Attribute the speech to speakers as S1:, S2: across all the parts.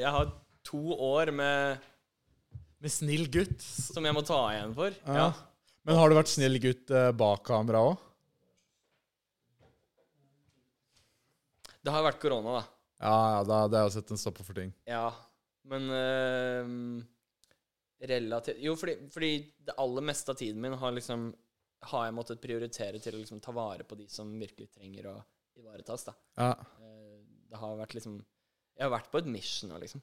S1: jeg har to år med, med snill gutt som jeg må ta igjen for. Ja.
S2: Ja. Men har du vært snill gutt eh, bak kamera òg?
S1: Det har vært korona, da.
S2: Ja, ja, da hadde jeg jo sett en stopper for ting.
S1: Ja. Men eh, relativt Jo, fordi, fordi det aller meste av tiden min har liksom har jeg måttet prioritere til å liksom ta vare på de som virkelig trenger å ivaretas, da.
S2: Ja.
S1: Eh, Det har vært liksom Jeg har vært på et mission nå, liksom.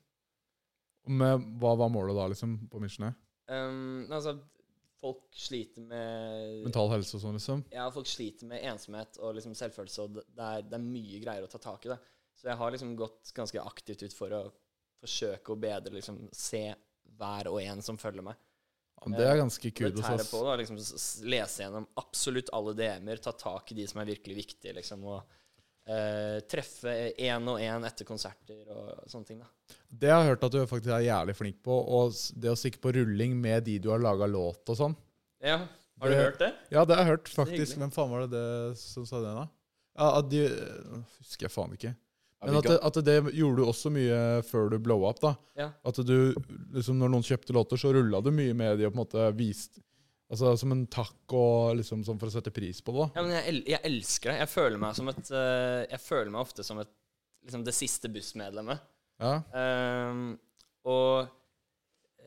S2: Men hva var målet da, liksom, på missionet?
S1: Um, altså, folk sliter med
S2: Mental helse og sånn, liksom?
S1: Ja, folk sliter med ensomhet og liksom selvfølelse, og det det er, det er mye greier å ta tak i. Da. Så jeg har liksom gått ganske aktivt ut for å forsøke å bedre liksom se hver og en som følger meg.
S2: Ja, det er
S1: Og
S2: ganske kudos,
S1: det tærer
S2: ass.
S1: på da, liksom s- s- Lese gjennom absolutt alle DM-er, ta tak i de som er virkelig viktige, liksom, og eh, treffe én og én etter konserter og sånne ting. da.
S2: Det har jeg hørt at du faktisk er jævlig flink på, og s- det å stikke på rulling med de du har laga låt og sånn.
S1: Ja, Har du
S2: Det-
S1: hørt det?
S2: Ja, det har jeg hørt,
S1: hyggelig.
S2: faktisk. Hvem faen var det det som sa det, da? Ja, at de Husker jeg faen ikke. Men
S1: vi
S2: at det, at det gjorde du også mye før du blow up, da.
S1: Ja.
S2: At du, liksom Når noen kjøpte låter, så rulla du mye med de og på en måte viste Altså som en takk og liksom sånn for å sette pris på det. da.
S1: Ja, men jeg, el jeg elsker det. Jeg føler meg som et eh, Jeg føler meg ofte som et liksom det siste bussmedlemmet.
S2: Ja.
S1: Ehm, og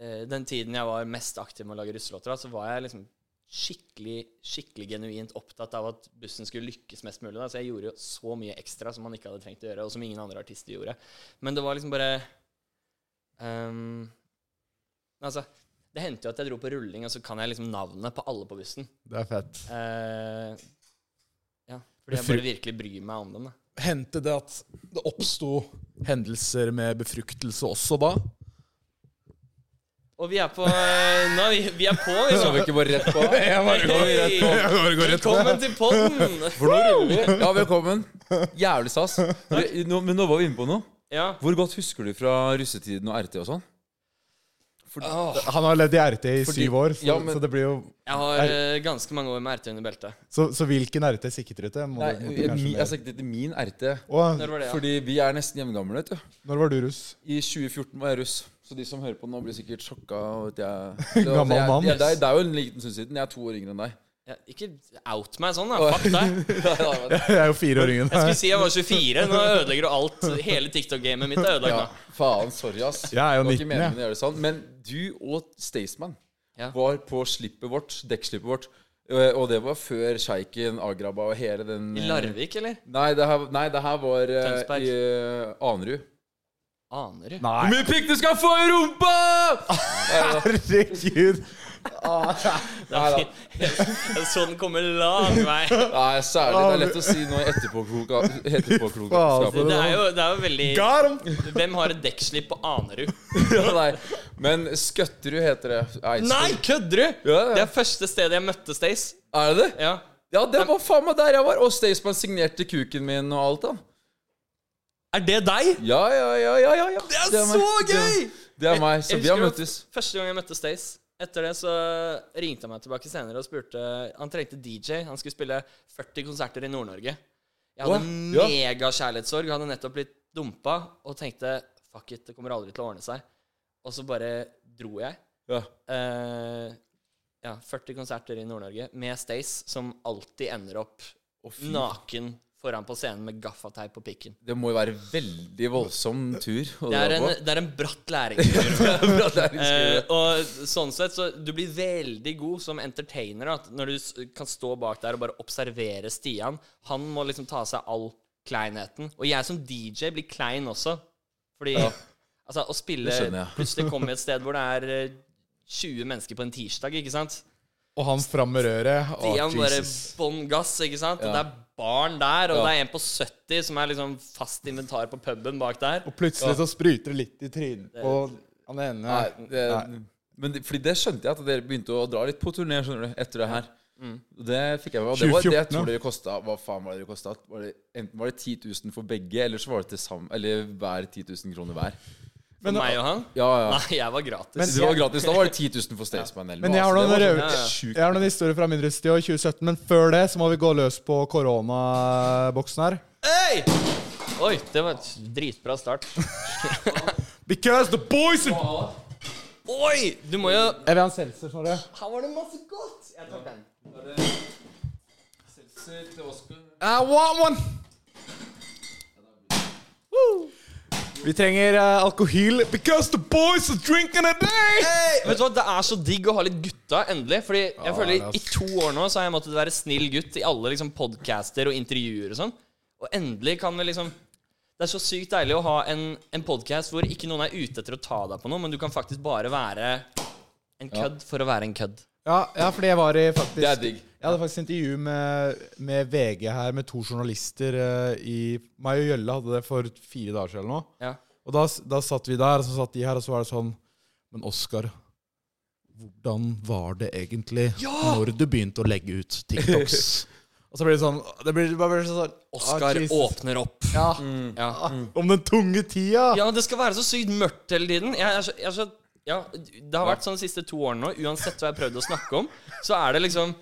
S1: eh, den tiden jeg var mest aktiv med å lage russelåter, da, så var jeg liksom skikkelig skikkelig genuint opptatt av at bussen skulle lykkes mest mulig. Da. Så jeg gjorde jo så mye ekstra som man ikke hadde trengt å gjøre, og som ingen andre artister gjorde. Men det var liksom bare ehm, Altså, det hendte jo at jeg dro på rulling, og så kan jeg liksom navnet på alle på bussen.
S2: Det er fett.
S1: Eh, ja, fordi
S2: Men
S1: jeg
S2: fru-
S1: bare virkelig bryr meg om dem. Da.
S2: Hendte det at det oppsto hendelser med befruktelse også da?
S1: Og vi er på eh, Nå er vi, vi er på,
S3: Skal vi
S1: liksom.
S3: ikke bare rett på?
S2: Jeg bare
S1: går rett på.
S2: Jeg bare går rett på.
S1: Velkommen til podden!
S3: Ja, velkommen. Jævlig stas. Du, Nå, men nå var vi inne på noe.
S1: Ja.
S3: Hvor godt husker du fra russetiden og RT og sånn? For,
S1: Ah.
S2: Han har levd i RT i
S3: Fordi-
S2: syv år, så,
S3: ja, men-
S2: så det blir jo
S1: Jeg har eh, ganske mange år med RT under beltet.
S2: Så, så hvilken RT sikter du til? Må
S3: nei,
S2: du- måtte kanskje
S3: min,
S2: mer-
S3: altså, det er min RT.
S2: Å,
S1: Når var det? Ja?
S3: Fordi vi er nesten hjemmegamle, vet du.
S2: når var du russ?
S3: I 2014 var jeg russ. Så de som hører på nå, blir sikkert sjokka. over at jeg, det,
S2: Gammel
S3: jeg,
S2: mann.
S3: jeg, det, er, det er jo en liten stund siden. Jeg er to år yngre enn deg.
S1: Ja, ikke out meg sånn, da. Fuck deg.
S3: Nei, nei, nei.
S2: Jeg er jo fire år
S1: Jeg
S2: yngre enn
S1: skulle
S2: deg.
S1: si jeg var 24. Nå ødelegger du alt. Hele TikTok-gamet mitt er
S3: Ja,
S1: ødelagt nå.
S3: faen, sorry, ass.
S2: Jeg er jo
S3: Det var ikke
S2: 19,
S3: meningen
S2: jeg.
S3: å gjøre det sånn. Men du og Staysman
S1: Ja.
S3: var på slippet vårt, dekkslippet vårt. eh, Og det var før sjeiken, Agraba og hele den
S1: I
S3: eh,
S1: Larvik, eller?
S3: Nei, det her, nei, det her var eh,
S1: Tønsberg.
S3: i eh, Anerud.
S1: Aner du?
S3: Hvor
S2: Nei,
S3: mye pikk du skal få i rumpa!
S2: herregud!
S3: Nei, da.
S1: Jeg så den komme lang vei.
S3: nei, særlig. Det er lett å si noe i etterpåkloka-
S2: Faen,
S3: etterpåklokskapen.
S1: Det er jo, det er jo veldig
S2: Got him!
S1: Hvem har et dekkslip på Anerud?
S3: Nei, Men Skøtterud heter det. Eidsvoll.
S1: Nei, kødder du?!
S3: Ja,
S1: Det
S3: ja.
S1: er første stedet jeg møtte Stace.
S3: Er det det?
S1: Ja.
S3: Ja, det var faen meg der jeg var. Og Staysman signerte kuken min og alt, da.
S1: Er det deg?
S3: Ja, ja, ja, ja, ja, ja.
S1: Det er,
S3: meg.
S1: så gøy!
S3: Det, det er meg. Så
S1: Jeg
S3: vi har
S1: husker det
S3: møttes.
S1: var f- Første gang jeg møtte Stace. Etter det så ringte han meg tilbake senere og spurte Han trengte DJ. Han skulle spille 40 konserter i Nord-Norge. Jeg hadde
S3: Åh, ja.
S1: megakjærlighetssorg. Hadde nettopp blitt dumpa og tenkte fuck it, det kommer aldri til å ordne seg. Og så bare dro jeg.
S3: Ja.
S1: Eh, ja, 40 konserter i Nord-Norge med Stace, som alltid ender opp
S3: Å, fy.
S1: naken foran på scenen med gaffateip på pikken.
S3: Det må jo være veldig voldsom tur
S1: Det
S3: å dra
S1: er en,
S3: på.
S1: det er en bratt læringskurve.
S3: Bra, det er
S1: Eh,
S3: litt skummelt.
S1: og sånn sett så Du blir veldig god som entertainer da, at når du s- kan stå bak der og bare observere Stian. Han må liksom ta av seg all kleinheten. Og jeg som DJ blir klein også. Fordi altså, å spille
S3: Det skjønner jeg.
S1: Plutselig komme et sted hvor det er eh, 20 mennesker på en tirsdag, ikke sant?
S2: Og han fram med røret. Å,
S1: Stian bare
S2: Jesus.
S1: bånn gass, ikke sant? Og det
S3: Ja.
S1: er barn der, og
S3: Ja.
S1: det er en på 70 som er liksom fast inventar på puben bak der.
S2: Og plutselig så spruter det litt i trynet på han ene.
S3: Nei, det, men det, fordi det skjønte jeg at dere begynte å dra litt på turné skjønner du, etter det her. Og Det fikk jeg med. Og det var det jeg
S2: 2014,
S3: tror dere kosta Hva faen var det dere kosta? Var det, enten var det 10 000 for begge, eller så var det til sammen Eller hver 10 000 kroner hver.
S1: For meg og han.
S3: Ja, ja.
S1: Nei, jeg var gratis.
S2: Men-
S3: det var gratis. Da var det 10 000 for Staysman. eller
S2: Men
S3: noe,
S2: jeg har,
S3: altså,
S2: noen
S3: det var
S2: røver-
S1: ja,
S4: sånn
S1: ja.
S3: sjukt.
S2: jeg har noen historier fra min russetid og 2017, men før det så må vi gå løs på koronaboksen her.
S1: Hei! Oi, det var et dritbra start.
S4: Because the boys are
S1: Oi! Du må jo
S4: Jeg vil ha en seltzer, Snorre.
S1: Her var det masse godt! Jeg tar den.
S3: sånn-
S4: I want one! Woo! Vi trenger eh, alkohol because the boys are drinking a day!
S1: Vet du hva, Det er så digg å ha litt gutta, endelig. Fordi jeg
S4: det
S1: føler
S4: er
S1: I to år nå så har jeg måttet være snill gutt i alle liksom podcaster og intervjuer og sånn. Og endelig kan vi liksom Det er så sykt deilig å ha en, en podkast hvor ikke noen er ute etter å ta deg på noe, men du kan faktisk bare være en kødd for å være en kødd.
S2: Ja, ja, fordi jeg var i faktisk
S3: Det er digg.
S2: Jeg hadde faktisk intervju med, med VG her med to journalister eh, i Meg og Gjølle hadde det for fire dager siden eller noe.
S1: Ja.
S2: Og da, s- da satt vi der, og så satt de her, og så var det sånn Men Oskar, hvordan var det egentlig når du begynte å legge ut TikToks? og så blir det sånn Det blir bare blir sånn ah,
S1: Oskar
S2: Jesus.
S1: åpner opp.
S2: Ja,
S1: Ja. Mm.
S2: Om den tunge tida!
S1: Ja, det skal være så sykt mørkt hele tiden. Jeg er så, jeg er så, ja, det har vært sånn de siste to årene nå. Uansett hva jeg har prøvd å snakke om, så er det liksom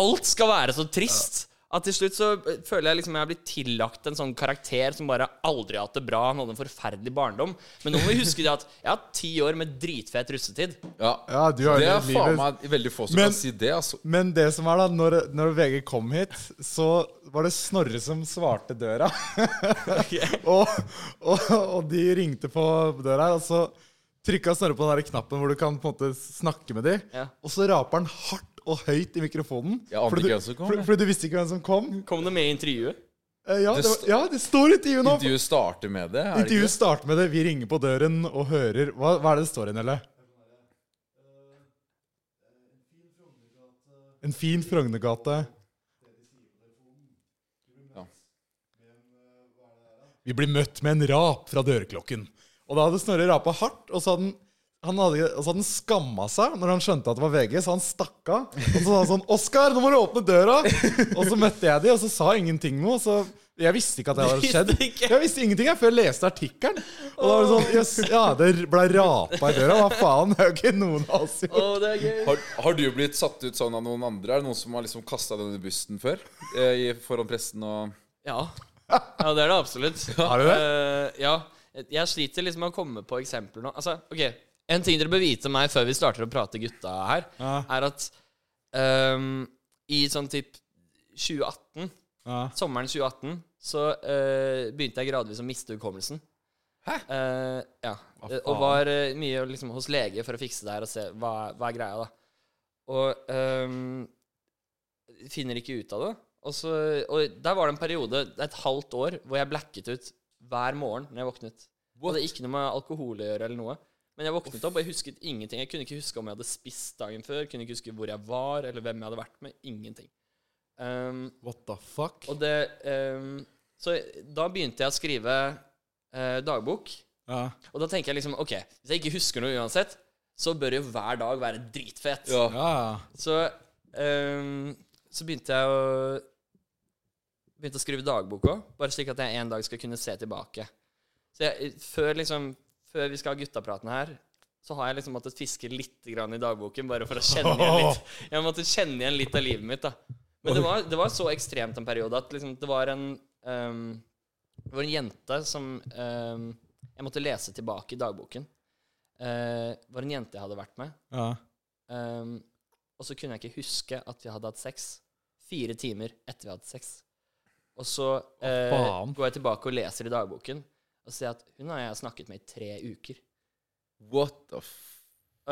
S1: Alt skal være så trist. At til slutt så eh, føler jeg liksom jeg har blitt tillagt en sånn karakter som bare aldri har hatt det bra. Han hadde en forferdelig barndom. Men nå må vi huske det at jeg har hatt ti år med dritfet russetid.
S3: Ja.
S2: Ja, du har
S3: det
S2: levd
S3: er faen
S2: livet.
S3: meg veldig få som
S2: Men-
S3: kan si det, altså.
S2: Men det som er da, når, når VG kom hit, så var det Snorre som svarte døra. og, og, og de ringte på døra her, og så trykka Snorre på den der knappen hvor du kan på en måte snakke med de.
S1: Ja.
S2: Og så raper han hardt og høyt i mikrofonen.
S3: Jeg ante
S2: fordi
S3: ikke
S2: du-
S3: hvem som kom,
S2: fordi-
S3: jeg.
S2: Fordi du visste ikke hvem som kom.
S1: Kom det med i intervjuet?
S2: Eh, ja,
S3: Det
S2: det, var,
S3: sto-
S2: ja, det står intervju nå.
S3: Intervjuet starter med det. Er det ikke
S2: Intervjuet starter med det. Vi ringer på døren og hører Hva, hva er det det står igjen, eller? En fin Frognergate.
S3: Ja.
S2: Vi blir møtt med en rap fra dørklokken. Og da hadde Snorre rapa hardt, og så hadde han han hadde, og så hadde han skamma seg når han skjønte at det var VG, så han stakk av. Og så sa han sånn 'Oskar, nå må du åpne døra!' Og så møtte jeg de, og så sa jeg ingenting noe. og Så jeg visste ikke at det hadde skjedd.
S1: Visste ikke.
S2: Jeg visste ingenting jeg, før jeg leste artikkelen. Og da var det sånn Jøss, ja, det ble rapa i døra. Hva faen? Det har jo ikke noen av oss gjort.
S1: Å, det er gøy.
S3: Har, har du blitt satt ut sånn av noen andre? Er det noen som har liksom kasta deg under bussen før? Eh, i- foran pressen og
S1: Ja. ja, det er det absolutt.
S2: Har du det?
S1: Eh, ja. Jeg sliter liksom med å komme på eksempler nå. Altså, ok, En ting dere bør vite om meg før vi starter å prate gutta her, er at ehm, i sånn typ 2018,
S2: Ja.
S1: sommeren 2018, så eh, begynte jeg gradvis å miste hukommelsen. Hæ? ja. og var eh, mye liksom, hos lege for å fikse det her og se hva, hva er greia, da. Og ehm, finner ikke ut av det. Og, så, og der var det en periode, et halvt år, hvor jeg blacket ut hver morgen når jeg våknet. Og det er ikke noe med alkohol å gjøre eller noe. Men jeg våknet opp, og jeg husket ingenting. Jeg kunne ikke huske om jeg hadde spist dagen før, kunne ikke huske hvor jeg var, eller hvem jeg hadde vært med. Ingenting. Um,
S2: What the fuck?
S1: og det ehm, Så da begynte jeg å skrive eh, dagbok.
S2: Ja.
S1: Og da tenker jeg liksom OK, hvis jeg ikke husker noe uansett, så bør jo hver dag være dritfet.
S3: Ja.
S2: Ja.
S1: Så, ehm, så begynte jeg å Begynte å skrive dagbok òg, bare slik at jeg en dag skal kunne se tilbake. Så jeg, før, liksom, før vi skal ha guttapraten her, så har jeg liksom måttet fiske litt grann i dagboken, bare for å kjenne igjen litt. Jeg måtte kjenne igjen litt av livet mitt, da. Men det var, det var så ekstremt en periode at liksom, det var en ehm, Det var en jente som ehm, Jeg måtte lese tilbake i dagboken. Eh, det var en jente jeg hadde vært med.
S2: Ja.
S1: Ehm, og så kunne jeg ikke huske at vi hadde hatt sex fire timer etter vi hadde hatt sex. Og så eh,
S2: faen?
S1: går jeg tilbake og leser i dagboken og ser at hun har jeg snakket med i tre uker.
S3: What the f...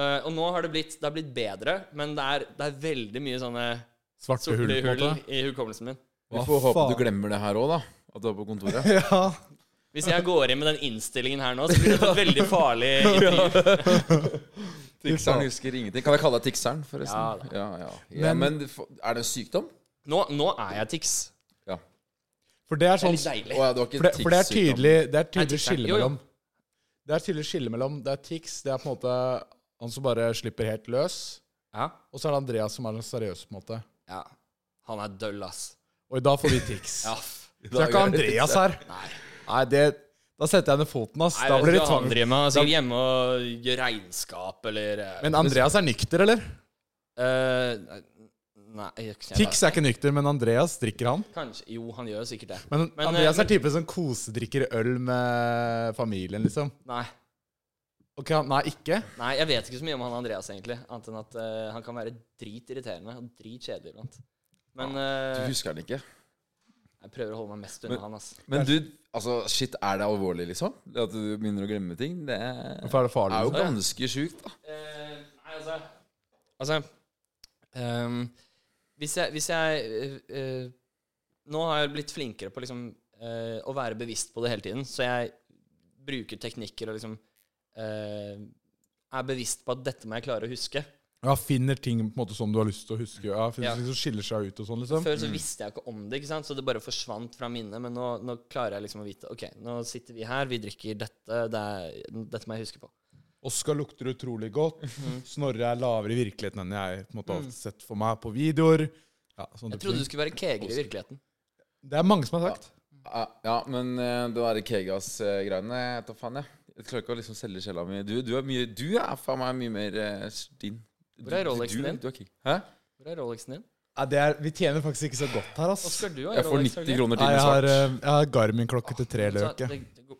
S1: Eh, og nå har det blitt, det har blitt bedre, men det er, det er veldig mye sånne
S2: Svarte hull,
S1: sorte
S2: på en
S1: hull
S2: måte.
S1: i hukommelsen min.
S3: Vi
S2: Hva
S3: får håpe
S2: faen?
S3: du glemmer det her òg, da. At du er på kontoret.
S2: Ja.
S1: Hvis jeg går inn med den innstillingen her nå, så blir det et veldig farlig intervju.
S3: Tikseren husker ingenting. Kan jeg kalle deg Tikseren, forresten?
S1: Ja,
S3: Ja, ja. ja
S2: Men-
S3: men f- er det en sykdom?
S1: Nå, nå er jeg tics.
S3: Ja.
S2: For det
S1: Det
S2: er
S1: er
S2: sånn
S1: litt
S3: Å
S1: deilig.
S3: ja, du har ikke
S2: For det, for det er
S3: ticssykdom.
S2: tydelig, det er
S1: Nei,
S2: tydelig
S1: tics er-
S2: skille
S1: jo, jo.
S2: mellom Det er tydelig skille mellom Det er Tix, det er på en måte han som bare slipper helt løs,
S1: Ja.
S2: og så er det Andreas som er den seriøse, på en måte.
S1: ja. Han er døll, ass.
S2: Og i dag får vi Tix.
S1: Ja.
S2: Så det er ikke Andreas her. Nei, det Da setter jeg ned foten, ass.
S1: Nei,
S2: da
S1: jeg vet
S2: blir det
S1: ikke hva han
S2: tvang.
S1: driver med. Han er sikkert hjemme og gjør regnskap eller eh,
S2: Men Andreas er nykter, eller?
S1: eh, Nei, jeg, jeg,
S2: Tix er ikke nykter, men Andreas drikker han.
S1: Kanskje, jo, han gjør jo sikkert det.
S2: Men,
S1: Men,
S2: Andreas
S1: eh,
S2: er typen som kosedrikker øl med familien, liksom.
S1: Nei,
S2: Ok, han- Nei, ikke?
S1: nei, jeg vet ikke så mye om han Andreas, egentlig. Annet enn at eh, han kan være dritirriterende og dritkjedelig iblant. Men
S3: Du
S1: eh,
S3: husker den ikke.
S1: jeg prøver å holde meg mest
S3: Men-
S1: unna han, ass.
S3: Men du, altså, shit, er det alvorlig, liksom? Det at du begynner å glemme ting? Det er
S2: Hvorfor er det farlig?
S3: jo
S2: liksom?
S3: ganske sjukt, da.
S1: Eh, nei, altså Altså ehm, Hvis jeg, hvis jeg eh, eh, Nå har jeg blitt flinkere på liksom, eh, å være bevisst på det hele tiden, så jeg bruker teknikker og liksom eh, er bevisst på at dette må jeg klare å huske.
S5: Ja, finner ting på en måte som du har lyst til å huske. Ja, finner
S1: Ja.
S5: ting som skiller seg ut og sånn, liksom.
S3: Mm.
S1: Før så visste jeg ikke om det, ikke sant? så det bare forsvant fra minnet. Men nå, nå klarer jeg liksom å vite Ok, nå sitter vi her, vi drikker dette, det er, dette må jeg huske på.
S5: Oskar lukter utrolig godt.
S1: Mhm.
S5: Snorre er lavere i virkeligheten enn jeg på en måte har sett for meg på videoer. Ja, sånn
S1: Mm.
S5: type
S1: Jeg trodde
S5: ting.
S1: du skulle være keger i virkeligheten.
S5: Det er mange som har sagt.
S3: Ja, ja, men eh, det derre Kegas-greiene, jeg tar faen, jeg. Jeg klarer ikke å liksom selge sjela mi. Du, du er mye Du er faen meg mye mer eh, din.
S1: Hvor er
S3: Du-
S1: Rolexen
S3: du-
S1: din?
S3: Du er Keg. Hæ?
S1: Hvor er Rolexen din?
S2: Ja, det er, vi tjener faktisk ikke så godt her, ass.
S1: Oskar, du har
S3: Jeg får
S1: Rolex, har du
S3: 90
S1: ikke?
S3: kroner
S2: Nei,
S3: til
S2: jeg
S3: med
S2: har,
S3: svart.
S2: eh, jeg har Garmin-klokke til tre
S1: Så
S2: løk. jeg.
S1: det- det går-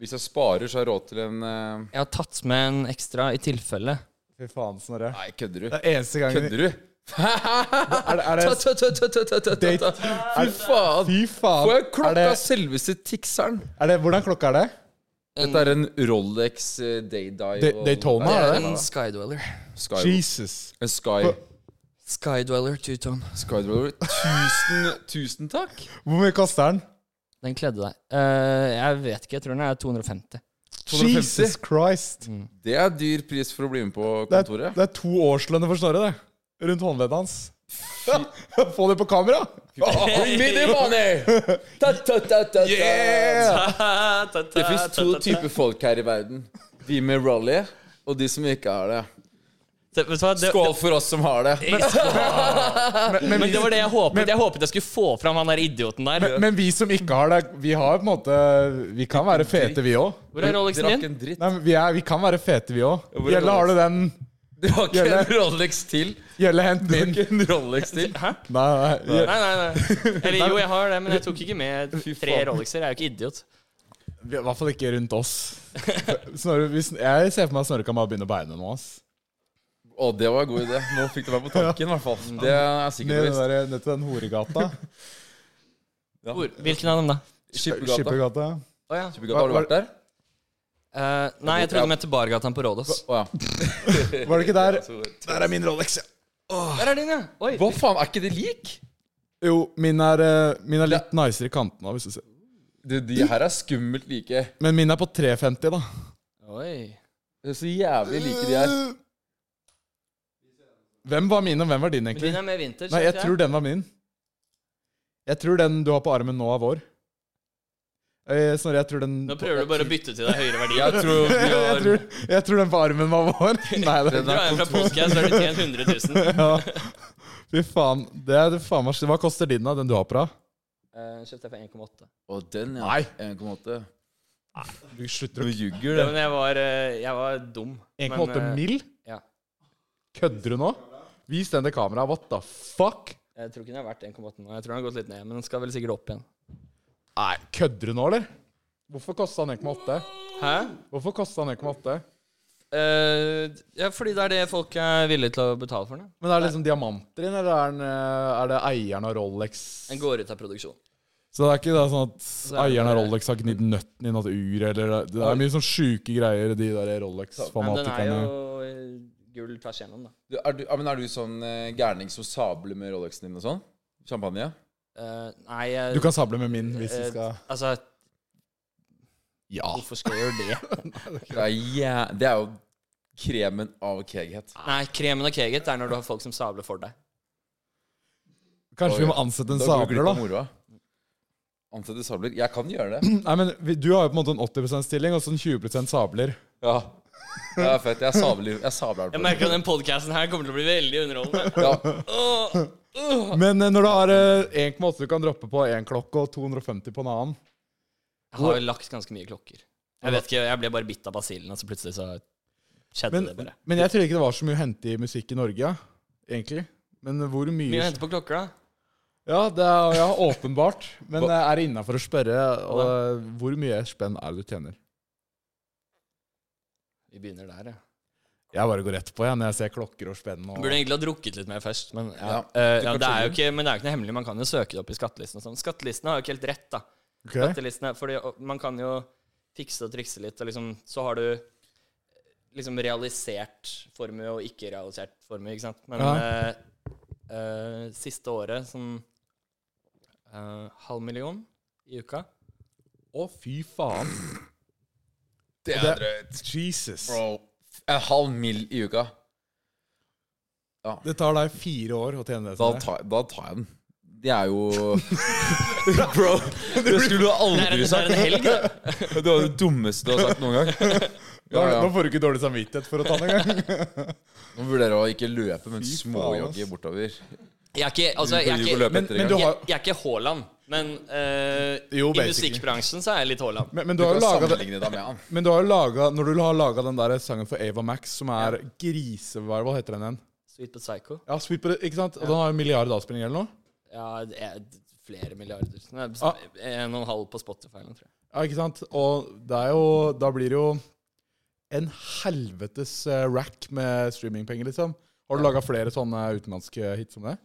S3: Hvis jeg sparer, så har jeg råd til en eh,
S1: Jeg har tatt med en ekstra i tilfelle.
S2: Fy faen, Snorre.
S3: Nei, kødder du?
S2: Det er eneste gangen
S3: Kødder du?
S2: Er det, er det
S3: Date.
S2: date?
S3: Fy faen!
S2: Fy
S3: Får
S2: faen.
S3: jeg klokka
S2: Er det-
S3: selveste Tixeren?
S2: Er det, hvordan klokka er det?
S3: Dette er en Rolex eh, Daydive
S2: Da-
S3: og-
S2: Daytona, er det det?
S1: En Skydweller.
S3: Sky,
S2: Jesus.
S3: En Sky
S1: Skydweller two-tone.
S3: Skydweller. Tusen, tusen takk!
S2: Hvor mye koster den?
S1: Den kledde deg. Eh, jeg vet ikke, jeg tror den er 250.
S3: 250.
S2: Jesus Christ.
S3: Det er dyr pris for å bli med på
S2: Det er,
S3: kontoret.
S2: det er to årslønner for Snorre, det. Rundt håndleddet hans. Få det på kamera!
S3: Bring me the money!
S2: Yeah!
S3: Det fins to typer folk her i verden. De med Rolly, og de som ikke har det.
S1: Det- Vet du hva, det,
S3: Skål for oss som har det.
S1: men, det var det jeg håpet. Jeg håpet jeg skulle få fram han der idioten der.
S2: Men vi som ikke har det, vi har på en måte Vi kan være fete, vi òg.
S1: Hvor er Rolexen
S3: Drakk
S1: din?
S3: en dritt.
S2: Nei, men vi, er, vi kan være fete, vi òg.
S3: Hvor er
S2: Gjelle, har du den?
S3: Drakk en Rolex til.
S2: Gjelle, hent min.
S3: Drakk en Rolex til.
S1: Hæ?
S2: Nei, nei.
S1: Nei, nei, nei. Eller jo, jeg har det, men jeg tok ikke med tre Rolexer. Jeg er jo ikke idiot.
S2: Vi, I hvert fall ikke rundt oss. Snorre, hvis, jeg ser for meg at Snorre kan bare begynne å beine nå. ass.
S3: Å, det var en god idé. Nå fikk det meg på tanken, i hvert fall. Det er
S2: Ned,
S3: sikkert
S2: den
S3: bevisst.
S2: der, ned til den horegata.
S1: Hvor, hvilken av dem, da?
S3: Skippergata.
S2: Skippergata.
S1: Å ja.
S3: Skippergata, Har du vært der?
S1: Eh, nei, jeg trodde de het Bargatan på Rådås.
S3: Å ja.
S2: Var det ikke der?
S3: Der er min Rolex.
S1: Der er din, ja! Oi.
S3: Hva faen, er ikke det lik?
S2: Jo, min er, eh, min er litt nicere i kantene. Hvis du ser.
S3: Du, de her er skummelt like.
S2: Men min er på 350, da.
S1: Oi.
S3: Det er så jævlig like de er.
S2: Hvem var min, og hvem var din,
S1: Men
S2: egentlig?
S1: din er mer vintage.
S2: Nei, jeg tror den var min. Jeg tror den du har på armen nå, er vår. Eh, Snorre, jeg tror den
S1: Nå prøver du bare å bytte til deg høyere verdier.
S3: Jeg tror vi
S2: jeg
S3: har
S2: tror, jeg tror den på armen var vår. Nei, det,
S3: Den
S1: Du
S3: er
S1: er en fra Polskia, så har du tjent 100 000.
S2: ja. Fy faen. Det er det faen meg Hva koster din, da? Den du har på deg?
S1: Eh, kjøpte jeg for 1,8.
S3: Og den, ja.
S2: Nei.
S3: 1,8.
S2: Du
S3: Du
S2: slutter
S3: ljuger,
S1: Ja,
S3: det.
S1: men jeg var, eh, jeg var dum. Men,
S2: 1,8
S1: eh,
S2: mill?
S1: ja.
S2: Kødder du nå? Vis den til kameraet. What the fuck?
S1: Jeg tror ikke den er verdt 1,8 nå. Jeg tror den har gått litt ned, men den skal vel sikkert opp igjen.
S2: Nei, kødder du nå, eller? Hvorfor kosta den 1,8?
S1: Hæ?
S2: Hvorfor kosta den 1,8?
S1: Eh, ja, fordi det er det folk er villige til å betale for den. ja.
S2: Men er det liksom diamanter i den, eller er, den, eh, er det eieren av Rolex
S1: Den går ut av produksjon.
S2: Så det er ikke da sånn
S1: er
S2: at
S1: det
S2: eieren av
S1: bare-
S2: Rolex har gnidd nøtten i noe ur, eller det er mye sånn sjuke greier, de der
S1: Men den er
S2: Rolex-fanatikerne.
S1: jo eh, gull tvers igjennom, da.
S3: Du, er, du, ja, men er du sånn eh, gærning som sabler med Rolexen din og sånn? Champagne?
S1: Eh, nei, jeg
S2: Du kan sable med min hvis du
S1: eh,
S2: skal
S1: Altså,
S2: Ja.
S1: hvorfor skal jeg gjøre det?
S3: Det er, jæ... det er jo kremen av keghet.
S1: Nei, kremen og keget er når du har folk som sabler for deg.
S2: Kanskje vi må ansette en
S3: Da går du
S2: sabler,
S3: glipp av
S2: da.
S3: moroa. Ansette sabler? Jeg kan gjøre det.
S2: Nei, men vi- Du har jo på en måte en 80 stilling og så en 20 sabler.
S3: Ja. Det er fett. Jeg sabler, jeg sabler
S1: Jeg
S3: den på.
S1: merker at den podcasten her kommer til å bli veldig underholdende.
S3: Ja.
S1: Åh,
S2: Men eh, når du har eh, 1,8 du kan droppe på én klokke og 250 på en annen
S1: Jeg har jo lagt ganske mye klokker. Jeg vet ikke, jeg ble bare bitt av basillen, og så plutselig så skjedde
S2: Men,
S1: det bare.
S2: men jeg tror ikke det var så mye å hente i musikk i Norge, ja. egentlig. Men hvor mye
S1: Mye å hente på klokker, da.
S2: Ja, det er ja, åpenbart. Men eh, er det innafor å spørre eh, hvor mye spenn er det du tjener?
S1: Vi begynner der, ja.
S2: Jeg bare går rett på jeg, når jeg ser klokker og spenn. Og...
S1: Burde egentlig ha drukket litt mer først, men, ja.
S3: Ja,
S1: Eh, ja,
S3: kan
S1: det er jo
S3: skjønne.
S1: ikke, men det er jo ikke noe hemmelig. Man kan jo søke det opp i skattelisten. og sånn. Skattelisten har jo ikke helt rett, da.
S2: Ok.
S1: skattelistene. Fordi og, man kan jo fikse og trikse litt, og liksom, så har du liksom realisert formue og ikke realisert formue, ikke sant. Men
S2: Ja.
S1: eh, eh, siste året sånn eh, halv million i uka.
S2: Å, fy faen.
S3: Det
S2: Og
S3: er
S2: det-
S3: drøyt.
S2: Jesus.
S3: Bro. En halv mil i uka.
S2: Det tar deg fire år å tjene det.
S3: Da
S2: som det.
S3: tar, da tar jeg den. Det er jo Bro, det skulle du
S1: Det er,
S3: aldri
S1: en- det er
S3: sagt.
S1: en helg, det.
S3: Det var det dummeste du har sagt noen gang. Ja,
S2: Da-
S3: ja.
S2: Nå får du ikke dårlig samvittighet for å ta den engang.
S3: Nå vurderer jeg å ikke løpe, men
S2: Fy faen,
S3: småjogge
S2: ass.
S3: bortover.
S1: Jeg er ikke, altså, jeg er
S3: Du
S1: ikke,
S3: løpe
S2: Men-
S3: etter
S2: men
S3: en
S2: du
S3: gang.
S1: jeg, jeg er ikke Haaland, men eh,
S2: Jo,
S1: i
S2: basically.
S1: musikkbransjen så er jeg litt Haaland.
S2: Men, men
S3: Du
S2: du har jo
S3: kan
S2: laget det.
S3: sammenligne deg med han.
S2: Men du har jo laget, når du har laga den der sangen for Ava Max, som er grise... Hva hva heter den igjen?
S1: Sweet but psycho.
S2: Ja, Sweet på det, ikke sant? Og den har jo en milliard avspillinger eller noe?
S1: Ja, det er flere milliarder. Nei,
S2: Ah.
S1: En og en halv på Spotify, nå, tror jeg.
S2: Ja, ikke sant? Og det er jo, da blir det jo en helvetes eh, rack med streamingpenger, liksom. Har du laga flere sånne utenlandske hits som det?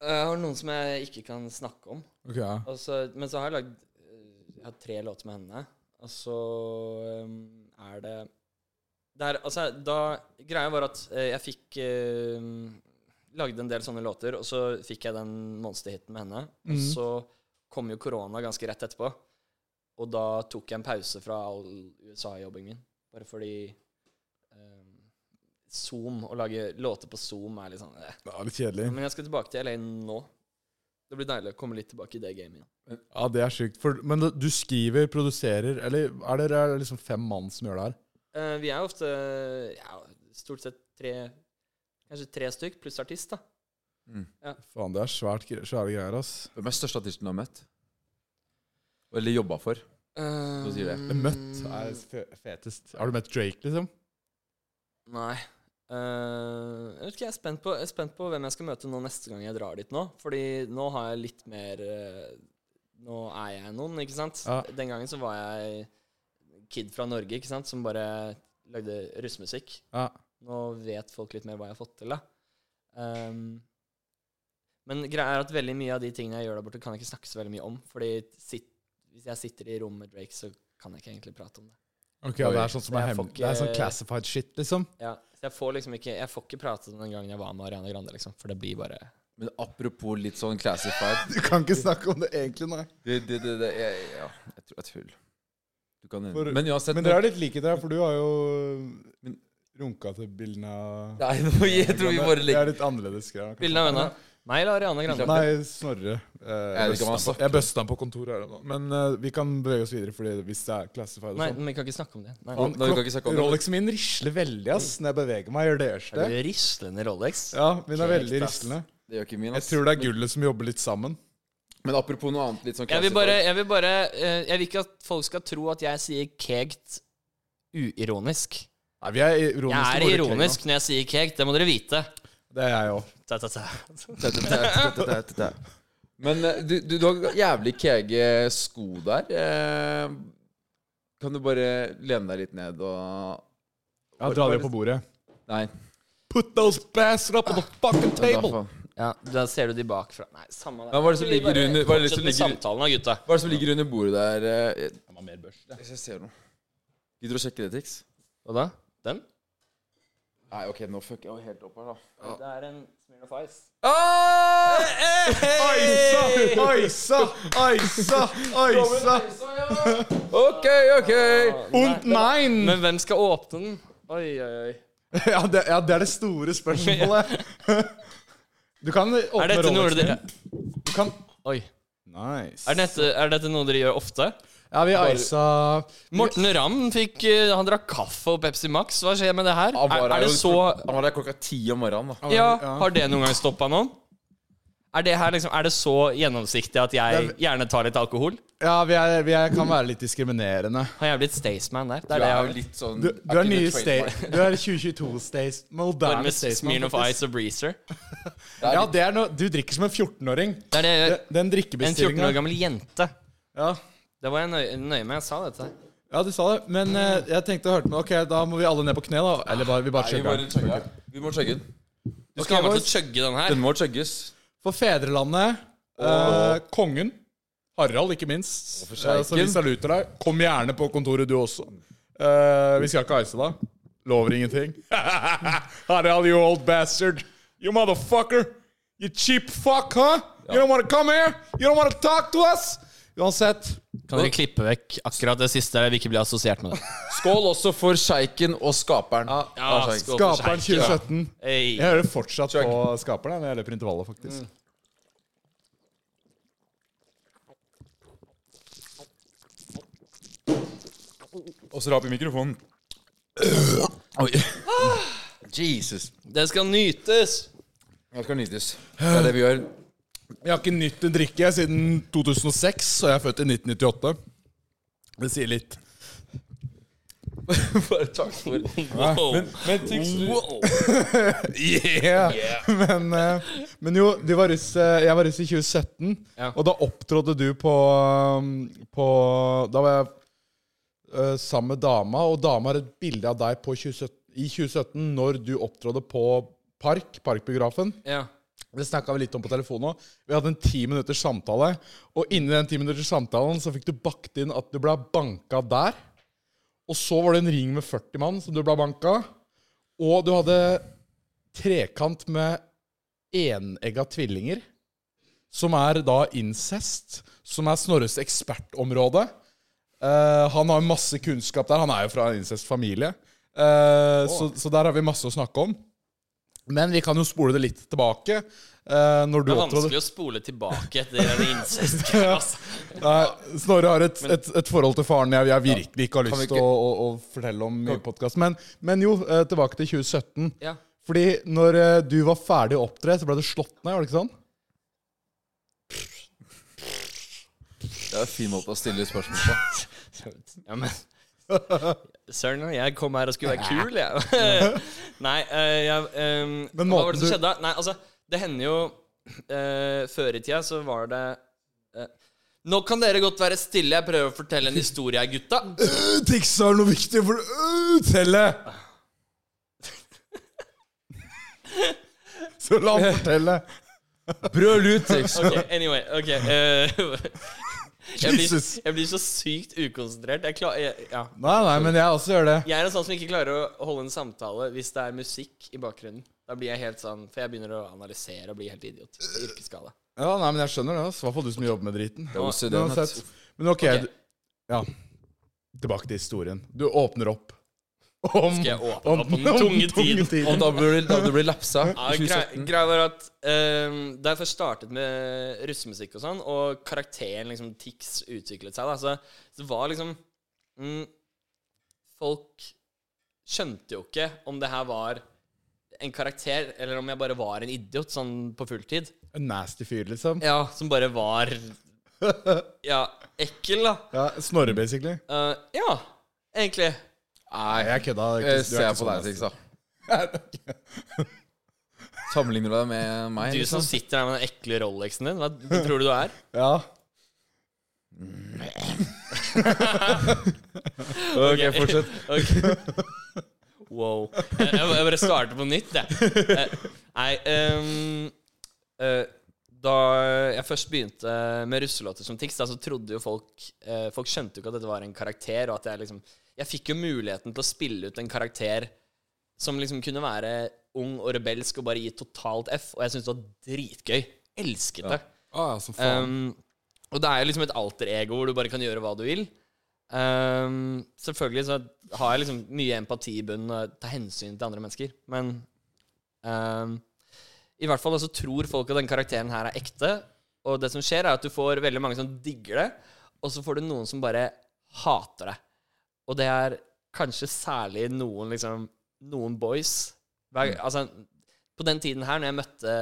S1: Jeg Eh, har noen som jeg ikke kan snakke om.
S2: Ok, ja.
S1: Og så- men så har jeg lagd eh, Jeg har tre låter med henne. Og så um, er det det er, altså, da, Greia var at eh, jeg fikk eh, Lagde en del sånne låter, og så fikk jeg den monsterhiten med henne. Og
S2: Mhm.
S1: så kom jo korona ganske rett etterpå. Og da tok jeg en pause fra all USA-jobbing min. Bare fordi eh, Zoom, å lage låter på Zoom, er litt sånn eh.
S2: Det er litt kjedelig.
S1: Men jeg skal tilbake til LA nå. Det blir deilig å komme litt tilbake i det gamet igjen.
S2: Ja, det er sykt. For, men du skriver, produserer, eller er det, er det liksom fem mann som gjør det her?
S1: Eh, vi er ofte ja, stort sett tre Kanskje tre stykk pluss artist, da.
S2: Faen, det er svært, gre- svære greier, ass.
S3: Mm. Hvem er største artisten du har møtt? Eller jobba for?
S1: Uh,
S3: sier det.
S2: Men møtt er fe- fetest. Har du møtt Drake, liksom?
S1: Nei. Eh, jeg vet ikke, jeg er, spent på, jeg er spent på hvem jeg skal møte nå neste gang jeg drar dit nå. Fordi nå har jeg litt mer eh, Nå er jeg noen, ikke sant?
S2: Ja.
S1: Den gangen så var jeg kid fra Norge, ikke sant, som bare lagde russmusikk.
S2: Ja.
S1: Nå vet folk litt mer hva jeg har fått til, da. Ehm, men greia er at veldig mye av de tingene jeg gjør der borte, kan jeg ikke snakke så veldig mye om. Fordi sit, hvis jeg sitter i rom med Drake, så kan jeg ikke egentlig prate om det.
S2: Ok, ja, Det er sånn som
S1: Jeg
S2: er
S1: får
S2: hemmelig.
S1: ikke-
S2: Det er sånn classified shit, liksom.
S1: Ja, så jeg får liksom ikke Jeg får ikke prate om den gangen jeg var med Ariana Grande, liksom. For det blir bare
S3: Men apropos litt sånn classified
S2: Du kan ikke snakke om det egentlig, nei.
S3: det, det, det, det, jeg, Ja, jeg tror det er tull. Du kan
S2: For-
S3: Men uansett
S2: Men dere er litt like der, for du har jo
S3: Men-
S2: runka til bildene av
S3: Nei, nå- jeg tror vi bare
S2: Det
S3: legger
S2: er litt annerledes greier. kanskje.
S1: Bildene av venner. Meg eller Ariana Grande?
S2: Nei, Snorre. Eh,
S3: Jeg vet ikke
S2: bøsta
S3: om han
S2: på-
S3: snakker.
S2: jeg bøsta han på kontoret her nå. Men eh, vi kan bevege oss videre, Fordi hvis det er classified og
S1: Nei,
S2: sånn.
S1: men vi kan ikke snakke om det. Nei.
S3: Nei, vi kan ikke snakke om det.
S2: Rolexen min risler veldig ass når jeg beveger meg. Gjør deres
S1: Er
S2: det?
S1: du rislende Rolex?
S2: Ja, min er veldig
S1: Helt, ass.
S2: rislende.
S3: Det gjør ikke min,
S2: Jeg
S3: ass.
S2: tror det er gullet som jobber litt sammen.
S3: Men apropos noe annet litt sånn
S1: Jeg vil
S3: classified.
S1: bare, jeg vil, bare eh, jeg vil ikke at folk skal tro at jeg sier kegt uironisk.
S2: Nei, vi er ironiske.
S1: Jeg er
S2: bare ikke
S1: ironisk når jeg sier kegt, det må dere vite.
S2: lenger. Det er jeg òg.
S1: Ta, ta, ta.
S3: Men eh, du, du, du har jævlig kege sko der. Eh, Kan du bare lene deg litt ned og
S2: Ja, dra det på bordet.
S3: Nei.
S2: Put those bastards up on the fucking
S3: men da
S2: table!
S3: faen.
S1: Ja, da ser du de bakfra. Nei, samme det.
S3: Ja, hva er det som
S1: Vi
S3: ligger
S1: bare
S3: under- hva er det som
S1: fortsetter med
S3: ligger-
S1: samtalen da, gutta.
S3: Hva er det som ligger under bordet der? eh, Hvis jeg ser noe. Gidder du å sjekke det, Tix?
S1: Hva da? Den?
S3: Nei, ok, nå fucker jeg jo helt opp her, da.
S1: Det er en Smirnoff Ice.
S3: Ah!
S2: Aisa! Aisa! Aisa! Aisa!
S3: Ok, ok!
S2: Und nein!
S1: Men hvem skal åpne den? Oi, oi, oi.
S2: Ja det, ja, det er det store spørsmålet. Du kan åpne
S1: Er dette noe
S2: Rolexen
S1: dere
S2: din. Du kan
S1: Oi.
S2: Nice.
S1: Er dette, er dette noe dere gjør ofte?
S2: Ja, vi eisa
S1: Morten Ramm fikk eh, Han drakk kaffe og Pepsi Max. Hva skjer med det her?
S3: Han
S1: Er,
S3: var
S1: er
S3: her
S1: det
S3: jo-
S1: så
S3: Han var der klokka ti om morgenen, da.
S1: Ja, har det noen gang stoppa noen? Er det her liksom Er det så gjennomsiktig at jeg gjerne tar litt alkohol?
S2: Ja, vi, er, vi er, kan være litt diskriminerende.
S1: Han er blitt Staysman der. Det
S3: Du
S1: er det
S3: er
S1: jeg
S3: jo
S1: har blitt.
S3: litt sånn
S2: Du, du er
S3: ikke
S2: nye
S3: noe
S2: sta-
S3: trademark.
S2: Du er 2022 Stays Moderne
S1: Ormes
S2: Staysman.
S1: Smean of
S2: faktisk.
S1: Ice og Breezer.
S3: Det er
S2: Ja,
S3: litt-
S2: det er noe Du drikker som en 14-åring.
S1: Det er det, Eh,
S2: Den- Den
S1: en 14 år
S2: drikkebestillinga.
S1: gammel jente.
S2: Ja.
S1: Det var jeg nøye, nøye med. Jeg sa dette.
S2: ja, du sa det. Men eh, jeg tenkte å høre med Ok, da må vi alle ned på kne, da. Eller bare, vi bare
S3: Nei, vi
S2: chugger
S3: bare
S2: den.
S3: chugger. Vi må chugge den.
S1: Du skal ha meg til å
S2: boys.
S1: chugge den her.
S3: Den må chugges.
S2: For fedrelandet, eh, kongen, Harald ikke minst,
S3: for
S2: eh, så vi
S3: sjeiken.
S2: saluter deg. Kom gjerne på kontoret, du også. Eh, vi skal ikke ice deg. Lover ingenting. Harald, you old bastard. You motherfucker. You cheap fuck, huh? You don't wanna come here? You don't wanna talk to us? Uansett.
S1: Kan dere klippe vekk akkurat det siste der vi ikke blir assosiert med det?
S3: Skål også for sjeiken og skaperen.
S1: Ja,
S3: Skål,
S1: skål.
S2: Skaperen
S1: for seiken.
S2: 2017.
S1: Hey.
S2: Jeg hører fortsatt på skaperen jeg, når jeg løper intervallet, faktisk.
S3: Og så rap i mikrofonen. Oi. Jesus.
S1: Det skal nytes!
S3: Nå skal nytes. Det er det vi gjør.
S2: Jeg har ikke nytt en drikke jeg, siden 2006, og jeg er født i 1998. Det sier litt.
S3: Bare takk for
S1: Wow.
S3: Men tics, du
S1: Wow.
S2: Yeah! Men, eh, men jo, du var russ, eh, jeg var russ i 2017,
S1: Ja.
S2: og da opptrådte du på, um, på Da var jeg eh, sammen med dama, og dama har et bilde av deg på 2017, i 2017 når du opptrådte på Park, Parkbiografen.
S1: Ja.
S2: Det snakka vi litt om på telefonen òg. Vi hadde en ti minutters samtale. Og inni den ti minutters samtalen så fikk du bakt inn at du ble banka der. Og så var det en ring med 40 mann som du ble banka. Og du hadde trekant med enegga tvillinger. Som er da incest. Som er Snorres ekspertområde. Eh, han har masse kunnskap der. Han er jo fra en incestfamilie. Eh, så, så der har vi masse å snakke om. Men vi kan jo spole det litt tilbake. eh, når du
S1: Det er
S2: opptrådte-
S1: vanskelig å spole tilbake etter den incest-greia. ass.
S2: Nei, Snorre har et, et, et forhold til faren jeg, jeg virkelig ikke har
S3: vi
S2: lyst
S3: ikke-
S2: til å, å, å fortelle om i podkast. Men, men jo, eh, tilbake til 2017.
S1: Ja.
S2: Fordi når eh, du var ferdig å opptre, så ble du slått ned, var det ikke sånn?
S3: Det er en fin måte å stille spørsmål på.
S1: Ja, men Søren, jeg kom her og skulle være kul, jeg. Nei, eh, jeg ehm,
S2: Men
S1: Hva var det
S2: måten
S1: som
S2: du-
S1: skjedde? da? Nei, altså, det hender jo eh, Før i tida så var det eh, Nå kan dere godt være stille, jeg prøver å fortelle en historie her, gutta.
S2: Triksa er noe viktig for å telle! Så la han fortelle.
S3: Brøl ut, Tix.
S1: Ok, anyway, ok eh, jeg, blir,
S2: Jesus.
S1: jeg blir så sykt ukonsentrert. Jeg, klar, jeg, ja.
S2: Nei, nei, men jeg også gjør det.
S1: jeg er en sånn som ikke klarer å holde en samtale hvis det er musikk i bakgrunnen. Da blir jeg helt sånn For jeg begynner å analysere og bli helt idiot. Yrkesskade.
S2: Ja, nei, men jeg skjønner det. altså. I hvert fall du som jobber med driten.
S3: er OCD,
S2: Men uansett.
S3: vet
S2: Men ok,
S1: Ok.
S2: Du, ja. Tilbake til historien. Du åpner opp. Om,
S1: Skal jeg åpne opp om tunge tid?
S3: Og da blir da du blir lapsa
S1: Ja,
S3: i
S1: grei-
S3: 2017.
S1: Greia var at ehm, da jeg først startet med russemusikk og sånn, og karakteren liksom Tix utviklet seg, da, så det var liksom mm, Folk skjønte jo ikke om det her var en karakter, eller om jeg bare var en idiot sånn på fulltid.
S2: En nasty fyr, liksom.
S1: Ja, Som bare var Ja, ekkel, da.
S2: Ja, Snorre, basically.
S1: Eh, ja, egentlig.
S3: Nei,
S2: Jeg kødda. ikke- sånn,
S3: jeg
S2: du er
S3: ser
S2: ikke
S3: på
S2: så
S3: deg,
S2: nasty.
S3: Tix, da. Sammenligner du deg med meg?
S1: Du som
S3: liksom?
S1: sitter der med den ekle Rolexen din, hva hva tror du du er?
S2: Ja.
S3: Ok, fortsett.
S1: Ok. Wow. Jeg, jeg jeg bare starter på nytt, jeg. Eh, Nei ehm, eh, Da jeg først begynte med russelåter som Tix, da, så trodde jo folk eh, Folk skjønte jo ikke at dette var en karakter, og at jeg liksom Jeg fikk jo muligheten til å spille ut en karakter som liksom kunne være ung og rebelsk og bare gi totalt F, og jeg syntes det var dritgøy. Elsket det.
S2: Ah, ja, som faen.
S1: Um, og det er jo liksom et alter ego hvor du bare kan gjøre hva du vil. Um, selvfølgelig så har jeg liksom mye empati i bunnen og tar hensyn til andre mennesker. Men um, i hvert fall så tror folk at den karakteren her er ekte. Og det som skjer, er at du får veldig mange som digger det, og så får du noen som bare hater det. Og det er kanskje særlig noen liksom Noen boys. Hver, altså, på den tiden her, når jeg møtte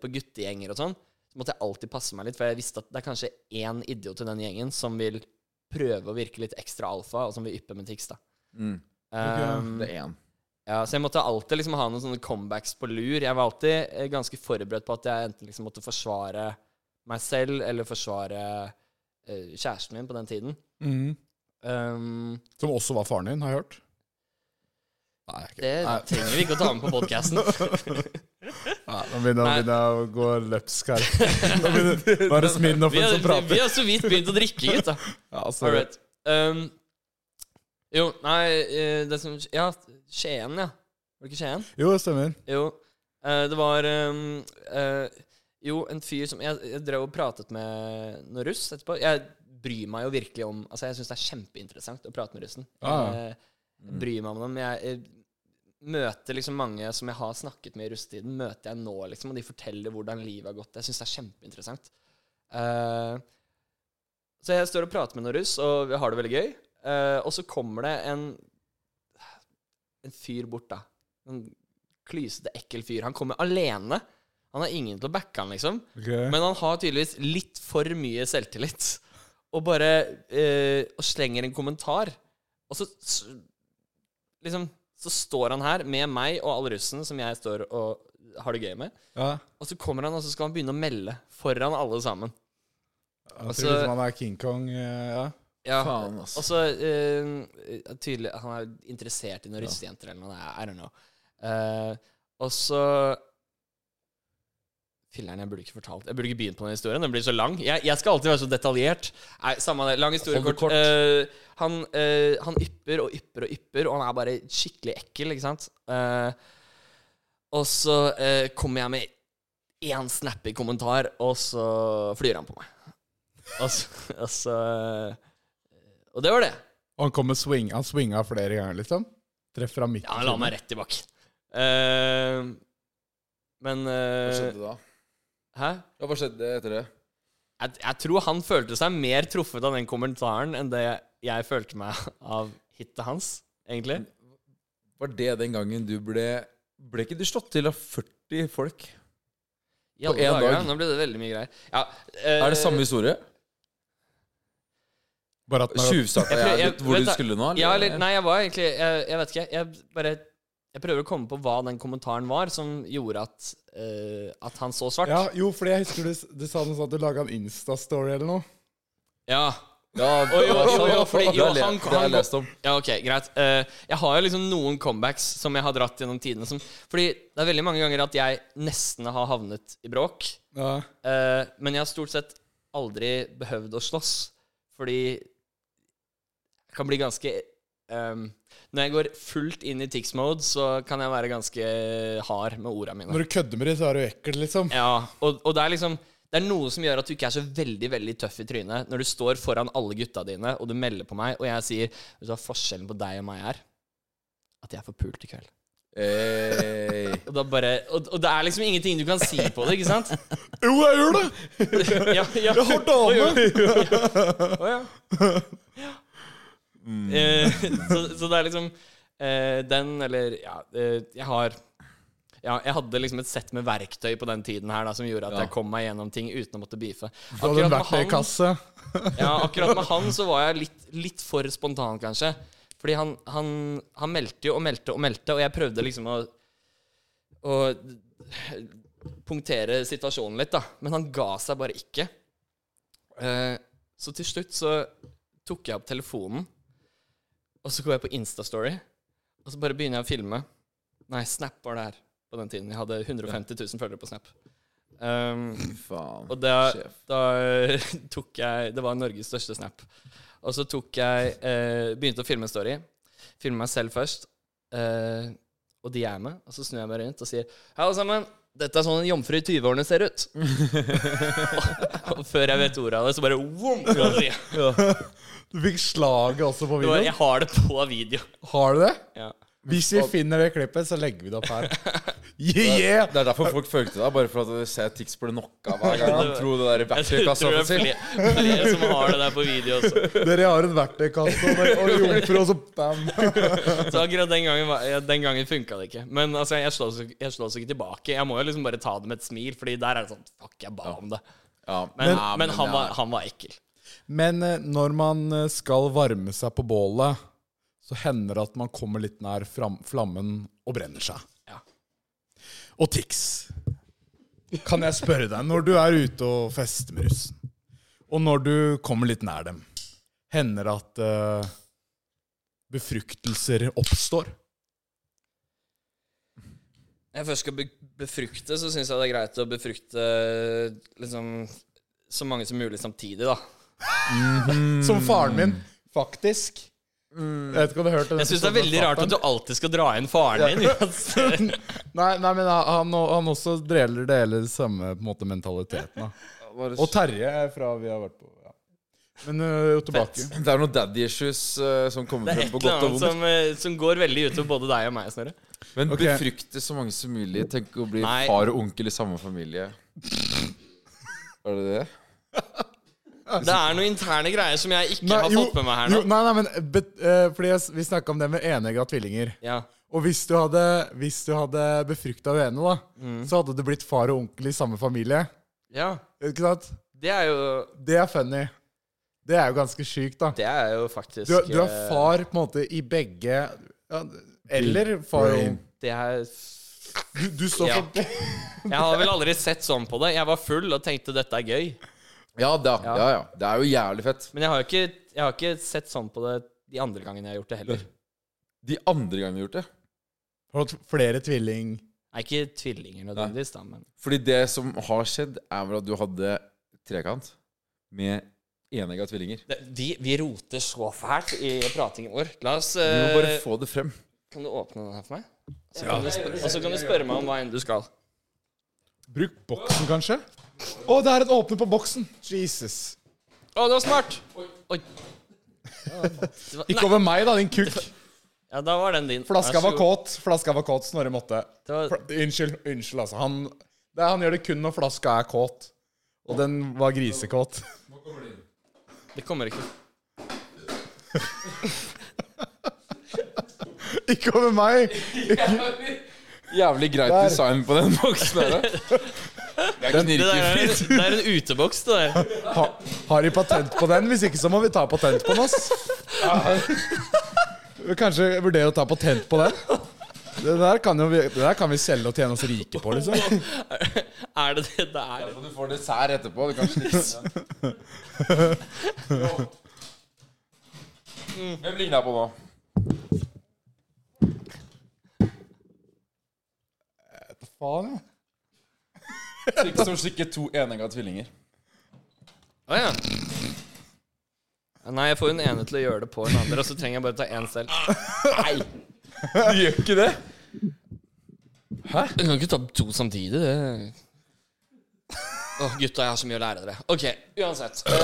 S1: på eh, guttegjenger og sånn, så måtte jeg alltid passe meg litt, for jeg visste at det er kanskje én idiot i den gjengen som vil prøve å virke litt ekstra alfa, og som vil yppe med tics, da.
S3: Mm.
S1: Um,
S3: Det er én.
S1: ja, så jeg måtte alltid liksom ha noen sånne comebacks på lur. Jeg var alltid eh, ganske forberedt på at jeg enten liksom måtte forsvare meg selv eller forsvare eh, kjæresten min på den tiden. Um,
S2: Mhm. Som også var faren din, har jeg hørt. Nei, ikke.
S1: det
S2: Nei.
S1: trenger vi ikke å ta med på podkasten.
S2: Nei, nå begynner nå
S1: Nei.
S2: begynner jeg å gå løpsk her. Nå begynner, nå er det
S1: Vi,
S2: Smirnoffen
S1: har-
S2: som prater.
S1: vi har så vidt begynt å drikke, gutta.
S2: Ja,
S1: All
S2: sorry.
S1: right. Um, jo, nei eh, det som, Ja, Skien, ja. Var det ikke Skien?
S2: Jo, det stemmer.
S1: Jo, eh, det var ehm, eh, Jo, en fyr som jeg, jeg drev og pratet med noen russ etterpå. Jeg bryr meg jo virkelig om Altså, jeg syns det er kjempeinteressant å prate med russen.
S2: Ja, ja.
S1: Jeg, eh, bryr meg om dem. Jeg, eh, møter liksom mange som jeg har snakket med i russetiden, møter jeg nå, liksom, og de forteller hvordan livet har gått. Jeg syns det er kjempeinteressant. Eh, så jeg står og prater med noen russ, og vi har det veldig gøy. Eh, og så kommer det en En fyr bort, da. En klysete, ekkel fyr. Han kommer alene. Han har ingen til å backe han, liksom.
S2: Ok.
S1: Men han har tydeligvis litt for mye selvtillit. Og bare eh, og slenger en kommentar. Og så s- liksom Så står han her med meg og all russen som jeg står og har det gøy med.
S2: Ja.
S1: Og så kommer han, og så skal han begynne å melde foran alle sammen.
S2: Jeg
S1: Altså-
S2: tror liksom han er King Kong. eh, Ja.
S1: Ja,
S3: Faen, ass.
S1: Og så eh, tydelig Han er interessert i noen russejenter eller noe. I don't know. Eh, og så Filler'n, jeg burde ikke fortalt Jeg burde ikke begynt på den historien. Den blir så lang. Jeg, jeg skal alltid være så detaljert. Nei, samme det. Lang historie
S3: Hold det
S1: kort.
S3: kort.
S1: Eh, han, eh, han ypper og ypper og ypper, og han er bare skikkelig ekkel, ikke sant? Eh, og så eh, kommer jeg med én snappy kommentar, og så flyr han på meg. Og så, og så eh, Og det var det.
S2: Og han kom med swing. Han swinga flere ganger, liksom. Treffer han midt
S1: Ja, han la meg rett i bakken. Eh, men
S3: Hva
S1: eh,
S3: skjedde da?
S1: Hæ?
S3: Ja, Hva skjedde etter det?
S1: Jeg, jeg tror han følte seg mer truffet av den kommentaren enn det jeg følte meg av hitet hans, egentlig.
S3: Var det den gangen du ble Ble ikke du slått til av 40 folk?
S1: I alle
S3: én
S1: dager,
S3: dag.
S1: ja. Nå ble det veldig mye greier. Ja, eh,
S3: Er det samme historie?
S2: Bare at han
S3: Tjuvstarta
S1: Jeg prøv-
S3: jeg
S1: jeg-
S3: litt hvor
S1: vent
S3: du
S1: da.
S3: skulle nå?
S1: Ja, eller Nei, jeg var egentlig Jeg, jeg vet ikke. Jeg bare Jeg prøver å komme på hva den kommentaren var som gjorde at eh, At han så svart.
S2: ja, Jo, fordi jeg husker du, s- du sa noe sånn at du laga en Insta-story eller noe.
S1: ja.
S3: Ja,
S1: Å, jo, jo, jo, fordi-
S3: det
S1: jo,
S3: har jeg le-
S1: han-
S3: det har
S1: han-
S3: jeg lest om.
S1: Ja, ok, greit. Eh, jeg har jo liksom noen comebacks som jeg har dratt gjennom tidene. Som, fordi det er veldig mange ganger at jeg nesten har havnet i bråk.
S2: Ja.
S1: eh, men jeg har stort sett aldri behøvd å slåss. Fordi jeg kan bli ganske ehm, Når jeg går fullt inn i tics-mode, så kan jeg være ganske hard med orda mine.
S2: Når du kødder med det, så er du ekkel, liksom.
S1: Ja, og, og det er liksom Det er noe som gjør at du ikke er så veldig veldig tøff i trynet når du står foran alle gutta dine, og du melder på meg, og jeg sier Vet du hva forskjellen på deg og meg er? At jeg får pult i kveld.
S3: Hey.
S1: Og, da bare, og, og det er liksom ingenting du kan si på det, ikke sant?
S2: Jo, jeg gjør det!
S1: ja, ja. Jeg har Å ja. Eh, så, så det er liksom eh, den, eller ja eh, Jeg har ja, jeg hadde liksom et sett med verktøy på den tiden her da, som gjorde at
S3: Ja.
S1: jeg kom meg gjennom ting uten å måtte beefe.
S2: Du hadde en
S1: med han-
S2: verktøykasse.
S1: Ja, akkurat med han så var jeg litt, litt for spontan, kanskje. Fordi han, han, han meldte jo og meldte og meldte, og jeg prøvde liksom å, å punktere situasjonen litt, da. Men han ga seg bare ikke. Eh, så til slutt så tok jeg opp telefonen, og så går jeg på Instastory, og så bare begynner jeg å filme. Nei, Snap var det her på den tiden. Jeg hadde 150 000 følgere på Snap. Um,
S3: Faen.
S1: og da,
S3: Sjef.
S1: da tok jeg Det var Norges største snap. Og så tok jeg eh, Begynte å filme en story. Filme meg selv først. Eh, og de er med. Og så snur jeg meg rundt og sier Hei, alle sammen. Dette er sånn en jomfru i 20-årene ser ut. og, og før jeg vet ordet av det, så bare vroom, skal jeg si.
S2: Du fikk slaget også på
S1: Det var-
S2: videoen.
S1: Jeg har det på video.
S2: Har du det?
S1: Ja.
S2: Hvis vi finner det klippet, så legger vi det opp her. Yeah, yeah!
S3: Det er derfor folk følte det, bare for at Sad Tix ble knocka hver gang han dro det der i
S1: Jeg tror det
S3: backflip-kassa
S1: er
S3: altså, si.
S1: flere, flere som har det der på video også.
S2: Dere har en verktøykasse og- og jomfru, og så bam!
S1: Så akkurat den gangen, var- ja, den gangen funka det ikke. Men altså, jeg slås, jo- jeg slås jo ikke tilbake. Jeg må jo liksom bare ta det med et smil, Fordi der er det sånn Fuck, jeg ba om det.
S3: Ja,
S1: Men,
S3: ja,
S1: men han,
S3: ja.
S1: var, han var ekkel.
S2: Men eh, når man eh, skal varme seg på bålet, så hender det at man kommer litt nær fram, flammen og brenner seg.
S1: Ja.
S2: Og Tix, kan jeg spørre deg, når du er ute og fester med russen, og når du kommer litt nær dem, hender det at eh, befruktelser oppstår?
S1: Når jeg først skal be befrukte, så syns jeg det er greit å befrukte liksom så mange som mulig samtidig, da.
S2: Som faren min, faktisk. Jeg vet ikke om du hørte
S1: Jeg syns det er veldig rart at du alltid skal dra inn faren din. uansett.
S2: Nei, nei, men eh, han, han også deler det hele samme på en måte, mentaliteten. Da.
S3: Bare
S2: Og Terje er fra vi har vært på. Ja. Men øh, jo tilbake.
S3: Det er noen daddy issues eh, som kommer
S1: Det er et
S3: frem på
S1: eller
S3: godt
S1: annet
S3: og vondt.
S1: som, eh, som går veldig utover både deg og meg, Snorre.
S3: Men
S2: Ok.
S3: befrukte så mange som mulig. Tenk å bli
S1: Nei.
S3: far og onkel i samme familie. Var det det?
S1: Det er noen interne greier som jeg ikke har
S2: jo,
S1: fått med meg her nå.
S2: jo, nei, nei, men bet, øh, fordi jeg, s- Vi snakka om det med enegga tvillinger.
S1: Ja.
S2: Og hvis du hadde, hvis du hadde befrukta hun ene, da,
S1: Mm.
S2: så hadde du blitt far og onkel i samme familie.
S1: ja.
S2: Ikke sant?
S1: Det er jo
S2: Det er funny. Det er jo ganske sjukt, da.
S1: Det er jo faktisk
S2: Du, du er
S1: eh,
S2: far på en måte i begge ja, Eller far og onkel.
S1: Det er
S2: Du, du står
S1: Ja.
S2: for
S1: Jeg har vel aldri sett sånn på det. Jeg var full og tenkte dette er gøy.
S3: Ja da. Ja. ja Det er jo jævlig fett.
S1: Men jeg har jo ikke, jeg har ikke sett sånn på det de andre gangene jeg har gjort det heller.
S3: De andre gangene vi har gjort det.
S2: Har du hatt flere tvilling...
S1: Nei, ikke tvillinger nødvendigvis, da, men
S3: Fordi det som har skjedd, er vel at du hadde trekant med enegga tvillinger.
S1: de, Vi roter så fælt i pratingen vår. La oss
S3: Du må bare
S1: eh,
S3: få det frem.
S1: Kan du åpne den her for meg? Så kan du spør- og så kan du spørre meg om hva enn du skal.
S2: Bruk boksen, kanskje? Å, det er en åpner på boksen! Jesus.
S1: Å, det var smart! Oi. Det var-
S2: Ikke
S1: Nei.
S2: over meg, da, din kukk.
S1: Ja, da var den din.
S2: Flaska
S1: Vær så
S2: var
S1: god.
S2: kåt. Flaska var kåt. Snorre måtte.
S1: Det var-
S2: Fla- Unnskyld, unnskyld, altså. Han, det, er- han gjør det kun når flaska er kåt. Og den var grisekåt.
S1: Det kommer ikke.
S2: Ikke over meg!
S3: Jævlig greit
S2: Der.
S3: design på den boksen der. da. Det er
S1: Det der er,
S3: knirkefritt.
S1: det er en uteboks, det der.
S2: Ha, har de patent på den? Hvis ikke så må vi ta patent på den, ass. Vi Kanskje vurdere å ta patent på den? Det der kan, jo vi, det der kan vi selge og tjene oss rike på, liksom.
S1: Er det det det er?
S3: Du får dessert etterpå. Du kan slikke den. Hvem ligner jeg på nå?
S2: Faen, ja.
S3: Trikk som slikker to enegga tvillinger.
S1: Å ja. Nei, jeg får hun ene til å gjøre det på en andre, og så trenger jeg bare ta én selv.
S3: Du gjør ikke det?
S1: Du kan ikke ta to samtidig. Det Å, gutta, jeg har så mye å lære dere. Ok, uansett. Eh,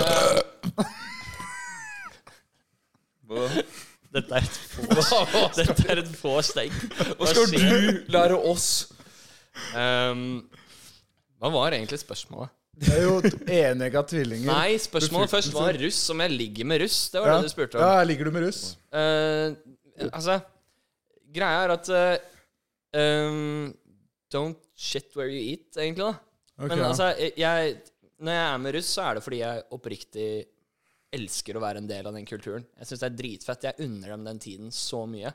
S1: Dette er et vors. Dette er et vors, det er ikke Hva
S3: Skal
S1: skjer?
S3: du lære oss
S1: Ehm, hva var egentlig spørsmålet?
S2: Det er jo t- enegga tvillinger.
S1: Nei, spørsmålet først var russ. Om jeg ligger med russ? Det var
S2: ja.
S1: det du spurte om.
S2: Ja, ligger du med russ?
S1: Eh, altså, greia er at eh, um, Don't shit where you eat, egentlig, da.
S2: Ok,
S1: Men
S2: ja.
S1: altså, jeg, når jeg er med russ, så er det fordi jeg oppriktig elsker å være en del av den kulturen. Jeg syns det er dritfett. Jeg unner dem den tiden så mye.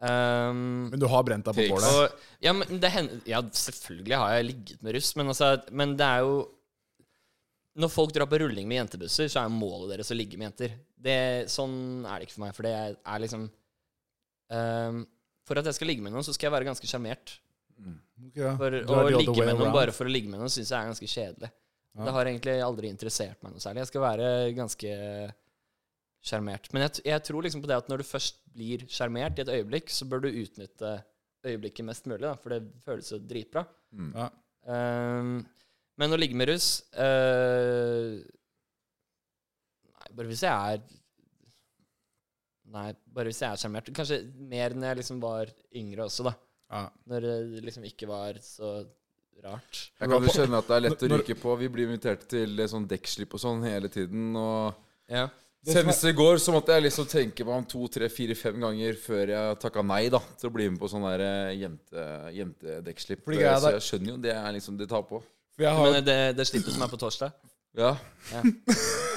S1: Um,
S2: Men du har brent deg på
S3: Triks.
S2: bålet?
S1: og, ja, men det hender, ja, selvfølgelig har jeg ligget med russ, men, altså, men det er jo Når folk drar på rulling med jentebusser, så er målet deres å ligge med jenter. Det, sånn er det ikke for meg, for det er liksom ehm, For at jeg skal ligge med noen, så skal jeg være ganske sjarmert.
S2: Ok, ja.
S1: For
S2: Du
S1: å
S2: er the
S1: ligge
S2: other way
S1: med noen
S2: around.
S1: bare for å ligge med noen syns jeg er ganske kjedelig. Det har egentlig aldri interessert meg noe særlig. Jeg skal være ganske sjarmert. Men jeg, t- jeg tror liksom på det at når du først blir sjarmert i et øyeblikk, så bør du utnytte øyeblikket mest mulig, da, for det føles jo dritbra.
S2: Ja.
S1: Ehm, men å ligge med russ eh, Nei, bare hvis jeg er Nei, bare hvis jeg er sjarmert. Kanskje mer når jeg liksom var yngre også, da.
S2: Ja.
S1: Når det liksom ikke var så rart.
S3: Jeg kan jo skjønne at det er lett å ryke på. Vi blir invitert til eh, sånn dekkslipp og sånn hele tiden. Og
S1: Ja.
S3: senest i går så måtte jeg liksom tenke meg om to, tre, fire, fem ganger før jeg takka nei da til å bli med på sånn der eh, jente, jentedekkslipp.
S2: Fordi greia
S3: Eh, Så
S2: er-
S3: jeg skjønner jo det er liksom det tar på.
S2: For jeg har
S1: Men det, det slippet som er på torsdag
S3: Ja.
S1: Ja.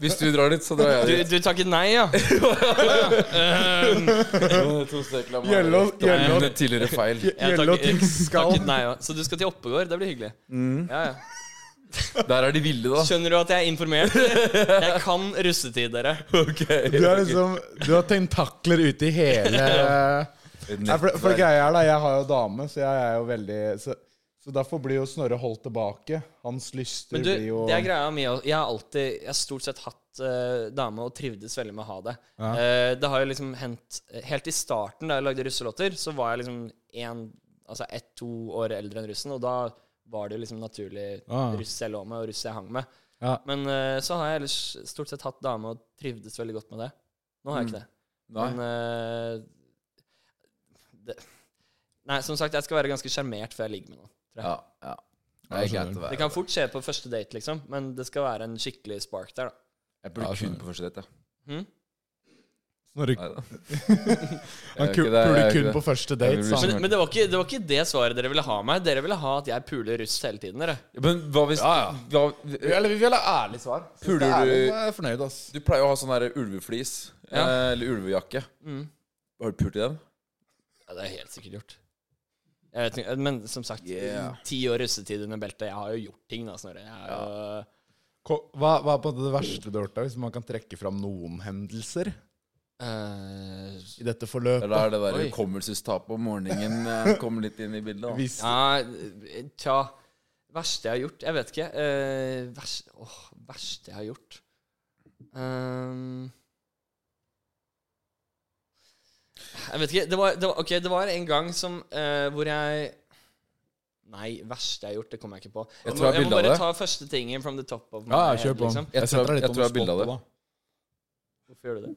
S3: Hvis du drar dit, så drar jeg
S1: Du,
S3: dit.
S1: du takket nei, ja?
S2: Gjello,
S3: Det var
S2: gjello,
S3: en tidligere feil.
S1: Jeg
S2: gjello
S1: takket-
S2: ting skal
S1: Takket nei, ja. Så du skal til Oppegård? Det blir hyggelig. Ja, ja.
S3: Der er de ville, da.
S1: Skjønner du at jeg er informert? Jeg kan russetid, dere.
S2: Du er liksom Du har tentakler ute i hele Nei, for, for greia er da, jeg har jo dame, så jeg er jo veldig Så, så derfor blir jo Snorre holdt tilbake. Hans lyster
S1: Men du,
S2: blir jo
S1: det er greia mi også. Jeg har alltid Jeg har stort sett hatt eh, dame og trivdes veldig med å ha det.
S2: Ja.
S1: Eh, det har jo liksom hendt Helt i starten, da jeg lagde russelåter, så var jeg liksom en, altså ett-to år eldre enn russen, og da var det jo liksom naturlig
S2: Ah.
S1: russ jeg lå med, og russ jeg hang med.
S2: Ja.
S1: Men eh, så har jeg ellers stort sett hatt dame og trivdes veldig godt med det. Nå har jeg
S2: Mm,
S1: ikke det.
S3: Nei.
S1: Men eh, det, Nei, som sagt, jeg skal være ganske sjarmert før jeg ligger med noen.
S3: Ja, ja. Det er
S2: Ja,
S3: greit å
S1: Det
S3: være.
S1: kan fort skje på første date, liksom, men det skal være en skikkelig spark der, da.
S3: Jeg burde
S2: Ja,
S3: kun
S2: skjønner.
S3: på første date, jeg.
S1: Hm?
S2: Snorre
S3: Nei da.
S2: Han
S3: Jeg gjør ikke det,
S2: puler
S3: jeg gjør
S2: kun
S3: ikke
S2: på
S3: det.
S2: første
S3: Jeg
S2: date,
S3: vil
S2: sa han.
S3: bli-
S1: Men, men det, var ikke, det var ikke det svaret dere ville ha meg. Dere ville ha at jeg puler russ hele tiden, dere.
S3: Men hva hvis
S2: Vi-
S3: hva,
S2: Eller vi vil ha ærlig svar. Hvis
S3: Puler
S2: det er
S3: du-
S2: ærlig, da er jeg fornøyd, ass.
S3: Du pleier å ha sånn der ulveflis.
S1: Ja.
S3: eh, Eller ulvejakke.
S1: Mm.
S3: Har du pult i den?
S1: Ja, det er helt sikkert gjort. Jeg vet ikke, men som sagt,
S3: Yeah.
S1: ti år russetid under beltet. Jeg har jo gjort ting, da, Snorre. Jeg er jo-
S2: Ko- Hva, hva er på en måte det verste du har gjort, da, hvis man kan trekke fram noen hendelser
S1: Eh,
S2: i dette forløpet?
S3: Eller er det der
S1: Oi.
S3: hukommelsestapet om morgenen eh, kommer litt inn i bildet? Da?
S2: Hvis,
S1: Ja, tja Verste jeg har gjort? Jeg vet ikke. Eh, vers, åh, verste jeg har gjort Ehm. Jeg vet ikke. Det var, det var, ok, det var en gang som eh, hvor jeg Nei, verste jeg har gjort, det kommer jeg ikke på.
S3: Jeg
S1: Jeg,
S3: tror
S1: må,
S3: jeg
S1: jeg må
S3: bildet
S1: bare
S3: av
S1: ta første tingen from the top of my
S2: Ja, ja,
S1: head,
S2: kjør på.
S1: liksom.
S3: Jeg tror-
S2: setter deg litt
S3: jeg
S2: on
S3: tror jeg
S2: the
S3: har bilde av
S2: spot, da.
S1: Hvorfor gjør du det?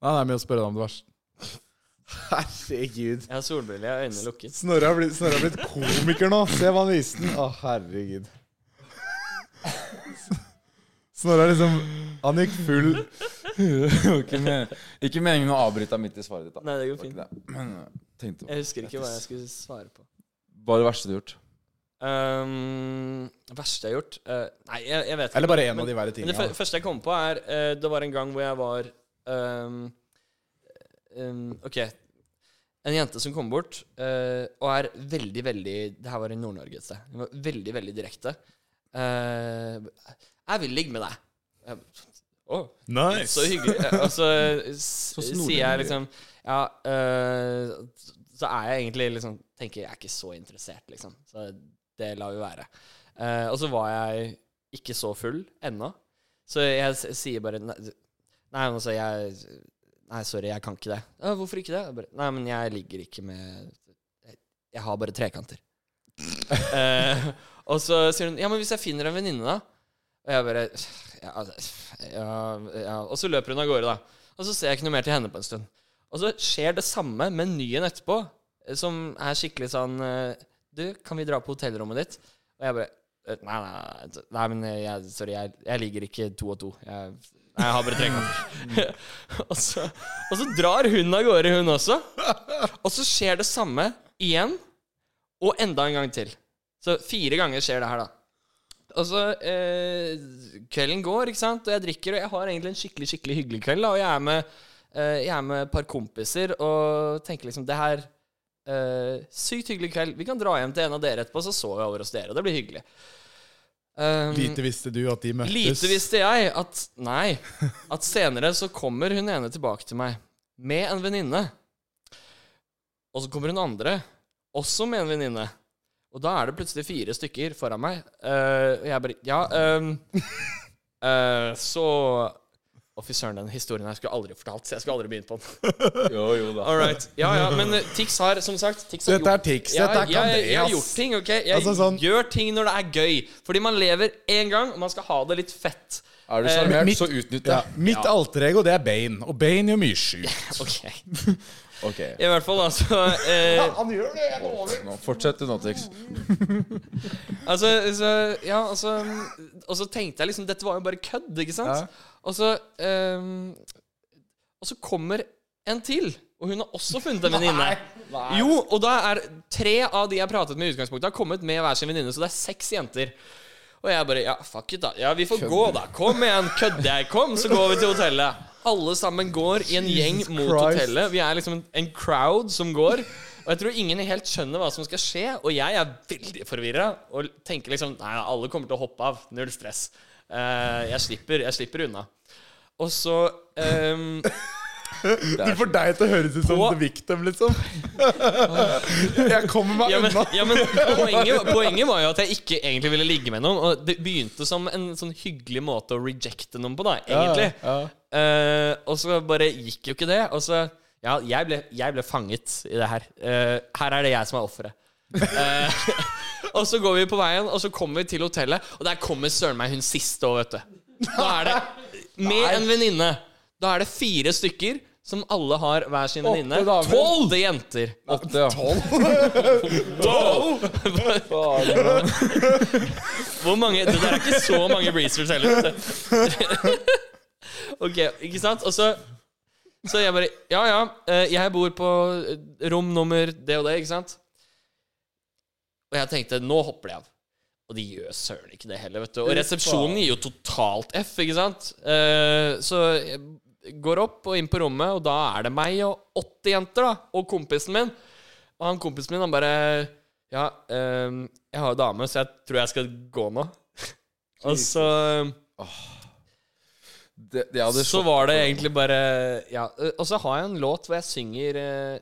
S2: Nei, nei, men jeg spør deg om det verste. Herregud.
S1: Jeg har solbriller, jeg har øynene lukket.
S2: Snorre har blitt, Snorre har blitt komiker nå. Se hva han viste den. Å, herregud. Snorre er liksom Han gikk full
S3: ikke, men, ikke meningen å avbryte deg midt i svaret ditt. Da.
S1: Nei, det går
S3: Det var
S1: fint.
S3: ikke det. Men eh, tenkte
S1: Jeg husker ikke hva jeg skulle svare på.
S3: Hva er det verste du har gjort?
S1: Ehm, verste jeg har gjort? Eh, nei, jeg, jeg vet ikke.
S2: Eller bare en
S1: Men-
S2: av de
S1: Men
S2: verre
S1: det
S2: tingene.
S1: fø- første jeg kom på, er eh, Det var en gang hvor jeg var ehm, ehm, OK. En jente som kom bort, eh, og er veldig, veldig Det her var i Nord-Norge et sted. Hun var veldig, veldig direkte. Eh, 'Jeg vil ligge med deg.' Jeg, «Å, så hyggelig. Og så s-
S3: Så snodig.
S1: sier jeg liksom Ja, eh, så er jeg egentlig liksom Tenker jeg er ikke så interessert, liksom. Så det lar vi være. Eh, og så var jeg ikke så full ennå. Så jeg s- sier bare Nei, nei, altså, jeg Nei, sorry, jeg kan ikke det. «Å, hvorfor ikke det? Jeg bare, nei, men jeg ligger ikke med Jeg, jeg har bare trekanter. Eh, og så sier hun Ja, men hvis jeg finner en venninne, da? Og jeg bare ja, altså, ja, ja. Og så løper hun av gårde, da. Og så ser jeg ikke noe mer til henne på en stund. Og så skjer det samme med nyen etterpå, eh, som er skikkelig sånn eh, Du, kan vi dra på hotellrommet ditt? Og jeg bare eh, Nei, nei, nei, nei men jeg, sorry, jeg, jeg ligger ikke to og to. Jeg, nei, jeg har bare trekanter. og, så, og så drar hun av gårde, hun også. Og så skjer det samme igjen, og enda en gang til. Så fire ganger skjer det her, da. Og så eh, Kvelden går, ikke sant? Og jeg drikker, og jeg har egentlig en skikkelig skikkelig hyggelig kveld. Da, og jeg er, med, eh, jeg er med et par kompiser og tenker liksom Det her eh, Sykt hyggelig kveld. Vi kan dra hjem til en av dere etterpå, så sover jeg over hos dere. Og det blir hyggelig. Um,
S2: Lite visste du at de møttes.
S1: Lite visste jeg at Nei. At senere så kommer hun ene tilbake til meg med en venninne. Og så kommer hun andre også med en venninne. Og da er det plutselig fire stykker foran meg. Eh, Og jeg bare Ja, ehm, eh, så Å, fy søren, den historien her skulle jeg aldri fortalt. Så jeg skulle aldri begynt på den.
S3: Jo, jo da.
S1: All right. Ja, ja, men eh, Tix har, som sagt Tix har
S2: Dette er tics.
S1: jeg,
S2: Dette er
S1: jeg, jeg, har gjort
S2: Kandreas.
S1: ting, ok? Jeg
S2: Altså, sånn-
S1: gjør ting når det er gøy. Fordi man lever én gang, og man skal ha det litt fett.
S3: Er du sjarmert,
S6: mitt-
S3: så utnytt det.
S6: Ja, mitt alterego, det er Bane. Og Bane gjør mye sjukt.
S1: Eh, Ok.
S3: Ok,
S1: I hvert fall, altså eh,
S6: Han gjør det, jeg lover.
S3: nå Fortsett du nå, Tix.
S1: Altså, så, ja, altså Og så tenkte jeg liksom Dette var jo bare kødd, ikke sant? Og så ehm, Og så kommer en til, og hun har også funnet en venninne. Jo, og da er tre av de jeg pratet med i utgangspunktet, har kommet med hver sin venninne, så det er seks jenter. Og jeg bare Ja, fuck it, da. Ja, vi får gå, da. Kom igjen, kødder jeg? Kom, så går vi til hotellet. Alle sammen går i en gjeng
S6: Jesus
S1: mot
S6: Christ.
S1: hotellet. Vi er liksom en, en crowd som går. Og jeg tror ingen helt skjønner hva som skal skje. Og jeg er veldig forvirra og tenker liksom Nei, nei, alle kommer til å hoppe av. Null stress. Eh, jeg slipper, jeg slipper unna. Og så ehm,
S2: Du får deg til å høres ut som
S1: På-
S2: The Victim, liksom. Jeg kommer meg
S1: ja, men,
S2: unna.
S1: ja, men poenget, poenget var jo at jeg ikke egentlig ville ligge med noen. Og det begynte som en sånn hyggelig måte å rejecte noen på, da, egentlig. Eh, og så bare gikk jo ikke det. Og så Ja, jeg ble, jeg ble fanget i det her. Eh, her er det jeg som er offeret. Eh, og så går vi på veien, og så kommer vi til hotellet, og der kommer søren meg hun siste òg, vet du. Da er det Med en venninne. Da er det fire stykker som alle har hver sin venninne.
S2: damer.
S1: Tolv jenter!
S3: Åtte, ja.
S1: Hvor mange Det der er ikke så mange breezers heller. ok, ikke sant? Og så Så jeg bare Ja, ja, eh, jeg bor på eh, rom nummer det og det, ikke sant? Og jeg tenkte nå hopper de av. Og de gjør søren ikke det heller, vet du. Og resepsjonen gir jo totalt F, ikke sant? Eh, så jeg går opp og inn på rommet, og da er det meg og 80 jenter, da, og kompisen min. Og han kompisen min, han bare Ja, ehm, jeg har jo dame, så jeg tror jeg skal gå nå. og så eh,
S3: Det, jeg hadde
S1: Så
S3: sjokk-
S1: var det egentlig bare Ja. eh, Og så har jeg en låt hvor jeg synger eh,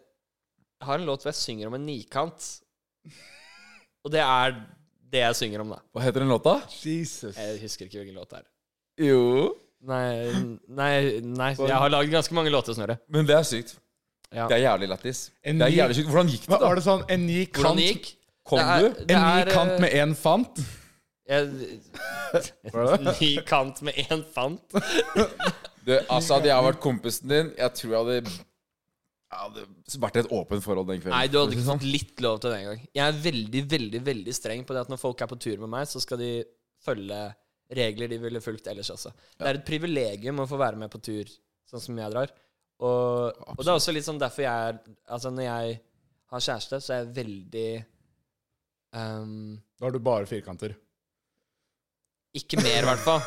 S1: Jeg har en låt hvor jeg synger om en nikant. Og det er det jeg synger om, da.
S3: Hva heter den låta?
S2: Jesus.
S1: Jeg husker ikke hvilken låt det er.
S3: Jo
S1: Nei, nei, nei Jeg har lagd ganske mange låter, Snorre.
S3: Men det er sykt.
S1: Ja.
S3: Det er jævlig lættis.
S2: En
S3: Det er
S2: ny-
S3: jævlig sykt. Hvordan gikk det,
S2: Hva
S3: da?
S2: var det sånn en ny
S1: Eh, Hvordan
S2: kant,
S1: det gikk?
S3: Kom
S1: det
S3: du?
S1: er-
S2: en ny
S1: det er,
S2: kant med én fant?
S1: eh,
S2: Var
S1: jeg- Ny kant med én fant.
S3: du? Altså, hadde jeg vært kompisen din, jeg tror jeg hadde jeg hadde vært i et åpent forhold den kvelden.
S1: Nei, du hadde ikke
S3: Sånn.
S1: fått litt lov til det engang. Jeg er veldig, veldig veldig streng på det at når folk er på tur med meg, så skal de følge regler de ville fulgt ellers også. Det er et privilegium å få være med på tur sånn som jeg drar. Og, og det er også litt sånn derfor jeg er Altså, når jeg har kjæreste, så er jeg veldig ehm,
S2: Da har du bare firkanter.
S1: Ikke mer, i hvert fall.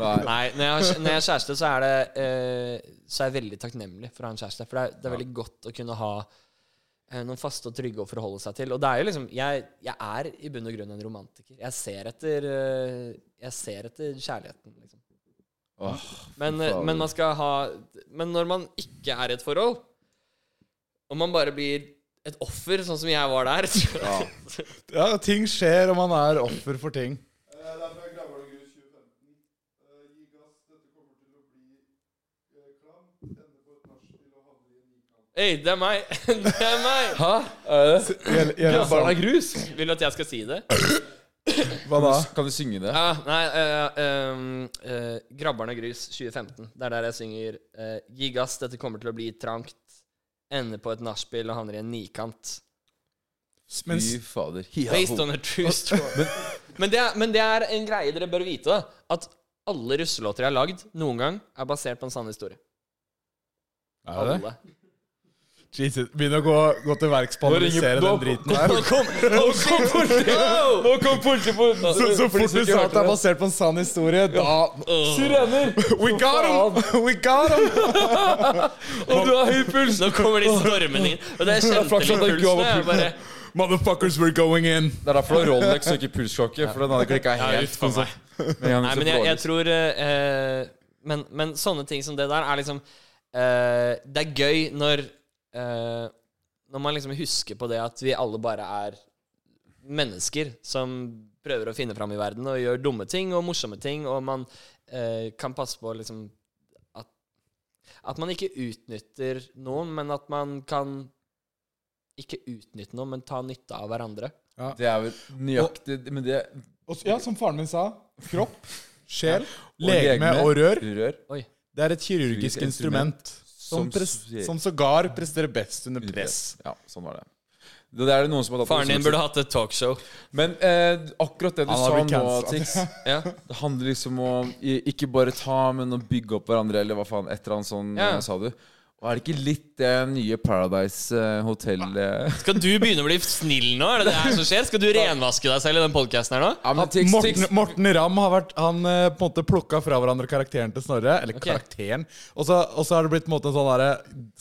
S3: Nei.
S1: Nei, når jeg, har, når jeg har kjæreste, så er, det, eh, så er jeg veldig takknemlig for å ha en kjæreste. For det er, det er veldig godt å kunne ha eh, noen faste og trygge å forholde seg til. Og det er jo liksom Jeg, jeg er i bunn og grunn en romantiker. Jeg ser etter, eh, jeg ser etter kjærligheten, liksom.
S3: Åh,
S1: Men, eh,
S3: fader.
S1: men man skal ha Men når man ikke er i et forhold, og man bare blir et offer, sånn som jeg var der
S3: ja.
S2: Ja, ting skjer, og man er offer for ting.
S1: Hei, det er meg! Det er meg!
S3: Hæ? Er det det?
S2: Gjelder, gjelder
S3: Barna
S2: sånn.
S3: er grus?
S1: Vil du at jeg skal si det?
S2: Hva da?
S3: Kan du synge det?
S1: Ja, nei eh, ehm, eh, Grabberne Grus 2015. Det er der jeg synger eh, Gi gass, dette kommer til å bli trangt. Ender på et nachspiel og havner i en nikant.
S2: Men s-
S3: Fy fader. Hi, ha,
S1: Based
S3: ho.
S1: on a true story. Men det, er, men det er en greie dere bør vite, da. At alle russelåter jeg har lagd noen gang, er basert på en sann historie.
S2: Er det?
S1: Alle.
S2: Jesus. Begynner å gå, gå til verks på å
S3: Nå ringer-
S2: analysere
S3: nå-
S2: den driten der.
S1: Nå kom, nå kom politiet!
S3: Nå kom politiet på
S2: Så, så
S3: For de
S2: fort
S3: som
S2: du
S3: ikke
S2: sa
S3: hørte
S2: at det er basert på en sann historie, da
S3: Sirener!
S2: We got him! We got him!
S3: Og du har høy puls!
S1: Nå kommer de stormende inn. Og det kjente
S3: Flaks
S1: litt
S3: at det ikke
S1: pulsen.
S3: var på
S1: Jeg bare
S2: Motherfuckers, we're going in!
S3: Det er derfor Rolex søker pulsklokke, for den hadde klikka
S1: ja,
S3: helt.
S1: ut for meg.
S3: Med en gang
S1: Nei,
S3: du
S1: men jeg,
S3: så
S1: jeg
S3: Rolex.
S1: tror eh, eh, men, men sånne ting som det der er liksom eh, Det er gøy når eh, Når man liksom husker på det at vi alle bare er mennesker som prøver å finne fram i verden og gjør dumme ting og morsomme ting, og man eh, kan passe på liksom at, at man ikke utnytter noen, men at man kan ikke utnytte noen, men ta nytte av hverandre.
S3: Det er vel nøyaktig Men det
S2: Og, s- ja, som faren min sa, kropp sjel,
S3: Og
S2: legeme og rør.
S3: Rør.
S1: Oi.
S2: Det er et kirurgisk
S3: Kirurgisk
S2: instrument som,
S3: som
S2: pres-
S3: s-
S2: som sågar presterer best under press.
S3: Ja, sånn var det. Det er det noen som har tatt
S1: Faren din burde hatt et talkshow.
S3: Men eh, akkurat det du
S2: Han har
S3: sa
S2: blitt
S3: nå,
S2: cancelled.
S3: Tix
S1: Ja.
S3: Det handler liksom om i- ikke bare ta, men å bygge opp hverandre, eller hva faen. Et eller annet sånn,
S1: Ja.
S3: eh, sa du. Og er det ikke litt det nye Paradise eh, Hotel eh?
S1: Skal du begynne å bli snill nå? Er det det her som skjer? Skal du renvaske deg selv i den podkasten her nå?
S3: Ja, men Tix, Tix.
S2: Morten, Morten Ramm har vært Han eh, på en måte plukka fra hverandre karakteren til Snorre. Eller
S1: Ok.
S2: karakteren Og så og så har det blitt på en måte en sånn derre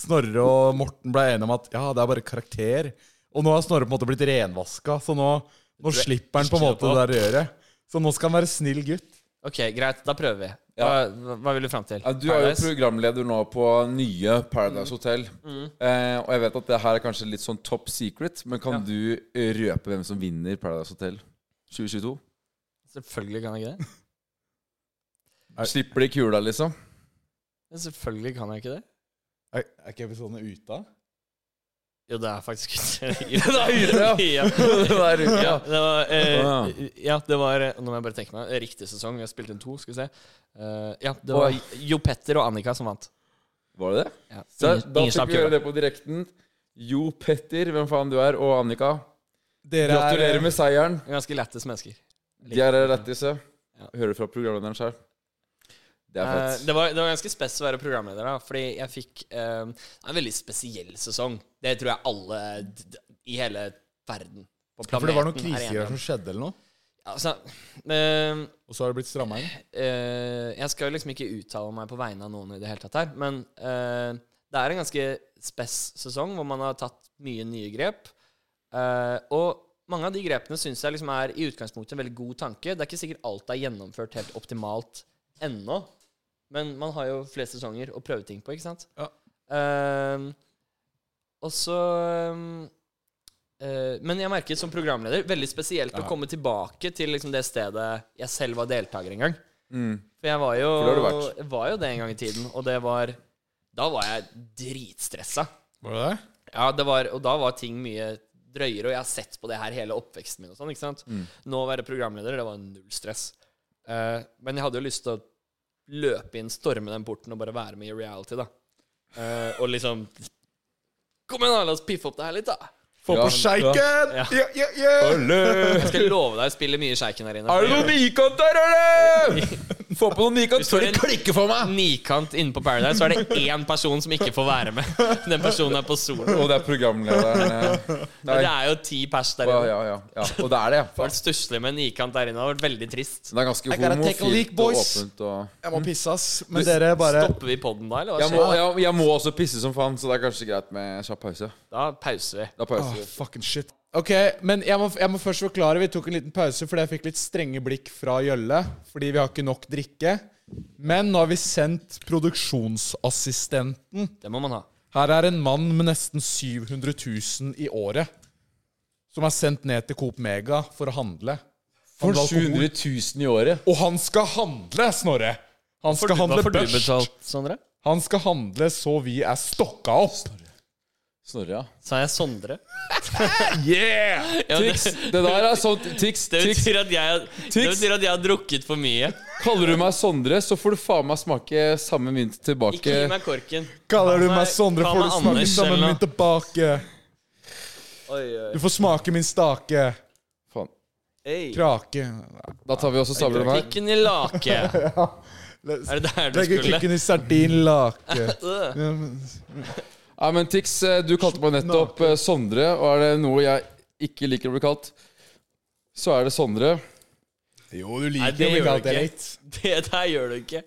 S2: Snorre og Morten ble enige om at ja, det er bare karakter. Og nå har Snorre på en måte blitt renvaska, så nå, nå slipper han på en måte det der røret. Så nå skal han være snill gutt.
S1: Ok, greit. Da prøver vi. Hva, hva- hva vil du fram til?
S3: Ja, du er jo
S1: Paradise?
S3: programleder nå på nye Paradise Hotel.
S1: Mm.
S3: Eh, og jeg vet at det her er kanskje litt sånn top secret, men kan du eh, røpe hvem som vinner Paradise Hotel 2022?
S1: Selvfølgelig kan jeg ikke det.
S2: Er-
S3: Slipper de kula, liksom?
S1: Men Selvfølgelig kan jeg ikke det.
S2: Er, er ikke episodene ute?
S1: Jo, det er faktisk
S3: Det er ute, ja.
S1: ja.
S3: Det er ute,
S1: ja.
S3: ja.
S1: Det var,
S3: Ah.
S1: eh, ja, det var eh, Nå må jeg bare tenke meg Riktig sesong. Vi har spilt inn to, skal vi se. Eh, ja, det var Jo Petter og Annika som vant.
S3: Var det Mm. det?
S1: Ja.
S3: Så,
S1: Ingen,
S3: da
S1: ingen slapp
S3: fikk vi gjøre
S1: kula.
S3: det på direkten. Jo Petter, hvem faen du er, og Annika.
S2: Dere er-
S3: Gratulerer med seieren.
S1: Ganske lættis mennesker.
S3: De er lættis, ja.
S1: Ja.
S3: Hører fra programlederen sjøl. Det er
S1: Eh,
S3: fett.
S1: det, var, det var ganske spes å være programleder, da, fordi jeg fikk eh, en veldig spesiell sesong. Det tror jeg alle d- d- i hele verden på
S2: Ja, for det var noen
S1: planeten er enige
S2: krisegreier
S1: om.
S2: som skjedde, eller noe.
S1: Altså, eh,
S2: Og så har det blitt stramma inn.
S1: eh, jeg skal jo liksom ikke uttale meg på vegne av noen i det hele tatt her, men eh, det er en ganske spess sesong hvor man har tatt mye nye grep. Eh, og mange av de grepene syns jeg liksom er i utgangspunktet en veldig god tanke. Det er ikke sikkert alt er gjennomført helt optimalt ennå, men man har jo flere sesonger å prøve ting på, ikke sant?
S2: Ja.
S1: Eh, og så eh, eh, Men jeg merket som programleder veldig spesielt å
S2: Ja.
S1: komme tilbake til liksom det stedet jeg selv var deltaker en gang.
S3: Mm.
S1: For jeg var jo,
S3: For det har du vært.
S1: jeg var jo det en gang i tiden, og det var Da var jeg dritstressa.
S2: Var det det?
S1: Ja, det var, og da var ting mye drøyere, og jeg har sett på det her hele oppveksten min og sånn, ikke sant?
S3: Mm.
S1: Nå å være programleder, det var null stress. Eh, men jeg hadde jo lyst til å løpe inn, storme den porten og bare være med i reality, da. Eh, og liksom Kom igjen, da! La oss piffe opp det her litt, da.
S2: Få
S3: Ja.
S2: på sjeiken!
S1: Ja.
S2: Ja, ja, ja!
S1: Jeg skal love deg, jeg spiller mye sjeiken her inne.
S3: Er det noen nikant der, eller?! Få på noen nikant
S1: Hvis
S3: før
S1: det
S3: det
S1: er en-
S3: klikker for meg!
S1: Nikant inne på Paradise, så er det én person som ikke får være med. Den personen er på solo.
S3: Og det er programlederen eh. Nei.
S1: Men det er jo ti pers der
S3: Ja,
S1: inne.
S3: ja, ja, ja. Og det er det.
S1: Det har vært stusslig med en nikant der inne. Det har vært veldig trist.
S3: Så det er ganske
S2: I gotta take a leak,
S3: homofilt og
S2: boys.
S3: åpent. Og
S2: Jeg må pisse, ass. Mm. Men dere bare
S1: Stopper vi podden da, eller hva
S3: jeg, må,
S1: skjer?
S3: jeg, jeg må også pisse som faen, så det er kanskje greit med kjapp pause.
S1: Da pauser vi.
S3: Da pauser
S2: Åh,
S3: vi.
S2: fucking shit. Ok, men jeg må, jeg må først forklare. Vi tok en liten pause fordi jeg fikk litt strenge blikk fra Gjølle. Fordi vi har ikke nok drikke. Men nå har vi sendt produksjonsassistenten.
S1: Det må man ha.
S2: Her er en mann med nesten 700 000 i året. Som er sendt ned til Coop Mega for å handle.
S3: For
S2: Handle alkohol.
S3: 700 000 i året.
S2: Og han skal handle, Snorre! Han skal handle børst.
S1: Sondre?
S2: Han skal handle så vi er stokka opp.
S3: Snorre, ja.
S1: Sa jeg Sondre?
S2: Yeah!
S1: Ja, det,
S3: Tix, det der er sånn, sånt Tix,
S1: det,
S3: Tix.
S1: betyr at jeg, det
S3: Tix.
S1: betyr at jeg har drukket for mye.
S3: Kaller du meg Sondre, så får du faen meg smake samme mynt
S1: Ikke gi
S3: tilbake.
S1: meg korken.
S2: Kaller du
S1: Ta
S2: meg
S1: meg-
S2: Sondre,
S1: ta
S2: får
S1: meg
S2: du snakke
S1: Anders
S2: sammen
S1: eller
S2: min tilbake.
S1: Oi, oi.
S2: Du får smake min stake.
S3: Faen.
S1: Hey.
S2: Krake.
S3: Da tar vi også sabelen her.
S1: Pikken i lake. Er det der du
S2: Legger
S1: skulle?
S2: klikken i sardinlake.
S1: Øh.
S2: Ja,
S3: Nei, men Tix, eh, du kalte meg nettopp eh, Sondre, og er det noe jeg ikke liker å bli kalt, så er det Sondre.
S2: Jo, du
S1: Nei,
S2: liker
S1: det
S2: jo
S1: gjør
S2: ikke alt
S1: du ikke.
S2: jeg litt.
S1: Det der gjør du ikke.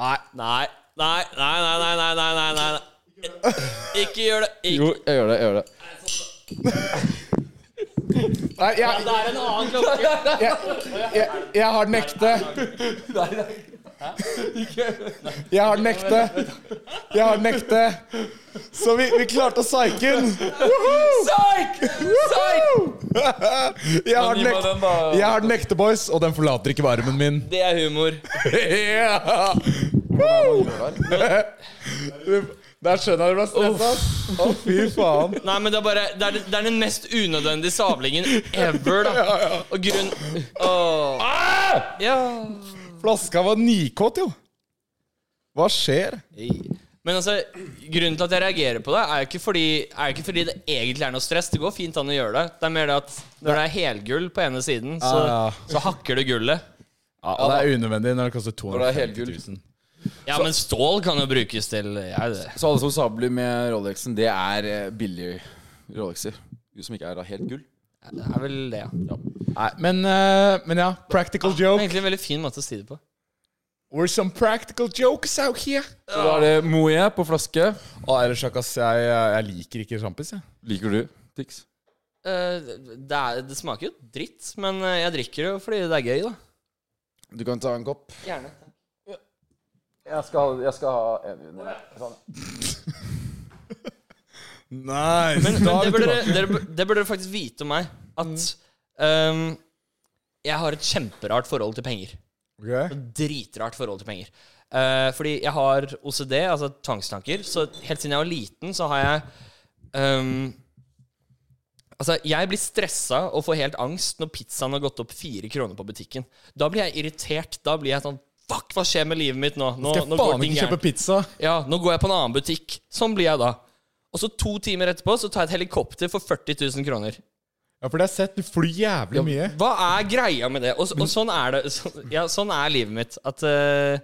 S1: Nei, nei, nei, nei, nei, nei, nei, nei, nei, nei. Ikke gjør det. Ikke.
S3: Jo, jeg gjør det. jeg gjør det
S2: Nei, jeg,
S1: Det er en annen klokke.
S2: jeg, jeg har den ekte. Jeg har den ekte. Jeg har den ekte. Så vi, vi klarte å psyke den.
S1: Psyk! Psyk!
S2: Jeg har den ekte, jeg har den ekte boys, og den forlater ikke varmen min.
S1: Det er humor.
S2: Ja. Woo! Det Der skjønner jeg du ble stressa. Å, fy faen.
S1: Nei, men det er bare Det er, det er den mest unødvendige sablingen ever, da. Og grunn Åh. Ja.
S2: Flaska var nikåt, jo. Hva skjer?
S1: Men altså, grunnen til at jeg reagerer på det, er jo ikke fordi, er jo ikke fordi det egentlig er noe stress. Det går fint an å gjøre det. Det er mer det at når det er helgull på ene siden, så,
S2: Ah, Ja, ja.
S1: så hakker det gullet.
S2: Ja, det er unødvendig når det koster
S3: det er
S2: 250
S3: helgull.
S2: 000.
S1: Ja, men stål kan jo brukes til ja, det.
S3: Så alle som sabler med Rolexen, det er eh, billige Rolexer. Du som ikke er da helt gull.
S1: det er vel det, ja.
S2: Nei, men, eh, men ja, practical
S1: Det er
S2: joke.
S1: egentlig en veldig fin måte å si det på.
S2: We're some practical jokes out here.
S3: Så da er det Moët på flaske.
S2: Å, ellers, ass, jeg, jeg liker ikke sjampis, jeg.
S3: Liker du Tix?
S1: Eh, det, er, det smaker jo dritt, men eh, jeg drikker det jo fordi det er gøy, da.
S3: Du kan ta en kopp.
S1: Gjerne.
S3: Jeg skal, ha en.
S2: Nice.
S1: Men, men
S2: Da er
S1: det,
S2: vi
S1: burde,
S2: tilbake.
S1: dere, det burde dere faktisk vite om meg. At ehm, jeg har et kjemperart forhold til penger.
S2: Ok.
S1: Dritrart forhold til penger. Eh, fordi jeg har OCD, altså tvangstanker. Så helt siden jeg var liten, så har jeg ehm, Altså, jeg blir stressa og får helt angst når pizzaen har gått opp fire kroner på butikken. Da blir jeg irritert. Da blir jeg sånn Fuck, hva skjer med livet mitt nå? Nå,
S2: Skal jeg
S1: nå går
S2: faen
S1: ting
S2: ikke
S1: gærent.
S2: kjøpe pizza?
S1: Ja, nå går jeg på en annen butikk. Sånn blir jeg da. Og så to timer etterpå så tar jeg et helikopter for 40 000 kroner.
S2: Ja, for det har jeg sett. Du flyr jævlig mye.
S1: Hva er greia med det? Og, og sånn er det. Så, ja, sånn er livet mitt. At eh,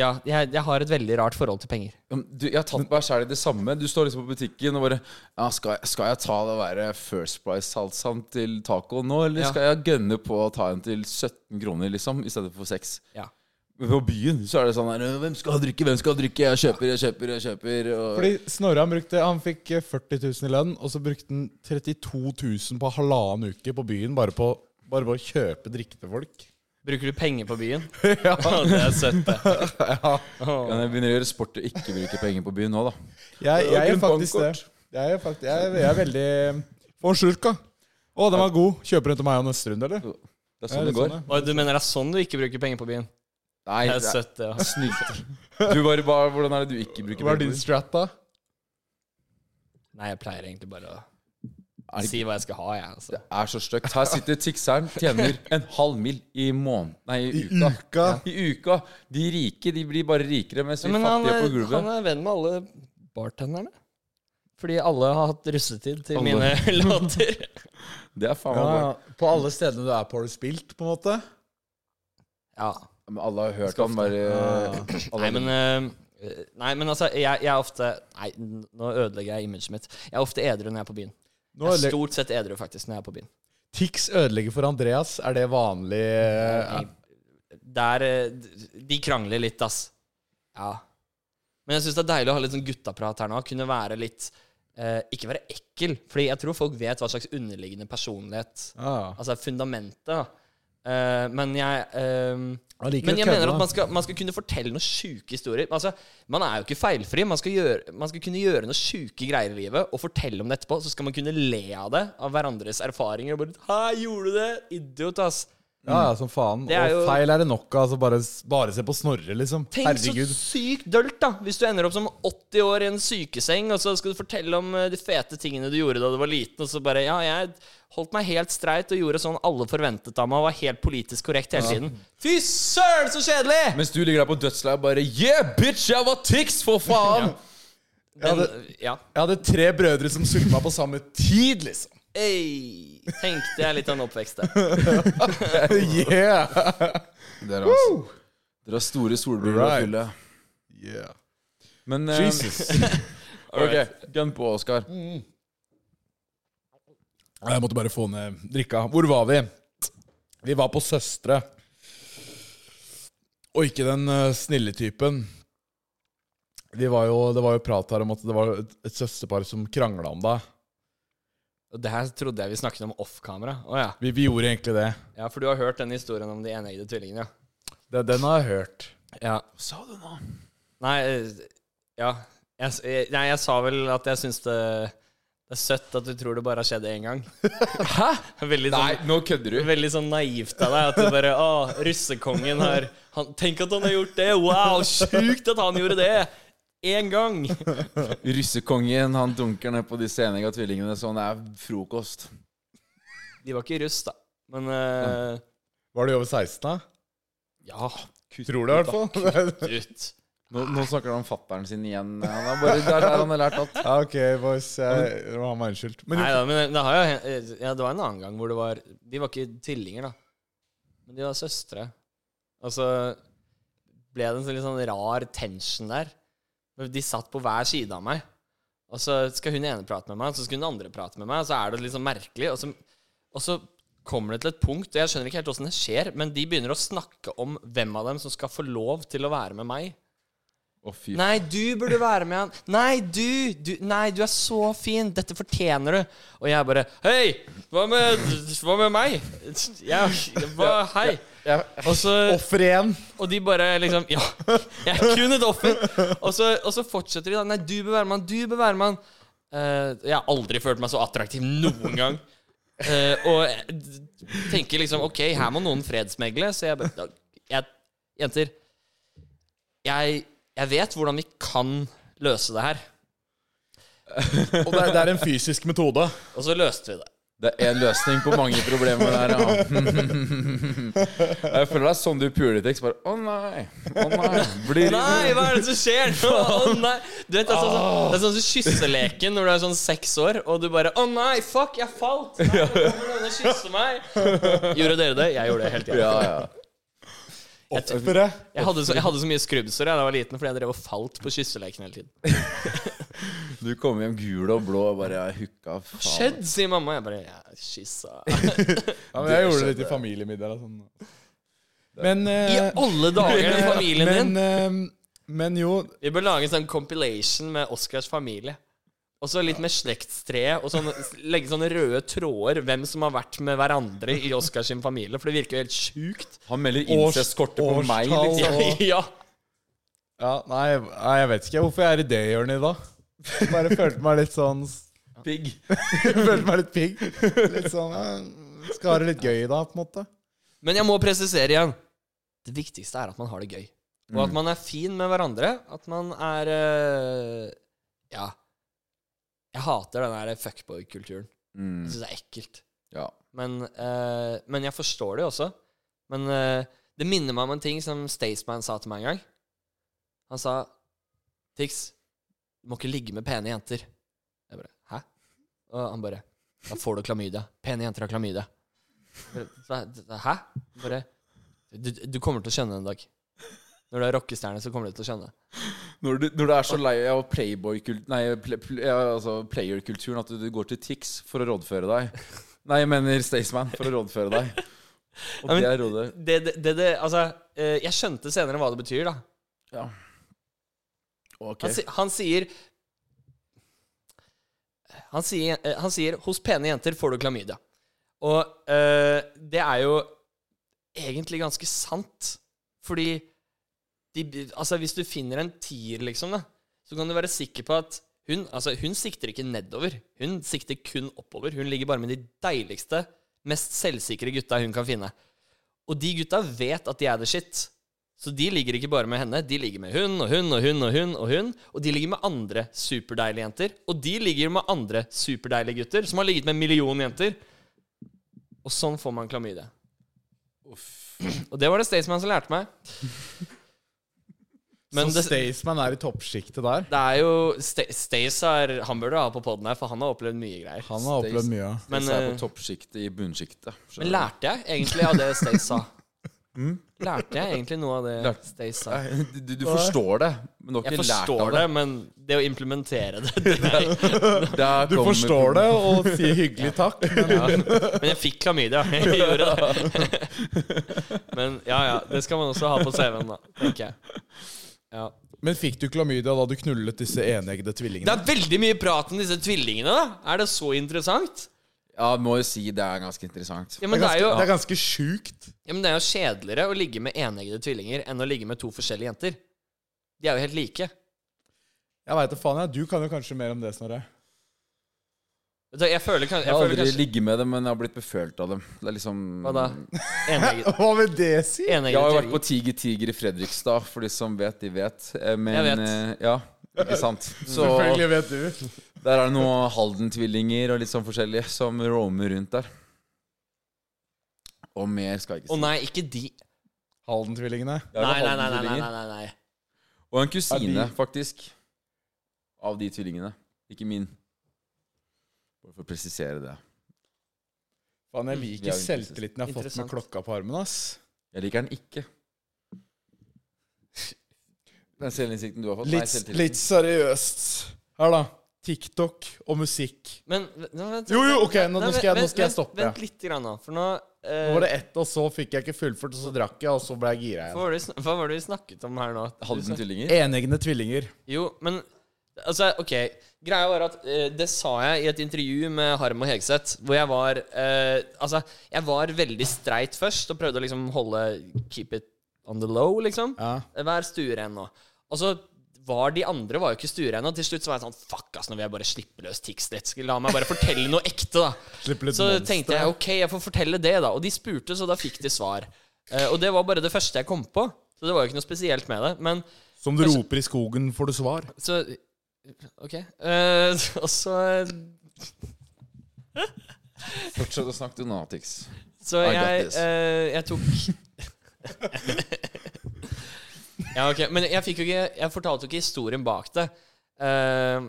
S1: Ja, jeg, jeg har et veldig rart forhold til penger.
S3: Du, jeg har tatt meg selv i det samme. Du står liksom på butikken og bare ja, skal, jeg- skal jeg ta det være First Price-salsaen til tacoen nå, eller
S1: Ja.
S3: skal jeg gønne på å ta en til 17 kroner, liksom, i stedet for 6?
S1: Ja.
S3: Men På byen så er det sånn her Hvem skal ha drikke, hvem skal ha drikke? Jeg kjøper, jeg kjøper, jeg kjøper. Og...
S2: Fordi Snorre han brukte Han fikk eh, 40 000 i lønn, og så brukte han 32 000 på halvannen uke på byen bare på, bare på å kjøpe drikke til folk.
S1: Bruker du penger på byen? ja. det er søtt, det.
S3: Kan jeg begynner å gjøre sport og ikke bruke penger på byen nå, da.
S2: Jeg,
S3: Ja,
S2: jeg gjør
S3: kun
S2: faktisk det.
S3: bankkort.
S2: Jeg er, faktisk, jeg, jeg er veldig Få en slurk, da. Å, den var god. Kjøper du en til meg og neste runde, eller?
S3: Det er
S2: Ja,
S3: sånn det
S2: litt
S3: går.
S2: sånn, ja.
S1: Og du mener det er sånn du ikke bruker penger på byen?
S3: Nei,
S1: Det er
S3: det er
S1: søtt, det. Ja.
S3: snylt. Du bare, hva, hvordan er det du ikke bruker
S2: Hva er
S3: penger
S2: din
S3: på?
S2: strat, da?
S1: Nei, jeg pleier egentlig bare å
S3: Er det,
S1: si hva jeg skal ha, jeg. Altså.
S3: det er så stygt. Her sitter tikseren, tjener en halv mil i måneden Nei, i uka.
S2: Uka.
S3: I uka. De rike de blir bare rikere, mens vi
S1: Men han,
S3: fattige på
S1: er- han
S3: gulvet
S1: er venn med alle bartenderne. Fordi alle har hatt russetid til
S3: Alle.
S1: mine låter.
S3: Det er faen
S2: Ja, ja.
S3: meg bare
S2: På alle stedene du er på, har du spilt, på en måte?
S1: Ja.
S3: Men Alle har hørt han bare alle,
S1: Nei, men eh, Nei, men altså, jeg, jeg er ofte Nei, n- nå ødelegger jeg imaget mitt. Jeg er ofte edru når jeg er på byen.
S2: Nå
S1: Jeg er
S2: ødelegger-
S1: stort sett edru, faktisk, når jeg er på byen.
S2: Tix ødelegger for Andreas. Er det vanlig eh,
S1: Der eh, d- De krangler litt, ass. Ja. Men jeg syns det er deilig å ha litt sånn guttaprat her nå. Kunne være litt eh, Ikke være ekkel, Fordi jeg tror folk vet hva slags underliggende personlighet
S2: ah.
S1: Altså fundamentet, da. Eh, men jeg eh,
S2: Han liker
S1: Men
S2: å
S1: jeg
S2: kødde,
S1: mener
S2: da.
S1: at man skal, man skal kunne fortelle noen sjuke historier. Men Altså, man er jo ikke feilfri. Man skal, gjøre, man skal kunne gjøre noen sjuke greier i livet og fortelle om det etterpå. Så skal man kunne le av det, av hverandres erfaringer. Og bare 'Hæ, gjorde du det? Idiot, ass'.
S2: Ja, ja, som faen.
S1: Det er jo-
S2: Og feil er det nok av. Altså bare, bare se på Snorre, liksom.
S1: Tenk
S2: Herregud.
S1: så sykt dølt, da. Hvis du ender opp som 80 år i en sykeseng, og så skal du fortelle om eh, de fete tingene du gjorde da du var liten, og så bare Ja, jeg holdt meg helt streit og gjorde sånn alle forventet av meg, og var helt politisk korrekt hele tiden. Fy søren, så kjedelig!
S3: Mens du ligger der på dødsleiet og bare Yeah, bitch, jeg var Tix, for faen!
S1: Den, ja.
S2: Jeg hadde tre brødre som sulta meg på samme tid, liksom.
S1: Ei, tenkte jeg litt av en oppvekst der.
S2: Yeah!
S3: Dere, altså. Dere har store solbriller å
S2: Right.
S3: fylle.
S2: yeah.
S3: Men
S2: Um,
S3: eh,
S2: Jesus.
S3: Ok, gønn på, Oskar.
S2: Jeg måtte bare få ned drikka. Hvor var vi? Vi var på Søstre. Og ikke den eh, snille typen. Vi var jo, det var jo prat her om at det var et, et søsterpar som krangla om deg.
S1: Og det her trodde jeg vi snakket om off-kamera. Å ja.
S2: Vi, vi gjorde egentlig det.
S1: ja, for du har hørt den historien om de eneggede tvillingene,
S2: det. Den har jeg hørt.
S1: ja? ja.
S3: Hva sa du nå?
S1: Nei, eh, ja. Jeg, s- eh, nei, jeg sa vel at jeg syns det, det er søtt at du tror det bare har skjedd én gang. Hæ? Veldig
S3: Nei,
S1: sånn,
S3: nå kødder du.
S1: veldig sånn naivt av deg at du bare Å, russekongen har han, Tenk at han har gjort det! Wow, sjukt at han gjorde det! én gang!
S3: Russekongen han dunker ned på de senega tvillingene sånn det er frokost.
S1: De var ikke russ, da. Men eh,
S2: Var du over 16, da?
S1: ja,
S2: Tror det, i hvert fall.
S1: ut.
S3: Nå, nå snakker han om fatteren sin igjen. Han har bare, det er der han har lært at
S2: Ja, ok, boys. Jeg, nå har meg unnskyldt. Men
S1: Nei da, men det, har jo, hen- eh, ja, det var en annen gang hvor det var De var ikke tvillinger, da. Men de var søstre. Og så ble det en sånn litt sånn rar tension der. Men De satt på hver side av meg. Og så skal hun ene prate med meg, så skal hun andre prate med meg. Og så er det litt sånn merkelig. Og så, og så kommer det til et punkt, og jeg skjønner ikke helt åssen det skjer, men de begynner å snakke om hvem av dem som skal få lov til å være med meg.
S3: Å, fy
S1: Nei, du burde være med han. Nei, du, du! Nei, du er så fin! Dette fortjener du! Og jeg bare Hei! Hva med, hva med meg? Jeg, hva, hei! Og så
S2: offer igjen.
S1: Og de bare liksom Ja, jeg er kun et offer! Og så, og så fortsetter de da. Nei, du bør være med han. Du bør være med han. Eh, jeg har aldri følt meg så attraktiv noen gang. Eh, og jeg tenker liksom OK, her må noen fredsmegle. Så jeg bare jeg, Jenter, jeg, jeg vet hvordan vi kan løse det her.
S2: Og det, er- det er en fysisk metode.
S1: Og så løste vi det.
S3: Det er én løsning på mange problemer der, ja. Jeg føler det er sånn du puler i tekst. Bare å nei, å nei. Blir
S1: Nei, hva er det som skjer nå? Å nei Du vet, Det er sånn som det er sånn som kysseleken når du er sånn seks år, og du bare 'Å nei, fuck, jeg falt!' Nei, nå kommer noen og kysser meg. Gjorde dere det? Jeg gjorde det hele tiden
S3: Ja, ja.
S2: Offeret.
S1: Jeg hadde så, jeg hadde så mye skrubbsår da jeg var liten fordi jeg drev og falt på kysseleken hele tiden.
S3: Du kommer hjem gul og blå og bare jeg hooka. faen.
S1: Skjedd, sier mamma. Jeg bare ja, kyssa
S2: Ja, men jeg gjorde det litt i familiemiddag. og Sånn. Men
S1: I
S2: eh,
S1: alle dager i familien
S2: men,
S1: din!
S2: eh, men jo
S1: Vi bør lage en sånn compilation med Oscars familie. Og så litt med slektstreet, og sånn, legge sånne røde tråder hvem som har vært med hverandre i Oscars sin familie, for det virker jo helt sjukt.
S3: Han melder
S2: Års-
S3: incest-kortet på meg,
S2: årstall.
S3: liksom.
S1: Ja,
S2: Og-
S1: ja.
S2: ja, nei, nei, jeg vet ikke hvorfor jeg er i det hjørnet i dag. Bare følte meg litt sånn
S3: Pigg.
S2: Følte meg litt pigg. Litt sånn eh, Skal ha det litt gøy i dag, på en måte.
S1: Men jeg må presisere igjen. Det viktigste er at man har det gøy. Og at man er fin med hverandre. At man er eh, Ja. Jeg hater den der fuckboy-kulturen.
S3: Mm,
S1: Jeg syns det er ekkelt.
S3: ja.
S1: Men, eh, men jeg forstår det jo også. Men eh, det minner meg om en ting som Staysman sa til meg en gang. Han sa Tix, du må ikke ligge med pene jenter. Jeg bare Hæ? Og han bare Da får du klamydia. Pene jenter har klamydia. Jeg bare, Hæ? Han Bare du, du kommer til å skjønne det en dag. Når du er rockestjerne, så kommer du til å skjønne det.
S3: Når, du, når du er så lei av playboy-kult Nei, ple, ple, ja, altså player-kulturen at du, du går til Tix for å rådføre deg. Nei, jeg mener Staysman for å rådføre deg. Og
S1: Ja, men-
S3: det er rådet.
S1: det, det, det, det altså, eh, jeg skjønte senere hva det betyr, da.
S3: Ja. Ok.
S1: Han, si- han sier han sier, eh, han sier 'hos pene jenter får du klamydia'. Og eh, det er jo egentlig ganske sant. Fordi de, altså, hvis du finner en tier, liksom, da, så kan du være sikker på at hun, altså, hun sikter ikke nedover. Hun sikter kun oppover. Hun ligger bare med de deiligste, mest selvsikre gutta hun kan finne. Og de gutta vet at de er the shit. Så de ligger ikke bare med henne, de ligger med hun og hun og hun og hun. Og hun Og de ligger med andre superdeilige jenter. Og de ligger med andre superdeilige gutter som har ligget med en million jenter. Og sånn får man klamydia. Og det var det Staysman som lærte meg. Men
S2: så
S1: det,
S2: Sånn Staysman er i toppsjiktet der.
S1: det er jo Sta- Stays har Han burde ha på poden her, for han har opplevd mye greier.
S2: Han har opplevd mye.
S1: Men,
S3: Stays er
S1: eh,
S3: på toppsjiktet i bunnsjiktet. skjønner
S1: Men
S3: du.
S1: lærte jeg egentlig av det Stace sa? Mm? Lærte jeg egentlig noe av det
S3: Lærte-
S1: Stace sa?
S3: Nei, du, du- du forstår det, men du har
S1: Jeg
S3: ikke lært
S1: forstår
S3: av
S1: det,
S3: det.
S1: men det å implementere det, det er
S3: Der
S2: Du
S3: kommer
S2: forstår det
S3: problemet.
S2: og sier hyggelig takk. Men
S1: Men jeg fikk klamydia. Jeg gjorde det. Men ja, ja. Det skal man også ha på CV-en, da. Tenker jeg. Ja.
S2: Men fikk du klamydia da du knullet disse eneggede
S1: Det
S2: tvillingene?
S1: er veldig mye prat om disse tvillingene, da. Er det så interessant?
S3: Ja, må jo si det er ganske interessant.
S1: Ja, men det er jo,
S2: det er ganske sjukt.
S1: ja, men det er jo kjedeligere å ligge med eneggede tvillinger enn å ligge med to forskjellige jenter. De er jo helt like.
S2: Jeg veit da faen. jeg. Du kan jo kanskje mer om det, Snorre.
S1: Vet du, Jeg føler, kan-
S3: Jeg
S1: jeg
S3: har
S1: føler
S3: aldri
S1: kanskje
S3: ligget med dem, men jeg har blitt befølt av dem. Det er liksom
S1: Hva da? Eneggede
S2: Hva vil det si?
S1: eneggede
S3: Jeg har jo vært
S1: tvillinger.
S3: på Tiger Tiger i Fredrikstad, for de som vet, de vet. Eh, Men
S1: Jeg vet.
S3: eh, ja, Ikke sant? Så
S2: Selvfølgelig vet du.
S3: der er det noen Halden-tvillinger og litt sånn forskjellige som roamer rundt der. Og mer skal jeg
S1: Å
S3: ikke si.
S1: nei, ikke de.
S2: Halden-tvillingene.
S3: Det er
S1: Nei, nei, nei. nei, nei,
S3: Halden-tvillinger.
S1: nei, nei, nei.
S3: Og en kusine,
S2: Er de-
S3: faktisk. Av de tvillingene. Ikke min. Bare for å presisere det.
S2: Faen, jeg
S3: Det er
S2: liker
S3: jo
S2: selvtilliten jeg har fått
S1: Interessant.
S2: med klokka på armen, ass.
S3: Jeg liker den ikke. Den selvinnsikten du har fått?
S2: Litt,
S3: selvtilliten.
S2: litt seriøst. Her, da. TikTok og musikk.
S1: Men nå, vent,
S2: Jo, jo, ok, nå-
S1: Nei,
S2: nå skal jeg- nå skal jeg stoppe.
S1: Vent, vent litt, grann, da. For nå eh,
S2: Nå var det ett, og så fikk jeg ikke fullført, og så drakk jeg, og så ble jeg gira
S1: hva, var
S2: igjen.
S1: det, vi sn- hva var det vi snakket om her nå? Du sa-
S3: Halden tvillinger?
S2: Eneggende tvillinger.
S1: Jo, men Altså, ok. Greia var at eh, det sa jeg i et intervju med Harm og Hegseth, hvor jeg var eh, Altså, jeg var veldig streit først og prøvde å liksom holde Keep it on the low, liksom.
S2: Ja.
S1: Vær stueren nå. Og så var de andre var jo ikke stueren, og til slutt så var jeg sånn Fuck, ass, nå vil jeg bare slippe løs Tix litt. La meg bare fortelle noe ekte, da.
S2: Slipp litt
S1: Så
S2: monster.
S1: tenkte jeg ok, jeg får fortelle det, da. Og de spurte, så da fikk de svar. Eh, og det var bare det første jeg kom på. Så det var jo ikke noe spesielt med det. Men
S2: Som du roper i skogen, får du svar.
S1: så OK. Eh, og så
S2: Eh.
S3: Fortsett å snakke til Natix.
S1: Så
S3: I got
S1: jeg,
S3: this.
S1: eh, jeg tok Ja, ok. Men jeg fikk jo ikke Jeg fortalte jo ikke historien bak det. Eh,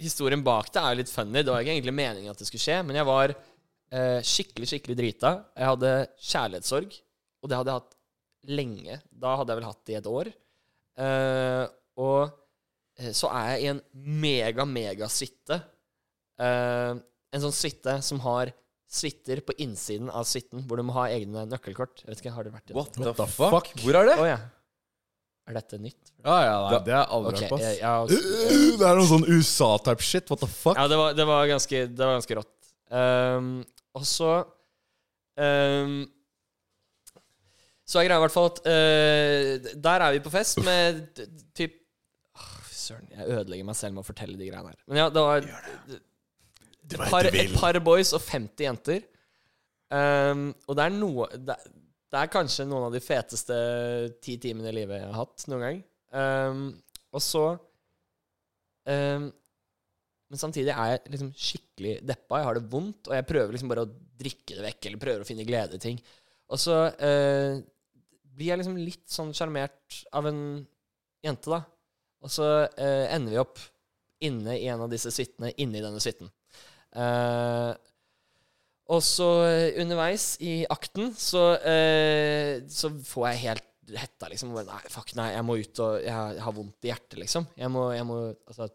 S1: historien bak det er jo litt funny. Det var ikke egentlig meningen at det skulle skje, men jeg var eh, skikkelig, skikkelig drita. Jeg hadde kjærlighetssorg, og det hadde jeg hatt lenge. Da hadde jeg vel hatt det i et år. Eh, og eh, så er jeg i en mega, mega suite. Eh, en sånn suite som har suiter på innsiden av suiten, hvor du må ha egne nøkkelkort. Jeg vet ikke, har det vært i sånn?
S3: What,
S2: What
S3: the
S2: the
S3: fuck?
S2: fuck?
S3: Hvor er det?
S1: Å ja. Er dette nytt?
S2: Ja, ja, nei, det er aldri
S1: Ok, eh,
S2: hørt på.
S1: jeg,
S2: ass.
S1: jeg,
S6: Det er noe sånn USA-type shit. What the fuck?
S1: ja, det var, det var, ganske, det var ganske rått. Ehm, og så ehm, Så er greia i hvert fall at eh, Der er vi på fest med d- d- typ Åh, Fy søren, jeg ødelegger meg selv med å fortelle de greiene her. Men ja, det var
S6: Det
S1: par, et par boys og 50 jenter. Ehm, og det er noe det, er- det er kanskje noen av de feteste ti timene i livet jeg har hatt noen gang. Ehm, og så ehm, Men samtidig er jeg liksom skikkelig deppa. Jeg har det vondt, og jeg prøver liksom bare å drikke det vekk, eller prøver å finne glede i ting. Og så eh, blir jeg liksom litt sånn sjarmert av en jente, da. Og så eh, ender vi opp inne i en av disse suitene, inne i denne suiten. Eh, og så eh, underveis i akten så, eh, så får jeg helt hetta, liksom. Bare, Nei, fuck, nei, jeg må ut og Jeg har vondt i hjertet, liksom. Jeg må, jeg må Altså,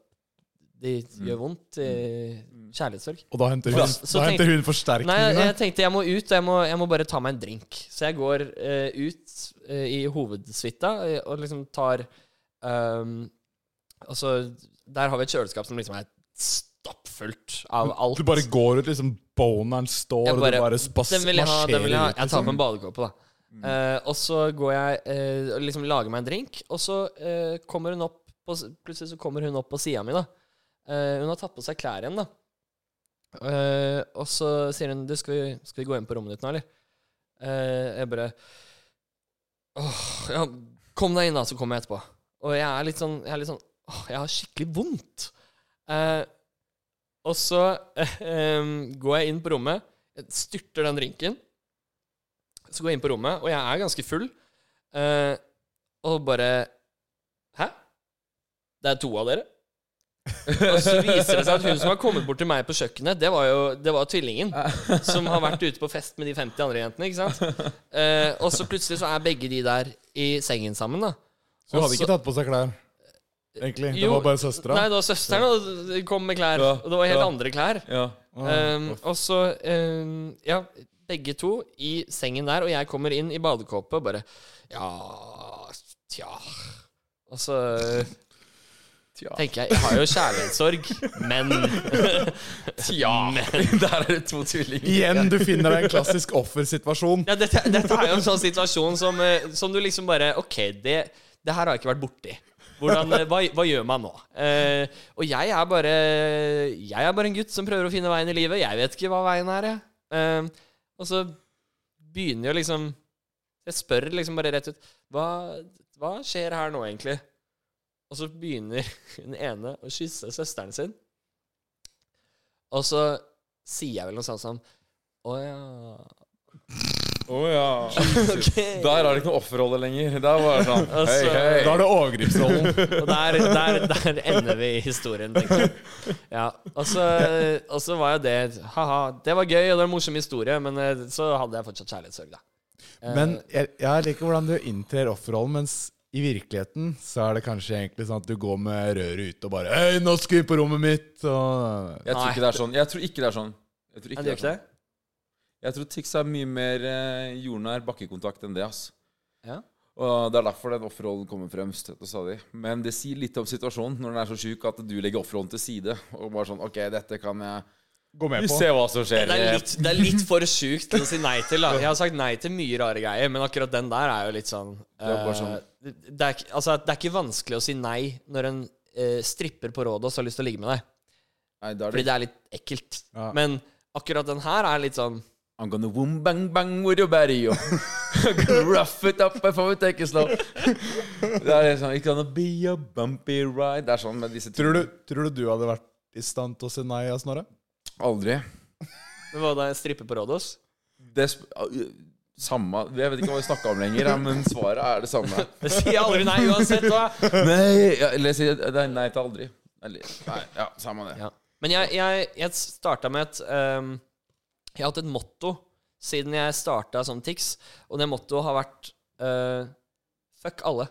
S1: det
S2: Mm.
S1: gjør vondt. eh, Kjærlighetssorg.
S2: Og da henter
S1: Ja,
S2: hun,
S1: så
S2: da
S1: tenk-
S2: henter hun
S1: Nei, jeg,
S2: forsterkningene.
S1: jeg tenkte jeg må ut, og jeg må, jeg må bare ta meg en drink. Så jeg går eh, ut eh, i hovedsuita eh, og liksom tar ehm, Altså, der har vi et kjøleskap som liksom er stappfullt av alt.
S2: Du bare går ut, liksom boneren står,
S1: Jeg
S2: og du
S1: bare-
S2: bare spas-
S1: Den vil jeg ha. Den vil jeg, ha.
S2: marsjerer ut.
S1: jeg tar på en badekåpe, da. Eh, og så går jeg eh, og liksom lager meg en drink, og så eh, kommer hun opp på, s- Plutselig så kommer hun opp på sida mi, da. Eh, hun har tatt på seg klær igjen, da. Eh, og så sier hun du, skal, vi, 'Skal vi gå inn på rommet ditt nå, eller?' Eh, jeg bare Åh, ja, 'Kom deg inn, da, så kommer jeg etterpå'. Og jeg er litt sånn Jeg, er litt sånn, åh, jeg har skikkelig vondt. Eh, og så ehm, går jeg inn på rommet, jeg styrter den drinken. Så går jeg inn på rommet, og jeg er ganske full. eh, og bare Hæ? Det er to av dere? og så viser det seg at hun som har kommet bort til meg på kjøkkenet, det var jo det var tvillingen. Som har vært ute på fest med de 50 andre jentene. ikke sant? Eh, og så plutselig så er begge de der i sengen sammen. da.
S2: Så hun hadde
S1: Også-
S2: ikke tatt på seg klær, egentlig. Det
S1: Jo,
S2: var bare søstera.
S1: Nei, det var søsteren og de kom med klær.
S3: Ja,
S1: og det var helt
S3: ja.
S1: andre klær.
S3: Ja.
S2: Ah,
S1: Um, og så um, Ja, begge to i sengen der, og jeg kommer inn i badekåpe og bare Ja, tja Og så
S3: Tja.
S1: tenker jeg Jeg har jo kjærlighetssorg, men Tja. Men,
S3: Der er det to tvillinger.
S2: Igjen, du finner deg i en klassisk offersituasjon.
S1: ja, dette, dette er jo en sånn situasjon som, eh, som du liksom bare OK, det, det her har jeg ikke vært borti. Hvordan, eh, hva, hva gjør man nå? Eh, og jeg er bare Jeg er bare en gutt som prøver å finne veien i livet. Jeg vet ikke hva veien er, jeg. Eh, og så begynner jo liksom Jeg spør liksom bare rett ut Hva, hva skjer her nå, egentlig? Og så begynner den ene å kysse søsteren sin. Og så sier jeg vel noe sånt som Å ja.
S3: Oh, ja.
S1: Ok.
S3: Der er det ikke noe offerrolle lenger. Der var det sånn Hei,
S1: Altså,
S3: hei.
S6: Da er det overgripsrollen.
S1: Og der, der, der ender vi historien, tenker jeg. Ja, og så, og så var jo det Ha-ha. Det var gøy, og det var en morsom historie, men eh, så hadde jeg fortsatt kjærlighetssorg, da. Eh,
S6: Men jeg, jeg liker hvordan du inntrer offerrollen, mens i virkeligheten så er det kanskje egentlig sånn at du går med røret ute og bare Hei, nå skal vi på rommet mitt! Og eh,
S3: Jeg tror
S1: Nei.
S3: ikke det er sånn. Jeg tror ikke det er sånn. Jeg tror
S1: er det
S3: ikke det
S1: jo
S3: er
S1: ikke det?
S3: sånn. Jeg tror Tix er mye mer eh, jordnær bakkekontakt enn det, ass.
S1: Ja.
S3: Og Det er derfor den offerrollen kommer fremst. dette sa de. Men det sier litt om situasjonen når den er så sjuk at du legger offerrollen til side. Og bare sånn OK, dette kan jeg
S2: Gå med
S3: Vi
S2: på.
S3: ser hva som skjer.
S1: Det er litt, det er litt for sjukt til å si nei til. Da. Jeg har sagt nei til mye rare greier, men akkurat den der er jo litt sånn
S3: er bare
S1: eh,
S3: sånn-
S1: det- det, er, ikke- altså, det er ikke vanskelig å si nei når en eh, stripper på Rådås har lyst til å ligge med deg,
S3: Nei, da er
S1: fordi
S3: det
S1: det er litt ekkelt.
S2: Ja.
S1: Men akkurat den her er litt sånn
S3: I'm gonna wom bang bang with your body. yo. I'm gonna rough it up if I would take it slow. Det er liksom It's gonna be a bumpy ride. Det er sånn med disse
S6: tror, du, tror du du hadde vært i stand til å si nei, ja, Snorre?
S3: Aldri.
S1: Men hva da, en stripper på Rådås?
S3: Det sp samme Jeg vet ikke hva vi snakka om lenger, ja, men svaret er det samme.
S1: Det sier jeg aldri nei uansett hva.
S3: Nei, ja, eller jeg sier det er nei til aldri. Eller, nei, ja, samme det.
S1: Ja. Men jeg, jeg, jeg starta med et ehm, Jeg har hatt et motto siden jeg starta som Tix, og det mottoet har vært eh, Fuck alle.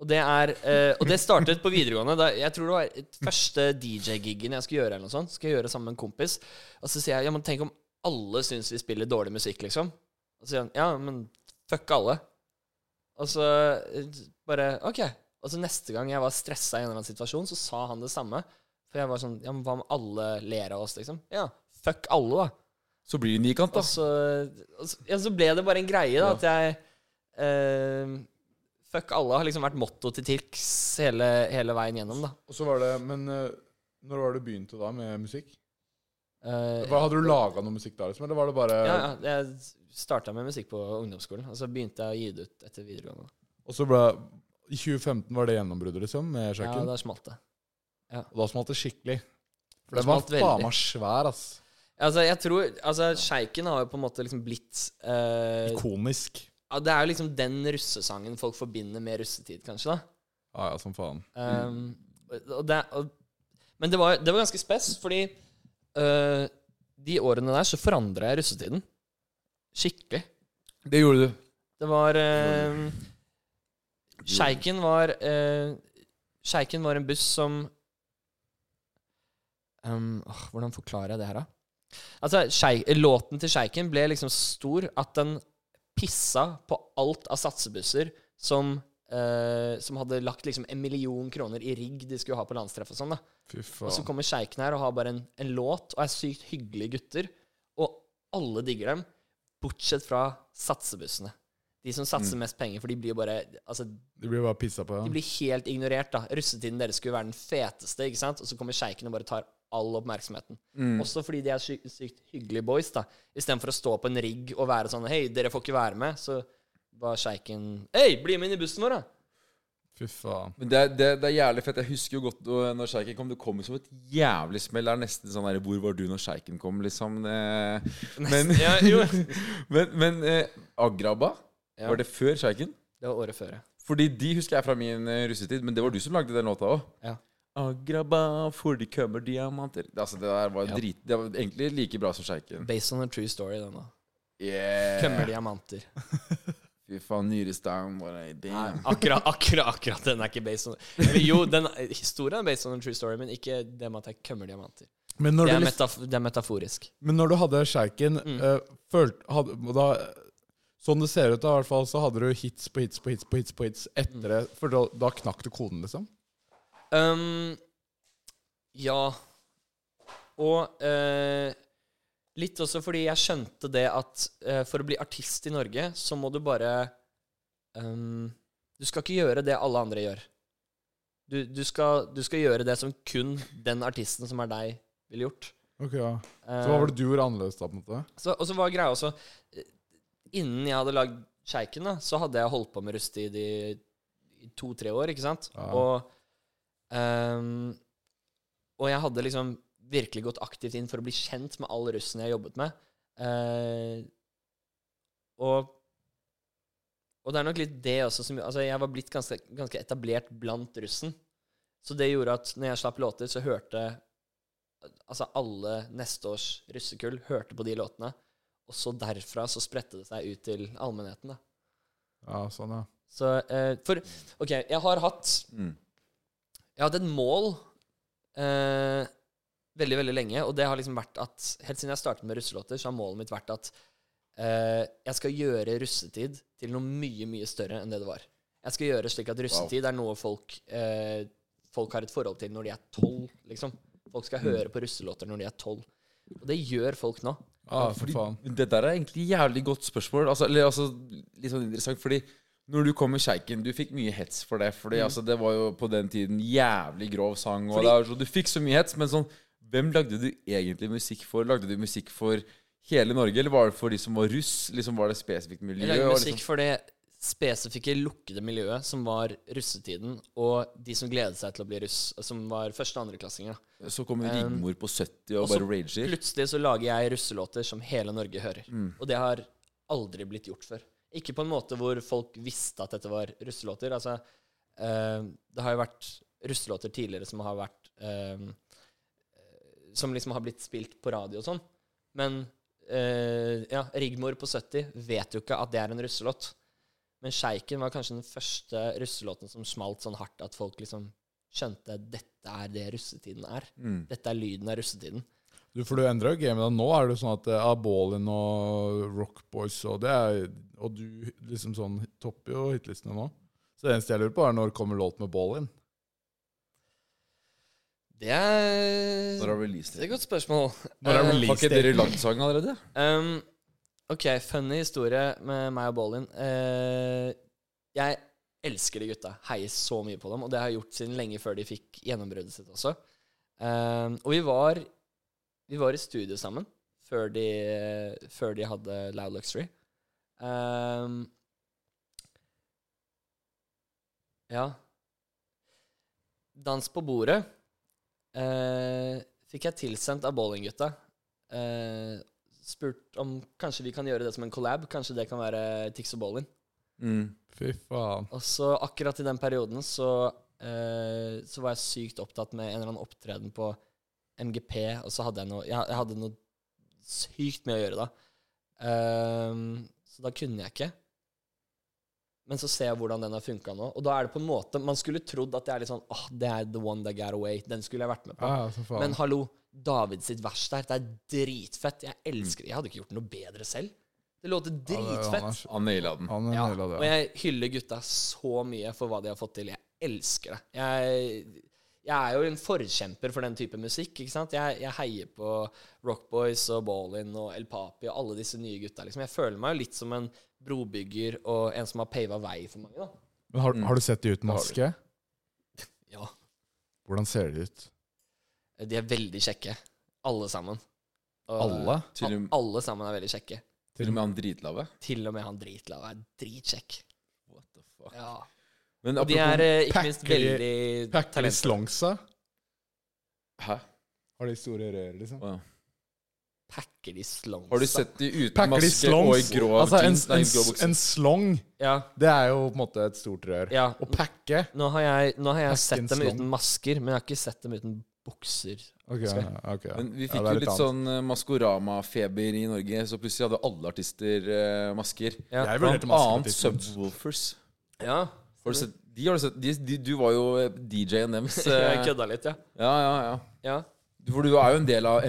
S1: Og det er eh, Og det startet på videregående. Da, jeg tror det var et første DJ-giggen jeg skulle gjøre, eller noe sånt. Skal jeg gjøre sammen med en kompis. Og så sier jeg ja, men tenk om alle syns vi spiller dårlig musikk, liksom. Og så sier han ja, men fuck alle. Og så eh, bare OK. Og så neste gang jeg var stressa i en eller annen situasjon, så sa han det samme. For jeg var sånn Ja, men hva om alle ler av oss, liksom? Ja, fuck alle, da.
S3: Så blir det nikant, da.
S1: Og så, og så, ja, så ble det bare en greie, da, at jeg eh, Fuck alle har liksom vært motto til Tix hele, hele veien gjennom, da.
S2: Og så var det, Men eh, når var det du begynte da med musikk?
S1: Eh,
S2: Hva, hadde du laga noe musikk da, liksom? Eller var det bare
S1: ja, ja, jeg starta med musikk på ungdomsskolen, og så begynte jeg å gi det ut etter videregående.
S2: Og så ble I 2015 var det gjennombruddet, liksom? Med
S1: Ja,
S2: kjøkken?
S1: da smalt det.
S2: og da smalt det skikkelig.
S1: Det
S2: For den var
S1: smalt veldig.
S2: faen meg svær, ass.
S1: Altså, jeg tror Altså, sjeiken har jo på en måte liksom blitt eh,
S6: Ikonisk.
S1: ja, Det er jo liksom den russesangen folk forbinder med russetid, kanskje, da.
S2: Ja, ja, som faen.
S1: Um, og det, og, men det var, det var ganske spes, fordi øh, de årene der så forandra jeg russetiden. Skikkelig.
S3: Det gjorde du.
S1: Det var øh, Sjeiken var øh, Sjeiken var en buss som um, åh, Hvordan forklarer jeg det her, da? Altså, Sheik, Låten til Sjeiken ble liksom stor at den pissa på alt av satsebusser som eh, som hadde lagt liksom en million kroner i rigg de skulle ha på landstreff. Og sånn da
S2: Fy
S1: Og så
S2: faen.
S1: kommer sjeiken her og har bare en, en låt og er sykt hyggelige gutter. Og alle digger dem, bortsett fra satsebussene. De som satser mest penger, for de blir jo bare Altså,
S2: De blir bare pissa på.
S1: de
S2: Ja.
S1: blir helt ignorert, da. Russetiden deres skulle være den feteste, ikke sant? Og så kommer sjeiken og bare tar all oppmerksomheten. Også fordi de er sy sykt hyggelige boys, da. Istedenfor å stå på en rigg og være sånn Hei, dere får ikke være med. Så var sjeiken Hei, bli med inn i bussen vår, da!
S2: Fy faen.
S3: Men det, er- det, det er jævlig fett. Jeg husker jo godt da- når sjeiken kom. Det kom jo som et jævlig smell. Det er nesten sånn der 'Hvor var du når sjeiken kom?' liksom. Det- Men,
S1: Ja, jo.
S3: men, men eh, Agraba,
S1: Ja.
S3: var det før sjeiken?
S1: Det var året før, ja.
S3: Fordi de husker jeg fra min eh, russetid, men det var du som lagde den låta òg.
S1: Ja.
S3: Agraba, for de kommer diamanter Det- Altså, det der var drit Det var egentlig like bra som sjeiken.
S1: Based on a true story, den, da. Kømmer
S3: Yeah.
S1: diamanter.
S3: Fy faen, Nyrestam var det damn.
S1: Akkurat, akkurat, akkurat den er ikke based on Eller Jo, den, historien er based on a true story, men ikke det med at jeg kømmer diamanter.
S6: Men når
S1: Det
S6: du
S1: er, Mm.
S6: liksom
S1: metaf det er metaforisk.
S6: Men når du hadde sjeiken, eh, følt- hadde, og da, sånn det ser ut da, i hvert fall, så hadde du hits på hits på hits på hits på hits
S1: Mm.
S6: etter det, for da, da knakk du koden, liksom.
S1: Um, ja. Og eh, litt også fordi jeg skjønte det at eh, for å bli artist i Norge, så må du bare um, Du skal ikke gjøre det alle andre gjør. Du, du, skal, du skal gjøre det som kun den artisten som er deg, ville gjort.
S2: Ok, ja.
S1: Eh,
S2: Så hva var det du gjorde annerledes da, på en måte?
S1: Så, og så var greia også eh, Innen jeg hadde lagd Sjeiken, da, så hadde jeg holdt på med Rusty i de- i to-tre år, ikke sant?
S2: Ja.
S1: Og Ehm, og jeg hadde liksom virkelig gått aktivt inn for å bli kjent med alle russen jeg jobbet med. Eh, og og det er nok litt det også som Altså, jeg var blitt ganske, ganske etablert blant russen. Så det gjorde at når jeg slapp låter, så hørte Altså alle neste års russekull hørte på de låtene. Og så derfra så spredte det seg ut til allmennheten, da.
S2: Ja, sånn, ja.
S1: Så eh, For OK, jeg har hatt
S3: Mm.
S1: Jeg har hatt et mål eh, veldig, veldig lenge, og det har liksom vært at Helt siden jeg startet med russelåter, så har målet mitt vært at eh, jeg skal gjøre russetid til noe mye, mye større enn det det var. Jeg skal gjøre slik at russetid er noe folk, eh, folk har et forhold til når de er tolv, liksom. Folk skal høre på russelåter når de er tolv. Og det gjør folk nå.
S2: Ah, for
S3: Fordi
S2: faen.
S3: Det der er egentlig et jævlig godt spørsmål. Altså, eller, altså, litt sånn interessant, fordi når du kom med sjeiken, du fikk mye hets for det. Fordi altså, det var jo på den tiden jævlig grov sang.
S1: Mm.
S3: Og
S1: Fordi-
S3: det er jo så, du fikk så mye hets, men sånn Hvem lagde du egentlig musikk for? Lagde du musikk for hele Norge, eller var det for de som var russ? Liksom Var det spesifikt miljø?
S1: Jeg lager
S3: og liksom-
S1: musikk for det spesifikke lukkede miljøet som var russetiden, og de som gledet seg til å bli russ, som var første- og andreklassinger. da.
S3: liksom, så kommer Rigmor på 70
S1: um,
S3: og,
S1: og så
S3: bare rager.
S1: Plutselig så lager jeg russelåter som hele Norge hører. Og det har aldri blitt gjort før. Ikke på en måte hvor folk visste at dette var russelåter. Altså, eh, det har jo vært russelåter tidligere som har vært eh, Som liksom har blitt spilt på radio og sånn. Men eh, ja, Rigmor på 70 vet jo ikke at det er en russelåt. Men Sjeiken var kanskje den første russelåten som smalt sånn hardt at folk liksom skjønte dette er det russetiden er.
S3: Mm.
S1: Dette er lyden av russetiden.
S2: Du, for du endra jo gamet da. Nå er det jo sånn at eh, Abolin og Rock Boys og det er Og du liksom sånn topper jo hitlistene nå. Så det eneste jeg lurer på, er når kommer låt med Bolin?
S1: Det er,
S3: Når
S1: det
S3: har released
S1: er et godt spørsmål.
S2: Når er
S1: Eh,
S2: release
S3: Har ikke dere lagd sang allerede?
S1: um, ok, funny historie med meg og Bolin. Eh, jeg elsker de gutta. Heier så mye på dem. Og det har jeg gjort siden lenge før de fikk gjennombruddet sitt også. Eh, og vi var, vi var i studio sammen før de, før de hadde Loud Luxury. Ehm, ja Dans på bordet eh, fikk jeg tilsendt av bowlinggutta. Eh, spurt om kanskje vi kan gjøre det som en collab. Kanskje det kan være Tix og Bowling.
S3: Mm.
S2: Fy faen.
S1: Og så akkurat i den perioden så, eh, så var jeg sykt opptatt med en eller annen opptreden på MGP, og så hadde jeg noe Jeg, jeg hadde noe sykt mye å gjøre da. Ehm, så da kunne jeg ikke. Men så ser jeg hvordan den har funka nå. Og da er det på en måte Man skulle trodd at det er litt sånn Åh, det er the one that got away. Den skulle jeg vært med på.
S2: Ja, ja, så faen.
S1: Men hallo, David sitt vers der, det er dritfett. Jeg elsker det. Jeg hadde ikke gjort noe bedre selv. Det låter
S2: Ja, det er jo
S1: dritfett.
S2: Anders.
S3: Han naila den.
S2: Han
S1: Ja,
S2: naila
S1: og
S2: det.
S1: jeg hyller gutta så mye for hva de har fått til. Jeg elsker det. Jeg, jeg er jo en forkjemper for den type musikk. ikke sant? Jeg, jeg heier på Rockboys og Ballin og El Papi og alle disse nye gutta. liksom. Jeg føler meg jo litt som en brobygger og en som har pava vei for mange. da.
S2: Men
S3: Mm.
S2: har, har du sett de uten
S3: har
S2: maske?
S1: Ja,
S2: Hvordan ser de ut?
S1: De er veldig kjekke, alle sammen. Og-
S2: Alle?
S3: Til og,
S1: Alle sammen er veldig kjekke.
S3: til og med han dritlave.
S1: Til og med han dritlava er dritsjekk.
S3: What the fuck?
S1: Ja.
S3: Men
S1: Og de
S3: apropos-
S1: er eh, ikke minst
S2: packer-
S1: veldig
S2: Packer de
S1: talent...
S2: slongsa?
S1: eh,
S3: Hæ?
S2: Har de store rør, liksom?
S3: Å, ja.
S1: Packer de slongs?
S3: Har du sett de uten
S2: Packer de
S3: maske og i
S2: slongs?
S3: grå
S2: Altså, en,
S3: jeans? Nei, grå
S2: en,
S3: bukser.
S2: en slong,
S1: Ja.
S2: det er jo på en måte et stort rør.
S1: ja.
S2: Å pakke
S1: Nå har jeg, nå har jeg sett
S2: en
S1: dem
S2: slong.
S1: uten masker, men jeg har ikke sett dem uten bukser.
S2: Ok,
S1: Skal
S2: ok.
S3: Men
S2: Ja,
S3: vi fikk
S2: det er
S3: jo litt
S2: annet.
S3: sånn eh, Maskorama-feber i Norge, så plutselig hadde alle artister eh, masker.
S1: Ja.
S2: Jeg
S3: Blant
S2: vurderte maske på
S3: annet
S2: tidspunkt.
S3: Subwoofers.
S1: Ja.
S3: Har du sett? De har du sett de, de, Du var jo eh, DJ-en deres. eh.
S1: Jeg kødda litt, ja.
S3: Ja, ja, ja.
S1: Ja.
S3: Du- For du er jo en del av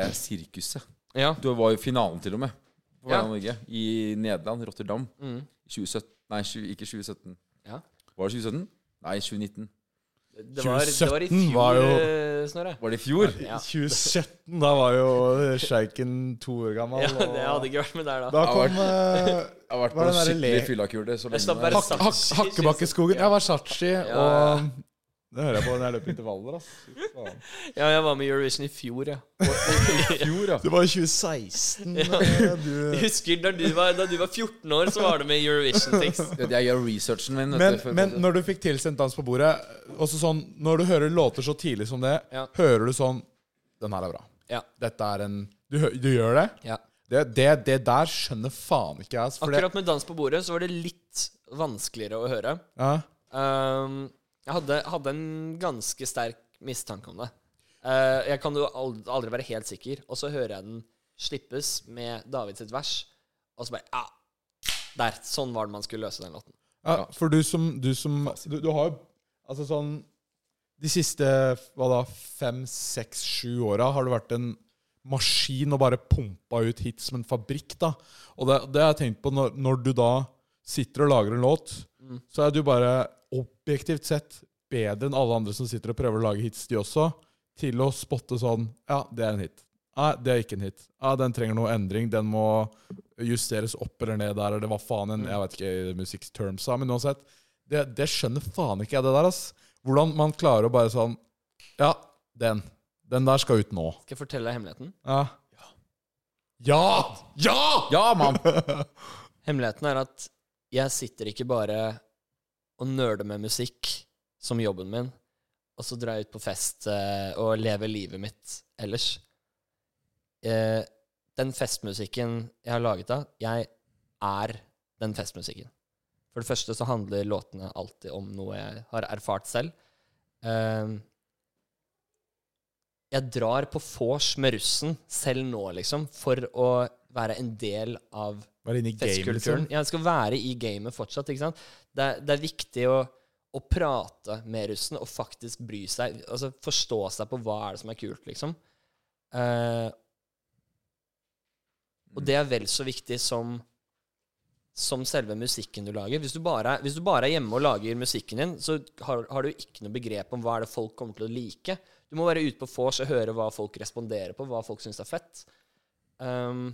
S3: MGP-sirkuset.
S1: ja.
S3: Du var jo i finalen, til og med. På
S1: Ja.
S3: vegne av Norge. I Nederland, Rotterdam.
S1: Mm.
S3: 2017 Nei, 20, ikke 2017.
S1: Ja.
S3: Var det 2017? Nei, 2019.
S1: Det, var, det var i
S2: 2017
S1: fjor,
S2: var jo-
S1: eh, Snorre.
S3: Var det i fjor?
S1: Ja.
S2: 2017, da var jo sjeiken to år gammel.
S1: Ja,
S2: og-
S1: det hadde ikke vært med der da.
S2: Da kom eh,
S3: Jeg har vært på
S2: Var det
S3: en
S2: den der
S3: skikkelig
S2: le-
S3: fyllakule så
S1: Jeg slapp
S3: lenge.
S1: bare
S2: hak, hak, Hakkebakkeskogen. Jeg var Sachi,
S1: ja.
S2: og eh, Det hører jeg på når jeg løper intervaller. ass. Fy faen.
S1: Ja, jeg var med i Eurovision i fjor, ja.
S3: Fjor, ja.
S6: Det var i 2016.
S1: Ja.
S6: eh,
S1: Jeg
S6: Du.
S1: husker da du var, da du var 14 år, så var du med i Eurovision-tekst.
S3: Jeg gjør researchen min. vet
S2: Men,
S3: du, før-
S2: men når du fikk tilsendt Dans på bordet også sånn, Når du hører låter så tidlig som det,
S1: Ja.
S2: hører du sånn Den her er bra.
S1: Ja.
S2: Dette er en Du, hø- du gjør det?
S1: ja.
S2: Det, det? det der skjønner faen ikke jeg. ass, for det-
S1: Akkurat med Dans på bordet så var det litt vanskeligere å høre.
S2: ja.
S1: Ehm, jeg hadde, hadde en ganske sterk mistanke om det. Eh, jeg kan jo aldri, aldri være helt sikker. Og så hører jeg den slippes med David sitt vers, og så bare ja, Der. Sånn var det man skulle løse den låten.
S2: Ja, for du som Du, som, du, du har jo Altså sånn De siste hva da, fem, seks, sju åra har du vært en maskin og bare pumpa ut hit som en fabrikk. da Og det, det har jeg tenkt på når, når du da sitter og lager en låt, så er du bare objektivt sett bedre enn alle andre som sitter og prøver å lage hits, de også, til å spotte sånn Ja, det er en hit. Nei, det er ikke en hit. Nei, den trenger noe endring. Den må justeres opp eller ned der, eller hva faen enn Jeg vet ikke i musikktermsa, men uansett. Det, det skjønner faen ikke jeg, det der, ass. Hvordan man klarer å bare sånn Ja, den. Den der skal ut nå.
S1: Skal jeg fortelle deg hemmeligheten?
S2: Ja! Ja! Ja!
S3: Ja, mann!
S1: Hemmeligheten er at jeg sitter ikke bare og nøler med musikk som jobben min, og så drar jeg ut på fest eh, og lever livet mitt ellers. Eh, den festmusikken jeg har laget da, jeg er den festmusikken. For det første så handler låtene alltid om noe jeg har erfart selv. Eh, jeg drar på vors med russen selv nå, liksom, for å være en del av
S2: Bare inn i gamet,
S1: festkulturen.
S2: liksom.
S1: Ja, det skal være i gamet fortsatt. ikke sant? Det er, det er viktig å, å prate med russen og faktisk bry seg, altså forstå seg på hva er det som er kult, liksom. Eh, og det er vel så viktig som som selve musikken du lager. Hvis du bare, er- hvis du bare er hjemme og lager musikken din, så har, har du ikke noe begrep om hva er det folk kommer til å like. Du må være ute på vors og høre hva folk responderer på, hva folk syns er fett. Um,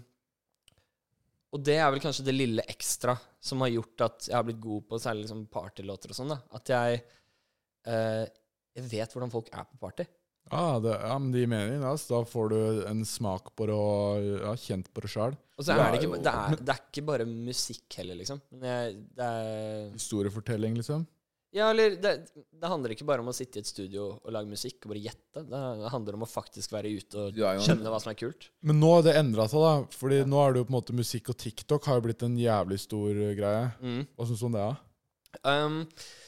S1: og det er vel kanskje det lille ekstra som har gjort at jeg har blitt god på særlig liksom partylåter og sånn. da. At jeg, eh, jeg vet hvordan folk er på party.
S2: Ja, det, ja, men det gir mening. ass. Da får du en smak på det og ja, kjent på det sjøl.
S1: Og så
S2: Det
S1: er det
S2: er
S1: ikke,
S2: jo-
S1: det er, det er ikke bare musikk heller, liksom. Men jeg, det er,
S2: Historiefortelling, liksom.
S1: ja, eller det, det handler ikke bare om å sitte i et studio og lage musikk og bare gjette. Det, det handler om å faktisk være ute og
S3: Du er jo en-
S1: skjønne hva som er kult.
S2: Men nå har det endra seg, da. Fordi nå er det jo på en måte musikk og TikTok har jo blitt en jævlig stor eh, greie.
S1: Mm.
S2: Hva syns du om det, da?
S1: Um,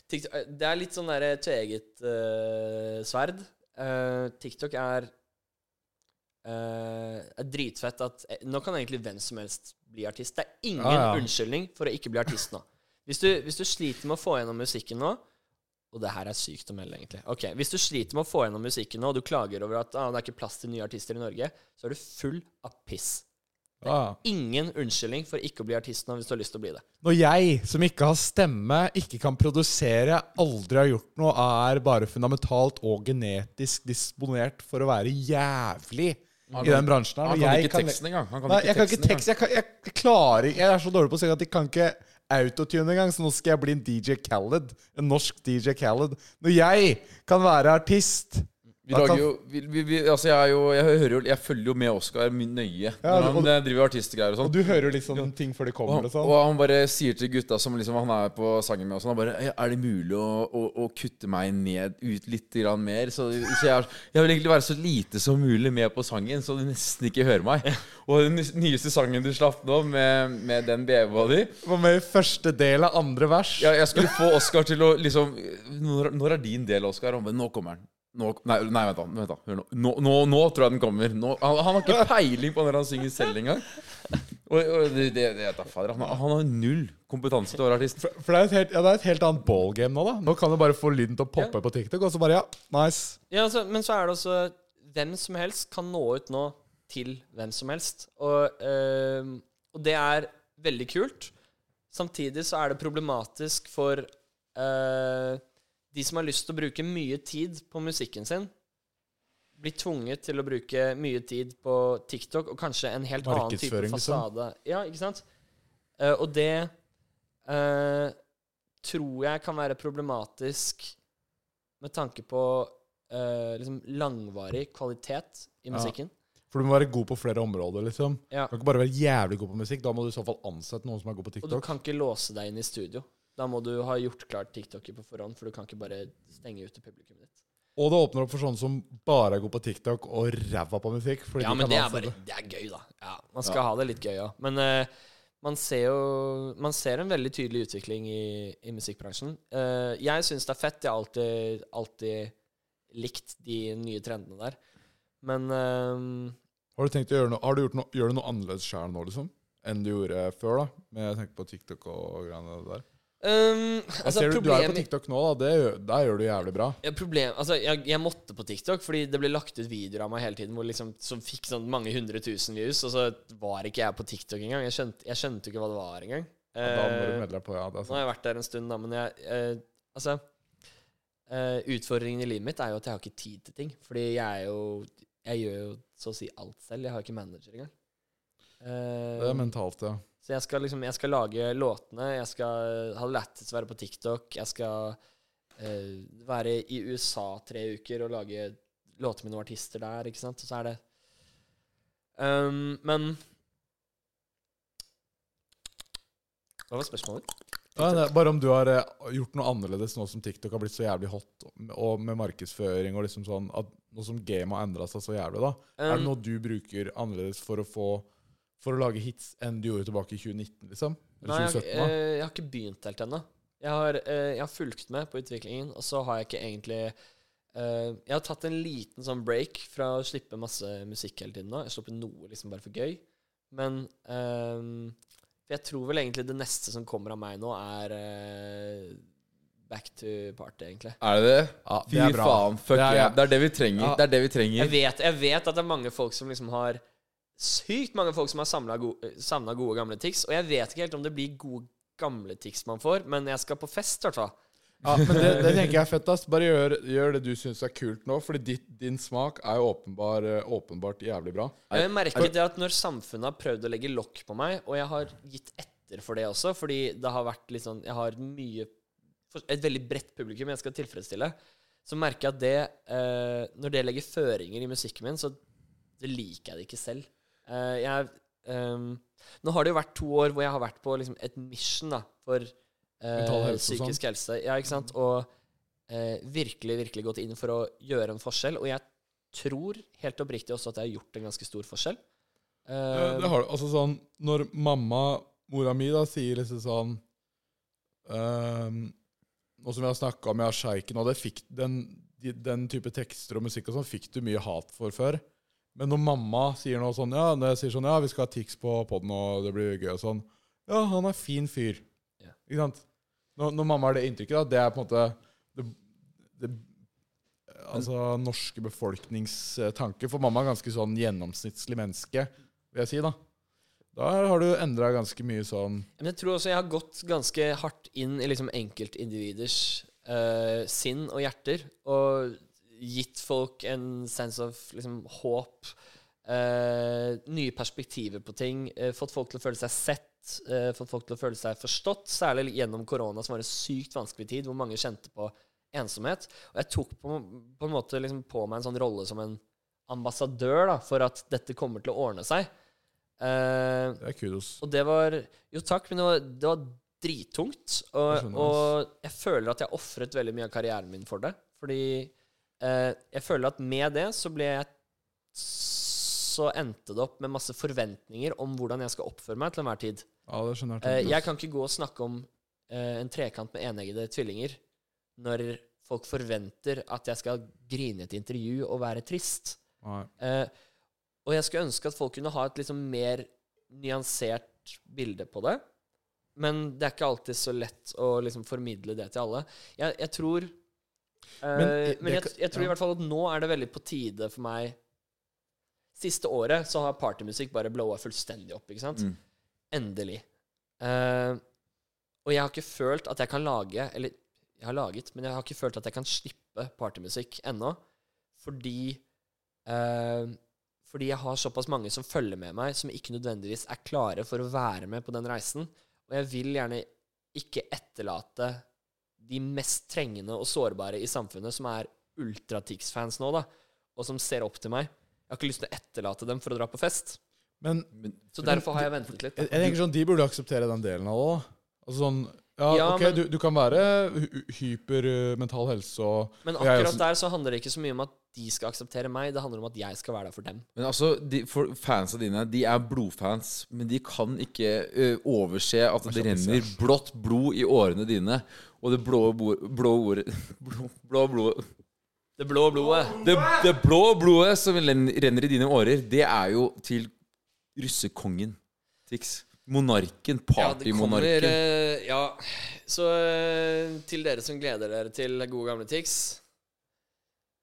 S1: TikTok, det er litt sånn derre tveegget eh, sverd. Eh, TikTok er eh, er dritfett at eh, Nå kan egentlig hvem som helst bli artist. Det er ingen
S2: Ja, ja.
S1: unnskyldning for å ikke bli artist nå. Hvis du, hvis du sliter med å få gjennom musikken nå Og det her er sykt å melde, egentlig. Ok, Hvis du sliter med å få gjennom musikken nå, og du klager over at ah, det er ikke plass til nye artister i Norge, så er du full av piss.
S2: Ja. ja.
S1: Ingen unnskyldning for ikke å bli artist nå hvis du har lyst til å bli det.
S2: Når jeg, som ikke har stemme, ikke kan produsere, aldri har gjort noe, er bare fundamentalt og genetisk disponert for å være jævlig i den bransjen her.
S3: Han
S2: og
S3: kan
S2: jeg
S3: ikke teksten engang. Han kan
S2: Nei, jeg
S3: ikke
S2: kan ikke
S3: teksten engang.
S2: tekst. Jeg, kan, jeg klarer ikke Jeg er så dårlig på å si at jeg kan ikke autotune engang, så nå skal jeg bli en DJ Khaled. En norsk DJ Khaled. Når jeg kan være artist
S3: Vi
S2: Da
S3: lager
S2: kan-
S3: jo vi, vi, vi, Altså, jeg er jo Jeg hører jo Jeg følger jo med Oskar mye
S2: Ja,
S3: nøye når
S2: og-
S3: han eh, driver artistgreier og sånn.
S2: Og du hører jo liksom ting før de kommer
S3: Og,
S2: og sånn.
S3: og han bare sier til gutta som liksom han er på sangen med og sånn, han bare Er det mulig å, å, å kutte meg ned ut litt grann mer? Så, så jeg, jeg vil egentlig være så lite som mulig med på sangen, så du nesten ikke hører meg. Og den nyeste sangen du slapp nå, med, med den BH-a di
S2: Var med i første del av andre vers.
S3: jeg, jeg skulle få Oskar til å liksom Når, når er din del, Oskar? Han bare, Nå kommer den. Nå, nei, nei, vent da. Vent da hør nå. Nå, nå, nå tror jeg den kommer. Nå, han, han har ikke peiling på når han synger selv engang. Og, og det, det, det, da, fader, han, har- han har null kompetanse til å være artist.
S2: For det er, et helt, ja, det er et helt annet ballgame nå, da. Nå kan du bare få lyden til å poppe på TikTok, og så bare ja, nice.
S1: Ja, altså, men så er det også Hvem som helst kan nå ut nå til hvem som helst. Og, ehm, og det er veldig kult. Samtidig så er det problematisk for eh, de som har lyst til å bruke mye tid på musikken sin, blir tvunget til å bruke mye tid på TikTok og kanskje en helt annen type
S2: Markedsføring, liksom.
S1: fasade. Ja, ikke sant? Eh, og det eh, tror jeg kan være problematisk med tanke på eh, liksom langvarig kvalitet i musikken.
S2: For du må være god på flere områder, liksom.
S1: Ja.
S2: Du kan ikke bare være jævlig god på musikk. Da må du i så fall ansette noen som er god på
S1: Og du
S2: TikTok.
S1: kan ikke låse deg inn i studio. Da må du ha gjort klart TikToker på forhånd, for du kan ikke bare stenge ute publikummet ditt.
S2: Og det åpner opp for sånne som bare er god på TikTok og ræva på musikk. fordi
S1: Ja,
S2: de
S1: men
S2: kan
S1: det er
S2: ansette.
S1: bare Det er gøy, da. Ja, man skal ha det litt gøy òg. Men eh, man ser jo Man ser en veldig tydelig utvikling i, i musikkbransjen. Eh, jeg syns det er fett. Jeg har alltid, alltid likt de nye trendene der. Men eh,
S2: Har du tenkt å gjøre noe, har du gjort noe, gjør du noe annerledes sjøl nå, liksom? Enn du gjorde før, da? Med jeg tenker på TikTok og greiene der.
S1: ehm,
S2: Jeg
S1: altså,
S2: ser du, du er jo på
S1: problemet-
S2: TikTok nå, da. Det, gjør- der gjør du jævlig bra.
S1: Ja, problem, altså, jeg, jeg måtte på TikTok, fordi det ble lagt ut videoer av meg hele tiden hvor liksom, som fikk sånn mange hundre tusen views, og så var ikke jeg på TikTok engang. Jeg skjønte, jeg skjønte ikke hva det var engang.
S2: Ja, Da må du
S1: Eh,
S2: melde deg på, ja. Det er
S1: nå har
S2: sant.
S1: jeg vært der en stund, da, men jeg eh, Altså eh, Utfordringen i livet mitt er jo at jeg har ikke tid til ting. Fordi jeg er jo Jeg gjør jo så å si alt selv. Jeg har ikke manager engang. Eh,
S2: Det er mentalt, ja.
S1: så jeg skal liksom Jeg skal lage låtene, jeg skal ha det lættis være på TikTok, jeg skal eh, være i USA tre uker og lage låter med noen artister der, ikke sant. Og så er det Ehm, Men Hva var spørsmålet?
S2: Ja, det er bare om du har eh, gjort noe annerledes nå som TikTok har blitt så jævlig hot, og med markedsføring og liksom sånn at Nå som gamet har endra seg så jævlig, da. er det
S1: Um,
S2: noe du bruker annerledes for å få For å lage hits enn du gjorde tilbake i 2019, liksom?
S1: Nei,
S2: Eller
S1: jeg,
S2: 2017?
S1: eh,
S2: da?
S1: jeg har ikke begynt helt ennå. Jeg, har, eh, jeg har fulgt med på utviklingen, og så har jeg ikke egentlig eh, Jeg har tatt en liten sånn break fra å slippe masse musikk hele tiden nå. Jeg har sluppet noe liksom bare for gøy. Men eh, for jeg tror vel egentlig det neste som kommer av meg nå, er eh, back to party, egentlig.
S3: Er det det?
S2: Ja, det
S3: Fy
S2: er bra.
S3: faen. Fuck
S2: Det er-
S3: yeah. Det er det vi trenger.
S2: Ja.
S3: Det er det vi
S1: Jeg
S3: trenger.
S1: vet, jeg vet at det er mange folk som liksom har Sykt mange folk som har samla gode, gode, gamle tics. Og jeg vet ikke helt om det blir gode, gamle tics man får, men jeg skal på fest, i hvert fall.
S2: Ja, men det, det tenker jeg er fett. ass. Bare gjør, gjør det du syns er kult nå, Fordi ditt, din smak er jo åpenbar, eh, åpenbart jævlig bra.
S1: Jeg merker det at når samfunnet har prøvd å legge lokk på meg, og jeg har gitt etter for det også, fordi det har vært litt sånn Jeg har mye Et veldig bredt publikum jeg skal tilfredsstille. Så merker jeg at det eh, Når det legger føringer i musikken min, så det liker jeg det ikke selv. Eh, jeg ehm, Nå har det jo vært to år hvor jeg har vært på liksom, et mission da for eh,
S2: Mental helse og sånn.
S1: psykisk helse. Ja, ikke sant? Og eh, virkelig, virkelig gått inn for å gjøre en forskjell. Og jeg tror helt oppriktig også at jeg har gjort en ganske stor forskjell.
S2: Ja,
S1: Eh,
S2: det har du. Altså sånn, når mamma, mora mi, da, sier liksom sånn ehm, Nå som vi har snakka om, jeg har sjeiken, og det fikk den, de, den type tekster og musikk og sånn, fikk du mye hat for før. Men når mamma sier noe sånn Ja, når jeg sier sånn, ja, vi skal ha Tix på poden, og det blir gøy og sånn Ja, han er fin fyr.
S1: Ja.
S2: Ikke sant? Når, når mamma har det inntrykket, da, det er på en måte det, det, Altså norske befolkningstanke. For mamma er ganske sånn gjennomsnittlig menneske vil jeg si, da. Da har du endra ganske mye sånn
S1: Men jeg tror også jeg har gått ganske hardt inn i liksom enkeltindividers eh, sinn og hjerter, og gitt folk en sense of liksom, håp, eh, nye perspektiver på ting, eh, fått folk til å føle seg sett, eh, fått folk til å føle seg forstått, særlig gjennom korona, som var en sykt vanskelig tid, hvor mange kjente på ensomhet. Og jeg tok på, på en måte liksom på meg en sånn rolle som en ambassadør da, for at dette kommer til å ordne seg. Eh,
S2: Det er kudos.
S1: og det var Jo takk, men det var, det var drittungt. Og
S2: Jeg
S1: jeg,
S2: skjønner,
S1: og jeg føler at jeg ofret veldig mye av karrieren min for det. Fordi eh, jeg føler at med det så ble jeg Så endte det opp med masse forventninger om hvordan jeg skal oppføre meg til enhver tid.
S2: Ja, det skjønner
S1: Eh,
S2: jeg.
S1: jeg kan ikke gå og snakke om eh, en trekant med eneggede tvillinger når folk forventer at jeg skal grine i et intervju og være trist.
S2: Nei.
S1: Eh, og jeg skulle ønske at folk kunne ha et liksom mer nyansert bilde på det. Men det er ikke alltid så lett å liksom formidle det til alle. Jeg, jeg tror eh, Men,
S2: det
S1: jeg,
S2: kan-
S1: jeg tror
S2: ja.
S1: i hvert fall at nå er det veldig på tide for meg Siste året så har partymusikk bare blowa fullstendig opp, ikke sant?
S3: Mm.
S1: Endelig. Eh, og jeg har ikke følt at jeg kan lage Eller jeg har laget, men jeg har ikke følt at jeg kan slippe partymusikk ennå. Fordi eh, Fordi jeg har såpass mange som følger med meg, som ikke nødvendigvis er klare for å være med på den reisen. Og jeg vil gjerne ikke etterlate de mest trengende og sårbare i samfunnet, som er ultratix-fans nå, da, og som ser opp til meg. Jeg har ikke lyst til å etterlate dem for å dra på fest.
S2: Men
S1: Så derfor har jeg ventet litt.
S2: jeg, jeg tenker sånn, de burde akseptere den delen av det òg. Altså sånn Ja,
S1: Ja,
S2: ok,
S1: men-
S2: du, du kan være hy- hyper eh, mental helse og
S1: Men
S2: og jeg
S1: akkurat
S2: også-
S1: der så handler det ikke så mye om at de skal akseptere meg, det handler om at jeg skal være der for dem.
S3: Men altså, de, for fansa dine De er blodfans, men de kan ikke ø, overse at det renner blått blod i årene dine. Og det blå, bo- blå ordet blå, blå blodet
S1: Det blå blodet.
S3: det, det blå blodet som len- renner i dine årer, det er jo til russekongen. Tix.
S1: Ja,
S3: Monarken.
S1: det kommer
S3: Partymonarken.
S1: eh, Ja. Så eh, til dere som gleder dere til gode gamle Tix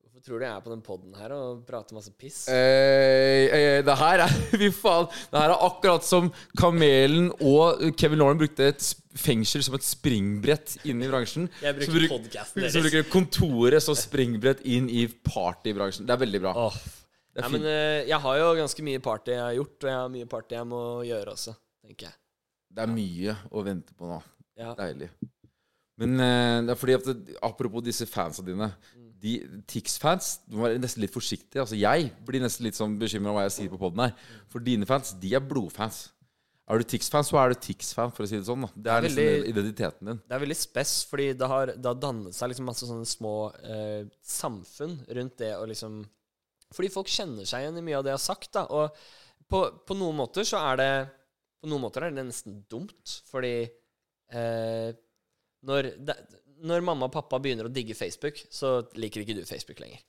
S1: Hvorfor tror du jeg er på den poden her og prater masse piss?
S3: Eh, eh, det her er Fy faen. Det her er akkurat som Kamelen og Kevin Lauren brukte et sp- fengsel som et springbrett inn i bransjen.
S1: Jeg
S3: Så
S1: bruker
S3: bruk-
S1: podcasten deres.
S3: Så bruker du kontoret som springbrett inn i partybransjen. Det er veldig bra.
S1: Åh.
S3: Det er
S1: Nei,
S3: fint.
S1: men eh, jeg har jo ganske mye party jeg har gjort, og jeg har mye party jeg må gjøre også, tenker jeg.
S3: Det er mye å vente på nå.
S1: Ja.
S3: Deilig. Men eh, det er fordi at det, apropos disse fansa dine. De Tix-fans Du må være nesten litt forsiktig. Altså Jeg blir nesten litt sånn bekymra hva jeg sier på poden her. For dine fans, de er blodfans. Er du Tix-fan, så er du Tix-fan, for å si det sånn. Da. Det er nesten
S1: Veldig-
S3: identiteten din.
S1: Det er veldig spess, fordi det har, det har dannet seg liksom masse sånne små eh, samfunn rundt det å liksom Fordi folk kjenner seg igjen i mye av det jeg har sagt, da. Og på, på noen måter så er det På noen måter er det nesten dumt, fordi eh, når, det, når mamma og pappa begynner å digge Facebook, så liker ikke du Facebook lenger.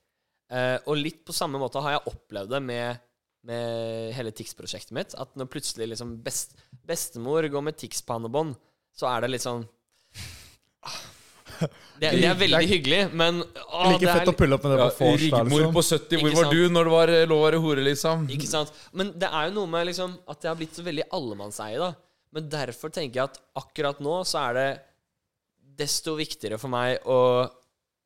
S1: Eh, og litt på samme måte har jeg opplevd det med, med hele Tix-prosjektet mitt. At når plutselig liksom best, bestemor går med Tix-pannebånd, så er det litt sånn ah, det, det er veldig hyggelig, men å,
S2: Like
S1: det er
S2: fett å pulle opp med det
S3: Ja,
S2: på vors. da,
S3: Rigmor
S2: liksom.
S3: på 70, hvor
S1: Ikke
S3: var
S1: sant?
S3: du når det var eh, lov å være hore, liksom?
S1: Ikke sant? Men det er jo noe med liksom at det har blitt så veldig allemannseie, da. Men derfor tenker jeg at akkurat nå så er det desto viktigere for meg å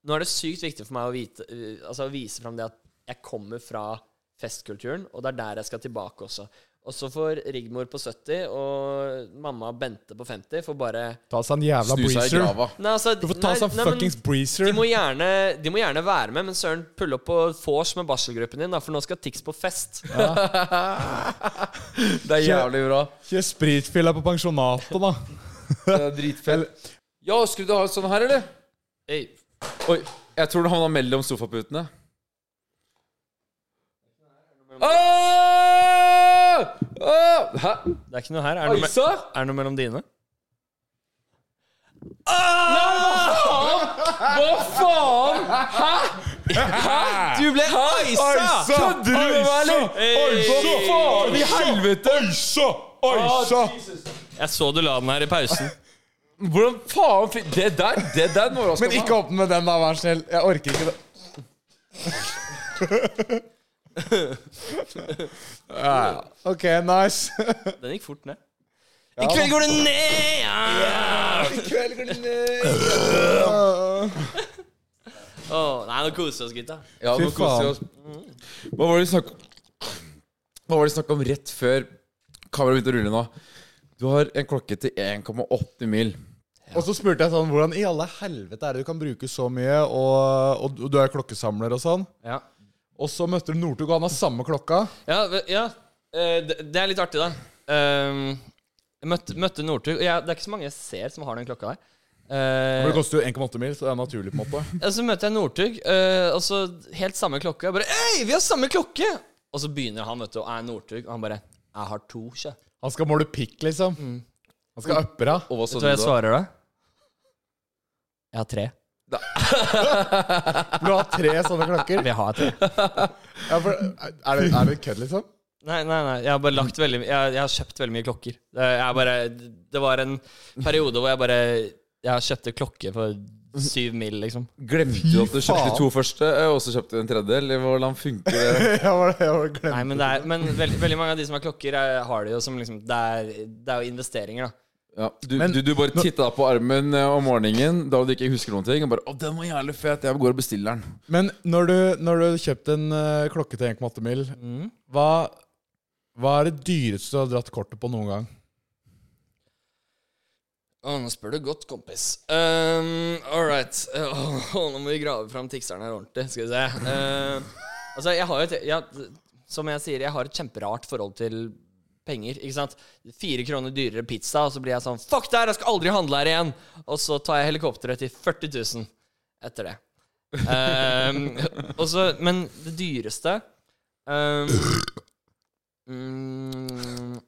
S1: Nå er det sykt viktig for meg å vite, eh, altså, å vise fram det at jeg kommer fra festkulturen, og det er der jeg skal tilbake også. Og så får Rigmor på 70 og mamma Bente på 50 får bare
S2: Ta seg en jævla
S3: Snu seg i
S2: breezer.
S3: grava.
S1: Nei, altså
S2: Du får ta
S1: nei,
S2: seg en
S1: nei, men-
S2: fuckings breezer.
S1: de må, gjerne, de må gjerne være med, men søren, pull opp på vors med barselgruppen din, da, for nå skal Tix på fest.
S3: Det er jævlig bra.
S2: Kjør spritfilla på pensjonatet, da.
S3: Det er dritfett. Ja, skulle du ha sånn her, eller?
S1: Hey,
S3: Oi, jeg tror den havna mellom sofaputene. Åh! Åh! Hæ?
S1: det er ikke noe her. Er det noe, me-
S3: Aisa?
S1: er det noe mellom dine?
S3: Hva faen? Hæ? Hæ?
S1: Du ble
S2: Aisa!
S1: aisa!
S3: Kødder du med meg, eller? Hva faen i helvete?
S2: Aisa!
S1: Ah,
S2: Aisa!
S1: Jeg så du la den her i pausen.
S3: Hvordan faen fikk Det der det der overraska
S2: Men
S3: meg.
S2: ikke åpne med den, da, vær så snill. Jeg orker ikke det. Ja, OK, nice.
S1: Den gikk fort ned. I kveld går det ned! ja. Åh, nei, nå koser vi oss, gutta.
S3: Ja, nå
S2: Fy
S3: koser vi oss. Hva var det vi snakka Hva var det vi snakka om rett før kameraet begynte å rulle nå? Du har en klokke til 1,8 mil.
S2: Og så spurte jeg sånn Hvordan i alle helvete er det du kan bruke så mye, og, og du- du er klokkesamler og sånn?
S1: Ja.
S2: Og så møtte du Northug, og han har samme klokka.
S1: Ja, ve- ja. Eh, det, det er litt artig, da. Ehm, jeg møtte, møtte Northug. og jeg- Det er ikke så mange jeg ser som har den klokka der.
S2: Men
S1: Eh,
S2: det koster jo 1,8 mil, så det er naturlig, på en måte.
S1: og så møter jeg Northug, eh, og så helt samme klokke. Jeg bare 'Hei, vi har samme klokke!' Og så begynner han, vet du, og er Northug, og han bare 'Jeg har to, sjø'.
S2: Han skal måle pikk, liksom. Han skal uppe deg.
S3: Og hva sa
S1: Vet
S3: du
S1: du hva jeg
S3: da?
S1: svarer da? Jeg har tre.
S2: Du har tre sånne klokker.
S1: Vi har tre.
S2: Ja, for, er det, er det kødd, liksom?
S1: Nei, nei, nei. Jeg har bare lagt veldig Jeg, jeg har kjøpt veldig mye klokker. Det- Jeg bare Det var en periode hvor jeg bare Jeg kjøpte klokke for syv mil, liksom.
S3: Glemte du at du kjøpte
S2: faen.
S3: to første, eh, og så kjøpte du en tredje? Eller hvordan funker det?
S2: Jeg var, jeg var glemt.
S1: Nei, men, det er, men veldig, veldig mange av de som har klokker, er, har det jo som liksom Det er, det er jo investeringer, da.
S3: Ja, du,
S2: Men-
S3: du, du bare titta deg på armen eh, om morgenen da du ikke husker noen ting. Og bare 'Å, den var jævlig fet. Jeg går og bestiller den'.
S2: Men når du, når du kjøpte en eh, klokke til 1,8 mil, hva, hva er det dyreste du har dratt kortet på noen gang?
S1: Å, nå spør du godt, kompis. Um, All right. Åh, nå må vi grave fram tikseren her ordentlig. Skal vi se. Eh, altså, jeg har jo et jeg, Som jeg sier, jeg har et kjemperart forhold til penger. Ikke sant? Fire kroner dyrere pizza, og så blir jeg sånn Fuck det her, jeg skal aldri handle her igjen! Og så tar jeg helikopteret til 40 000 etter det. Eh, og så- men det dyreste eh, mm,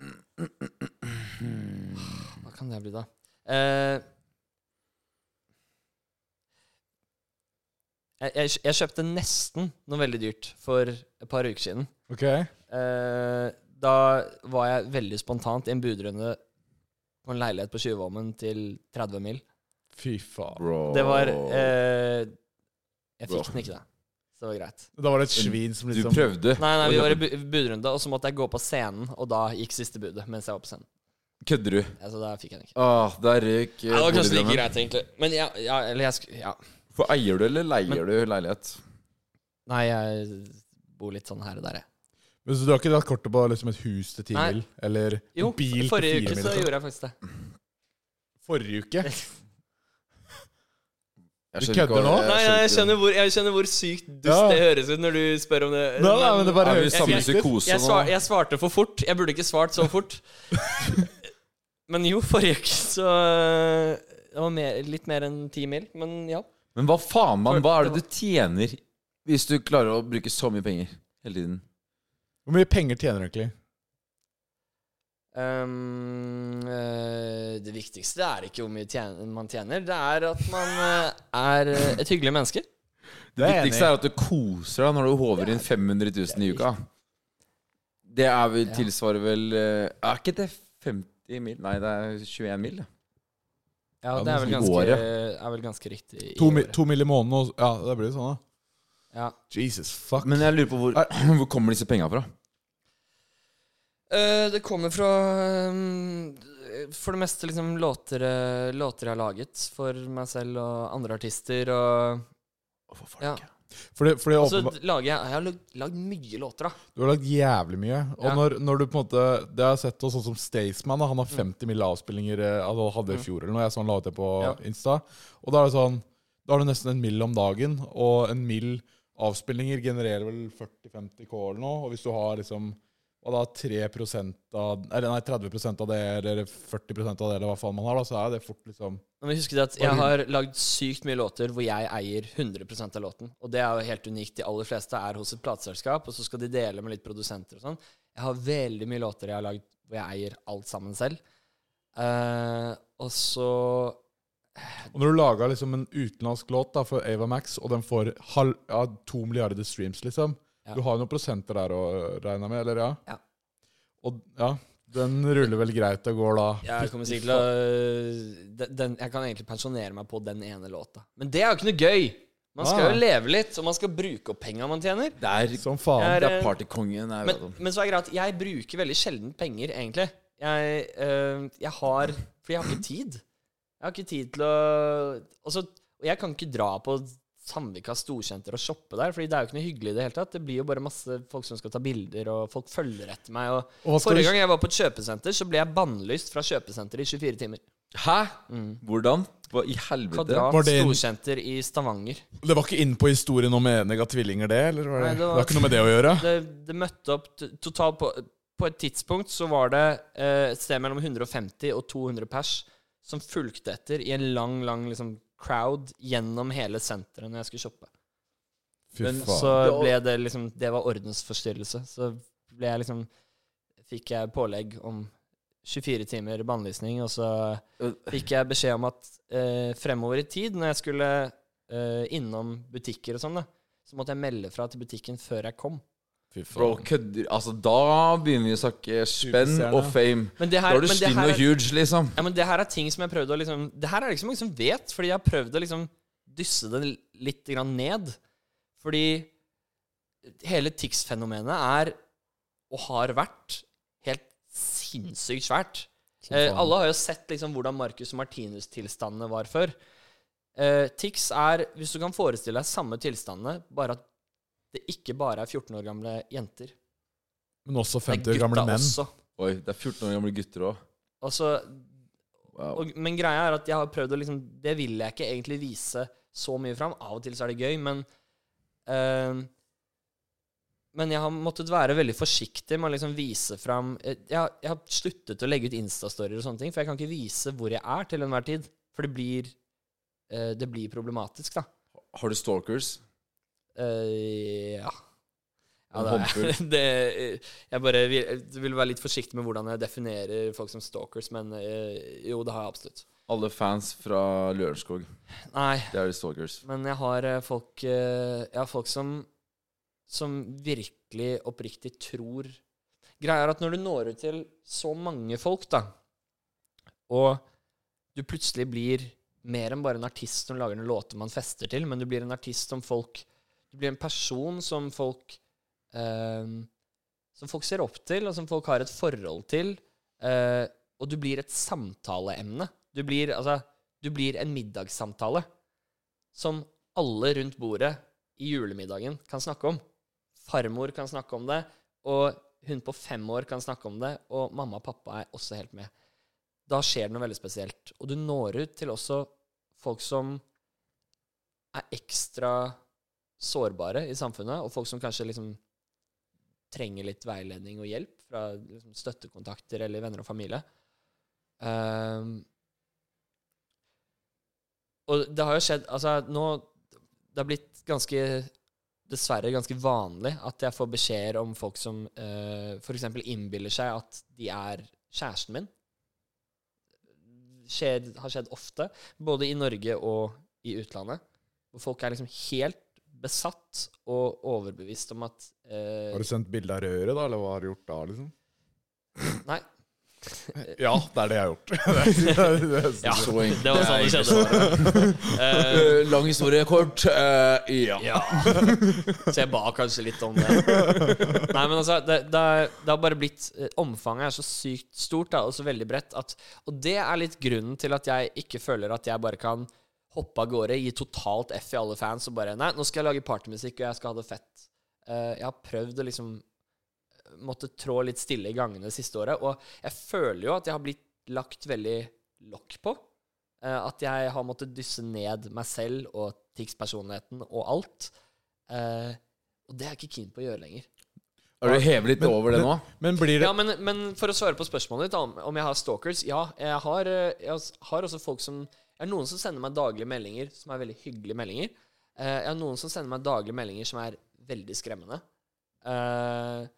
S1: Hmm. Hva kan det bli, da? Eh, jeg, jeg, jeg kjøpte nesten noe veldig dyrt for et par uker siden.
S2: Ok.
S1: Eh, da var jeg veldig spontant i en budrunde på en leilighet på Tjuvholmen til 30 mil.
S2: Fy faen.
S3: Bro.
S1: Det var eh, Jeg
S3: Bra.
S1: fikk den ikke, da. Så det var greit.
S2: Da var det et svin som
S3: Du
S2: liksom
S3: prøvde.
S1: Nei, nei, vi
S3: å
S1: var i
S3: kjøpe-
S1: bu- budrunde, og så måtte jeg gå på scenen, og da gikk siste budet. Mens jeg var på scenen.
S3: Kødder du?
S1: Ja, Så da fikk jeg den ikke.
S3: Ah, der røyk eh,
S1: Ja, det var kanskje
S3: boligdrømmen.
S1: like greit, egentlig. Men ja, ja eller jeg skulle ja.
S3: For eier du, eller leier du leilighet?
S1: Nei, jeg bor litt sånn her og der, jeg.
S2: Men Så du har ikke dratt kortet på liksom et hus til ti
S1: Nei.
S2: mil? Eller
S1: Jo,
S2: en bil til
S1: forrige
S2: fire
S1: uke
S2: mil? liksom?
S1: så gjorde jeg faktisk det.
S2: Forrige uke?
S3: Jeg
S2: Du
S3: skjønner
S2: kødder
S3: ikke
S2: nå?
S3: hva-
S1: Nei, nei, jeg skjønner hvor, jeg skjønner hvor sykt dust
S2: Ja.
S1: det høres ut når du spør om det.
S2: Nei, nei, men det bare
S3: Er vi
S2: høres
S3: i samme
S2: sykt ut.
S3: psykose
S1: jeg,
S3: nå?
S1: svar, jeg svarte for fort. Jeg burde ikke svart så fort. Men jo, forrige uke så eh, Det var mer, litt mer enn ti mil, men ja.
S3: Men hva faen, mann?
S1: For-
S3: Hva er det du tjener hvis du klarer å bruke så mye penger hele tiden?
S2: Hvor mye penger tjener du egentlig?
S1: Ehm, eh, det viktigste er ikke hvor mye tjener, man tjener, det er at man eh, er eh, et hyggelig menneske.
S3: Det
S2: er jeg
S3: viktigste er at du koser deg når du håver inn 500 000 i uka. Det er vel,
S1: Ja.
S3: tilsvarer vel eh, Er ikke det 50 mil? Nei, det er 21 mil. da.
S1: Ja,
S3: Ja,
S1: det
S3: men
S1: er vel
S3: i
S1: ganske,
S3: året.
S1: er vel ganske riktig. i
S2: To, mi,
S1: året.
S2: to mil i måneden? Og, ja, det blir jo sånn, da.
S1: Ja.
S2: Jesus fuck.
S3: Men jeg lurer på hvor, hvor kommer disse penga fra?
S1: Eh, det kommer fra ehm, For det meste liksom låter, eh, låter jeg har laget for meg selv og andre artister. Og, Ja.
S2: For det, for det
S1: og så
S2: åpenbart-
S1: lager jeg Jeg har lagd, lagd mye låter, da.
S2: Du har lagd jævlig mye. Og
S1: Ja.
S2: når, når du på en måte Det har jeg sett hos sånn som Staysman. da, Han har 50 mill. avspillinger eh, altså, han hadde i
S1: Mm.
S2: fjor eller noe. Jeg så han la ut det på
S1: Ja.
S2: Insta. Og da er det sånn Da har du nesten en mill. om dagen. Og en mill. avspillinger genererer vel 40-50 K eller noe. Og hvis du har liksom hva da, 3 av, eller nei, 30 av det, eller 40 av det, eller hva faen man har, da, så er det fort liksom
S1: Men husk det at jeg har lagd sykt mye låter hvor jeg eier 100 av låten. Og det er jo helt unikt. De aller fleste er hos et plateselskap, og så skal de dele med litt produsenter og sånn. Jeg har veldig mye låter jeg har lagd hvor jeg eier alt sammen selv. Eh, og så
S2: Og når du lager liksom en utenlandsk låt da, for Ava Max, og den får halv, ja, to milliarder streams, liksom
S1: Ja.
S2: Du har jo noen prosenter der å øh, regne med, eller ja?
S1: Ja.
S2: Og ja, den ruller vel greit og går da
S1: Jeg kommer sikkert til å den, den, Jeg kan egentlig pensjonere meg på den ene låta. Men det er jo ikke noe gøy! Man skal
S2: Nei.
S1: jo leve litt, og man skal bruke opp penga man tjener.
S3: Det er,
S2: Som faen.
S1: Jeg
S3: det er partykongen. det er jo
S1: eh,
S3: sånn.
S1: Men, men så er det greit at jeg bruker veldig sjelden penger, egentlig. Jeg, eh, jeg har For jeg har ikke tid. Jeg har ikke tid til å Og så- og jeg kan ikke dra på Sandvika storsenter og shoppe der, Fordi det er jo ikke noe hyggelig i det hele tatt. Det blir jo bare masse folk som skal ta bilder, og folk følger etter meg. Og
S2: Og hva skal
S1: Forrige
S2: du-
S1: gang jeg var på et kjøpesenter, så ble jeg bannlyst fra kjøpesenteret i 24 timer. Mm,
S3: Hæ? Hvordan? Hva i helvete?
S1: Kvadrat
S2: Var det en-
S1: storsenter i Stavanger.
S2: Det var ikke inn på historien om enegga tvillinger, det? eller var det?
S1: Nei, det
S2: det,
S1: var-
S2: har ikke noe med det å gjøre?
S1: Det, det møtte opp t- totalt på, på et tidspunkt så var det eh, et sted mellom 150 og 200 pers som fulgte etter i en lang, lang liksom, crowd gjennom hele senteret når jeg skulle shoppe.
S2: Fy
S3: Men
S2: faen.
S1: Så ble det liksom Det var ordensforstyrrelse. Så ble jeg liksom Fikk jeg pålegg om 24 timer bannlysning, og så fikk jeg beskjed om at eh, fremover i tid, når jeg skulle eh, innom butikker og sånn, da, så måtte jeg melde fra til butikken før jeg kom.
S2: Fy faen.
S3: Bro, kødder Altså, da begynner vi å snakke spenn
S2: Superstjerne.
S3: og fame.
S1: Men det
S3: Da
S1: her,
S3: er du
S1: men det
S3: stygg
S1: her,
S3: og huge, liksom.
S1: ja, men det her er ting som jeg prøvde å liksom Det her er det ikke så mange som vet, fordi jeg har prøvd å liksom dysse det litt grann ned. Fordi hele Tix-fenomenet er, og har vært, helt sinnssykt svært. Eh, alle har jo sett liksom hvordan Marcus og Martinus-tilstandene var før. Eh, Tix er, hvis du kan forestille deg samme tilstandene, bare at det ikke bare er 14 år gamle jenter.
S2: Men også
S1: Det er
S2: 50 år
S1: gutta
S2: gamle menn.
S1: også.
S3: Oi, det er 14 år gamle gutter òg.
S1: Og så,
S3: Wow.
S1: og, men greia er at jeg har prøvd å liksom Det vil jeg ikke egentlig vise så mye fram. Av og til så er det gøy, men eh, Men jeg har måttet være veldig forsiktig med å liksom vise fram eh, jeg, har- jeg har sluttet å legge ut Insta-storyer og sånne ting, for jeg kan ikke vise hvor jeg er til enhver tid. For det blir, eh, det blir problematisk, da.
S3: Har du stalkers?
S1: Eh, ja.
S3: En
S1: Ja, det,
S3: håndfull.
S1: det, eh, jeg bare vil, jeg vil være litt forsiktig med hvordan jeg definerer folk som stalkers, men eh, jo, det har jeg absolutt.
S3: Alle fans fra Lørenskog.
S1: Nei,
S3: Det er de stalkers.
S1: men jeg har eh, folk, eh, jeg har folk som, som virkelig oppriktig tror Greia er at når du når ut til så mange folk, da, og du plutselig blir mer enn bare en artist som lager noen låter man fester til, men du blir en artist som folk Du blir en person som folk eh, Som folk ser opp til, og som folk har et forhold til. eh, og du blir et samtaleemne. Du blir, altså, du blir en middagssamtale som alle rundt bordet i julemiddagen kan snakke om. Farmor kan snakke om det, og hun på fem år kan snakke om det, og mamma og pappa er også helt med. Da skjer det noe veldig spesielt. Og du når ut til også folk som er ekstra sårbare i samfunnet, og folk som kanskje liksom trenger litt veiledning og hjelp fra liksom støttekontakter eller venner og familie. Ehm, og det har jo skjedd Altså, nå Det har blitt ganske Dessverre ganske vanlig at jeg får beskjeder om folk som eh, for f.eks. innbiller seg at de er kjæresten min. Skjer, har skjedd ofte, både i Norge og i utlandet. Hvor folk er liksom helt besatt og overbevist om at eh,
S2: Har du sendt bilde av røret, da? Eller hva har du gjort da? liksom?
S1: Nei.
S2: Ja, det er det jeg har gjort. Det er- det er- det er-
S1: Ja,
S3: Så enkelt.
S1: det var sånn det
S3: Det
S1: skjedde. Eh,
S3: Eh, lang historie kort. Eh, ja.
S1: Ja. Så jeg ba kanskje litt om det. Nei, men altså, det, det, er- det har bare blitt eh, Omfanget er så sykt stort da, og så veldig bredt. At, og det er litt grunnen til at jeg ikke føler at jeg bare kan hoppe av gårde, gi totalt F i alle fans og bare Nei, nå skal jeg lage partymusikk, og jeg skal ha det fett. Eh, jeg har prøvd å liksom måtte trå litt stille i gangene det siste året, og jeg føler jo at jeg har blitt lagt veldig lokk på. Eh, at jeg har måttet dysse ned meg selv og TIX-personligheten og alt. Eh, og det er jeg ikke keen på å gjøre lenger.
S3: Har du hevet litt over det nå?
S2: Men blir det
S1: Ja, men, men for å svare på spørsmålet ditt om, om jeg har stalkers Ja, jeg har, eh, jeg s- har også folk som Jeg har noen som sender meg daglige meldinger som er veldig hyggelige meldinger. Eh, jeg har noen som sender meg daglige meldinger som er veldig skremmende. Eh,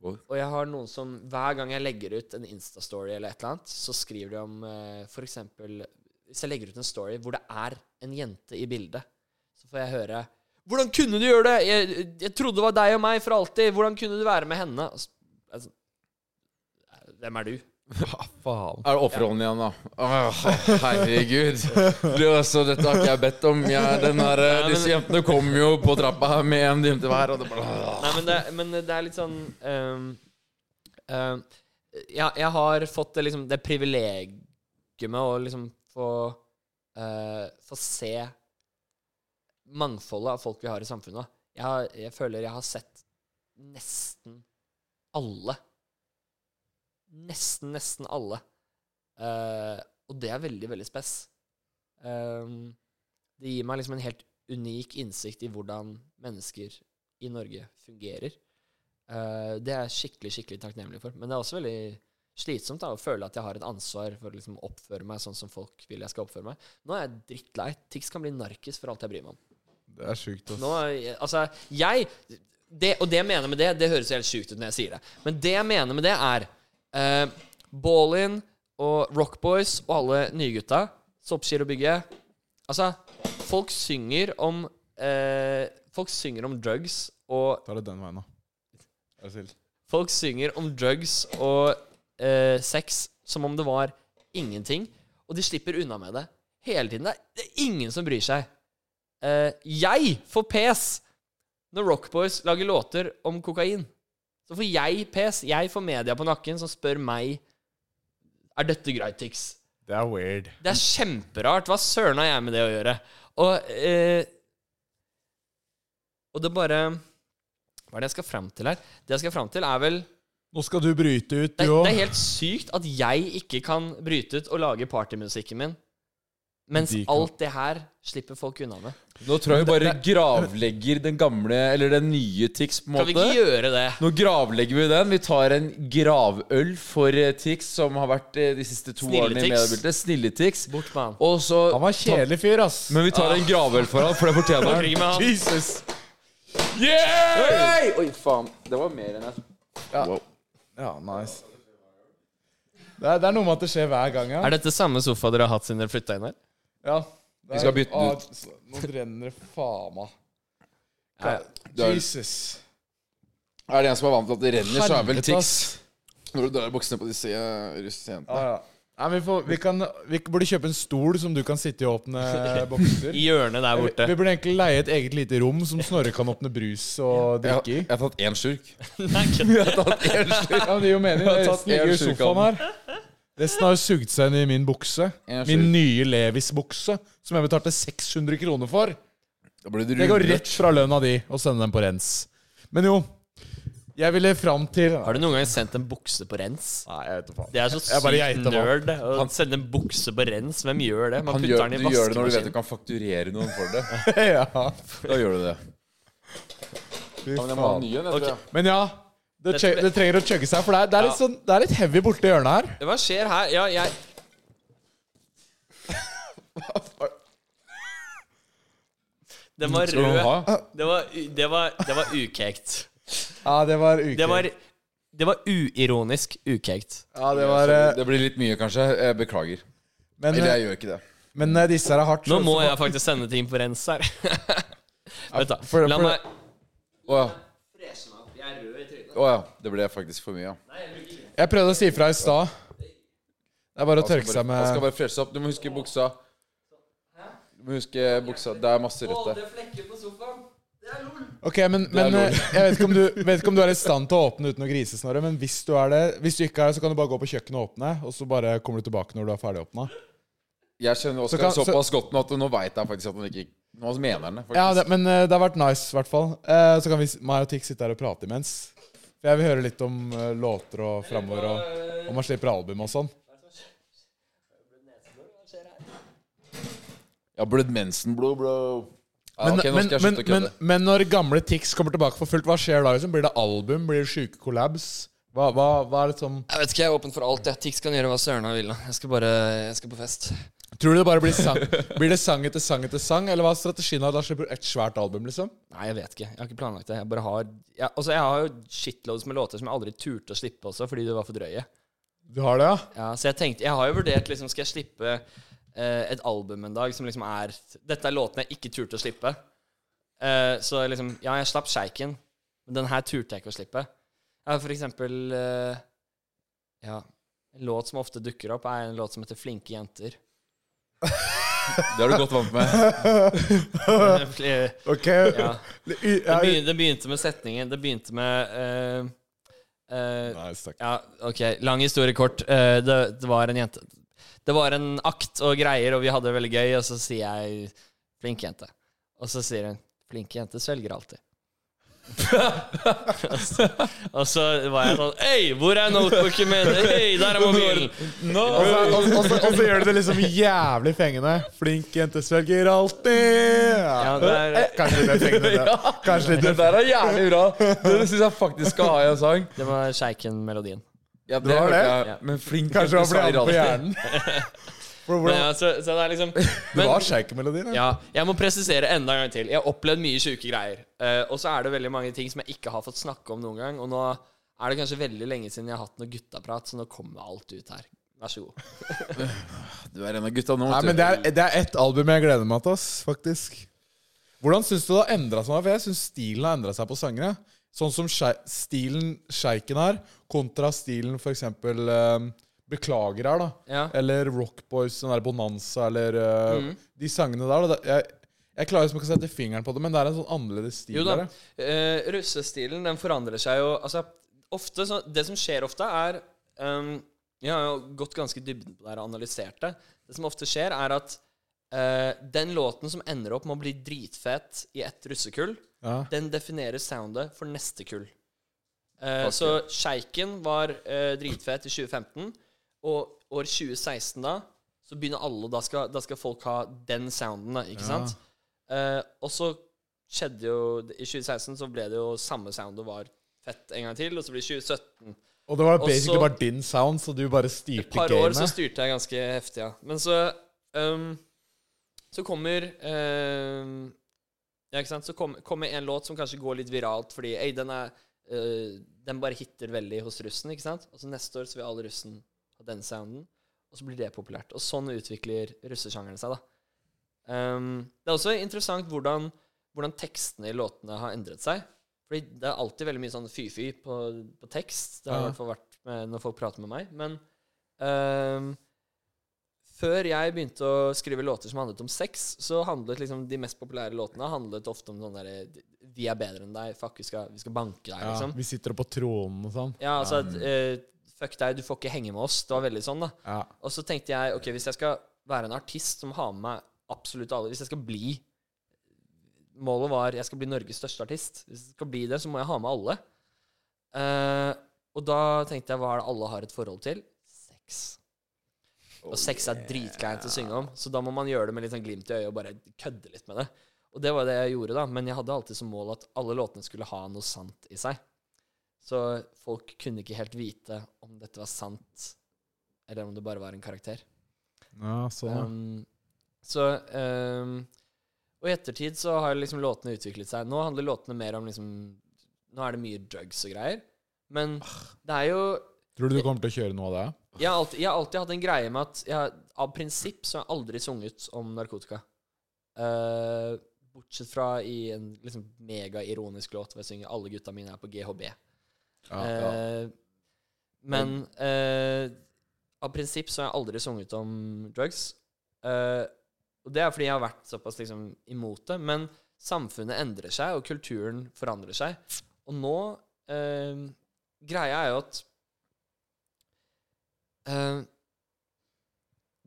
S3: Oi.
S1: og jeg har noen som hver gang jeg legger ut en Insta-story eller et eller annet, så skriver de om eh, for eksempel Hvis jeg legger ut en story hvor det er en jente i bildet, så får jeg høre hvordan kunne du gjøre det? Jeg, jeg trodde det var deg og meg for alltid. Hvordan kunne du være med henne? Og så- Altså, hvem er du?
S2: Hva faen?
S3: Er det offerrollen igjen, da? Åh, herregud. Du, altså, dette har ikke jeg bedt om. Jeg, den her, eh, disse jentene kom jo på trappa her med en jente hver, og det bare
S1: Nei, men det, men det er litt sånn ehm, ehm, jeg, jeg har fått det, liksom, det privilegiet med å liksom få eh, Få se mangfoldet av folk vi har i samfunnet. Jeg, har, jeg føler jeg har sett nesten alle. Nesten, nesten alle. Eh, og det er veldig, veldig spes. Ehm, det gir meg liksom en helt unik innsikt i hvordan mennesker i Norge fungerer. Eh, det er jeg skikkelig skikkelig takknemlig for. Men det er også veldig slitsomt da, å føle at jeg har et ansvar for å liksom, oppføre meg sånn som folk vil jeg skal oppføre meg. Nå er jeg drittlei. Tix kan bli narkis for alt jeg bryr meg om.
S2: Det er sjukt, ass.
S1: Nå, er- altså, jeg det, Og det jeg mener med det, det høres jo helt sjukt ut når jeg sier det, men det jeg mener med det, er eh, Ballin og Rockboys og alle nygutta, Soppskir og Bygge Altså, folk synger om eh, Folk synger om drugs og
S2: Da er det den veien, da. Er det snill?
S1: Folk synger om drugs og eh, sex som om det var ingenting, og de slipper unna med det hele tiden. Det er, det er ingen som bryr seg. Eh, jeg får pes når Rockboys lager låter om kokain. Så får jeg pes. Jeg får media på nakken som spør meg Er dette greit, Tix.
S2: Det er weird.
S1: Det er kjemperart. Hva søren har jeg med det å gjøre? Og, eh, og det bare Hva er det jeg skal fram til her? Det jeg skal fram til, er vel
S2: Nå skal du bryte ut,
S1: Det,
S2: du
S1: er- det
S2: òg.
S1: er helt sykt at jeg ikke kan bryte ut og lage partymusikken min. Mens
S2: De kan.
S1: alt det her slipper folk unna med.
S3: Nå tror jeg vi bare gravlegger den gamle, eller den nye Tix, på en
S1: Kan vi ikke
S3: måte.
S1: gjøre det?
S3: Nå gravlegger vi den. Vi tar en gravøl for eh, Tix, som har vært eh, de siste to
S1: Snille
S3: årene
S1: Tix.
S3: i mediebildet. Snille-Tix.
S1: Bort med han.
S3: Og så
S2: Han var en kjedelig fyr, ass.
S3: Men vi tar en gravøl for han, for det fortjener han.
S1: Krig med han.
S2: Jesus.
S3: Hey! Oi, faen. Det var mer enn jeg
S2: Ja, nice. Det er, det er noe med at det skjer hver gang, ja.
S1: Er dette samme sofa dere har hatt siden dere flytta inn her?
S2: ja det er,
S3: skal bytte den ut.
S2: Å, s- Nå brenner det faen av.
S1: Ja, ja.
S3: Du er-
S2: Jesus.
S3: Er det en som er vant til at det renner, så er vel
S2: Helvete,
S3: Tix.
S2: ass.
S3: Når du drar i buksene på disse eh, russejentene.
S2: Ja, ja. Nei, vi, får, vi, kan, vi burde kjøpe en stol som du kan sitte i og åpne bokser.
S1: I hjørnet der
S2: Vi,
S1: borte.
S2: vi burde egentlig leie et eget lite rom som Snorre kan åpne brus og
S3: Jeg, har-
S2: drikke i.
S3: jeg har tatt én slurk.
S1: Nei, kødder.
S2: Ja, men Det gir jo mening.
S3: Jeg har tatt
S2: Resten ligger jo i
S3: en sjuk
S2: sofaen her. Resten har jo sugd seg inn i min bukse.
S3: En
S2: Min
S3: sjuk.
S2: nye Levis-bukse, som jeg betalte 600 kroner for.
S3: Da ble du
S2: Det går
S3: rullet.
S2: rett fra lønna di å sende den på rens. Men jo, jeg ville fram til
S1: Har du noen gang sendt en bukse på rens?
S2: Nei, jeg vet da faen.
S1: Det er så
S2: Jeg bare
S1: sykt
S2: geiter, mann.
S1: nerd å sende en bukse på rens. Hvem gjør det? Man
S3: Han
S1: putter
S3: gjør,
S1: den
S3: du
S1: i
S3: gjør det når du vet du
S1: vaskemaskinen.
S3: kan fakturere noen for det.
S2: ja,
S3: Da gjør du det.
S2: fy
S3: Ja, men jeg må ha en
S2: faen.
S3: ny en, jeg
S1: Ok.
S3: tror jeg.
S2: Men ja, det,
S1: Dette
S2: tje-
S1: ble-
S2: det trenger å chugge seg, for det er, det er, litt, sånn, det er litt heavy borti hjørnet her.
S1: Hva skjer her? Ja, jeg Den var
S3: Skal du
S1: rød.
S3: ha?
S1: Det var, det var, det var ukekt.
S2: Ja, det var uke.
S1: Det var, det var uironisk ukekt.
S2: ja, det var eh,
S3: Det blir litt mye, kanskje. Jeg beklager.
S2: Men,
S3: Eller
S2: eh,
S3: jeg gjør ikke det.
S2: men eh, disse her er hardt.
S1: Nå
S2: så-
S1: må
S2: så-
S1: jeg faktisk sende ting på rens her. Vent, da.
S2: for-
S1: La
S2: for-
S1: meg
S3: Å ja.
S1: freshe meg opp. Jeg er rød i trynet.
S3: Å, ja. Det ble faktisk for mye, ja.
S2: Jeg prøvde å si fra i stad. Det er bare å
S3: Han skal
S2: tørke seg
S3: bare- Han skal
S2: med
S3: bare freshe opp. Du må huske buksa. Du må huske buksa. Det er masse rødt der.
S1: flekker på sofaen. Det er lol.
S2: Ok, men, men
S3: lol.
S2: eh, jeg vet ikke, om du, vet ikke om du er i stand til å åpne uten å grise, Snorre. Men hvis du er det Hvis du ikke er det, så kan du bare gå på kjøkkenet og åpne, og så bare kommer du tilbake når du er ferdig åpna.
S3: Jeg kjenner Oskar
S2: kan- så-
S3: såpass godt nå at nå veit jeg faktisk at han ikke Nå mener han det, faktisk.
S2: Ja, det, men eh, det har vært nice, i hvert fall. Eh, så kan vi, s- meg og Tix sitte her og prate imens. For jeg vil høre litt om eh, låter og framover, og om man slipper album og sånn.
S3: Jeg har blødd mensenblod, bro. Ja,
S2: Men,
S3: ok, nå skal jeg
S2: men,
S3: slutte å
S2: men, men,
S3: kødde.
S2: men når gamle Tix kommer tilbake for fullt, hva skjer da? Liksom? Blir det album? Blir det sjuke collabs? Hva, hva, hva er det som
S1: Jeg vet ikke, jeg er åpen for alt. Jeg. Tix kan gjøre hva søren han vil. da. Jeg skal bare jeg skal på fest.
S2: Tror du det bare blir sang? Blir det sang etter sang etter sang? Eller hva er strategien? av Da slipper du et svært album, liksom?
S1: Nei, jeg vet ikke. Jeg har ikke planlagt det. Jeg bare har jeg, Altså, jeg har jo shitloads med låter som jeg aldri turte å slippe også, fordi de var for drøye.
S2: Du har det, ja?
S1: Ja, så jeg tenkte Jeg har jo vurdert liksom Skal jeg slippe eh, et album en dag som liksom er Dette er låtene jeg ikke turte å slippe. Eh, så liksom Ja, jeg slapp Sjeiken, men den her turte jeg ikke å slippe. Ja, for eksempel eh, Ja. En låt som ofte dukker opp, er en låt som heter 'Flinke jenter'.
S3: Det er du godt vant med.
S2: Ok.
S1: ja. Det, begynte, det begynte med setningen Det begynte med eh, eh,
S2: Nice, takk.
S1: Ja, ok. Lang historie kort. Eh, det, det var en jente Det var en akt og greier, og vi hadde det veldig gøy, og så sier jeg 'flink jente'. Og så sier hun 'flink jente svelger alltid'. og, så, og så var jeg sånn Hei, hvor er notebooken min? Hei, der er mobilen!
S2: Og så, og, og, så, og så gjør du det liksom jævlig fengende. Flink jente svelger alltid
S1: Ja, det er-
S2: Eh, Kanskje litt mer fengende. enn det. Kanskje litt
S3: Det
S2: mer
S3: der er jævlig bra. Det syns jeg faktisk skal ha i en sang.
S1: Det var sjeiken-melodien.
S3: Ja, det,
S2: Det var
S3: hørte
S2: det?
S3: Jeg. Men flink
S2: Kanskje det
S3: jente
S2: var fordi han
S3: seier
S2: på
S3: alltid.
S2: hjernen. For
S1: Men,
S2: hvordan,
S1: ja, så, så det er liksom
S2: det var sjeikemelodien. Ja.
S1: Ja, jeg må presisere enda en gang til. Jeg har opplevd mye sjuke greier. Eh, og så er det veldig mange ting som jeg ikke har fått snakke om noen gang. Og nå er det kanskje veldig lenge siden jeg har hatt noe guttaprat, så nå kommer alt ut her. Vær så god.
S3: Du er en av gutta nå.
S2: Nei,
S3: vet
S2: men
S3: du.
S2: det er, det er ett album jeg gleder meg til, ass, faktisk. Hvordan syns du det har endra seg? For jeg syns stilen har endra seg på sangere. Sånn som skei- stilen sjeiken har, kontra stilen for eksempel eh, Beklager her, da.
S1: Ja.
S2: Eller Rock Boys, den der Bonanza, eller eh,
S1: Mm.
S2: de sangene der. Da. Det- Jeg, jeg klarer liksom ikke å sette fingeren på det, men det er en sånn annerledes stil.
S1: Jo da.
S2: der, ja.
S1: eh, russestilen, den forandrer seg jo Altså, ofte så Det som skjer ofte, er ehm, Jeg har jo gått ganske i dybden på det her og analysert det. Det som ofte skjer, er at eh, den låten som ender opp med å bli dritfet i ett russekull,
S2: Ja.
S1: den definerer soundet for neste kull. Eh, så sjeiken var eh, dritfett i 2015. Og år 2016, da, så begynner alle Da skal, da skal folk ha den sounden, da, ikke sant? Eh, og så skjedde jo I 2016 så ble det jo samme sound og var fett en gang til, og så blir det 2017.
S2: Og det var basically
S1: Også-
S2: bare din sound, så du bare
S1: Et
S2: styrte
S1: par år så
S2: gamet.
S1: styrte jeg ganske heftig, ja. Men så ehm, Så kommer ehm, Ja, ikke sant. Så kom- kommer en låt som kanskje går litt viralt fordi ei, den er eh, Den bare hitter veldig hos russen, ikke sant. Og så neste år så vil alle russen ha den sounden. Og så blir det populært. Og sånn utvikler russesjangeren seg, da. Ehm, det er også interessant hvordan, hvordan tekstene i låtene har endret seg. Fordi det er alltid veldig mye sånn fy-fy på, på tekst. Det har i
S2: Ja.
S1: hvert fall vært med, når folk prater med meg. Men Ehm, før jeg begynte å skrive låter som handlet om sex, så handlet liksom de mest populære låtene handlet ofte om sånn derre Vi er bedre enn deg. Fuck, vi skal, vi skal banke deg,
S2: Ja,
S1: liksom.
S2: vi sitter oppe på tronen og sånn.
S1: Ja, altså at, eh, Fuck deg, du får ikke henge med oss. Det var veldig sånn, da.
S2: Ja.
S1: Og så tenkte jeg ok, hvis jeg skal være en artist som har med meg absolutt alle Hvis jeg skal bli Målet var jeg skal bli Norges største artist. Hvis jeg skal bli det, så må jeg ha med alle. Eh, og da tenkte jeg hva er det alle har et forhold til? Sex. Og sex er dritkleint å synge om, så da må man gjøre det med litt sånn glimt i øyet og bare kødde litt med det. Og det var det jeg gjorde, da. Men jeg hadde alltid som mål at alle låtene skulle ha noe sant i seg. Så folk kunne ikke helt vite om dette var sant, eller om det bare var en karakter.
S2: Ja, sånn.
S1: Um, så um, Og i ettertid så har liksom låtene utviklet seg. Nå handler låtene mer om liksom Nå er det mye drugs og greier. Men det er jo
S2: Tror du du kommer til å kjøre noe av det?
S1: jeg har, alltid, jeg har alltid hatt en greie med at jeg, har- av prinsipp så har jeg aldri sunget om narkotika. Eh, bortsett fra i en liksom megaironisk låt hvor jeg synger 'Alle gutta mine er på GHB'. Eh, men eh, av prinsipp så har jeg aldri sunget om drugs. Eh, og det er fordi jeg har vært såpass liksom imot det. Men samfunnet endrer seg, og kulturen forandrer seg. Og nå eh, Greia er jo at Eh,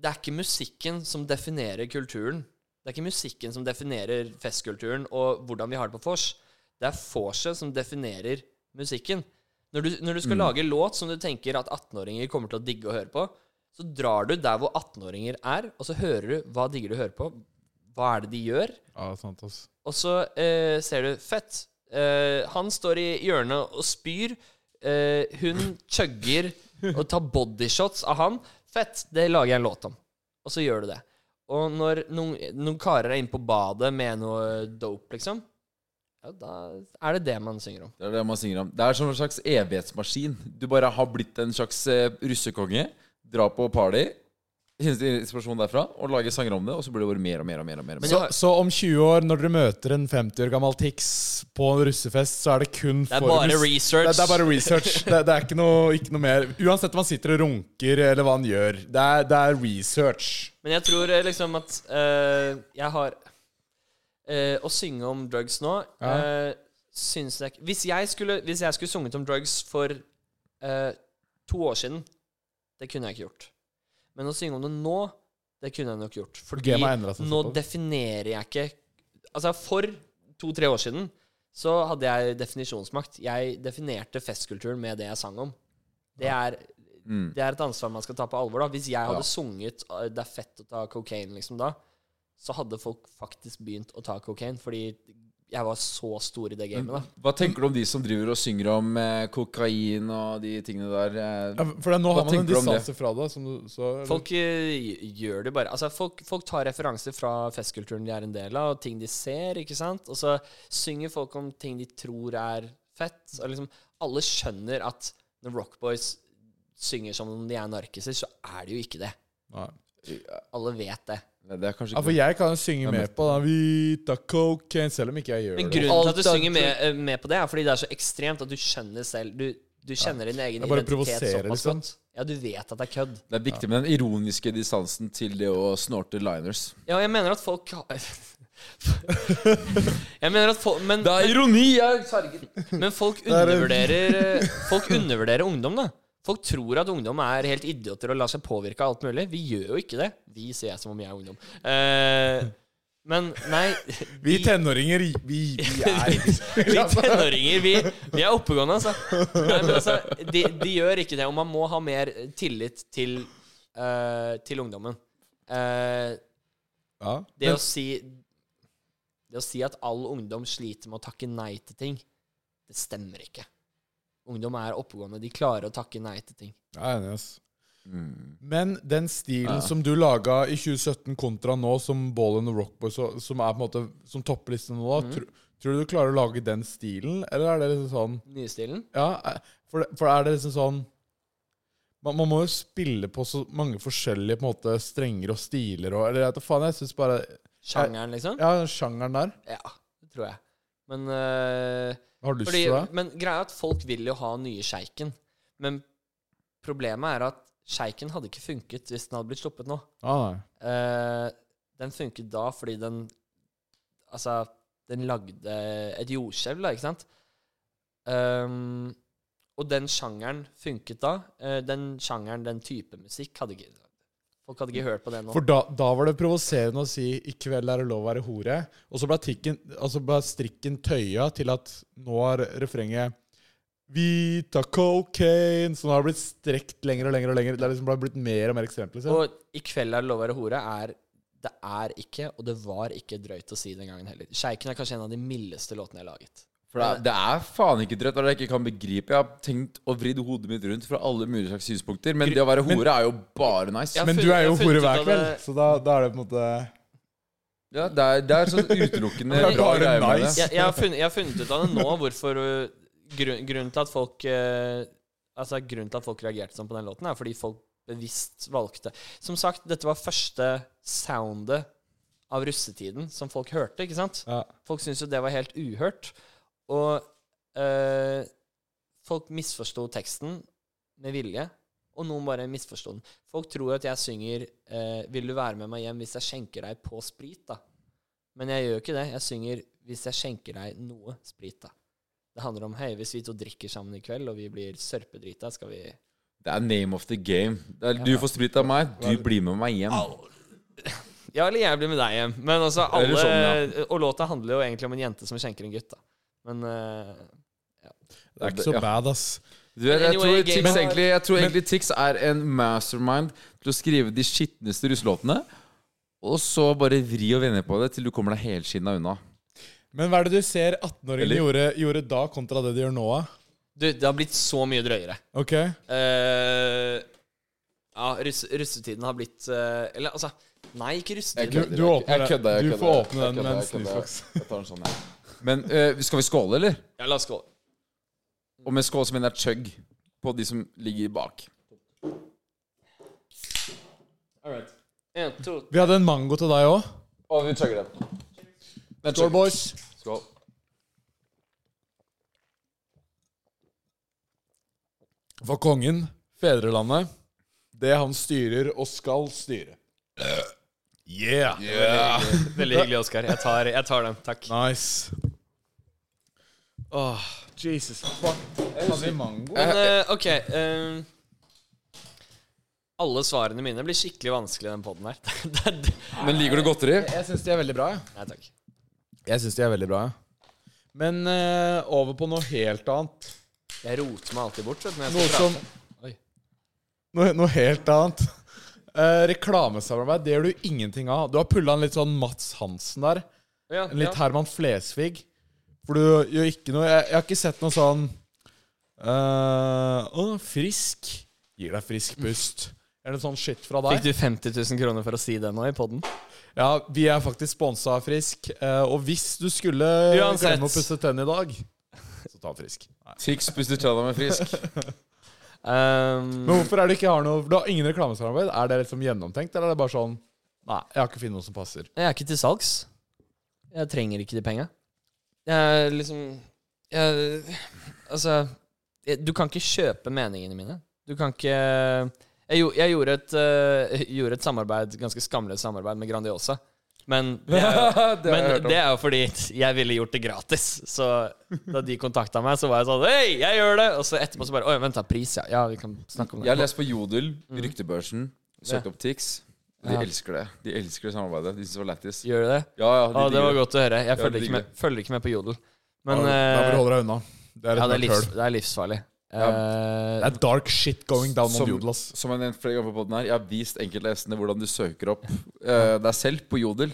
S1: det er ikke musikken som definerer kulturen. Det er ikke musikken som definerer festkulturen og hvordan vi har det på vors. Det er vorset som definerer musikken. Når du, når du skal
S2: Mm.
S1: lage låt som du tenker at 18-åringer kommer til å digge å høre på, så drar du der hvor 18-åringer er, og så hører du hva digger du å høre på. Hva er det de gjør?
S2: Ja, sant, ass.
S1: Og så eh, ser du Fett. Eh, han står i hjørnet og spyr. Eh, hun chugger og tar bodyshots av han. Fett. Det lager jeg en låt om. Og så gjør du det. Og når noen, noen karer er inne på badet med noe dope, liksom, ja, da er det det man synger om.
S3: Det er det man synger om. Det er som en slags evighetsmaskin. Du bare har blitt en slags eh, russekonge. Dra på party. Henter inspirasjon derfra og lager sanger om det, og så blir det bare mer og mer og mer. og mer.
S1: Men
S3: så,
S2: Så, så om 20 år, når dere møter en 50 år gammel Tix på en russefest, så er det kun
S1: Det er
S2: for
S1: bare
S2: russ-
S1: research.
S2: Det, det er bare research. Det, det er ikke noe, ikke noe mer. Uansett om han sitter og runker, eller hva han gjør. Det er, det er research.
S1: Men jeg tror eh, liksom at eh, jeg har eh, Å synge om drugs nå
S2: Ja.
S1: eh, Syns jeg ikke hvis, jeg skulle- hvis jeg skulle sunget om drugs for eh, to år siden, det kunne jeg ikke gjort. Men å synge om det nå, det kunne jeg nok gjort. Fordi
S2: Gamet har endret seg
S1: nå
S2: såpass.
S1: definerer jeg ikke Altså, for to-tre år siden så hadde jeg definisjonsmakt. Jeg definerte festkulturen med det jeg sang om. Det er
S3: mm.
S1: det er et ansvar man skal ta på alvor. da Hvis jeg hadde
S3: Ja.
S1: sunget eh, 'Det er fett å ta kokain', liksom da, så hadde folk faktisk begynt å ta kokain. Fordi jeg var så stor i det gamet, da.
S3: Hva tenker du om de som driver og synger om eh, kokain og de tingene der?
S2: Ja,
S3: Eh,
S2: for det, nå
S3: Hva
S2: har man en
S3: tenker du om det?
S2: distanse fra det. Som du, så,
S1: Folk eh, gjør det bare Altså folk, folk tar referanser fra festkulturen de er en del av, og ting de ser, ikke sant? Og så synger folk om ting de tror er fett. Og liksom, alle skjønner at når Rockboys synger som om de er narkiser, så er de jo ikke det.
S2: Nei.
S1: Alle vet det.
S3: nei, Eh, det er kanskje
S2: Ja, for
S3: ikke
S2: jeg kan jo synge
S3: Det er
S2: med på da, Vita cocaine, selv om ikke jeg gjør
S1: Men
S2: det.
S1: grunnen til at
S3: Alt
S1: du
S3: er-
S1: synger med, eh, med på det, er fordi det er så ekstremt at du skjønner selv Du, du kjenner din egen
S2: Jeg bare
S1: identitet
S2: provoserer,
S1: såpass
S2: liksom.
S1: godt. Ja, du vet at det er kødd.
S3: Det er viktig med den ironiske distansen til det å snorte liners.
S1: Ja, og jeg mener at folk har- Jeg mener at folk Men,
S3: ironi!
S1: men folk, undervurderer, eh, folk undervurderer ungdom, da. Folk tror at ungdom er helt idioter og lar seg påvirke av alt mulig. Vi gjør jo ikke det. Vi, sier jeg som om jeg er ungdom. Eh, Men nei
S2: Vi tenåringer, vi, vi er
S1: Vi tenåringer, vi, vi er oppegående, altså. Nei, men altså de, de gjør ikke det. Og man må ha mer tillit til, eh, til ungdommen. Eh,
S2: ja.
S1: det å si Det å si at all ungdom sliter med å takke nei til ting, det stemmer ikke. Ungdom er oppegående. De klarer å takke nei til ting.
S2: Jeg er enig, ass.
S3: Mm.
S2: Men den stilen som du laga i 2017 kontra nå, som Ball and the Rock Boys, og- som er på en måte Som topplisten nå, da, tr tror du du klarer å lage den stilen, eller er det liksom sånn
S1: Nystilen.
S2: Ja, er- for, det- for er det liksom sånn man, man må jo spille på så mange forskjellige på en måte strenger og stiler og Eller jeg vet da faen, jeg syns bare
S1: Sjangeren, liksom.
S2: Ja, den sjangeren der.
S1: Ja, det tror jeg. Men eh,
S2: Har du lyst
S1: Fordi,
S2: til det?
S1: men greia er at folk vil jo ha nye sjeiken. Men problemet er at sjeiken hadde ikke funket hvis den hadde blitt sluppet nå.
S2: Ah, nei.
S1: Eh, den funket da fordi den Altså, den lagde et jordskjelv, da, ikke sant? Ehm, og den sjangeren funket da. Eh, den sjangeren, den type musikk, hadde ikke Folk hadde ikke hørt på det nå.
S2: For da, da var det provoserende å si 'i kveld er det lov å være hore', og så ble, tikken, altså ble strikken tøya til at nå er refrenget 'Vi tar cocaine', så nå har det blitt strekt lenger og lenger. og lenger. Det har liksom bare blitt mer og mer ekstremt. liksom.
S1: Og 'I kveld er det lov å være hore' er Det er ikke, og det var ikke drøyt å si den gangen heller. Sjeiken er kanskje en av de mildeste låtene jeg har laget.
S3: For det er, det er faen ikke drøyt. Det er det jeg ikke kan begripe. Jeg har tenkt å vri hodet mitt rundt fra alle mulige slags synspunkter, men det å være hore er jo bare nice.
S1: Ja.
S2: Men
S1: funnet-
S2: du er
S1: jeg har
S2: jo
S1: funnet
S2: hore
S1: ut
S2: hver
S1: av
S2: kveld,
S1: det-
S2: så da, da er det på en måte
S3: Ja, det er, det er sånn utelukkende
S2: Det er
S3: bra
S2: bare
S3: greier med
S2: nice.
S3: det.
S1: Jeg, jeg, har, funnet, jeg har funnet ut av det nå, hvorfor øh, grunn, Grunnen til at folk øh, Altså grunnen til at folk reagerte sånn på den låten, er fordi folk bevisst valgte Som sagt, dette var første soundet av russetiden som folk hørte, ikke sant?
S2: ja.
S1: Folk syntes jo det var helt uhørt. Og øh, folk misforsto teksten med vilje, og noen bare misforsto den. Folk tror at jeg synger eh, 'Vil du være med meg hjem hvis jeg skjenker deg på sprit', da. Men jeg gjør jo ikke det. Jeg synger 'Hvis jeg skjenker deg noe sprit', da. Det handler om 'Hei, hvis vi to drikker sammen i kveld, og vi blir sørpedrita, skal vi
S3: Det er name of the game. Det er, du får sprit av meg, du blir med meg hjem.
S1: Ja, eller jeg blir med deg hjem. Men altså, alle
S3: Eller sånn,
S1: Og låta handler jo egentlig om en jente som skjenker en gutt, da. Men eh,
S2: Det er ikke så
S3: Ja.
S2: bad, ass.
S3: Du vet, jeg,
S1: Anyway, game-
S3: tror Tix
S1: Men-
S3: egentlig, jeg tror egentlig Tix er en mastermind til å skrive de skitneste russelåtene, og så bare vri og vende på det til du kommer deg helskinna unna.
S2: Men hva er det du ser 18-åringene
S3: Eller-
S2: gjorde, gjorde da, kontra det de gjør nå? da?
S1: du, det har blitt så mye drøyere.
S2: Ok?
S1: Eh, ja, russ, russetiden har blitt eh, Eller altså Nei, ikke
S2: Du,
S1: russetiden.
S3: Jeg
S2: du, åpner,
S3: Jeg kødder, jeg
S2: den. du
S3: kødder.
S2: får åpne
S3: Jeg
S2: den med en
S3: kødder, jeg kødder.
S2: snusboks.
S3: Jeg tar den sånn, jeg. Men eh, skal vi skåle, eller?
S1: Ja, la oss gå.
S3: Og med skål så mener jeg chug på de som ligger bak.
S1: All right. En, to
S2: Vi hadde en mango til deg òg.
S3: Og vi chugger den. Men
S2: Skål,
S3: chugg.
S2: boys.
S3: Skål.
S2: For kongen, fedrelandet, det han styrer og skal styre. Yeah!
S1: Veldig hyggelig, Oskar. Jeg, tar- jeg tar den. Takk.
S2: Nice. Åh, Jesus fuck. Hadde vi mango?
S1: Men eh, OK eh, Alle svarene mine blir skikkelig vanskelig i den poden her. Det er- det-
S3: Men liker du godteri?
S2: Jeg syns de er veldig bra. jeg.
S1: Nei takk.
S2: Jeg syns de er veldig bra. jeg. Men eh, over på noe helt annet.
S1: Jeg roter meg alltid bort. Vet, du, når jeg
S2: Noe
S1: skal
S2: som
S1: prate. Oi.
S2: noe, noe helt annet. Eh, reklamesamarbeid, det gjør du ingenting av. Du har pulla en litt sånn Mats Hansen der.
S1: Ja,
S2: En litt
S1: ja.
S2: Herman Flesvig. For du gjør ikke noe Jeg, jeg har ikke sett noe sånn eh, Å, frisk. Gir deg frisk pust. Er det sånn shit fra deg?
S1: Fikk du 50 000 kroner for å si det nå i poden?
S2: Ja, vi er faktisk sponsa av Frisk. eh, og hvis du skulle
S1: Uansett.
S2: glemme å pusse tennene i dag, så ta Frisk. Nei.
S3: Tix puster tjenna med frisk.
S1: Um,
S2: Men hvorfor er det ikke har noe Du har ingen reklamesamarbeid? Er det liksom gjennomtenkt, eller er det bare sånn Nei, jeg har ikke funnet noe som passer.
S1: Jeg er ikke til salgs. Jeg trenger ikke de penga. Jeg er liksom jeg, Altså jeg, Du kan ikke kjøpe meningene mine. Du kan ikke Jeg, gjo- jeg gjorde, et, eh, gjorde et samarbeid, ganske skamløst samarbeid med Grandiosa. Men det, er,
S3: Det har jeg hørt
S1: men
S3: om.
S1: det er jo fordi jeg ville gjort det gratis. Så da de kontakta meg, så var jeg sånn Hei, jeg gjør det! Og så etterpå så bare Oi, vent, da. Pris, ja. Ja, vi kan snakke om det.
S3: Mm. Jeg har lest på Jodel, Ryktebørsen, søkt opp Tix. De elsker det. De elsker det samarbeidet. De syns det var lættis. Ja,
S1: Gjør du det?
S3: ja, de
S1: Ja, det
S3: digger
S1: var godt å høre. Jeg
S3: Ja,
S1: følger
S3: de
S1: ikke med, følger ikke med på Jodel. Men
S2: Da
S1: eh,
S2: bør du holde deg unna. Det er et
S1: ja, det, er
S2: mørkt
S1: livs,
S2: høl.
S1: det er livsfarlig.
S2: Det
S1: Eh,
S2: er dark shit going down
S3: Som-
S2: on Jodel, ass.
S3: Som jeg har nevnt flere ganger på podden her, jeg har vist enkeltlesende hvordan du søker opp eh, deg selv på Jodel.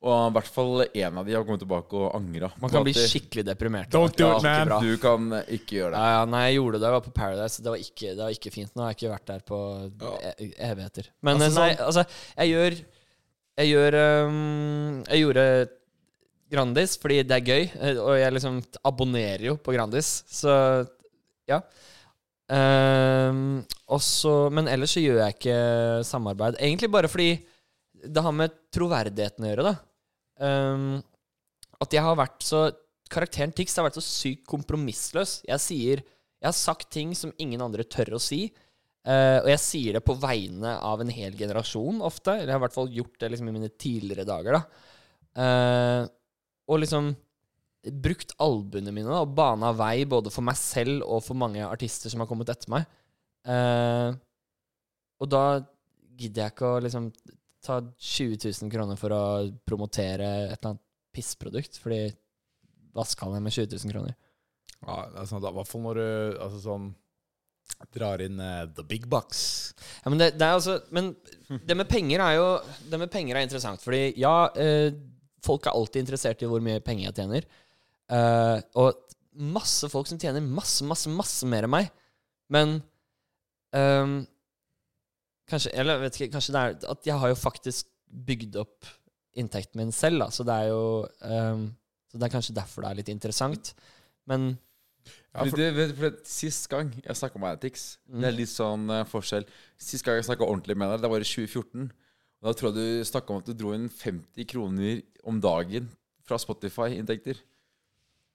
S3: Og i hvert fall én av de har kommet tilbake og angra.
S1: man kan bli skikkelig deprimert.
S2: Don't do
S1: Ja,
S2: it, man.
S1: ikke bra.
S3: Du kan ikke gjøre det.
S1: Ja, ja, nei, jeg gjorde det da jeg var på Paradise. Det var ikke, det var ikke fint. Nå har jeg ikke vært der på e evigheter. Men
S2: Altså,
S1: nei, altså, jeg gjør Jeg gjør øhm, Jeg gjorde Grandis fordi det er gøy, eh, og jeg liksom abonnerer jo på Grandis, så ja. Ehm, og så- men ellers så gjør jeg ikke samarbeid. Egentlig bare fordi det har med troverdigheten å gjøre, da. Ehm, at jeg har vært så Karakteren Tix har vært så sykt kompromissløs. Jeg sier Jeg har sagt ting som ingen andre tør å si. eh, og jeg sier det på vegne av en hel generasjon ofte. Eller jeg har i hvert fall gjort det liksom i mine tidligere dager. da Eh, Og liksom brukt albuene mine da, og bana vei både for meg selv og for mange artister som har kommet etter meg. Eh, og da gidder jeg ikke å liksom ta 20 000 kroner for å promotere et eller annet pissprodukt, fordi hva skal jeg med 20 000 kroner?
S2: Ja, det er sånn, da, I hvert fall når du altså, sånn, drar inn eh, the big bucks.
S1: Ja, men, det, det er altså, men det med penger er jo Det med penger er interessant. Fordi ja, eh, folk er alltid interessert i hvor mye penger jeg tjener. Eh, og masse folk som tjener masse, masse, masse mer enn meg. Men ehm, Kanskje Eller jeg vet ikke, kanskje det er at jeg har jo faktisk bygd opp inntekten min selv, da. Så det er jo ehm, Så det er kanskje derfor det er litt interessant. Men
S2: Ja, for-
S3: Fordi det- vet du, for det- Sist gang jeg snakka med deg, Tix Det er litt sånn eh, forskjell. Sist gang jeg snakka ordentlig med deg, det var i 2014. Og Da tror jeg du snakka om at du dro inn 50 kroner om dagen fra Spotify-inntekter.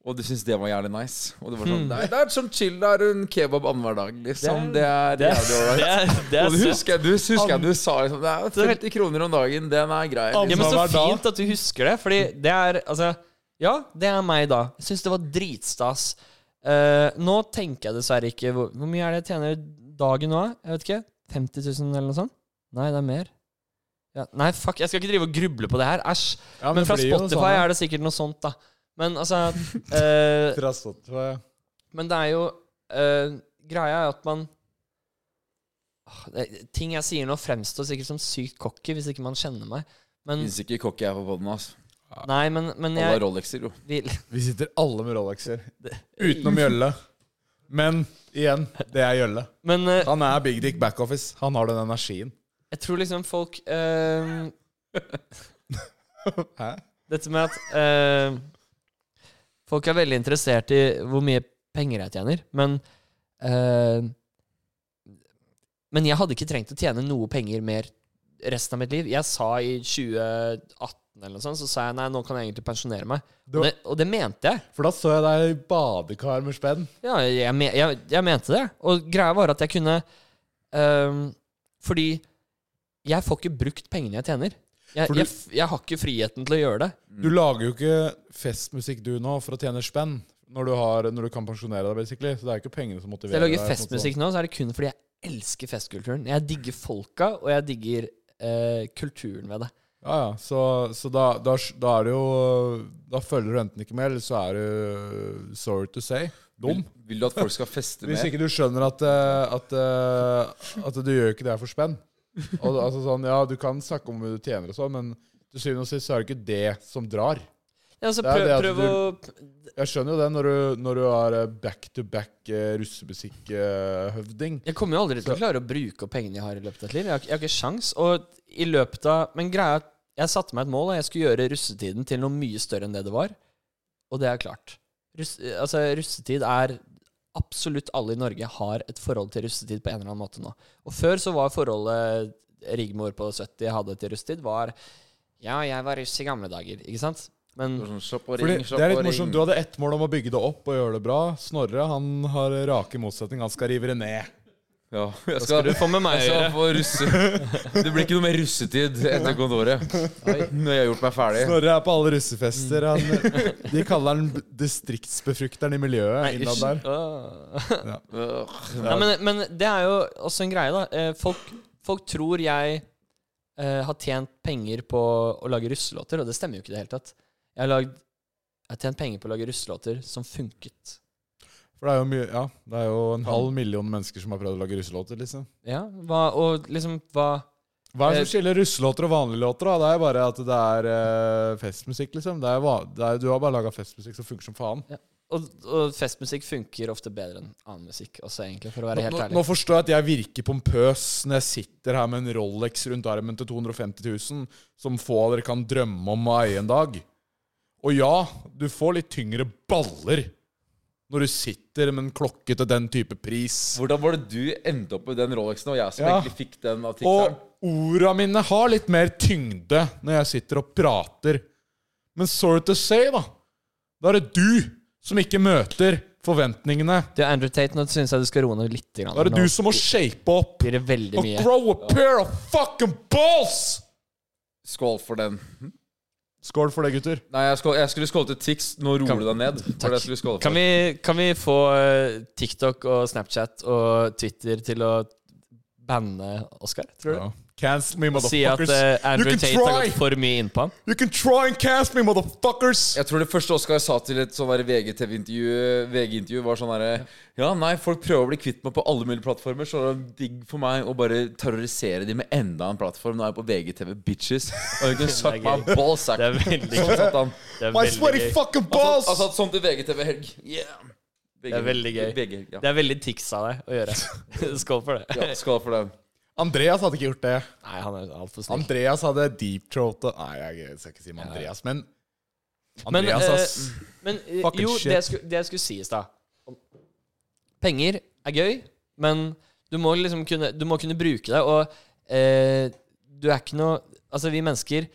S3: Og du syntes det var jævlig nice. Og det var sånn Det er, det er sånn chill, da er en kebab annenhver dag, liksom. Det er,
S1: det,
S3: jævlig ålreit.
S1: er, det
S3: Og du husker, du husker jeg du sa liksom Det
S1: er
S3: er 50 kroner om dagen, den er grei.
S1: Ja,
S3: Liksom.
S1: men så
S2: Hver dag.
S1: fint at du husker det, fordi det er Altså, ja, det er meg da. Jeg syns det var dritstas. Eh, nå tenker jeg dessverre ikke hvor, hvor mye er det jeg tjener dagen nå? Jeg vet ikke. 50 000 eller noe sånt? Nei, det er mer. Ja, nei, fuck, jeg skal ikke drive og gruble på det her. Æsj.
S2: Ja,
S1: Men fra
S2: det blir jo
S1: Spotify
S2: sånn,
S1: er det sikkert noe sånt, da. Men altså eh,
S2: Fra Spotify
S1: men det er jo øh, Greia er at man Åh, det, Ting jeg sier nå, fremstår sikkert som sykt cocky hvis ikke man kjenner meg. Men,
S3: Syns ikke cocky jeg er på poden, altså.
S1: nei, men, men
S3: Alle
S1: jeg
S3: har Rolexer, jo.
S1: vil
S2: Vi sitter alle med Rolexer. Utenom Gjølle. Men igjen, det er Gjølle.
S1: Men øh,
S2: Han er big dick backoffice. Han har den energien.
S1: jeg tror liksom folk øh,
S2: Hæ?
S1: Dette med at øh, Folk er veldig interessert i hvor mye penger jeg tjener, men øh, Men jeg hadde ikke trengt å tjene noe penger mer resten av mitt liv. Jeg sa i 2018 eller noe sånt, så sa jeg nei, nå kan jeg egentlig pensjonere meg.
S2: Du-
S1: Og det, og det mente jeg.
S2: For da så jeg deg i badekar med spenn.
S1: Ja, jeg, me- jeg, jeg mente det. Og greia var at jeg kunne øhm, Fordi jeg får ikke brukt pengene jeg tjener. Jeg,
S2: For du-
S1: jeg, f- jeg har ikke friheten til å gjøre det.
S2: Du lager jo ikke festmusikk du nå for å tjene spenn. Når du, har, når du kan pensjonere deg, basically. Så det er jo ikke pengene som
S1: Så jeg
S2: motiverer
S1: lager
S2: sånn som-
S1: festmusikk nå, så er det kun fordi jeg elsker festkulturen. Jeg digger folka, og jeg digger eh, kulturen ved det.
S2: Ja, ja. Så, så da, da, da er det jo Da følger du enten ikke med, eller så er du sorry to say dum.
S3: Vil, vil du at folk skal feste
S2: Hvis
S3: mer?
S2: ikke du skjønner at, eh, at, eh, at du gjør ikke det her for spenn. Og, det- altså sånn, ja, du kan snakke om hva du tjener og sånn, men til syvende og sist så er det ikke det som drar.
S1: Ja, så
S2: Det er
S1: prøv,
S2: det at
S1: prøv å
S2: Jeg skjønner jo det når du, når du har eh, back-to-back eh, russemusikk-høvding.
S1: Jeg kommer jo aldri til å klare å bruke opp pengene jeg har i løpet av et liv. Jeg har, ikke- jeg har ikke sjans. Og i løpet av Men greia er at jeg satte meg et mål, og jeg skulle gjøre russetiden til noe mye større enn det det var. Og det er klart. Russ, altså, russetid er Absolutt alle i Norge har et forhold til russetid på en eller annen måte nå. Og før så var forholdet Rigmor på 70 hadde til russetid, var Ja, jeg var russ i gamle dager, ikke sant? Men
S3: Sånn, slapp og
S2: Fordi
S3: ring,
S2: det
S3: slapp
S2: er litt
S3: og ring.
S2: morsomt, Du hadde ett mål om å bygge det opp og gjøre det bra. Snorre han har rake motsetning. Han skal rive det ned.
S3: Ja,
S1: skal
S3: jeg skal,
S1: du få med meg å
S3: jeg skal
S1: gjøre?
S3: få russe. Det blir ikke noe mer russetid etter Gondoret. Når jeg har gjort meg ferdig.
S2: Snorre er Mm. på alle russefester. Han, de kaller han distriktsbefrukteren i miljøet
S1: Nei,
S2: innad der.
S1: hysj. Åh.
S3: Øh,
S1: Ja, men, men det er jo også en greie, da. Eh, Folk, folk tror jeg eh, har tjent penger på å lage russelåter, og det stemmer jo ikke i det hele tatt. Jeg har, lagd, jeg har tjent penger på å lage russelåter som funket.
S2: For det er jo mye Ja, det er jo en halv million mennesker som har prøvd å lage russelåter, liksom.
S1: Ja, hva, og liksom hva
S2: Hva er det som skiller russelåter og vanlige låter? da? Det er bare at det er eh, festmusikk, liksom. Det er, va- det er, du har bare laga festmusikk som funker som faen.
S1: og, og festmusikk funker ofte bedre enn annen musikk også, egentlig, for å være helt
S2: Nå,
S1: ærlig.
S2: nå forstår jeg at jeg virker pompøs når jeg sitter her med en Rolex rundt armen til 250 000, som få av dere kan drømme om å eie en dag. Og ja, du får litt tyngre baller når du sitter med en klokke til den type pris.
S3: Hvordan var det du endte opp med den Rolexen, og jeg som
S2: Ja.
S3: egentlig fikk den av tikteren?
S2: Og orda mine har litt mer tyngde når jeg sitter og prater. Men sorry to say, da. Da er det du som ikke møter forventningene.
S1: Du, Andrew Tate, nå syns jeg du skal roe ned litt. Grann.
S2: Da er det
S1: Nå
S2: du som må shape opp
S1: blir det veldig
S2: og
S1: mye.
S2: grow a pair of fucking balls!
S3: Skål for den.
S2: Skål for det, gutter.
S3: Nei, jeg, skål, jeg skulle skåle til Tix. Nå roer
S1: Kan-
S3: du deg ned. For det jeg skulle skåle for.
S1: Kan vi, kan vi få eh, TikTok og Snapchat og Twitter til å banne Oscar? Tror du?
S2: Ja. Cancel me,
S1: Si at
S2: motherfuckers.
S1: eh, Andrew
S2: You can
S1: Tate har
S2: try.
S1: gått for mye innpå han.
S2: You can try and cancel me, motherfuckers!
S3: Jeg tror det første Oskar sa til et sånn der VGTV-intervju, VG-intervju var sånn herre Ja, nei, folk prøver å bli kvitt meg på alle mulige plattformer, så det er digg for meg å bare terrorisere de med enda en plattform. Nå er jeg på VGTV, bitches. Og you can suck my ballsack.
S1: Det er veldig
S3: Sånn satt han.
S1: Det er
S2: My
S1: veldig
S2: sweaty
S1: gøy.
S2: fucking balls!
S3: Han satt sånn til VGTV-helg. Yeah.
S1: Det er veldig gøy.
S3: VG, ja.
S1: Det er veldig tics av deg å gjøre. Skål for det.
S3: ja, Skål for den.
S2: Andreas hadde ikke gjort det.
S1: Nei, han er altfor snill.
S2: Andreas hadde deep throat og Nei, jeg skal ikke si med Andreas, men
S1: Men,
S2: Andreas,
S1: eh,
S2: ass.
S1: men eh,
S2: Fucking
S1: jo,
S2: shit.
S1: det jeg, skulle, det jeg skulle si i stad om- Penger er gøy, men du må liksom kunne, du må kunne bruke det. Og eh, du er ikke noe Altså, vi mennesker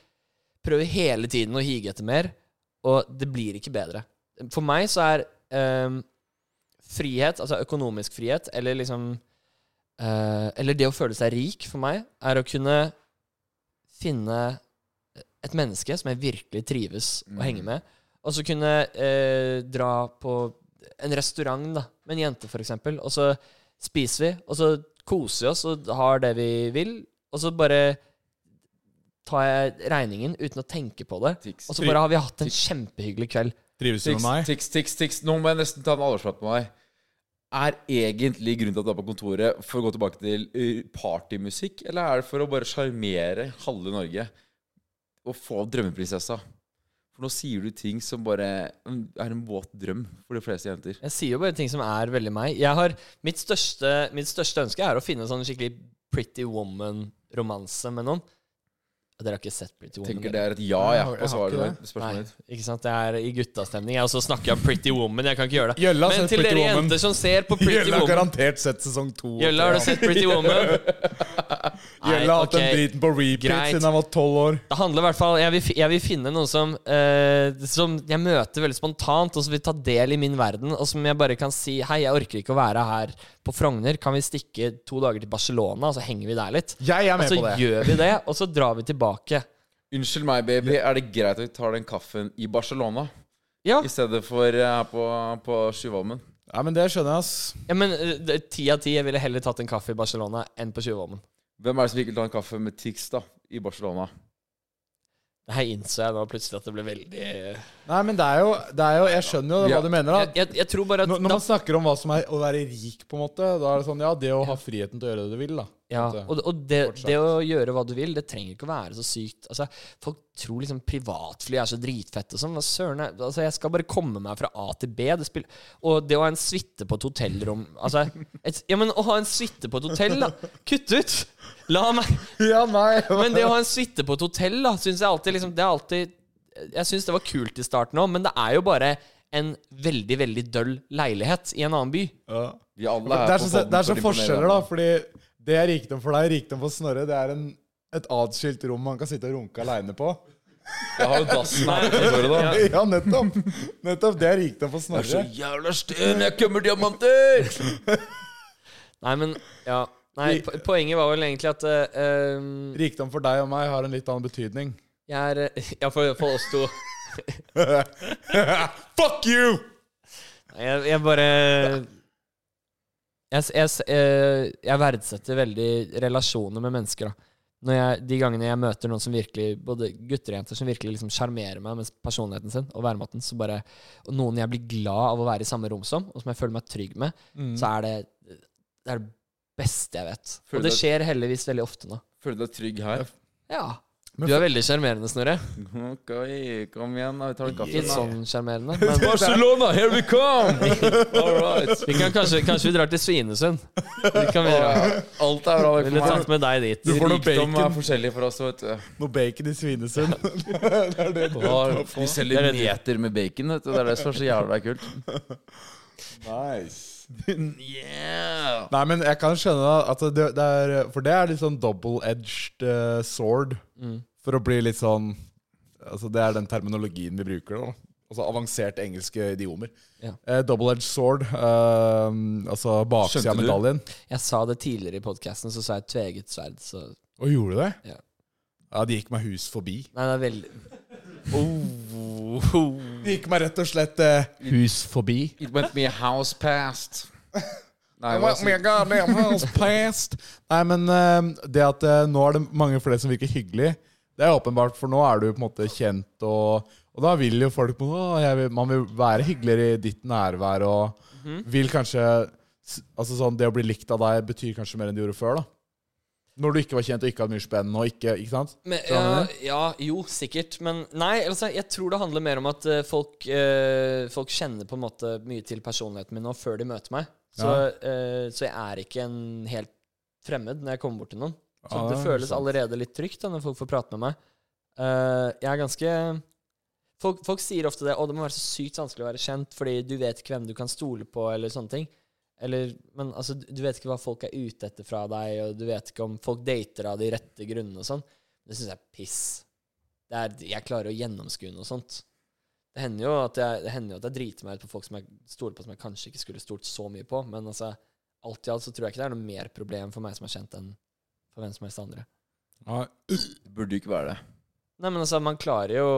S1: prøver hele tiden å hige etter mer, og det blir ikke bedre. For meg så er eh, frihet, altså økonomisk frihet, eller liksom eh, Eller det å føle seg rik for meg, er å kunne finne et menneske som jeg virkelig trives å
S2: Mm.
S1: henge med, og så kunne eh, dra på en restaurant da, med en jente, for eksempel, og så spiser vi, og så koser vi oss og har det vi vil, og så bare tar jeg regningen uten å tenke på det,
S3: Tics.
S1: og så bare har vi hatt en kjempehyggelig kveld.
S2: Trives du
S3: Tix,
S2: med meg?
S3: tix, tix, tix. Nå må jeg nesten ta en alvorsprat med meg. Er egentlig grunnen til at du er på kontoret for å gå tilbake til eh, partymusikk, eller er det for å bare sjarmere halve Norge og få opp drømmeprinsessa? For nå sier du ting som bare mm, er en våt drøm for de fleste jenter.
S1: Jeg sier jo bare ting som er veldig meg. Jeg har, mitt, største, mitt største ønske er å finne en sånn skikkelig Pretty Woman-romanse med noen. Og Dere har ikke sett Pretty Woman?
S3: Tenker
S1: dere?
S3: det er et ja,
S2: Nei, jeg
S3: ja,
S2: har- jeg
S3: på
S2: har
S3: svaret
S2: ikke
S3: ditt.
S1: Nei,
S3: Spørsmålet ditt.
S1: ikke sant? Det er i guttastemning. Jeg også snakker om Pretty Woman. Jeg kan ikke gjøre det.
S2: Gjølla har
S1: Men
S2: sett
S1: til
S2: Pretty
S1: dere
S2: Woman.
S1: jenter som ser på Pretty
S2: Gjelle har
S1: Woman
S2: garantert sett sesong to. og
S1: Gjølla, har du
S2: tre.
S1: sett Pretty Woman? Nei,
S2: Gjelle har hatt
S1: ok.
S2: den driten på repeat
S1: Greit.
S2: siden han var tolv år.
S1: Det handler i hvert fall Jeg vil, fi- jeg vil finne noen som, eh, som jeg møter veldig spontant, og som vil ta del i min verden, og som jeg bare kan si Hei, jeg orker ikke å være her på Frogner. Kan vi stikke to dager til Barcelona, og så henger vi der litt?
S2: Jeg er
S1: Og
S2: med
S1: så
S2: på det.
S1: gjør vi det, og så drar vi tilbake.
S3: Unnskyld meg, baby. Er det greit at vi tar den kaffen i Barcelona
S1: Ja,
S3: i stedet for eh, på, på Sjuvholmen?
S2: Ja, men Det skjønner jeg, ass.
S1: ja men eh, det- ti av ti. Jeg ville heller tatt en kaffe i Barcelona enn på Tjuvholmen.
S3: Hvem er det som ikke vil ta en kaffe med Tix da, i Barcelona?
S1: Her innså jeg nå plutselig at det ble veldig
S2: Nei, men det er jo, det er jo Jeg skjønner jo det,
S3: Ja.
S2: hva du mener. da
S1: Jeg, jeg, jeg tror bare at
S2: Når, når
S1: da-
S2: man snakker om hva som er å være rik, på en måte, da er det sånn Ja, det å ha friheten til å gjøre det du vil, da.
S1: Ja,
S2: At det-
S1: og, og det,
S2: kort sagt.
S1: det å gjøre hva du vil, det trenger ikke å være så sykt. Altså, folk tror liksom privatfly er så dritfett og sånn. Hva søren er Altså, jeg skal bare komme meg fra A til B. Det spill- og det å ha en suite på et hotellrom Altså, et, ja, men å ha en suite på et hotell, da! Kutt ut! La meg
S2: Ja, nei
S1: Men det å ha en suite på et hotell, da, syns jeg alltid liksom Det er alltid Jeg syns det var kult i starten òg, men det er jo bare en veldig, veldig døll leilighet i en annen by.
S2: ja.
S3: Vi alle
S2: Det er
S3: på
S2: så,
S3: podden
S2: det er så
S3: for å imponere
S2: forskjeller,
S3: hverandre.
S2: da. Fordi det er rikdom for deg, rikdom for Snorre. Det er en, et atskilt rom man kan sitte og runke aleine på.
S3: Jeg har jo dassen her. ute, hører du da?
S2: Ja, nettopp! Nettopp, Det er rikdom for
S3: Jeg er så
S2: Snorre.
S3: jævla sten, jeg kømmer diamanter!
S1: Nei, men Ja. Nei, po- poenget var vel egentlig at eh, um,
S2: Rikdom for deg og meg har en litt annen betydning.
S1: Jeg er eh, Ja, for, for oss to.
S2: Fuck you!
S1: Nei, Jeg, jeg bare jeg, s- jeg, s- eh, jeg verdsetter veldig relasjoner med mennesker. da når jeg, De gangene jeg møter noen som virkelig Både gutter og jenter som virkelig liksom sjarmerer meg med personligheten sin og væremåten, så bare Og noen jeg blir glad av å være i samme rom som, og som jeg føler meg trygg med,
S3: Mm.
S1: så er det det er det beste jeg vet.
S3: Føler
S1: Og det
S3: du-
S1: skjer heldigvis veldig ofte nå.
S3: Føler du deg trygg her?
S1: Ja. Du er veldig sjarmerende, Snorre.
S3: Ok, kom igjen, da. Vi tar en kaffe.
S1: Litt
S3: da.
S1: sånn sjarmerende. Men
S3: Barcelona, here we come! All right.
S1: vi kan kanskje, kanskje vi drar til Svinesund. Det kan vi gjøre.
S3: Alt er bra.
S1: Ville
S3: Det
S1: tatt med deg dit.
S3: kommer. Rikdom er forskjellig for oss, vet du.
S6: Noe bacon i Svinesund.
S3: Hva- Vi
S1: Det
S3: selger
S1: er det du-
S3: meter med bacon, vet du. Det er det som er så jævla kult.
S6: nice.
S3: Yeah.
S2: Nei, men jeg kan skjønne at det, det er For det er litt sånn double-edged eh, sword.
S3: Mm.
S2: For å bli litt sånn Altså Det er den terminologien vi bruker. da Altså Avanserte engelske idiomer.
S1: Ja.
S2: Eh, double-edged sword, eh, altså baksida
S3: Skjønte
S2: av
S3: du?
S2: medaljen.
S1: Jeg sa det tidligere i podkasten, så sa jeg tveget sverd, så
S2: Og gjorde du det?
S1: Ja.
S2: ja, de gikk meg hus forbi.
S1: Nei, det er veldig
S3: Mm.
S2: De gikk meg rett og slett eh, hus forbi.
S3: It went me house past. Nei, hva
S2: Oh my
S3: sier-
S2: God, damn, house passed. Nei, men eh, det at eh, nå er det mange flere som virker hyggelig, det er åpenbart, for nå er du på en måte kjent, og, og da vil jo folk «Å, jeg vil, Man vil være hyggeligere i ditt nærvær, og
S1: Mhm.
S2: vil kanskje s- Altså sånn, det å bli likt av deg betyr kanskje mer enn det gjorde før, da. Når du ikke var kjent og ikke hadde mye spenn, og ikke Ikke sant?
S1: Men,
S2: Tror du han
S1: ja, ja, jo, sikkert. Men nei, altså, jeg tror det handler mer om at eh, folk, eh, folk kjenner på en måte mye til personligheten min nå før de møter meg. Så, eh, så jeg er ikke en helt fremmed når jeg kommer bort til noen. Så
S2: Ja,
S1: det
S2: det er
S1: føles
S2: sant.
S1: allerede litt trygt da, når folk får prate med meg. Eh, jeg er ganske folk, folk sier ofte det 'Å, det må være så sykt vanskelig å være kjent', fordi du vet ikke hvem du kan stole på, eller sånne ting. Eller, men altså, du du vet ikke hva folk er ute etter fra deg, og du vet ikke om folk dater av de rette grunnene og sånn. Det syns jeg er piss. Det er, jeg klarer å gjennomskue noe sånt. Det hender jo at jeg, det hender jo at jeg driter meg ut på folk som jeg stoler på, som jeg kanskje ikke skulle stolt så mye på. Men altså, alt i alt så tror jeg ikke det er noe mer problem for meg som er kjent, enn for hvem som helst andre.
S3: Det burde jo ikke være det.
S1: Nei, men altså, man klarer jo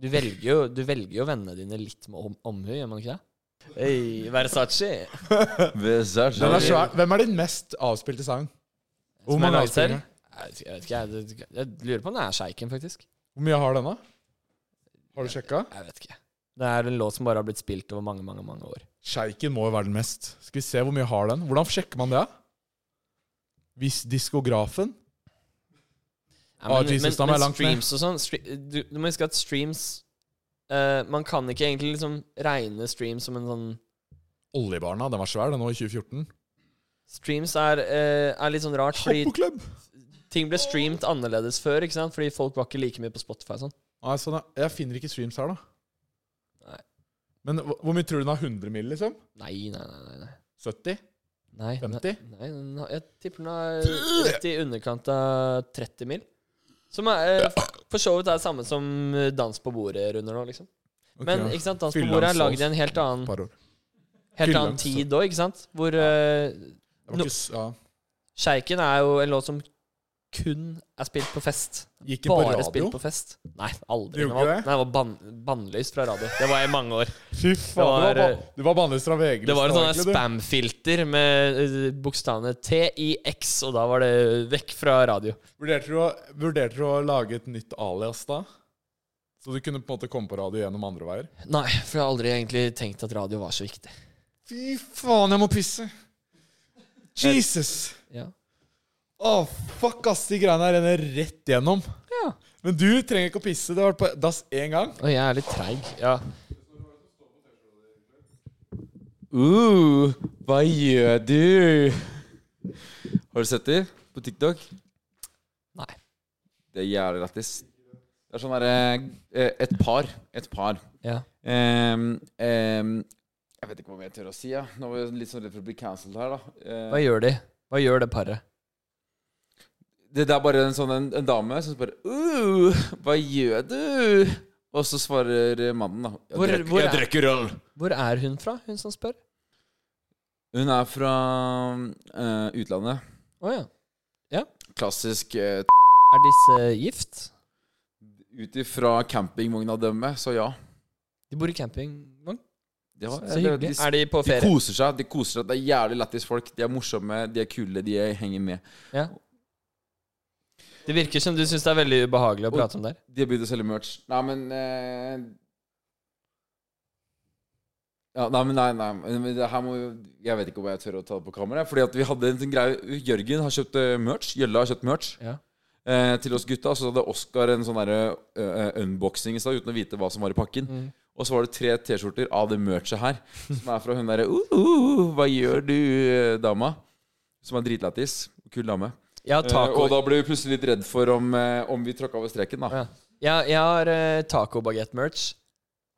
S1: Du velger jo, du velger jo vennene dine litt med om, omhu, gjør man ikke det? Hey, Versace.
S3: Versace.
S2: Den er svær. Hvem er din mest avspilte sang? Hvor
S1: Som jeg
S2: mange
S1: laget selv.
S2: avspillinger?
S1: Jeg vet ikke, jeg, vet ikke, jeg, jeg lurer på om det er sjeiken, faktisk.
S2: Hvor mye har den, da? Har du sjekka?
S1: Jeg vet ikke. Det er en låt som bare har blitt spilt over mange, mange mange år.
S2: Sjeiken må jo være den mest. Skal vi se hvor mye har den? Hvordan sjekker man det? Hvis diskografen
S1: Ja,
S2: Ah, Jesus, da må jeg langt ned.
S1: streams og sånn stre- du, du må huske at streams eh, Man kan ikke egentlig liksom regne streams som en sånn
S2: Oljebarna, den var svær, den nå i 2014.
S1: Streams er, eh, er litt sånn rart, fordi
S2: Hoppeklubb!
S1: ting ble streamt annerledes før. ikke sant? Fordi folk var ikke like mye på Spotify. og sånn.
S2: Nei, sånn, ja. jeg finner ikke streams her, da.
S1: Nei.
S2: Men hva- hvor mye tror du den har? 100 mill., liksom?
S1: Nei, nei, nei. nei, nei.
S2: 70?
S1: Nei,
S2: 50?
S1: Nei, nei, den har- jeg tipper den er rett i underkant av 30 mil. Som er, eh, for så vidt er det samme som eh, Dans på bordet runder nå, liksom.
S2: Ok,
S1: Men
S2: ja.
S1: ikke sant, Dans på
S2: Fylla
S1: bordet er
S2: en
S1: lagd i
S2: sås.
S1: en helt annen,
S2: Par år.
S1: helt
S2: fylla
S1: annen
S2: en
S1: tid òg, ikke sant? Hvor eh,
S2: Det
S1: No.
S2: var ikke s- ja.
S1: Sjeiken er jo en låt som kun er spilt på fest.
S2: Gikk den på
S1: Bare
S2: radio?
S1: spilt på fest. Nei, aldri.
S2: Det
S1: Den
S2: gjorde
S1: var,
S2: ikke det?
S1: nei, den var ban bannlyst fra radio. Det var jeg i mange år.
S2: Fy faen,
S1: Det var, eh,
S2: du var, ba- du var bannlyst fra VG.
S1: Det var sånn et sånt
S2: egentlig, du.
S1: spamfilter med eh, bokstavene TIX, og da var det vekk fra radio.
S2: Vurderte du, å, vurderte du å lage et nytt alias da? Så du kunne på en måte komme på radio gjennom andre veier?
S1: Nei, for jeg har aldri egentlig tenkt at radio var så viktig.
S2: Fy faen, jeg må pisse. Jesus.
S1: Ja.
S2: Å, fuck, ass. De greiene her renner rett gjennom.
S1: ja.
S2: Men du trenger ikke å pisse. Det har vært på dass én gang.
S1: Og jeg er litt treig. Ja.
S3: Uh, hva gjør du? Har du sett de på TikTok?
S1: Nei.
S3: Det er jævlig lættis. Det er sånn derre Et par. Et par.
S1: Ja.
S3: Em, em, jeg vet ikke hva mer jeg tør å si. Ja. Nå er jeg litt sånn redd for å bli cancelled her, da. Eh,
S1: Hva gjør de? Hva gjør det paret?
S3: det, det er bare en sånn en, en dame som spør uh, Hva gjør du? Og så svarer eh, mannen, da. Jeg
S1: Hvor-
S3: drikker-
S1: hvor
S3: jeg
S1: er-
S3: drikker øl.
S1: Hvor er hun fra, hun som spør?
S3: Hun er fra eh, utlandet.
S1: Å ja.
S3: Klassisk uh,
S1: Er disse gift?
S3: Ut ifra campingvognadømmet, så ja.
S1: De bor i campingvogn.
S3: Det var,
S1: Så
S3: det, de,
S1: hyggelig. Er de på
S3: de
S1: ferie?
S3: koser seg. De koser seg Det er jævlig lættis folk. De er morsomme, de er kule, de henger med.
S1: Ja. Det virker som du syns det er veldig ubehagelig å prate om det her.
S3: De har begynt å selge merch. Nei, men eh... ja, Nei, men nei, nei. Men det her må jo Jeg vet ikke om jeg tør å ta det på kamera. Fordi at vi hadde en sånn greie Jørgen har kjøpt eh, merch. Gjølle har kjøpt merch.
S1: Ja.
S3: Eh, til oss gutta Så hadde Oskar en sånn derre eh, unboxing i stad uten å vite hva som var i pakken.
S1: Mm. Eh,
S3: Og så var det tre T-skjorter av det merchet her, som er fra hun derre uh, uh, uh, Hva gjør du, eh, dama? Som er dritlættis. Kul dame.
S1: Jeg har
S3: Eh,
S1: taco
S3: og da ble vi plutselig litt redd for om, eh, om vi tråkka over streken, da.
S1: ja. jeg, jeg har uh, tacobagett-merch.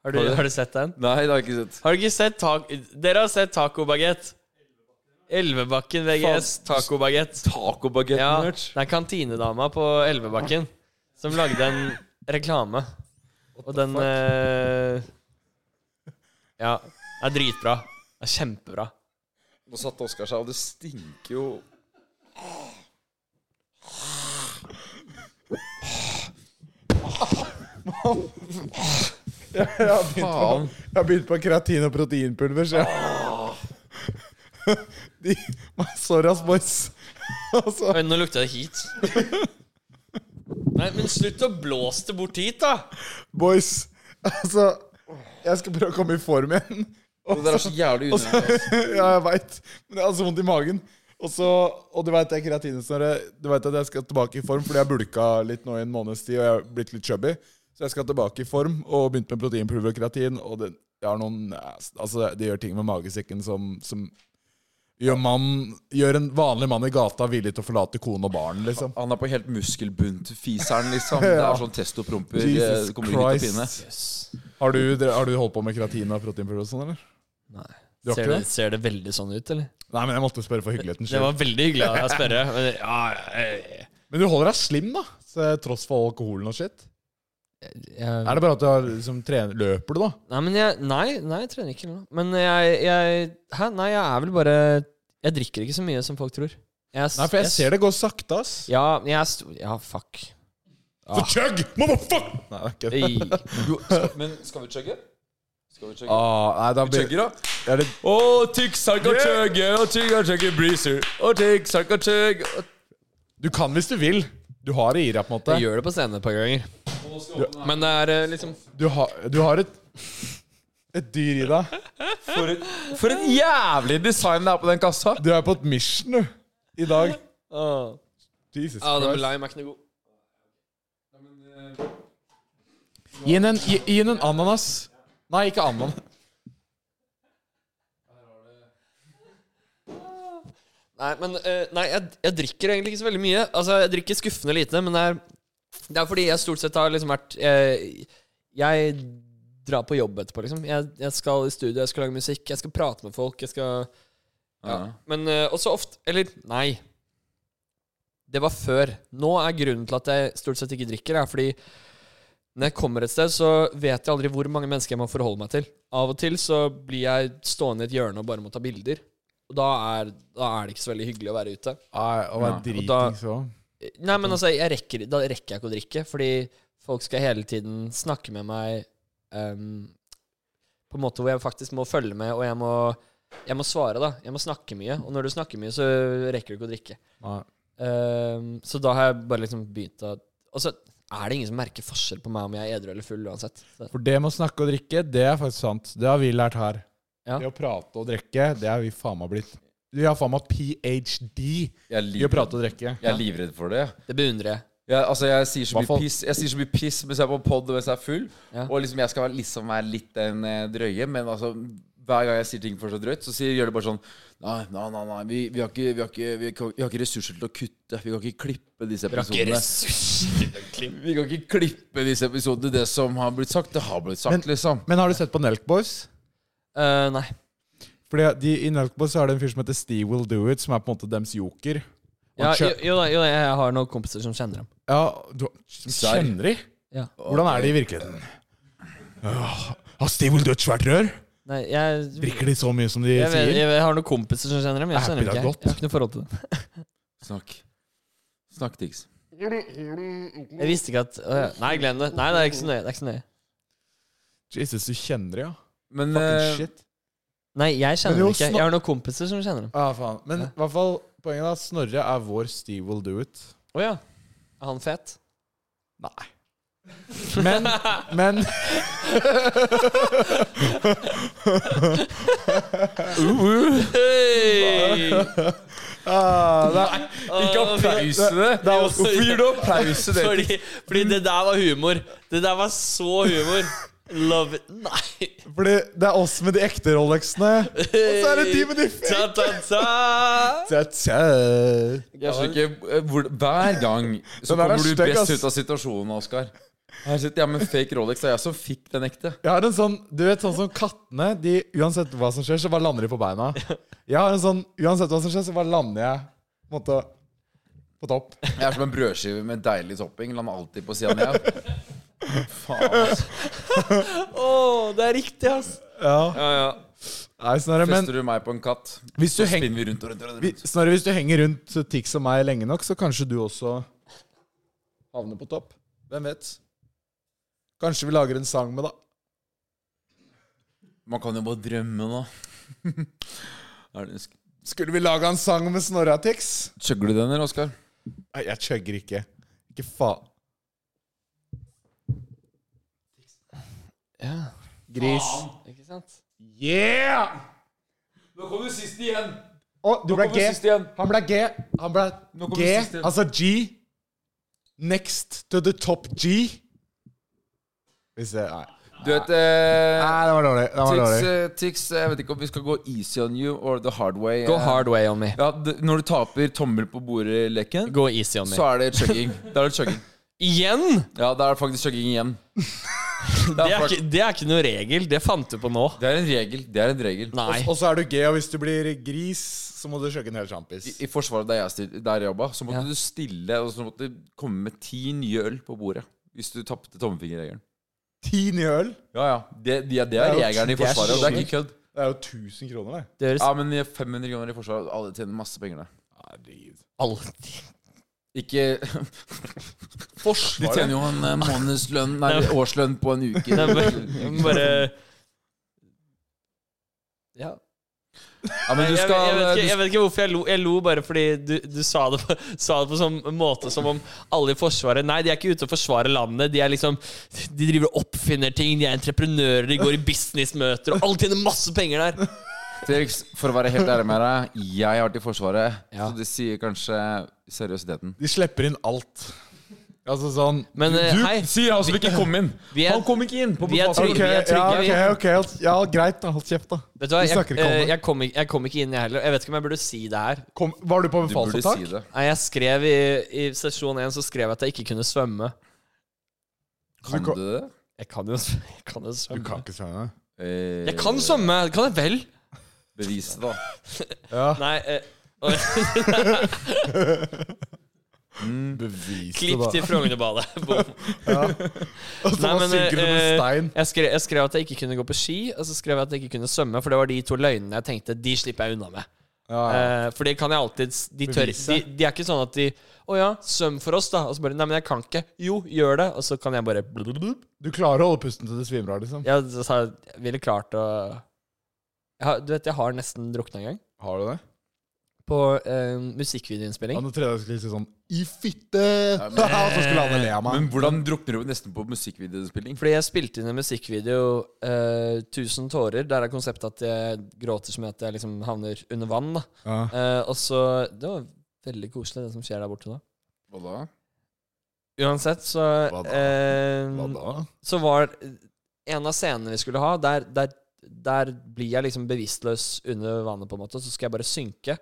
S1: Har, du-
S3: Har du det?
S1: har du sett den?
S3: Nei, det har jeg ikke sett.
S1: Har du ikke sett tak... Dere har sett tacobagett. Elvebakken VGS tacobagett. Ja,
S3: Tacobagett-merch.
S1: det er kantinedama på Elvebakken som lagde en reklame. Og den eh, Ja. Det er dritbra. Det er kjempebra.
S3: Nå satte Oskar seg, og det stinker jo
S2: Jeg har begynt på,
S3: Faen.
S2: jeg har begynt på kreatin og proteinpulver, så jeg De, Sorry, ass, boys. Altså,
S1: Oi, nå lukta det hit. Nei, men slutt å blåse det bort hit, da!
S2: boys. Altså, jeg skal prøve å komme i form igjen.
S3: Det der er så jævlig unødvendig. Altså, ass.
S2: ja, jeg veit. Men jeg har så vondt i magen. Og, så, og du veit det keratinsnøret Du vet at jeg skal tilbake i form, fordi jeg bulka litt nå i en måneds tid, og jeg har blitt litt chubby. Så jeg skal tilbake i form, og begynte med proteinpulver og kreatin. Og det, jeg har noen nas- Altså, det gjør ting med magesekken som, som gjør, mann, gjør en vanlig mann i gata villig til å forlate kone og barn, liksom.
S3: Han er på helt muskelbunt, fiseren, liksom. Det er sånn testopromper.
S2: Jesus
S3: det kommer ut av pinne.
S2: Har du, dere- har du holdt på med kreatin og proteinpulver og sånn, eller?
S1: Nei.
S2: Du har
S1: Ser
S2: ikke
S1: det,
S2: det?
S1: ser det veldig sånn ut, eller?
S2: Nei, men jeg måtte spørre for hyggelighetens
S1: Det
S2: skyld.
S1: var veldig hyggelig av deg å spørre. Men, ja, jeg,
S2: Men du holder deg slim, da? så- Tross for alkoholen og shit?
S1: jeg,
S2: Er det bare at du har liksom trener Løper du, da?
S1: nei, men jeg Nei, nei, jeg trener ikke eller noe. Men jeg, jeg Hæ? Nei, jeg er vel bare Jeg drikker ikke så mye som folk tror.
S2: Nei, for jeg ser det går sakte, ass.
S1: Ja, jeg er stor Ja, fuck.
S2: For chug! Motherfuck! Nei, det er ikke det.
S1: Øy.
S3: Jo, skal- Men skal vi chugge? Skal vi chugge?
S2: Ah, nei, da
S3: Vi
S2: blir
S3: chugger, da?
S2: er det,
S3: Å, tykk sark og chugge, og tykk og chugge breezer. Og tykk sark og chugge.
S2: Du kan hvis du vil. Du har det i deg, på en måte.
S1: Jeg gjør det på scenen et par ganger. Men det er eh, liksom
S2: Du, har- du har et et dyr i deg.
S3: For et, for et jævlig design det er på den kassa.
S2: Du er på et mission, du. I dag.
S1: Åh.
S2: Jesus
S1: Ja, den med
S2: Christ.
S1: lime er ikke noe god.
S2: Gi henne en, gi, gi henne en ananas. Nei, ikke ananas.
S1: Nei, men eh, nei, jeg, jeg drikker egentlig ikke så veldig mye. Altså, Jeg drikker skuffende lite, men det er, det er fordi jeg stort sett har liksom vært eh, Jeg drar på jobb etterpå, liksom. Jeg, jeg skal i studio, jeg skal lage musikk, jeg skal prate med folk, jeg skal ja. Men eh, også ofte Eller nei. Det var før. Nå er grunnen til at jeg stort sett ikke drikker, er fordi når jeg kommer et sted, så vet jeg aldri hvor mange mennesker jeg må forholde meg til. Av og til så blir jeg stående i et hjørne og bare må ta bilder. Og da er, da er det ikke så veldig hyggelig å være ute.
S2: Nei, å være
S3: Nei,
S1: og da-
S2: dritings òg.
S1: Nei,
S2: Mm.
S1: men altså, jeg rekker, da rekker jeg ikke å drikke, fordi folk skal hele tiden snakke med meg ehm, på en måte hvor jeg faktisk må følge med, og jeg må, jeg må svare, da. Jeg må snakke mye. Og når du snakker mye, så rekker du ikke å drikke. Ehm, så da har jeg bare liksom begynt å Og så er det ingen som merker forskjell på meg om jeg er edru eller full uansett. Så,
S2: For det med å snakke og drikke, det er faktisk sant. Det har vi lært her.
S1: Ja.
S2: Det å prate og drikke, det er vi faen meg blitt. Vi har faen meg ph.d.
S3: Jeg
S2: i
S3: er
S2: å
S3: livredd,
S2: prate og drikke.
S3: jeg er livredd for det.
S1: det beundrer jeg.
S3: Jeg, altså, jeg sier så mye
S2: Hvertfall-
S3: piss Jeg sier så mye piss mens jeg er på pod og mens jeg er full.
S1: Ja.
S3: Og liksom jeg skal være- liksom være litt den eh, drøye, men altså hver gang jeg sier ting for så drøyt, så sier, gjør det bare sånn Nei, nei, nei, nei vi, vi, har ikke, vi, har ikke, vi, kan- vi har ikke ressurser til å kutte. Vi kan ikke klippe disse episodene. Vi kan ikke klippe disse episodene. Det som har blitt sagt, det har blitt sagt, liksom.
S2: Men har du sett på Nelk Boys?
S1: Eh, nei.
S2: Fordi de, I Nelk Boys så er det en fyr som heter Steve Will Do It, som er på en måte dems joker. Og
S1: Ja,
S2: han
S1: jo,
S2: kjø-
S1: jo da, jo da, jeg har noen kompiser som kjenner ham.
S2: ja, du, som
S3: Serr?
S2: kjenner de?
S1: Ja.
S2: Hvordan er de i virkeligheten? Åh, Har Steve Will Do It svært rør?
S1: Nei, jeg
S2: Drikker de så mye som de
S1: jeg, vet,
S2: sier?
S1: jeg, jeg har noen kompiser som kjenner dem. Jeg
S2: Happy
S1: kjenner dem
S2: da
S1: ikke.
S2: godt.
S1: Jeg har ikke noe forhold til det.
S3: Snakk. Snakk, Tix.
S1: Jeg visste ikke at å, ja. Nei, glem det. Nei, det er ikke så nøye. Det er ikke så nøye.
S2: Jesus, du kjenner de, ja?
S3: Men
S2: Fucking
S3: eh,
S2: shit.
S1: Nei, jeg
S2: Men
S1: kjenner
S2: jo,
S1: dem ikke.
S2: snak-
S1: Jeg har noen kompiser som
S2: Ah,
S1: kjenner dem.
S2: Ja, faen. Men i hvert fall, poenget er at Snorre er vår Steve Will Do It.
S1: Å ja. Er han fet?
S2: Nei. Men, men ah, det er,
S1: Ikke applaus
S3: til det.
S2: det er også,
S3: Hvorfor gir du applaus til det?
S1: Fordi, fordi det der var humor. Det der var så humor. Love it. Nei.
S2: fordi det er oss med de ekte Rolexene. Og så er det de med de fake.
S1: Ta, ta, ta.
S2: Tja, tja.
S3: Jeg skjønner ikke eh, hvor, Hver gang så
S2: Den der er
S3: kommer du
S2: stygg,
S3: best
S2: ass.
S3: ut av situasjonen, Oskar. Her sitter jeg med fake Rolex. Det er jeg som fikk den ekte.
S2: Jeg har en sånn, du vet sånn som kattene de, Uansett hva som skjer, så bare lander de på beina. Jeg har en sånn, Uansett hva som skjer, så bare lander jeg på, en måte, på topp.
S3: Jeg er som en brødskive med deilig topping. La meg alltid på sida ned. Faen, altså.
S1: Å, det er riktig, ass.
S2: Ja,
S1: Ja, ja.
S2: Nei, Snorre, men
S3: Fester du meg på en katt,
S2: hvis du,
S3: så
S2: heng,
S3: spinner vi rundt og rundt. og rundt.
S2: vi- Snorre, hvis du henger rundt Tix og meg lenge nok, så kanskje du også havner på topp. Hvem vet? Kanskje vi lager en sang med, da.
S3: Man kan jo bare drømme, da. Er det- sk-
S2: Skulle vi laga en sang med Snorre og Tix?
S3: Chugger du den, eller, Oskar?
S2: Nei, jeg chugger ikke. Ikke faen.
S1: ja.
S2: Gris.
S1: Ikke sant?
S2: Yeah!
S3: Nå kom du sist igjen!
S2: Å, du ble G.
S3: igjen.
S2: Han ble G. Han ble
S3: Nå kommer
S2: G.
S3: siste.
S2: Altså G. Next to the top G. Hvis det Nei,
S3: Du vet eh,
S2: nei det var dårlig. Det var
S3: Tix,
S2: dårlig.
S3: eh, Tix, jeg vet ikke om vi skal gå easy on you or the hard way.
S1: Go
S3: Eh,
S1: hard way on me.
S3: Ja, d når du taper tommel på bordet-leken,
S1: Go easy on me.
S3: så er det chugging. Da er det chugging.
S1: Igjen?
S3: Ja, da er det faktisk chugging igjen.
S1: Det er, ikke, det er ikke noe regel. Det fant du på nå.
S3: Det er en regel. Det er en regel.
S1: Nei.
S2: Og så er du G, og hvis du blir gris, så må du kjøkke en hel sjampis.
S3: I, I Forsvaret, der jeg, styr- der jeg jobba, så måtte
S1: Ja.
S3: du stille og så måtte du komme med ti nye øl på bordet. Hvis du tapte tommefingerregelen.
S2: Ti nye øl.
S3: Ja, ja. Det, de, det
S2: er
S3: er
S2: jo-
S3: regelen i
S2: det er
S3: Forsvaret. og Det er ikke kødd.
S2: Det er jo 1000 kroner, det.
S1: Det høres
S3: Ja, men 500 kroner i Forsvaret, alle tjener masse penger der.
S1: alltid
S3: Ikke De
S2: Forsvaret?
S3: tjener jo en eh, månedslønn, nei,
S1: Nei.
S3: årslønn på en uke.
S1: Nei, men- Bare Ja.
S3: Ja, men du
S1: Jeg, jeg,
S3: skal eh,
S1: vet ikke,
S3: du
S1: jeg vet ikke hvorfor jeg lo. Jeg lo bare fordi du, du sa, det på, sa det på sånn måte som om alle i Forsvaret Nei, de er ikke ute og forsvarer landet. De er liksom De driver og oppfinner ting. De er entreprenører. De går i businessmøter. Og alle tjener masse penger der.
S3: Felix, for å være helt ærlig med deg, jeg har vært i Forsvaret,
S1: Ja.
S3: så det sier kanskje seriøsiteten.
S2: De slipper inn alt. Altså sånn
S1: Men eh, hei,
S3: sier han som ikke kom inn!
S1: vi er,
S3: kom ikke inn! på
S1: vi er
S2: Ok,
S1: trygge. Vi
S2: ja,
S1: er trygge vi.
S2: ok, ok, ja, greit. da, Hold kjeft, da.
S1: Vet du hva,
S2: Vi
S1: jeg,
S2: snakker ikke
S1: eh,
S2: om det.
S1: jeg, kom, ikke- jeg kom ikke inn, jeg heller. Jeg vet ikke om jeg burde si det her.
S2: Kom, var du på
S3: Du burde
S2: befalsopptak?
S3: si det.
S1: Nei, jeg skrev i, i sesjon 1 så skrev jeg at jeg ikke kunne svømme.
S3: Kan du det?
S1: Jeg kan jo, sv- jeg kan jo
S2: Du
S1: svømme.
S2: kan ikke svømme.
S3: Eh,
S1: Jeg kan sånn. svømme! det Kan jeg vel?
S3: Bevis det, da.
S2: Ja.
S1: Nei, eh,
S2: Bevis det,
S1: klipp
S2: da.
S1: til Frognerbadet. Bom.
S2: Og så
S1: Nei,
S2: bare
S1: men,
S2: synker du med
S1: eh,
S2: stein.
S1: Jeg skrev, jeg skrev at jeg ikke kunne gå på ski, og så skrev jeg at jeg ikke kunne svømme, for det var de to løgnene jeg tenkte de slipper jeg unna med.
S2: Ja, ja.
S1: Eh, for det kan jeg alltid de, tør, de, de er ikke sånn at de 'Å ja, svøm for oss', da. Og så bare 'Nei, men jeg kan ikke'. Jo, gjør det. Og så kan jeg bare
S2: Du klarer å holde pusten til du svimer av, liksom?
S1: Jeg, sa, jeg ville klart å jeg har, Du vet, jeg har nesten drukna en gang.
S2: Har du det?
S1: På eh,
S2: Ja,
S1: musikkvideoinnspilling.
S2: nå trodde jeg du skulle si sånn I fitte!
S3: Ja,
S2: Og så skulle alle le av meg.
S3: Men hvordan drukner du nesten på musikkvideospilling?
S1: Fordi jeg spilte inn en musikkvideo, eh, 'Tusen tårer', der er konseptet at jeg gråter som at jeg liksom havner under vann. da
S2: Ja.
S1: Eh, og så Det var veldig koselig, det som skjer der borte da.
S3: Hva da?
S1: Uansett, så
S2: Hva da?
S1: eh,
S2: Hva da?
S1: Så var eh, en av scenene vi skulle ha, der, der, der blir jeg liksom bevisstløs under vannet, på en måte, og så skal jeg bare synke.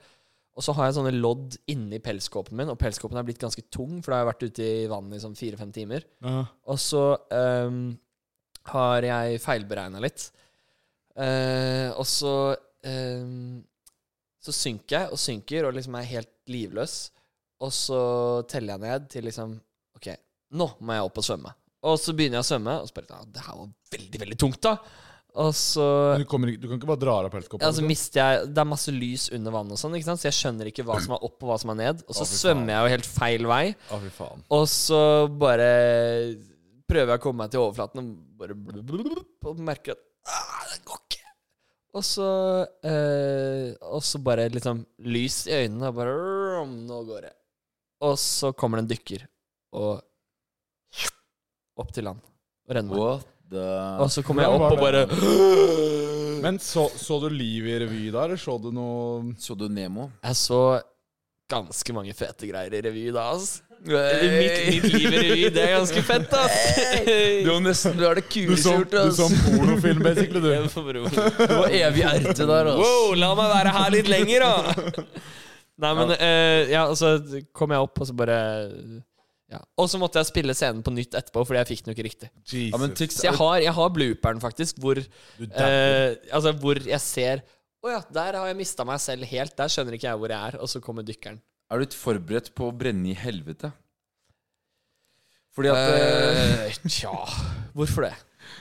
S1: Og så har jeg sånne lodd inni pelskåpen min, og pelskåpen er blitt ganske tung, for da har jeg vært ute i vannet i sånn fire-fem timer.
S2: Ja.
S1: Og så ehm, har jeg feilberegna litt. Eh, og så ehm, Så synker jeg og synker og liksom er helt livløs. Og så teller jeg ned til liksom OK, nå må jeg opp og svømme. Og så begynner jeg å svømme, og så bare ja, Det her var veldig, veldig tungt, da. Og så
S2: Men du, kommer, ikke- du kan ikke bare dra av deg pelskoppen?
S1: ja, så
S2: liksom?
S1: mister jeg Det er masse lys under vannet, og sånn, ikke sant? så jeg skjønner ikke hva som er opp, og hva som er ned. Og så
S2: Å, fy faen.
S1: svømmer jeg jo helt feil vei.
S2: Å, fy faen.
S1: Og så bare prøver jeg å komme meg til overflaten og bare blub, blub, blub, og merker at ah, det går ikke. Og så, eh, og så bare liksom lys i øynene og bare rom, Nå går det. Og så kommer det en dykker. og opp til land. Og renne meg.
S3: What the
S1: Og så kommer jeg opp og bare
S2: Men så, så du livet i revy da, eller så du noe
S3: Så du Nemo?
S1: Jeg så ganske mange fete greier i revy da, ass. Mitt, mitt liv i revy, det er ganske fett, ass.
S3: Du er nesten Du er det
S2: Du
S3: kuleste
S2: så,
S3: gjort,
S2: du
S3: ass.
S2: så en pornofilm, basically, du.
S1: Jeg får bro.
S3: Du var evig erte der, ass.
S1: Wow, la meg være her litt lenger, da! Nei, men eh, Ja, og så kom jeg opp, og så bare ja. Og så måtte jeg spille scenen på nytt etterpå, fordi jeg fikk den jo ikke riktig.
S2: Jesus.
S3: Ja, men tyks,
S1: Så jeg har, jeg har blooperen, faktisk, hvor,
S2: Du
S1: eh, altså, hvor jeg ser Å ja, der har jeg mista meg selv helt. Der skjønner ikke jeg hvor jeg er. Og så kommer dykkeren.
S3: Er du ikke forberedt på å brenne i helvete? Fordi at eh,
S1: Eh, tja Hvorfor det?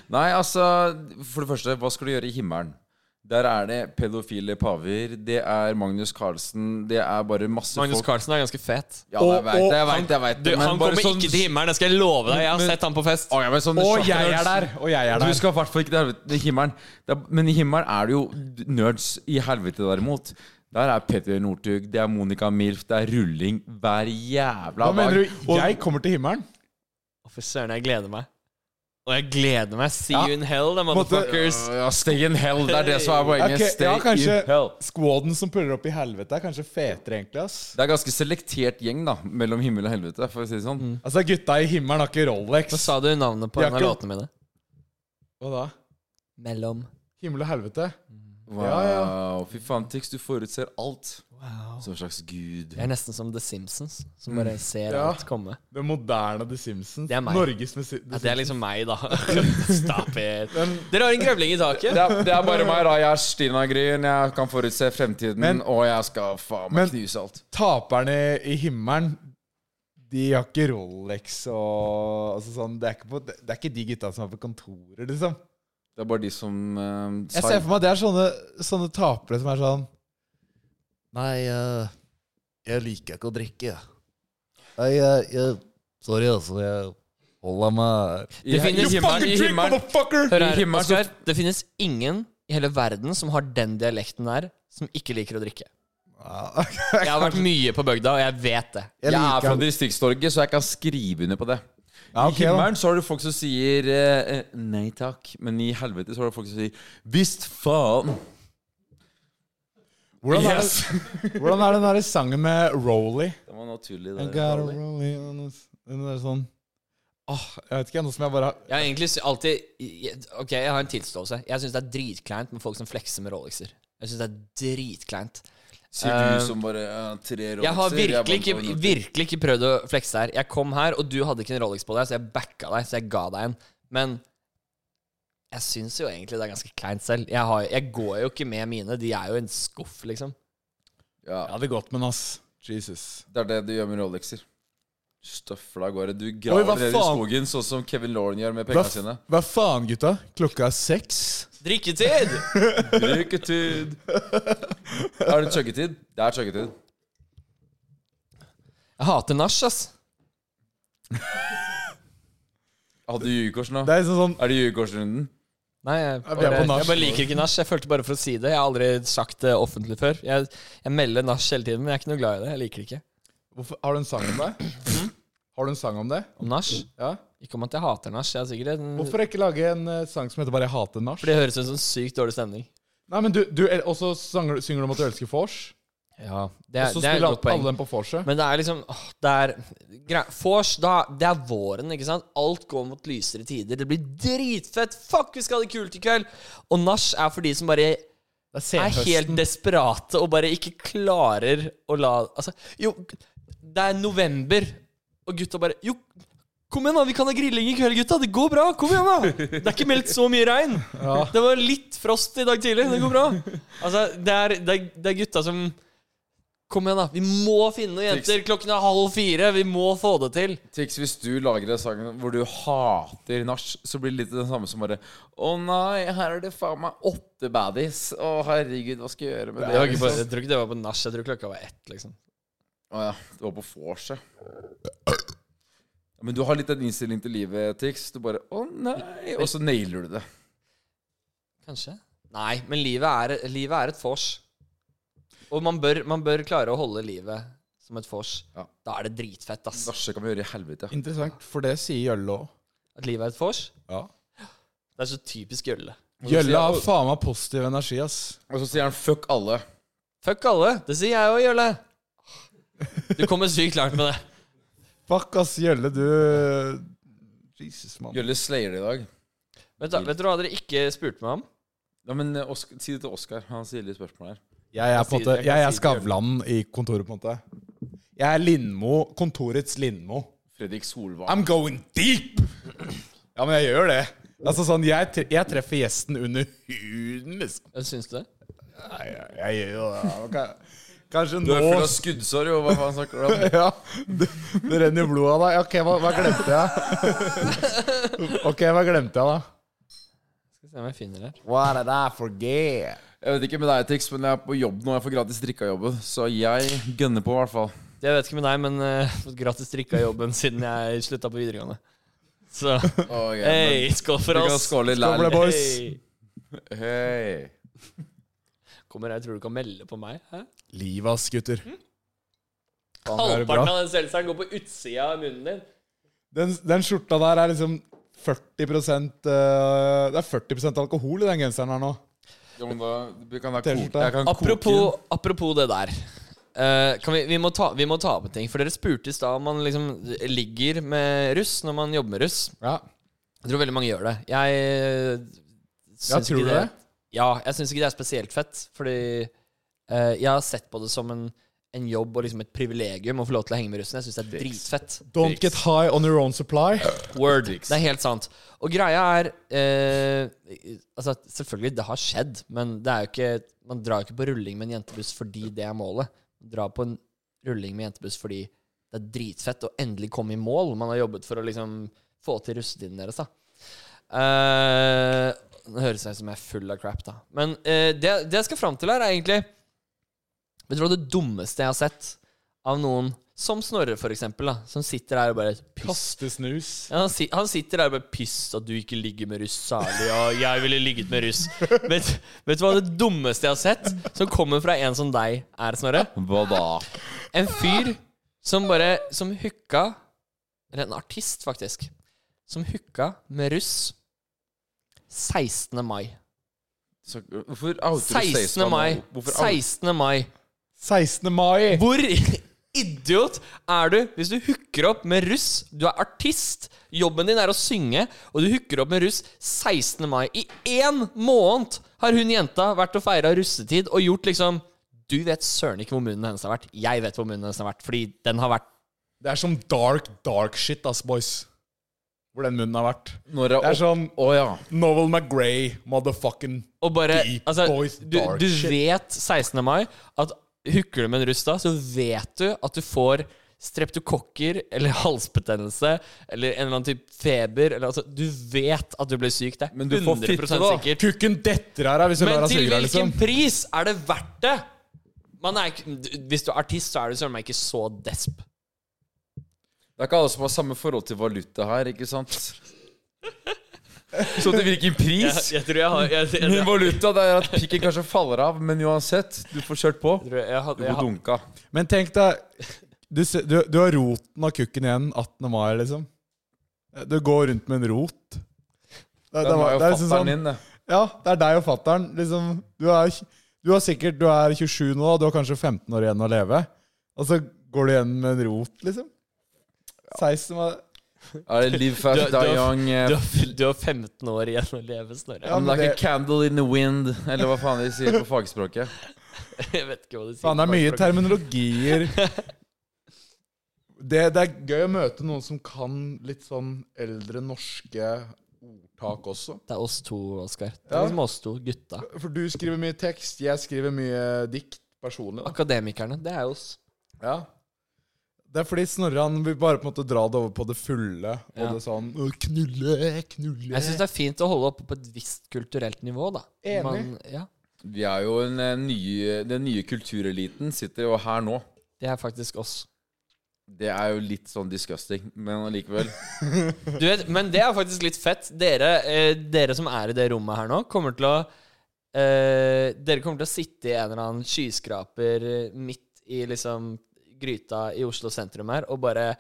S3: Nei, altså, for det første, hva skal du gjøre i himmelen? Der er det pedofile paver, det er Magnus Carlsen, det er bare masse
S1: Magnus
S3: folk
S1: Carlsen er ganske fet.
S3: Ja, jeg
S2: Og-
S3: vet det, jeg
S1: han-
S3: vet det, jeg vet
S1: Du,
S3: det.
S1: han kommer
S3: sånn-
S1: ikke til himmelen, det skal jeg love deg. Jeg har
S3: Men-
S1: sett han på fest.
S3: Å, ja, men sånn
S2: Og
S3: sjakk-
S2: jeg er der! Og jeg er
S3: Du
S2: der.
S3: skal i hvert fall ikke til helvete i himmelen. Det er, men i himmelen er det jo nerds i helvete, derimot. Der er Petter Northug, det er Monica Milf, det er rulling hver jævla
S2: Hva mener du?
S3: Og-
S2: Jeg kommer til himmelen?
S1: Å, Fy søren, jeg gleder meg. Og jeg gleder meg. See
S2: Ja.
S1: you in hell, da, motherfuckers.
S3: Ja, ja, stay in hell, det er det som er poenget.
S2: Ok,
S3: stay
S2: ja, kanskje-
S3: in hell.
S2: Squaden som puller opp i helvete, er kanskje fetere, egentlig. ass
S3: Det er ganske selektert gjeng, da, mellom himmel og helvete, for å si det sånn.
S2: Altså, gutta i himmelen har ikke Rolex.
S1: Hva sa du navnet på
S2: Jeg
S1: en av
S2: kan-
S1: låtene mine?
S2: Hva da?
S1: Mellom.
S2: Himmel og helvete.
S3: Wow,
S2: Ja,
S3: fy faen, Tix, du forutser alt.
S1: Wow.
S3: Som en slags gud.
S1: Jeg er nesten som The Simpsons, som bare ser
S2: Ja.
S1: alt komme.
S2: Det moderne The Simpsons.
S1: Det er meg.
S2: Norges med si- The
S1: Ja, det er
S2: Simpsons.
S1: liksom meg, da. Stop it. Dere har en grevling i
S3: Det
S1: taket.
S3: er, det er bare meg, da. Jeg er Stina Gryn. Jeg kan forutse fremtiden,
S2: Men-
S3: og jeg skal faen
S2: Men-
S3: meg knuse alt.
S2: Taperne i himmelen, de har ikke Rolex og altså sånn, det, er ikke på, det det er ikke de gutta som er på kontoret, liksom.
S3: Det er bare de som eh,
S2: Jeg
S3: sa-
S2: ser for meg at det er sånne, sånne tapere som er sånn Nei, eh, jeg liker ikke å drikke. Nei, jeg, jeg Sorry, altså. Jeg holder meg
S3: I,
S1: Det finnes-
S3: i himmelen, i himmelen,
S2: motherfucker!
S1: Hør
S3: I
S1: her,
S3: himmelen så-
S1: Oskar. Det finnes ingen i hele verden som har den dialekten der, som ikke liker å drikke.
S2: Ja,
S1: Jeg har vært mye på bygda, og jeg vet det.
S2: jeg
S3: Jeg er
S2: liker
S3: fra Distrikts-Norge, så jeg kan skrive under på det.
S2: Ja,
S3: I
S2: ok, da.
S3: himmelen så har du folk som sier eh, eh, nei takk, men i helvete så har du folk som sier visst faen.
S2: Hvordan er, det- hvordan er den der sangen med Rolly?
S3: Det var naturlig,
S2: I gotta
S3: det. Charlie.
S2: roll it on this- Den der sånn Åh, jeg vet ikke, noe som jeg bare har
S1: Jeg har egentlig sy- alltid jeg- Ok, jeg har en tilståelse. Jeg syns det er dritkleint med folk som flekser med Rolexer. Jeg syns det er dritkleint.
S3: Sier
S1: Eh,
S3: du som bare eh, tre
S1: Jeg har
S3: rollerser, jeg
S1: virkelig
S3: vant
S1: ikke,
S3: over natten.
S1: virkelig ikke prøvd å flekse her. Jeg kom her, og du hadde ikke en Rolex på deg, så jeg backa deg, så jeg ga deg en. Men jeg syns jo egentlig det er ganske kleint selv. Jeg, har, jeg går jo ikke med mine. De er jo en skuff, liksom.
S3: Ja,
S2: Jeg hadde gått med den, ass. Jesus.
S3: Det er det du gjør med Rolexer. Støfla av gårde. Du
S2: Oi, hva
S3: graver ned i
S2: faen?
S3: skogen, sånn som Kevin Lauren gjør med
S2: Hva,
S3: penga
S2: f-
S3: sine.
S2: hva faen, gutta? Klokka er seks.
S1: Drikketid!
S3: Bruketid! Er det chuggetid? Det er chuggetid.
S1: Jeg hater nach, ass.
S3: Hadde du jugekors nå?
S2: Det er liksom sånn
S3: Er det jugekorsrunden?
S1: Nei, jeg,
S2: Ja, vi er
S1: bare,
S2: på nach.
S1: jeg bare liker ikke nach. Jeg følte bare for å si det. Jeg har aldri sagt det offentlig før. Jeg, jeg melder nach hele tiden, men jeg er ikke noe glad i det. Jeg liker det ikke.
S2: hvorfor, Har du en sang om det? Har du en sang om det?
S1: Om nach?
S2: Ja.
S1: Ikke om at jeg hater nach. Jeg er sikkert en,
S2: Hvorfor ikke lage en eh, sang som heter bare 'Jeg hater nach'?
S1: For det høres ut som en sykt dårlig stemning.
S2: Nei, men du, du el- også sanger, synger du om at du elsker vors,
S1: Ja, det
S2: og
S1: er,
S2: så
S1: det er et
S2: spiller
S1: godt poeng.
S2: alle dem på vorset.
S1: Men det er liksom åh, Det er grei- Vors, da Det er våren, ikke sant? Alt går mot lysere tider. Det blir dritfett. Fuck, vi skal ha det kult i kveld! Og nach er for de som bare
S2: Det er
S1: er helt desperate og bare ikke klarer å la Altså, jo Det er november, og gutta bare Jo, kom igjen, da! Vi kan ha grilling i kveld, gutta! Det går bra! Kom igjen, da! Det er ikke meldt så mye regn! Det var litt frost i dag tidlig. Det går bra. Altså, det er, det er, det er gutta som Kom igjen, da! Vi må finne noen jenter! Klokken er halv fire! Vi må få det til!
S3: Tix, hvis du lager en sang hvor du hater nach, så blir det litt det samme som bare Å nei, her er det faen meg åtte baddies. Å herregud, hva skal jeg gjøre med det? liksom?
S1: Jeg tror ikke det var på nach. Jeg tror klokka var ett, liksom.
S3: Å ja, det var på vorset. Ja, Men du har litt den innstillingen til livet, Tix. Du bare Å nei. Og så nailer du det.
S1: Kanskje. Nei, men livet er, livet er et vors. Og man bør, man bør klare å holde livet som et vors,
S3: Ja.
S1: da er det dritfett, ass.
S3: Dasje kan vi gjøre i helvete.
S2: Interessant, for det sier Jølle òg.
S1: At livet er et vors.
S2: Ja.
S1: Det er så typisk Jølle.
S2: Jølle har faen meg positiv energi, ass.
S3: Og så sier han 'fuck alle'.
S1: Fuck alle! Det sier jeg òg, Jølle. Du kommer sykt langt med det.
S2: Fuck, ass, Jølle, du Jesus, mann.
S3: Gjølle slayer det i dag.
S1: Vet, du- vet du hva dere ikke spurte meg om?
S3: Ja, men eh, Osk- Si det til Oskar. Han stiller spørsmål her.
S2: Jeg er på en
S1: Jeg kan si-
S2: måte,
S1: jeg kan
S2: jeg er
S1: si
S2: Skavlan i kontoret, på en måte. Jeg er Lindmo, kontorets Lindmo.
S3: Fredrik Solvang.
S2: I'm going deep! Ja, men jeg gjør det. Altså sånn, Jeg, tre jeg treffer gjesten under huden, liksom.
S1: Syns du det?
S2: Nei, jeg, jeg gjør jo det. ja, ok. Kanskje
S3: Du
S2: nå
S3: er full av skuddsår, jo. Hva faen snakker du om?
S2: Ja, det, det renner blod av deg. Ok, hva, hva glemte jeg? Ok, hva glemte jeg, da?
S1: Skal vi se om jeg finner det.
S2: Hva er det der for gay?
S3: Jeg vet ikke med deg, Tix, men jeg er på jobb nå. Jeg får gratis drikke av jobben. Så jeg gønner på, i hvert fall.
S1: Jeg vet ikke med deg, men eh, jeg har fått gratis drikka i jobben siden jeg slutta på videregående. Så
S3: Oh,
S1: hei, skål for
S3: Vi kan
S1: oss!
S3: skåle
S2: Skål for det,
S3: læl.
S2: boys.
S1: Hei.
S3: Hei.
S1: Kommer jeg, tror du kan melde på meg? Hæ?
S2: Livet, ass, gutter.
S1: Mm.
S2: Faen, det er bra.
S1: Halvparten av den selvsageren går på utsida av munnen din.
S2: Den, den skjorta der er liksom 40 eh, Det er 40 alkohol i den genseren her nå.
S3: Jo, men da vi kan da
S2: T-skjorte.
S3: koke. Jeg kan koke
S1: Apropos, apropos det der. Eh, kan vi, vi, må ta, vi må ta opp en ting. For dere spurte i stad om man liksom ligger med russ når man jobber med russ.
S2: Ja.
S1: Jeg tror veldig mange gjør det. Jeg eh, syns
S2: tror
S1: ikke
S2: du
S1: det,
S2: det?
S1: Ja, jeg syns ikke det er spesielt fett. Fordi eh, jeg har sett på det som en, en jobb og liksom et privilegium å få lov til å henge med russen. Jeg syns det er dritfett.
S2: Don't get high on your own supply.
S1: Word. Det er helt sant. Og greia er eh, Altså, selvfølgelig, det har skjedd, men det er jo ikke Man drar jo ikke på rulling med en jentebuss fordi det er målet. Man drar på en rulling med jentebuss fordi det er dritfett å endelig komme i mål. Man har jobbet for å liksom få til russetiden deres, da. Eh, det høres ut som jeg er full av crap, da. Men eh, det, det jeg skal fram til her, er egentlig Vet du hva det dummeste jeg har sett av noen, som Snorre, for eksempel, da, som sitter der og bare Piss
S2: Kaste snus.
S1: ja, han, si han sitter der og bare Piss at du ikke ligger med russ særlig. Og jeg ville ligget med russ. Vet, vet du hva det dummeste jeg har sett, som kommer fra en som deg, er, Snorre?
S3: Hva da?
S1: En fyr som bare Som hooka Eller en artist, faktisk. Som hooka med russ 16. mai.
S3: Så, hvorfor outer du
S1: 16.
S3: Staysman nå?
S1: mai.
S3: Hvorfor outer-
S1: 16. mai.
S2: 16. mai.
S1: Hvor idiot er du hvis du hooker opp med russ? Du er artist. Jobben din er å synge, og du hooker opp med russ 16. mai. I én måned har hun jenta vært og feira russetid og gjort liksom Du vet søren ikke hvor munnen hennes har vært. Jeg vet hvor munnen hennes har vært, fordi den har vært
S2: Det er som dark, dark shit, ass, boys. Hvor den munnen har vært.
S3: Når jeg
S2: Det er sånn
S3: Å ja.
S2: Novel McGray, motherfucking
S1: Og bare
S2: Deep
S1: altså,
S2: voice,
S1: du,
S2: dark
S1: du
S2: shit.
S1: vet 16. mai at hooker du med en russ da, så vet du at du får streptokokker eller halsbetennelse eller en eller annen type feber. Eller, altså, du vet at du blir syk. Det er
S3: Men du får
S1: 100
S3: fitte, da.
S1: sikkert.
S2: Kukken detter her hvis du lar
S1: Men
S2: deg
S1: til
S2: suge deg,
S1: hvilken
S2: liksom.
S1: pris er det verdt det? Man er ikke, hvis du er artist, så er du søren meg ikke så desp.
S3: Det er ikke alle som har samme forhold til valuta her, ikke sant? Så til hvilken
S1: Jeg,
S3: pris?
S1: jeg tror jeg har jeg, jeg, jeg,
S3: Min valuta det er at pikken kanskje faller av, men uansett, du får kjørt på.
S1: tror jeg, hadde-
S3: Du
S1: jeg,
S3: får
S1: hadde-
S3: dunka.
S2: Men tenk deg du, se- du, du har roten av kukken igjen 18. mai, liksom. Du går rundt med en rot. Det, det,
S3: Den
S2: var-
S3: var jo
S2: det er liksom
S3: fatter'n
S2: sånn,
S3: din, det.
S2: ja, det er deg og fattern. Liksom, du, er, du er sikkert du er 27 nå, og du har kanskje 15 år igjen å leve. Og så går du igjen med en rot, liksom. 16 var
S3: Er det Live Fast,
S1: Du- du-
S3: Die Young eh,
S1: du, har- du har 15 år igjen å leve, Snorre.
S2: Ja, men
S3: Like a
S2: det-
S3: candle in the wind, eller hva faen de sier på fagspråket.
S1: Jeg vet ikke hva du sier.
S2: Faen, det er mye
S1: Bare-
S2: terminologier. Det, det er gøy å møte noen som kan litt sånn eldre norske ordtak også.
S1: Det er oss to, Oskar. Det er
S2: Ja.
S1: liksom oss to, gutta.
S2: For du skriver mye tekst, jeg skriver mye dikt personlig. Da.
S1: Akademikerne, det er oss.
S2: Ja. Det er fordi Snorre han vil bare på en måte dra det over på det fulle. Og
S1: Ja.
S2: det sånn «Å, Knulle, knulle
S1: Jeg syns det er fint å holde oppe på et visst kulturelt nivå, da.
S2: Enig.
S1: ja,
S3: Vi er jo en, eh, nye, den nye kultureliten sitter jo her nå.
S1: det er faktisk oss.
S3: Det er jo litt sånn disgusting, men allikevel.
S1: Du vet, men det er faktisk litt fett. Dere, eh, dere som er i det rommet her nå, kommer til å eh, Dere kommer til å sitte i en eller annen skyskraper eh, midt i liksom gryta i Oslo sentrum her og bare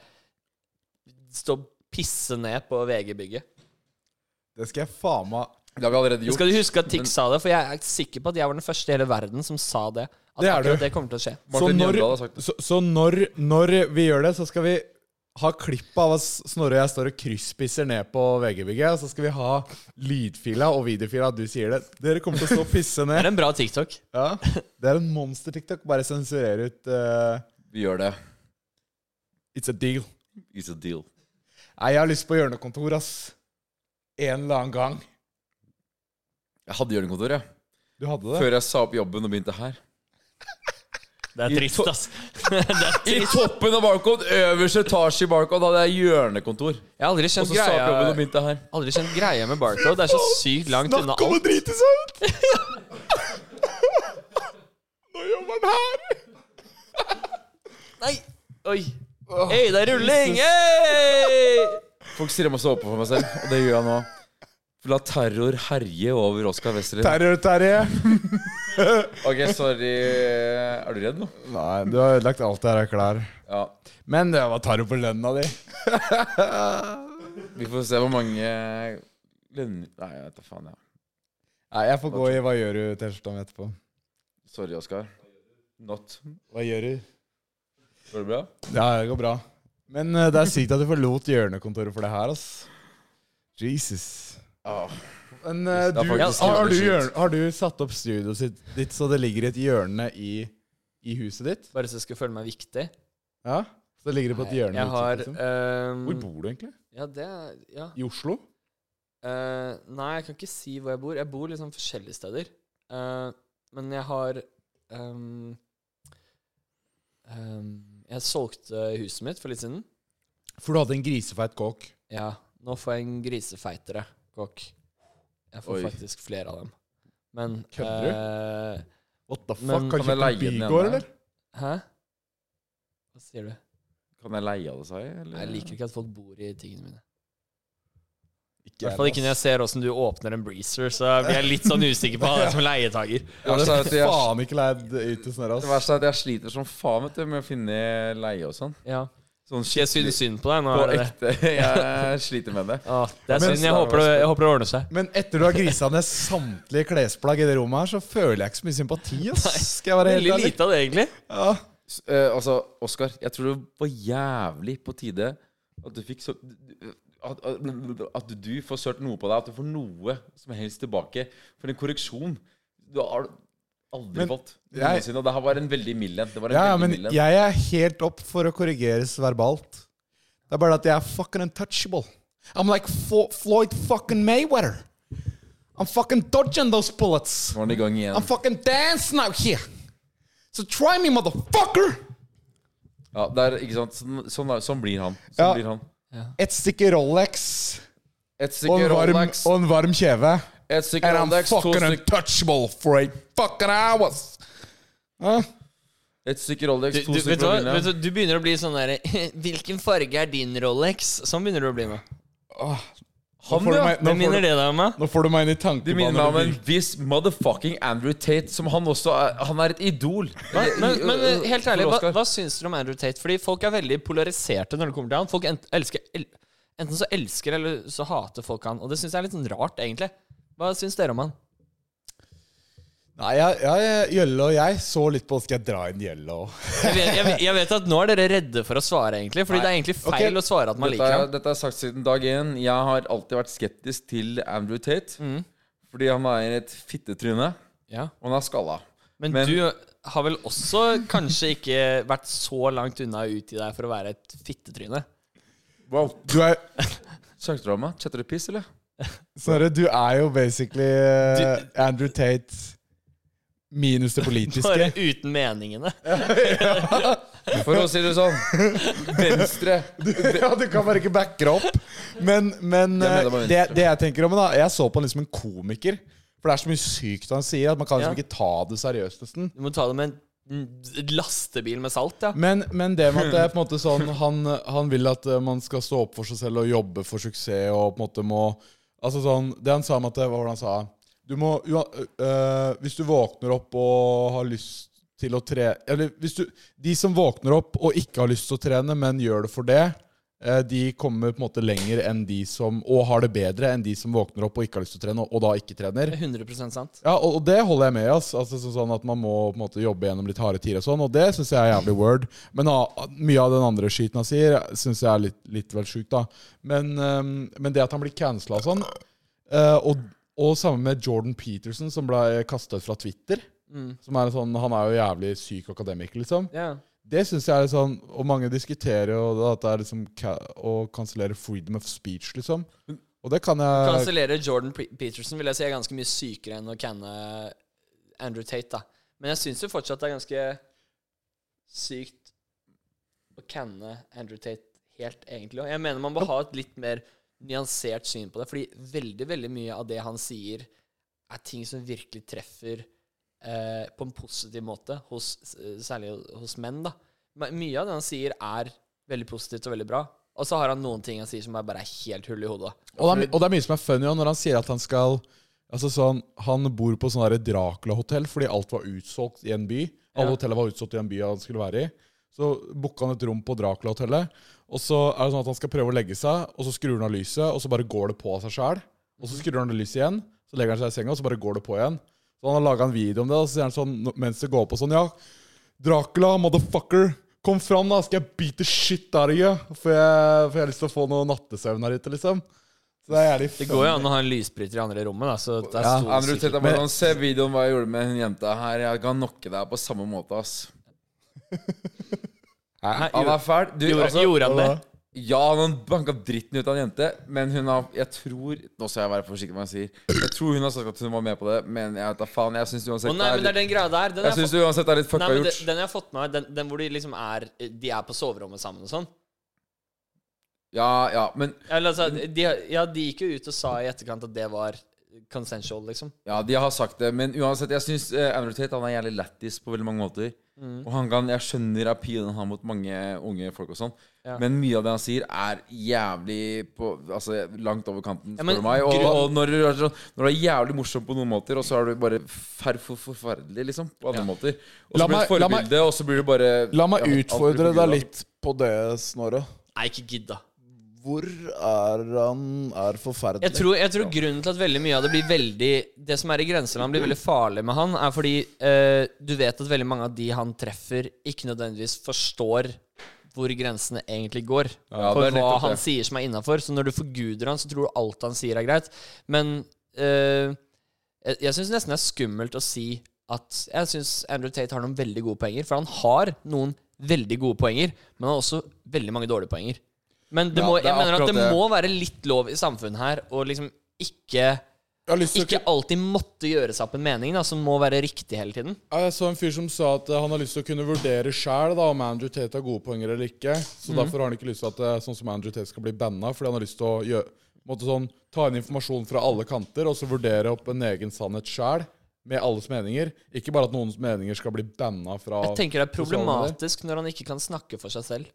S1: stå og pisse ned på VG-bygget.
S2: Det skal jeg faen meg
S3: Det har vi allerede gjort.
S1: Skal du huske at Tix sa det, for jeg er sikker på at jeg var den første i hele verden som sa det. At
S2: Det er
S1: akkurat
S2: du.
S1: det kommer til å skje.
S2: Så,
S3: Martin
S2: når,
S3: Jøndal har sagt det.
S2: så, så når, når vi gjør det, så skal vi ha klipp av at Snorre og jeg står og krysspisser ned på VG-bygget. Og så skal vi ha lydfila og videofila at du sier det. Dere kommer til å stå og pisse
S1: Det er
S2: ned.
S1: en bra TikTok.
S2: Ja. Det er en monster-TikTok. Bare sensurer ut eh,
S3: Vi gjør det.
S2: It's a deal.
S3: It's a deal.
S2: Nei, jeg har lyst på hjørnekontor, ass. En eller annen gang.
S3: Jeg hadde hjørnekontor, jeg.
S2: Du hadde det?
S3: Før jeg sa opp jobben og begynte her.
S1: Det er trist, ass. det er
S3: I
S1: trist.
S3: toppen av Barcode, øverste etasje i Barcode, hadde jeg hjørnekontor.
S1: Jeg har aldri
S3: Og
S1: skjønt
S3: så sa opp jobben
S1: greia
S3: og begynte her.
S1: Aldri skjønt greia med barcode. Det er så sykt langt unna
S2: Snakk om å
S1: alt.
S2: drite seg ut! Nå jobber han her!
S1: Nei! Oi. Hei, det er rulling! Hey!
S3: Folk sier jeg må stå opp for meg selv, og det gjør jeg nå. La terror herje over Oskar Westerlin.
S2: Terror, Terje.
S3: Ok, sorry. Er du redd nå?
S2: Nei, du har ødelagt alt det her av klær.
S3: Ja.
S2: Men eh, det var tarro på lønna di.
S3: Vi får se hvor mange lønner Nei, jeg vet da faen, jeg.
S2: Nei, jeg får gå i Hva gjør du-T-skjorta mi etterpå.
S3: Sorry, Oskar. Not.
S2: Hva gjør du?
S3: Går det bra?
S2: Ja, det går bra. Men eh, det er sykt at du forlot hjørnekontoret for det her, ass. Jesus.
S3: Ja.
S2: Men eh, du,
S3: Det er
S2: har,
S3: faktisk
S2: har, du
S3: jævlig
S2: hjørne,
S3: sykt.
S2: har du satt opp studioet sitt, ditt så det ligger i et hjørne i, i huset ditt?
S1: Bare så jeg skal føle meg viktig.
S2: Ja? Så det ligger det på et hjørne? i
S1: Jeg
S2: huset
S1: har
S2: ditt, liksom?
S1: ehm,
S2: Hvor bor du egentlig?
S1: Ja, det er- Ja.
S2: I Oslo?
S1: Eh, nei, jeg kan ikke si hvor jeg bor. Jeg bor liksom forskjellige steder. Eh, men jeg har ehm, ehm, Jeg solgte huset mitt for litt siden.
S2: For du hadde en grisefeit kåk.
S1: Ja, nå får jeg en grisefeitere kokk. Jeg får
S3: Oi.
S1: faktisk flere av dem. Men
S2: Kødder du?
S1: eh,
S2: What the fuck?
S1: Men-
S2: har du
S3: Kan jeg
S2: kjøpt en
S3: leie den
S2: bygård,
S3: ene?
S2: eller?
S1: Hæ? Hva sier du?
S3: Kan jeg leie av det, sa jeg? Eller?
S1: Jeg liker ikke at folk bor i tingene mine. I
S2: jeg,
S1: hvert fall ikke når jeg ser åssen du åpner en breezer, så blir jeg litt sånn usikker på det som leietager.
S3: Det verste er at
S2: Jeg
S3: jeg-
S2: hadde faen ikke leid ut til Snorre, ass.
S3: Det verste er at jeg sliter som faen vet du, med å finne leie og sånn.
S1: Ja.
S3: Sånn
S1: Skal jeg synes
S3: skikkelig-
S1: synd på deg nå?
S3: På
S1: Er det det?
S3: ekte. Jeg sliter med det.
S1: Å, det er
S2: Men-
S1: synd. Jeg håper, det, jeg håper det ordner seg.
S2: Men etter du har grisa ned samtlige klesplagg i det rommet her, så føler jeg ikke så mye sympati. ass. Skal jeg være helt
S1: Veldig
S2: ærlig?
S1: lite av det, egentlig.
S2: Ja.
S3: S- eh, altså, Oskar, jeg tror det var jævlig på tide at du fikk så at, at, at du får sølt noe på deg, at du får noe som helst tilbake. For en korreksjon du har aldri
S2: Men
S3: fått
S2: jeg-
S3: noensinne. Og det her var en veldig mild en. Det var en
S2: Ja, ja,
S3: veldig
S2: men
S3: mild en.
S2: jeg er helt opp for å korrigeres verbalt. Det er bare at jeg er fucking untouchable. I'm like Flo- Floyd fucking Mayweather. I'm fucking dodging those bullets.
S3: Nå er den i gang
S2: I'm
S3: igjen.
S2: fucking dancing out here. So try me, motherfucker!
S3: Ja, der, ikke sant? Sånn, sånn, er- sånn blir han. Sånn
S2: Ja.
S3: blir han.
S2: Et stykke Rolex
S3: Et
S2: og
S3: stykke
S2: en varm,
S3: Rolex,
S2: og en varm kjeve.
S3: et stykke
S2: And I'm
S3: Rolex, to
S2: fucking
S3: stykker
S2: untouchable for eight fucking hours. Hæ?
S3: Et stykke Rolex,
S1: Du,
S3: to
S1: du, vet du,
S3: stykker
S1: hva? vet
S3: Rolex.
S1: du, du begynner å bli sånn derre Hvilken farge er din Rolex? Sånn begynner du å bli nå.
S2: Nå får du
S3: ja.
S2: meg- nå
S1: Hvem
S2: får du-
S1: minner det deg om? da?
S2: Nå får du meg inn i
S3: Det minner meg om en
S2: tankebanen.
S3: viss motherfucking Andrew Tate, som han også er. Han er et idol. øh,
S1: Men, men, men eh, helt ærlig,
S3: For
S1: hva,
S3: Oscar.
S1: hva syns dere om Andrew Tate? Fordi folk er veldig polariserte når det kommer til han. Folk ent, elsker, el, enten så elsker eller så hater folk han. Og det syns jeg er litt sånn rart, egentlig. Hva syns dere om han?
S2: Nei, jeg, jeg, Jølle og jeg så litt på Skal jeg dra inn Jølle òg?
S1: Jeg vet, jeg, vet- jeg vet at nå er dere redde for å svare, egentlig. Fordi det er egentlig feil
S2: Ok.
S1: å svare at man
S3: Dette
S1: liker
S3: er,
S1: ham.
S3: dette er sagt siden dag én. Jeg har alltid vært skeptisk til Andrew Tate.
S1: Mm.
S3: Fordi han er et fittetryne,
S1: Ja.
S3: og han er skalla.
S1: Men,
S3: Men-
S1: du har vel også kanskje ikke vært så langt unna ut i deg for å være et fittetryne?
S3: Wow.
S2: Du er,
S3: Snakker du om meg? Chatter du piss, eller?
S2: Snorre, du er jo basically eh, Andrew Tate minus det
S1: Bare
S2: politiske.
S1: uten meningene.
S3: For å si det sånn. Venstre.
S2: ja, du kan bare ikke backe det opp. Men, men
S3: Jeg mener
S2: eh,
S3: det var
S2: det,
S3: venstre.
S2: det jeg tenker om da Jeg så på han liksom en komiker. For det er så mye sykt han sier, at man kan liksom
S1: Ja.
S2: ikke ta det seriøst. nesten
S1: Du må ta det med en mm, lastebil med salt, ja.
S2: Men, men det med at det er på en måte sånn han, han vil at eh, man skal stå opp for seg selv og jobbe for suksess og på en måte må Altså sånn Det han sa om at det- Hva var det han sa? Du må ua- øh, øh, Hvis du våkner opp og har lyst til å tre... Eller hvis du, de som våkner opp og ikke har lyst til å trene, men gjør det for det, eh, de kommer på en måte lenger enn de som, og har det bedre enn de som våkner opp og ikke har lyst til å trene, og, og da ikke trener.
S1: Det er 100 sant.
S2: Ja, og og det holder jeg med i. ass. Altså, sånn- sånn at Man må på en måte jobbe gjennom litt harde tider, og sånn, og det syns jeg er jævlig word. Men ah, mye av den andre skiten han sier, syns jeg er litt, litt vel sjukt. da. Men, ehm, men det at han blir cancela og sånn eh, og, og sammen med Jordan Peterson, som ble kastet fra Twitter. Som er en sånn, Han er jo jævlig syk akademiker, liksom.
S1: Mm. Ja.
S2: Det syns jeg er litt sånn Og mange diskuterer jo da at det er liksom ca- å kansellere freedom of speech, liksom. Og det kan jeg
S1: Kansellere Jordan P- Peterson vil jeg si er ganske mye sykere enn å canne Andrew Tate. da Men jeg syns jo fortsatt det er ganske sykt å canne Andrew Tate helt, egentlig. Og jeg mener man må ha et litt mer nyansert syn på det. Fordi veldig, veldig mye av det han sier, er ting som virkelig treffer eh, på en positiv måte, hos, særlig hos menn. da Men Mye av det han sier, er veldig positivt og veldig bra. Og så har han noen ting han sier som er bare er helt hull i hodet.
S2: Og det, er, my- og det er mye som er funny også, når han sier at han skal Altså sånn, Han bor på sånn der Dracula-hotell fordi alt var utsolgt i en by. Alle
S1: Ja.
S2: hotellene var utsolgt i en by han skulle være i. Så booka han et rom på Dracula-hotellet. Og så er det sånn at han skal prøve å legge seg, og så skrur han av lyset, og så bare går det på av seg sjæl. Og
S1: Mhm.
S2: så skrur han av lyset igjen, så legger han seg i senga, og så bare går det på igjen. Så han har laga en video om det, og så sier han sånn n- mens det går på sånn, ja Dracula, motherfucker, kom fram, da, skal jeg beat the shit out of you, for jeg, for jeg har lyst til å få noe nattesøvn her ute, liksom. Så det er jævlig
S1: Det går jo an å ha en lysbryter i andre rommet, da, så det er
S2: Ja,
S1: stor
S3: Andrew
S1: sikkerhet.
S3: Teta bare sånn, Se videoen hva jeg gjorde med hun jenta her. Jeg kan knocke deg på samme måte, ass.
S1: Hæ,
S3: Han er
S1: gjorde-
S3: fæl. Du,
S1: Gjorde,
S3: altså,
S1: gjorde han det?
S3: ja, han banka dritten ut av en jente, men hun har Jeg tror Nå skal jeg være forsiktig med hva jeg sier. Jeg tror hun har sagt at hun var med på det, men jeg vet da faen. Jeg syns
S1: Å
S3: uansett
S1: nei, men det er den greia der. Den
S3: Jeg
S1: har jeg
S3: synes
S1: fått,
S3: det uansett er litt
S1: nei,
S3: fucka
S1: men
S3: gjort.
S1: den, den jeg har fått med meg, den, den hvor de liksom er De er på soverommet sammen og sånn.
S3: Ja, ja, men
S1: Eller altså, de, ja, de gikk jo ut og sa i etterkant at det var consensual, liksom.
S3: Ja, de har sagt det, men uansett, jeg syns Andrew Tate han er jævlig lættis på veldig mange måter.
S1: Mm.
S3: Og han kan, jeg skjønner appealen han har mot mange unge folk og sånn,
S1: Ja.
S3: men mye av det han sier, er jævlig på, altså, langt over kanten,
S1: Ja,
S3: spør
S1: men
S3: du meg. Og,
S1: grunn-
S3: og når, du er sånn- når du er jævlig morsom på noen måter, og så er du bare fer, for, forferdelig, liksom, på andre måter. Og
S2: La
S3: så blir du et
S2: meg- la meg-
S3: forbilde, og så blir du bare
S2: La meg
S3: ja, alt blir
S2: utfordre
S3: forgudet.
S2: deg litt på det, Snorre.
S1: Nei, ikke gidd, da.
S2: Hvor er han er forferdelig?
S1: Jeg tror, jeg tror grunnen til at veldig mye av det blir veldig Det som er i grenseland, blir veldig farlig med han, er fordi eh, du vet at veldig mange av de han treffer, ikke nødvendigvis forstår hvor grensene egentlig går.
S3: Ja,
S1: for
S3: det er
S1: hva
S3: nettopp
S1: han
S3: det.
S1: sier som er innafor. Så når du forguder han, så tror du alt han sier, er greit. Men eh, jeg, jeg syns nesten det er skummelt å si at Jeg syns Andrew Tate har noen veldig gode poenger, for han har noen veldig gode poenger, men han har også veldig mange dårlige poenger. Men det
S3: Ja,
S1: må,
S3: det er
S1: jeg mener at
S3: akkurat
S1: det,
S3: det.
S1: må være litt lov i samfunnet her å liksom ikke
S2: Jeg, har lyst til å-
S1: ikke alltid måtte gjøre seg opp en mening da, som må være riktig hele tiden.
S2: Ja, jeg så en fyr som sa at eh, han har lyst til å kunne vurdere sjæl om Andrew Tate har gode poenger eller ikke.
S1: Mhm.
S2: Så derfor har han ikke lyst til at eh, sånn som Andrew Tate skal bli banna, fordi han har lyst til å gjø- måtte sånn, ta inn informasjon fra alle kanter og så vurdere opp en egen sannhet sjæl. Med alles meninger. Ikke bare at noens meninger skal bli banna fra
S1: Jeg tenker det er
S2: sosiale medier.
S1: problematisk når han ikke kan snakke for seg selv.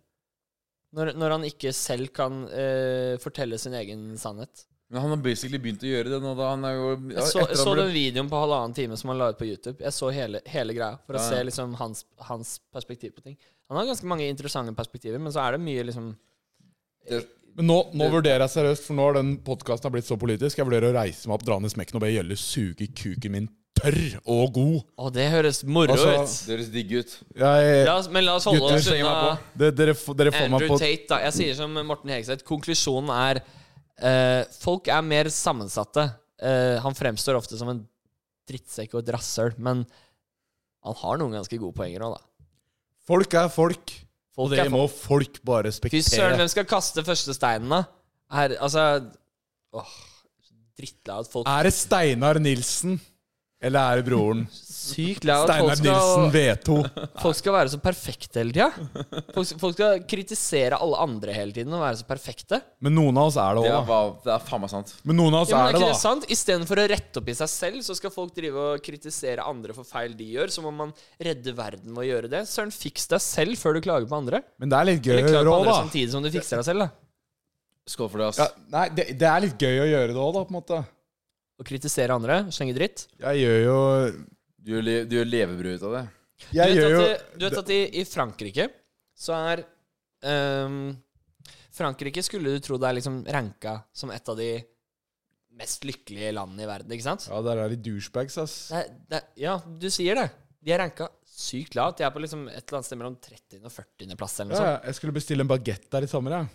S1: Når, når han ikke selv kan eh, fortelle sin egen sannhet.
S3: Men han har basically begynt å gjøre det nå, da. Han er jo ja,
S1: Jeg så,
S3: etter
S1: jeg
S3: han
S1: så
S3: ble-
S1: den videoen på halvannen time som han la ut på YouTube. Jeg så hele, hele greia for å
S3: Ja, ja.
S1: se liksom hans, hans perspektiv på ting. Han har ganske mange interessante perspektiver, men så er det mye liksom
S2: Men nå, nå vurderer jeg seriøst, for nå har den podkasten blitt så politisk. Jeg vurderer å reise meg opp, dra ned smekken og be Gjølle suge kuken min tørr og god.
S1: Å, det høres moro
S2: Altså,
S1: ut!
S3: Det høres digg ut.
S2: Jeg,
S1: La oss, men la oss holde
S2: Gutter,
S1: oss
S3: slenger meg
S1: unna
S3: på.
S2: det, dere, f- dere får meg
S1: Andrew
S2: på
S1: Tate, da. Jeg sier som Morten Hegseth. Konklusjonen er eh, folk er mer sammensatte. Eh, han fremstår ofte som en drittsekk og et rasshøl, men han har noen ganske gode poenger òg, da.
S2: Folk er folk.
S1: Folk
S2: Det
S1: er folk.
S2: må folk bare
S1: Fy søren,
S2: respektere.
S1: hvem skal kaste første steinen, da? Her, altså Åh, drittlei av at folk
S2: Er det Steinar Nilsen? Eller er det broren?
S1: Sykt lei av at folk
S2: Steinar Nilsen
S1: skal,
S2: V2.
S1: folk skal være så perfekte hele tida. Folk, folk skal kritisere alle andre hele tiden og være så perfekte.
S2: Men noen av oss er det
S3: Det
S2: òg,
S3: er,
S2: da.
S3: hva- det er faen meg sant.
S2: Men noen av oss
S1: Ja, men
S2: er
S1: er
S2: det,
S1: ikke det
S2: da.
S1: sant? Istedenfor å rette opp i seg selv, så skal folk drive og kritisere andre for feil de gjør. Så må man redde verden ved å gjøre det. Søren, fiks deg selv før du klager på andre.
S2: Men det er litt gøy
S1: Eller
S2: å
S1: klag på
S2: gjøre òg,
S1: andre
S2: da.
S1: samtidig som du fikser deg selv. da
S3: Skål for det, ass.
S2: Ja, nei, det, det er litt gøy å gjøre det òg, da, på en måte.
S1: Å kritisere andre, slenge dritt.
S2: Jeg gjør jo
S3: Du gjør, le- du gjør levebrød ut av det.
S1: Du
S6: Jeg
S1: vet,
S6: gjør jo
S1: at, i- du vet at i, i Frankrike så er ehm, Frankrike skulle du tro det er liksom ranka som et av de mest lykkelige landene i verden, ikke sant?
S2: Ja, der er de douchebags, ass.
S1: Det er, det er, ja, du sier det. De er ranka sykt lavt. De er på liksom et eller annet sted mellom 30. og 40. plass eller
S2: Ja,
S1: noe sånt.
S2: ja, jeg skulle bestille en bagett der i sommer, jeg.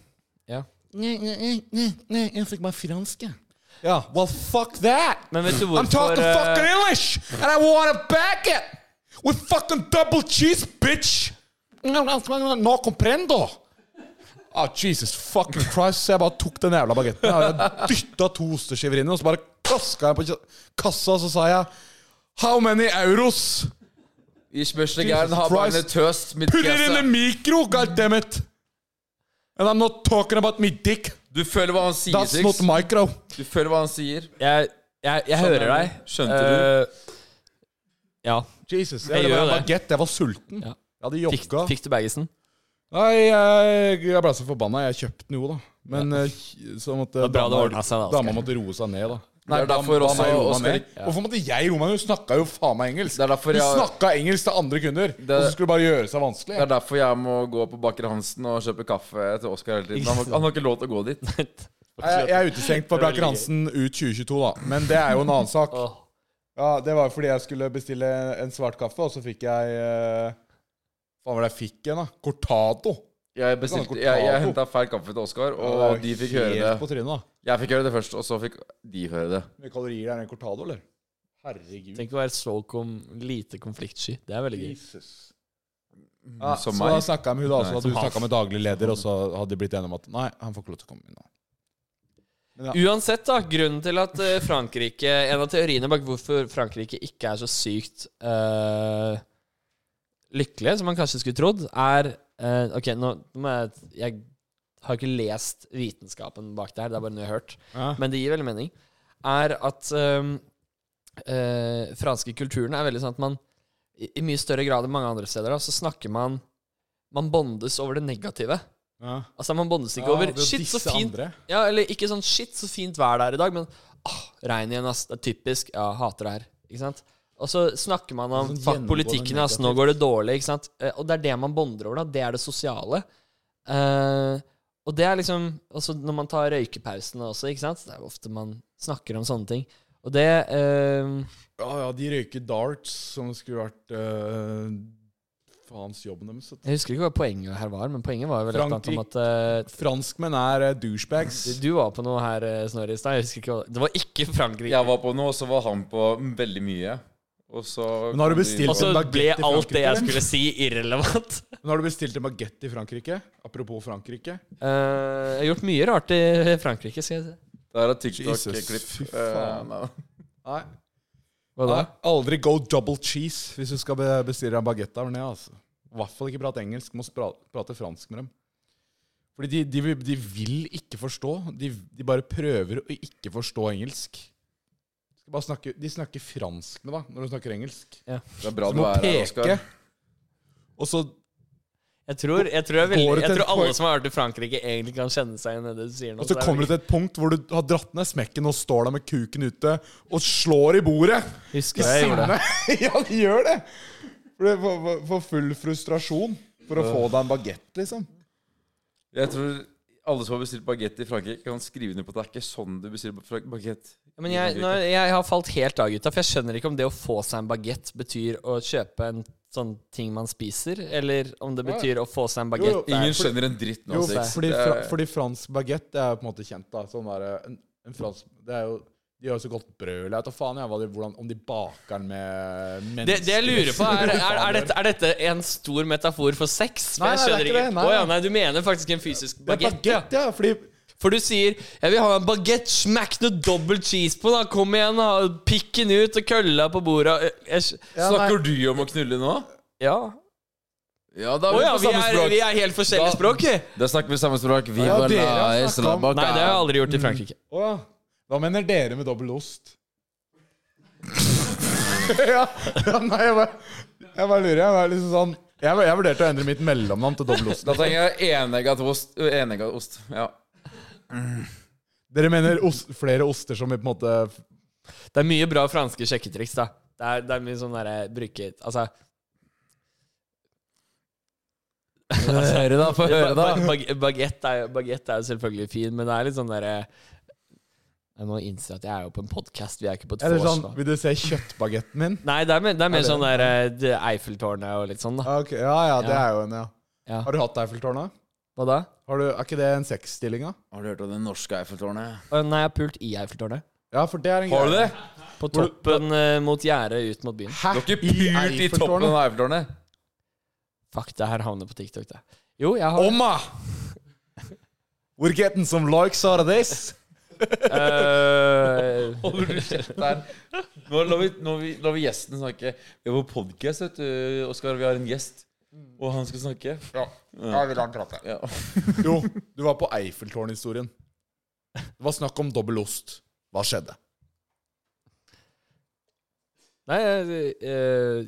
S1: Ja.
S2: Nei, nei, nei, nei, jeg fikk meg fransk, jeg. Ja, well, fuck that!
S1: Men vet du
S2: I'm talking
S1: hvorfor eh,
S2: fucking English, and I want a baguette with fucking double cheese, bitch. No comprendo. Ah, Jesus fucking Christ, så jeg bare tok den jævla bagetten. Jeg dytta to osteskiver inn, og så bare klaska jeg på kja- kassa, og så sa jeg How many euros?
S3: I spørsmålet har
S2: Christ.
S3: bare en tøst mitt
S2: Put it in the
S3: kjese.
S2: micro, goddammit! And I'm not talking about me dick.
S3: Du føler hva han sier,
S2: That's not
S3: Six.
S2: micro.
S3: Du føler hva han sier.
S1: eh, Jeg, jeg, jeg
S3: Sånn er
S1: hører deg.
S3: det. Skjønte
S1: du? Ja.
S2: Jesus,
S1: Jeg
S2: jeg, ville
S1: gjør
S2: bare
S1: det.
S2: baguette. Jeg var sulten.
S1: Ja.
S2: Jeg hadde
S1: Fikk,
S2: jogga.
S1: fikk du baggisen?
S2: Nei, jeg, jeg ble så forbanna. Jeg kjøpte den jo, da. Men eh, så måtte
S1: var bra det
S2: dama-
S1: ordnet seg, da, Oskar.
S2: Dama måtte roe seg ned, da.
S3: Det er
S2: dam-
S3: derfor
S2: dama
S3: også
S2: roet
S3: Oskar
S2: ned. Hvorfor måtte jeg roe meg ned? Hun snakka jo faen meg engelsk.
S3: Det er derfor
S2: Hun
S3: jeg,
S2: snakka engelsk til andre kunder, og så skulle hun bare gjøre seg vanskelig.
S3: det er derfor jeg må gå på Baker Hansen og kjøpe kaffe til Oskar hele tiden. Han, har- han har ikke lov til å gå dit.
S2: Jeg, jeg er utestengt på Braker Hansen ut 2022, da. Men det er jo en annen sak.
S1: Åh.
S2: Ja, Det var fordi jeg skulle bestille en svart kaffe, og så fikk jeg eh, Faen, hva var det jeg fikk igjen, da? Cortado.
S3: Jeg, bestilte- jeg, jeg henta feil kaffe til Oskar, og
S2: Ja, det er
S3: de
S2: jo
S3: fikk
S2: helt
S3: høre det.
S2: På trynet, da.
S3: Jeg fikk høre det først, og så fikk de høre det.
S2: Hvor mye kalorier er det i en cortado, eller? Herregud.
S1: Tenk å være så kom, lite konfliktsky. Det er veldig gøy.
S2: Jesus. Ja, så
S3: Mm, Som
S2: da
S3: meg.
S2: snakka jeg med hun da,
S3: Nei,
S2: så hadde
S1: som
S2: hun
S1: han.
S2: snakka med daglig leder, og så hadde de blitt enige om at nei, han får ikke lov til å komme inn nå.
S1: Uansett, da. Grunnen til at eh, Frankrike En av teoriene bak hvorfor Frankrike ikke er så sykt eh, lykkelige, som man kanskje skulle trodd, er eh, Ok, nå må jeg Jeg har ikke lest vitenskapen bak det her, det er bare noe jeg har hørt.
S2: Ja.
S1: Men det gir veldig mening. Er at eh, eh, franske kulturen er veldig sånn at man i, i mye større grad enn mange andre steder da, så snakker man Man bondes over det negative.
S2: Ja.
S1: Altså, man bondes ikke over Shit, så fint ja, eller ikke sånn shit, så fint vær det er i dag, men ah, regn igjen, ass. Det er typisk. Ja, hater det her. Ikke sant? Og så snakker man om
S2: Sånn
S1: fuck
S2: gjennomgående
S1: politikken, ass. Nå går det dårlig, ikke sant. Eh, Og det er det man bonder over, da. Det er det sosiale. Eh, og det er liksom Også når man tar røykepausene også, ikke sant. Det er jo ofte man snakker om sånne ting. Og det eh,
S2: Ja, ja, de røyker darts, som skulle vært eh, faens jobben deres. vet du.
S1: Jeg husker ikke hva poenget her var, men poenget var vel et eller annet om at eh,
S2: Franskmenn er eh, douchebags.
S1: du- Du var på noe her, eh, Snorre, i stad. Jeg husker ikke hva Det var ikke Frankrike.
S3: Jeg var på noe, og så var han på veldig mye. Og så
S2: Men har du bestilt-
S1: Og så
S2: En baguette
S1: ble
S2: i
S1: alt det
S2: Frankrike,
S1: jeg
S2: eller?
S1: skulle si, irrelevant.
S2: Men har du bestilt en bagett i Frankrike? Apropos Frankrike.
S1: Eh, jeg har gjort mye rart i Frankrike, skal jeg si.
S3: Det er et
S2: Jesus, fy
S3: TikTok-klipp.
S2: faen.
S3: Eh, nei.
S2: Nei.
S1: Hva
S2: Nei, aldri go double cheese hvis du skal be- bestille deg en bagett der nede. Altså. I hvert fall ikke prate engelsk. Må spra- prate fransk med dem. Fordi de, de, vil- de vil ikke forstå. De, de bare prøver å ikke forstå engelsk. De, skal bare snakke, de snakker fransk med deg når du snakker engelsk.
S3: Det er bra
S2: Du
S3: du
S2: må
S3: er her, Oskar.
S2: peke. Og så
S1: Jeg tror, jeg tror, jeg er
S2: Går
S1: veldig,
S2: det
S1: jeg
S2: til
S1: tror
S2: et
S1: alle
S2: poeng?
S1: som har vært i Frankrike, egentlig kan kjenne seg igjen i det du sier nå.
S2: Og så
S1: det er
S2: kommer du
S1: veldig-
S2: til et punkt hvor du har dratt ned smekken og står der med kuken ute og slår i bordet.
S1: Husker jeg gjorde det.
S2: ja, de gjør det! For, det for, for, for full frustrasjon for å få deg en bagett, liksom.
S3: Jeg tror alle som har bestilt bagett i Frankrike, kan skrive ned på at det er ikke sånn du bestiller bagett.
S1: Men jeg, nå, jeg har falt helt av, gutta. For jeg skjønner ikke om det å få seg en bagett betyr å kjøpe en sånn ting man spiser, eller om det betyr å få seg en
S2: Jo, jo.
S1: bagett
S3: Ingen skjønner en dritt nå,
S2: Jo,
S3: Six.
S2: fordi,
S3: Det er-
S2: fra, fordi fransk bagett det er jo på en måte kjent, da. Sånn der, en, en fransk, det er jo, de har jo så godt brød eller jeg vet da faen jeg, hva de, hvordan, om de baker den med mennesker.
S1: Det, det jeg lurer på, er, er, er, dette, er dette en stor metafor for sex? For
S2: Nei,
S1: jeg
S2: nei, det
S1: skjønner ikke.
S2: er ikke det. Nei,
S1: Å ja,
S2: nei.
S1: nei, du mener faktisk en fysisk
S2: Det er
S1: bagett? ja.
S2: bagett, ja. Fordi
S1: For du sier 'Jeg vil ha en bagett, smakk noe dobbel cheese på', da. Kom igjen, da. Pikken ut og kølla på bordet. Jeg, skj-
S2: ja, nei,
S3: Snakker du om å knulle nå?
S1: ja.
S3: Ja, da
S1: Å
S3: er vi
S1: ja,
S3: på
S1: vi
S3: samme
S1: er,
S3: språk.
S1: vi er helt forskjellige
S3: Da-
S1: språk, vi.
S3: Da snakker vi samme språk. Vi
S2: Ja,
S3: var
S2: dere har
S3: nice,
S2: snakket om-
S3: la bak-
S1: Nei, det har jeg aldri gjort i Frankrike.
S2: Å ja. Hva mener dere med dobbel ost? ja, ja, nei, jeg bare, jeg bare lurer. Jeg var liksom sånn Jeg, jeg vurderte å endre mitt mellomnavn til dobbel ost.
S3: Da trenger jeg enegga ost. Enegga ost. Ja.
S2: Dere mener ost, flere oster som i på en måte
S1: Det er mye bra franske sjekketriks, da. Det er, det er mye sånn derre bruke eh, Altså
S3: Få høre, da. Få høre, da.
S1: Ba- bag- Baguette er, jo- baguette er jo selvfølgelig fin, men det er litt sånn derre Jeg må innse at jeg er jo på en podkast, vi er ikke på et
S2: Eller
S1: vors
S2: sånn
S1: nå.
S2: Vil du se kjøttbagetten min?
S1: Nei, det er mer, det er mer sånn der eh, det Eiffeltårnet og litt sånn, da.
S2: Ja, Ah, ok. ja, ja, det
S1: Ja.
S2: er jo en, ja.
S1: Ja.
S2: Har du hatt Eiffeltårnet?
S1: Hva da?
S2: Har du, er ikke det en sexstilling, da?
S3: Har du hørt om det norske Eiffeltårnet?
S1: Å, Nei, jeg har pult i Eiffeltårnet.
S2: Ja, for det er en
S3: Har du det?
S1: På toppen eh, mot gjerdet ut mot byen.
S2: Hæ?
S3: Du har ikke pult i toppen av Eiffeltårnet?
S1: Fuck, det her havner på TikTok, det. Jo, jeg har
S2: Omma! We're getting some likes out of this.
S1: Eh,
S3: Holder du kjeft der? Nå lar vi, nå vi, lar vi gjesten snakke. Vi er på podkast, vet du, Oskar. Vi har en gjest. Og han skal snakke.
S2: Ja.
S3: Ja.
S2: vil han prate.
S3: Ja.
S2: Jo, du var på Eiffeltårn-historien. Det var snakk om dobbel ost. Hva skjedde?
S1: Nei, jeg, eh, jeg,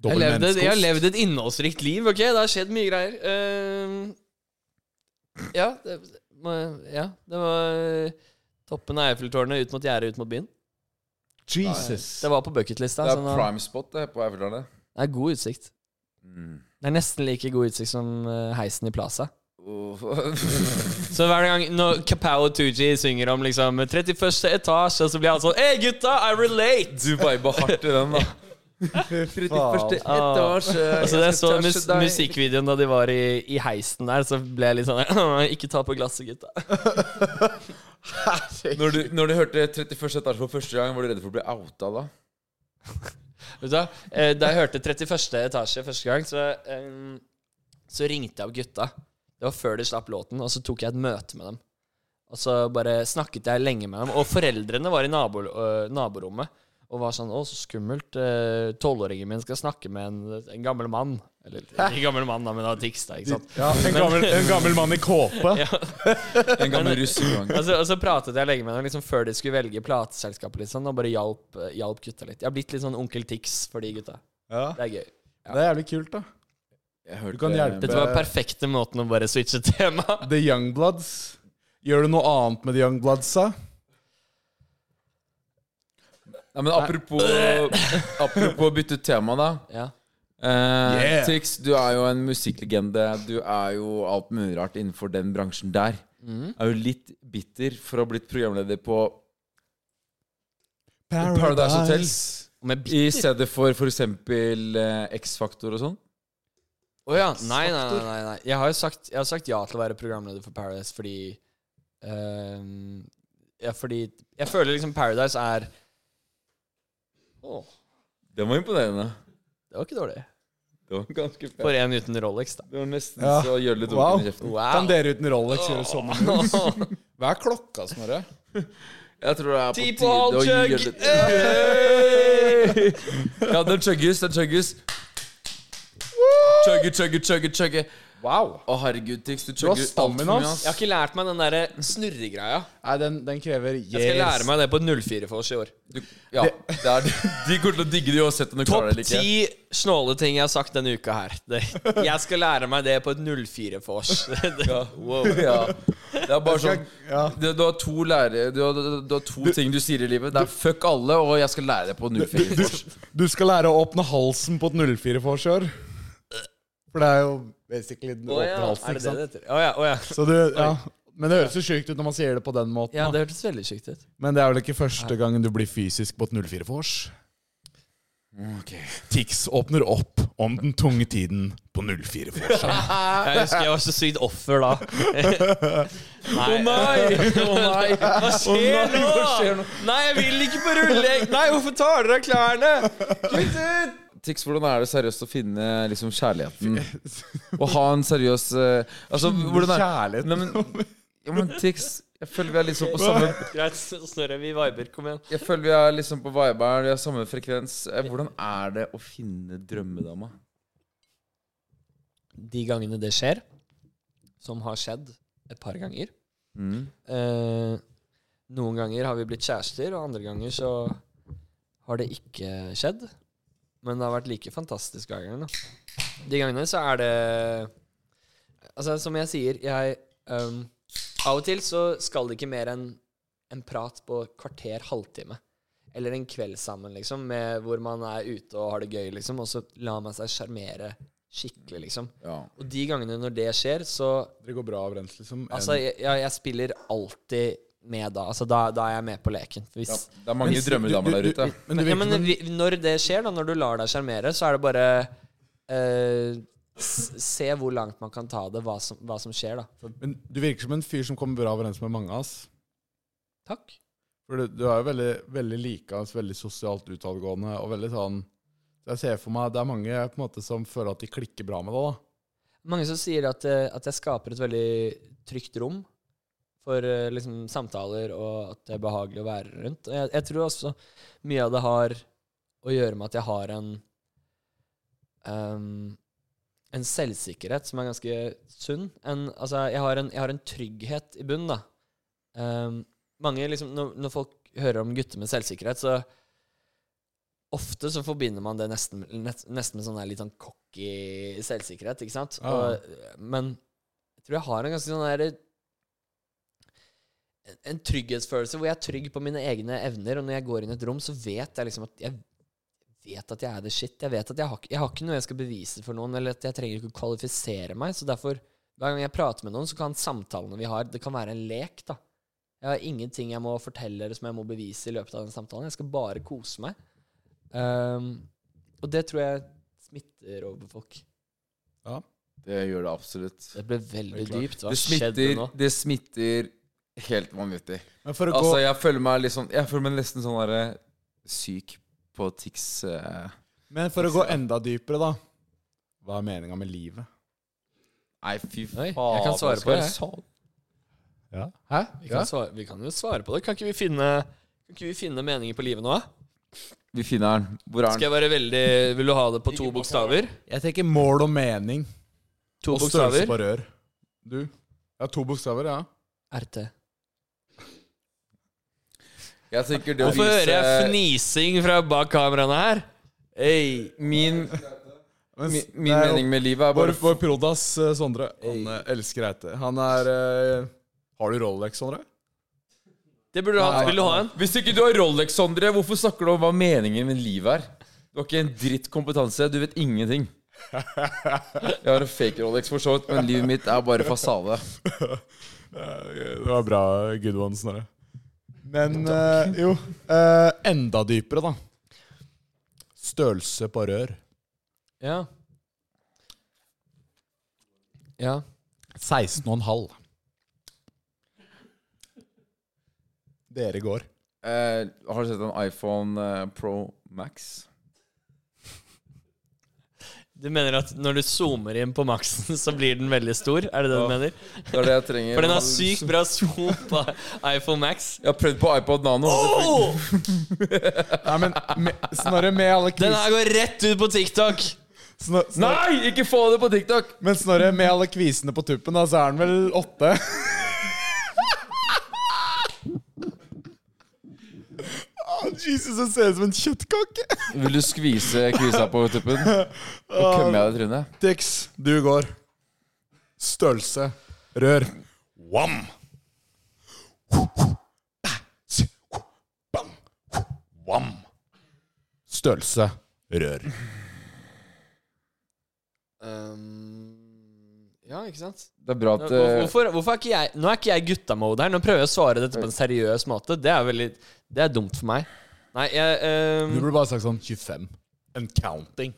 S2: Dobbel
S1: levde, jeg har
S2: menneskeost.
S1: levd et innholdsrikt liv, OK? Det har skjedd mye greier. Eh, ja, det, må- ja, det var eh, toppen av Eiffeltårnet ut mot gjerdet ut mot byen. eh,
S2: Jesus.
S1: Det var på bucketlista.
S3: Det
S1: så
S2: sånn,
S3: er
S1: nå-
S3: prime spot det, på Eiffeltårnet.
S1: det er god utsikt. Det er nesten like god utsikt som eh, heisen i Plaza.
S3: Åh.
S1: Så hver gang når Kapow og Tooji synger om liksom 31. etasje, så blir han sånn Hei, gutta, I relate!
S3: Du viba hardt i den, da.
S2: faen.
S3: 31. etasje.
S1: Altså, det så
S3: jeg skal touche
S1: mus
S3: deg.
S1: musikkvideoen da de var i, i heisen der, så ble jeg litt sånn Ikke ta på glasset, gutta.
S3: Når du, når du hørte 31. etasje for første gang, var du redd for å bli outa da?
S1: Vet du hva? Eh, Da jeg hørte 31. etasje første gang, så, eh, så ringte jeg opp gutta. Det var før de slapp låten, og så tok jeg et møte med dem. Og så bare snakket jeg lenge med dem. Og foreldrene var i nabo, øh, naborommet og var sånn 'Å, så skummelt. eh, Tolvåringen min skal snakke med en, en gammel mann.' Eller ikke gammel mann, da, men han tiksta, ikke sant.
S2: Ja, en, gammel, en gammel mann i kåpe.
S3: En gammel russegang.
S1: Og så, og så pratet jeg lenge med dem liksom før de skulle velge plateselskapet, liksom, og bare hjalp, hjalp gutta litt. Jeg har blitt litt sånn onkel Tix for de gutta.
S2: Ja.
S1: Det er gøy.
S2: Det er jævlig kult, da.
S3: Du
S2: kan hjelpe.
S1: Dette var perfekte måten å bare switche tema.
S2: The Youngbloods. Gjør du noe annet med The Youngbloodsa?
S3: Nei, men apropos, apropos å bytte ut tema, da.
S1: Ja.
S3: Eh,
S2: Yeah.
S3: Tix, du er jo en musikklegende. Du er jo alt mulig rart innenfor den bransjen der.
S1: Mm.
S3: Er jo litt bitter for å ha blitt programleder på Paradise Hotel.
S1: Og Med bi-
S3: I stedet for f.eks. Eh, X-Faktor og sånn.
S1: Å ja. Nei, nei, nei. nei, nei. Jeg, har jo sagt, jeg har sagt ja til å være programleder for Paradise fordi ehm, Ja, fordi Jeg føler liksom Paradise er Å,
S3: Det var imponerende.
S1: det var ikke dårlig.
S3: Det var ganske
S1: For
S3: fett.
S1: en uten Rolex, da.
S3: Det var nesten
S2: Ja.
S3: så gjør litt
S2: Wow.
S3: vondt i kjeften.
S1: Wow.
S2: Kan dere uten Rolex gjøre sånn? Hva er klokka, Snorre?
S3: Jeg tror det er på
S1: Ti på
S3: tide å
S1: halv
S3: gjøre
S1: chug! Eh!
S3: litt Ja, den chugges, den chugges. Chugge, chugge, chugge, chugge.
S2: Wow.
S3: Å, herregud, Tix. Du
S2: har
S3: chugger altfor
S2: stamina,
S3: mye,
S2: ass.
S3: ass.
S1: Jeg har ikke lært meg den derre snurregreia.
S2: Nei, den, den krever yes.
S1: Jeg skal lære meg det på 04-vors i år.
S3: Du, ja, det er, de kommer til å digge det uansett om du klarer
S1: Topp
S3: det eller ikke.
S1: ti snåle ting jeg har sagt denne uka her. Det, jeg skal lære meg det på et 04-vors. Wow.
S3: Ja. Det er bare sånn
S2: ja.
S3: du, du har to lærere Du har, du, du har to ting du sier i livet. Det er fuck alle, og jeg skal lære det på
S2: Du,
S3: 04.
S2: du skal lære å åpne halsen på et 04-forsvar. For det er jo basically den
S1: Å
S2: åpne
S1: ja,
S2: halsen,
S1: er det
S2: ikke
S1: det
S2: sant?
S1: det heter? Å ja, å ja.
S2: Så du, ja. Men det høres jo sjukt ut når man sier det på den måten.
S1: ja,
S2: da.
S1: det hørtes veldig sykt ut.
S2: Men det er vel ikke første gangen du blir fysisk på et 04-vors.
S1: Mm,
S2: Tix åpner opp om den tunge tiden på 04-vors.
S1: Jeg husker jeg var så sykt offer da. Å
S3: Å nei!
S1: Hva skjer
S3: nei,
S1: nå?
S3: hva skjer nå?
S1: Nei, jeg vil ikke på rullegg! Nei, hvorfor tar dere av klærne? Kutt ut!
S3: Tix, hvordan er det seriøst å finne liksom, kjærligheten? Å ha en seriøs eh, Altså, hvordan er
S2: Kjærlighet.
S3: Nei, men, ja, men Tix, jeg føler vi er liksom på samme
S1: Greit, Snorre, vi viber. Kom igjen.
S3: Jeg føler vi er liksom på viberen, vi har samme frekvens. Eh, Hvordan er det å finne drømmedama?
S1: De gangene det skjer, som har skjedd et par ganger
S3: Mm.
S1: Eh, noen ganger har vi blitt kjærester, og andre ganger så har det ikke skjedd. Men det har vært like fantastisk hver gang. Da. De gangene så er det Altså, som jeg sier, jeg ehm, Av og til så skal det ikke mer enn en prat på kvarter, halvtime. Eller en kveld sammen, liksom, med hvor man er ute og har det gøy, liksom. Og så lar man seg sjarmere Skikkelig, liksom.
S3: Ja.
S1: Og de gangene når det skjer, så
S2: Det går bra overens, liksom. En-
S1: Altså, jeg, jeg, jeg spiller alltid med da. Altså, da, da er jeg med på leken. Hvis,
S3: ja. Det er mange drømmedamer der ute.
S2: Men du
S1: ja,
S2: virker
S1: men
S2: som en-
S1: vi- når det skjer, da, når du lar deg sjarmere, så er det bare eh, s- Se hvor langt man kan ta det, hva som, hva som skjer, da. For,
S2: men du virker som en fyr som kommer bra overens med mange av oss.
S1: takk.
S2: For du, du er jo veldig, veldig likeens, veldig sosialt utadgående og veldig sånn så Jeg ser for meg det er mange på en måte som føler at de klikker bra med deg. da.
S1: Mange som sier at, eh, at jeg skaper et veldig trygt rom for eh, liksom, samtaler, og at det er behagelig å være rundt. Og jeg, jeg tror også mye av det har å gjøre med at jeg har en ehm, en selvsikkerhet som er ganske sunn. En, altså, jeg, har en, jeg har en trygghet i bunnen, da. Ehm, mange, liksom, når, når folk hører om gutter med selvsikkerhet, så Ofte så forbinder man det nesten, nest- nesten med sånn der litt sånn cocky selvsikkerhet, ikke sant?
S2: Ja.
S1: Og, men jeg tror jeg har en ganske sånn der en- en trygghetsfølelse hvor jeg er trygg på mine egne evner, og når jeg går inn i et rom, så vet jeg liksom at jeg vet at jeg er the shit. Jeg vet at jeg har, ikke- jeg har ikke noe jeg skal bevise for noen, eller at jeg trenger ikke å kvalifisere meg. Så derfor, hver gang jeg prater med noen, så kan samtalene vi har, det kan være en lek, da. Jeg har ingenting jeg må fortelle eller som jeg må bevise i løpet av den samtalen. Jeg skal bare kose meg. Ehm, og det tror jeg smitter over på folk.
S3: Det gjør det absolutt.
S1: Det ble veldig
S2: Det er klart.
S1: dypt. Hva
S3: Det
S1: skjedde
S3: smitter,
S1: nå?
S3: det smitter helt vanvittig.
S2: Men for å
S3: Altså,
S2: gå,
S3: jeg føler meg litt sånn Jeg føler meg nesten sånn derre syk på tics. eh.
S2: men for å gå enda dypere, da. Hva er meninga med livet?
S3: Nei, fy
S1: Oi, jeg
S3: faen.
S1: kan svare på det, jeg.
S3: Sånn.
S2: Ja. Hæ?
S1: Vi kan, svare, vi kan jo svare på det. Kan ikke vi finne, kan ikke vi finne meninger på livet nå? da?
S3: Vi finner den. Hvor er
S1: Skal
S3: den?
S1: jeg være veldig Vil du ha det på to bokstaver?
S2: Jeg tenker mål og mening.
S1: To
S2: og størrelse
S1: bokstaver.
S2: på rør. Du? Ja, to bokstaver, ja.
S1: RT.
S3: Jeg tenker det å
S1: Hvorfor hører jeg
S3: vise
S1: fnising fra bak kameraene her? Hey.
S3: Min,
S2: Men,
S3: mi- min
S2: det er jo-
S3: mening med livet er
S2: Vår,
S3: bare
S2: vår prodas eh, Sondre, han eh, elsker Eite. Han er eh, Har du Rolex, Sondre?
S1: Det burde du ha.
S3: Nei.
S1: Vil du ha en?
S3: Hvis ikke du har Rolex, Sondre, hvorfor snakker du om hva meningen med livet er? Du har ikke en dritt kompetanse. Du vet ingenting. Jeg har en fake Rolex, for så vidt, men livet mitt er bare fasade.
S2: Det var bra, good one, Sondre. Men eh, jo eh, Enda dypere, da. Størrelse på rør.
S1: Ja. Ja.
S2: 16,5. Dere går.
S3: Eh, har du sett en iPhone eh, Pro Max?
S1: Du mener at når du zoomer inn på maksen, så blir den veldig stor? Er det det
S3: Ja.
S1: du mener?
S3: Det er det jeg trenger.
S1: For den har sykt bra zoom på iPhone Max.
S3: Jeg har prøvd på iPod Nano.
S1: Oh!
S2: Nei, men med, Snorre, med alle
S1: Den
S2: kvisene
S1: her går rett ut på TikTok!
S2: Snor- Snor-
S3: Nei, ikke få det på TikTok!
S2: Men Snorre, med alle kvisene på tuppen, da, så er den vel åtte? Ah, Jesus, det ser ut som en kjøttkake!
S3: Vil du skvise kvisa på tuppen? Og kømme jeg deg i trynet?
S2: Tix, du går. Størrelse. Rør. Wam! Bam! Wam! Størrelse. Rør.
S1: Ehm, ja, ikke sant?
S3: Det er bra at
S1: Hvor-
S3: eh,
S1: Hvorfor, hvorfor er ikke jeg Nå er ikke jeg guttamode her. Nå prøver jeg å svare dette på en seriøs måte. Det er veldig Det er dumt for meg. Nei, jeg
S2: Du
S1: ehm,
S2: burde bare sagt sånn 25. And counting.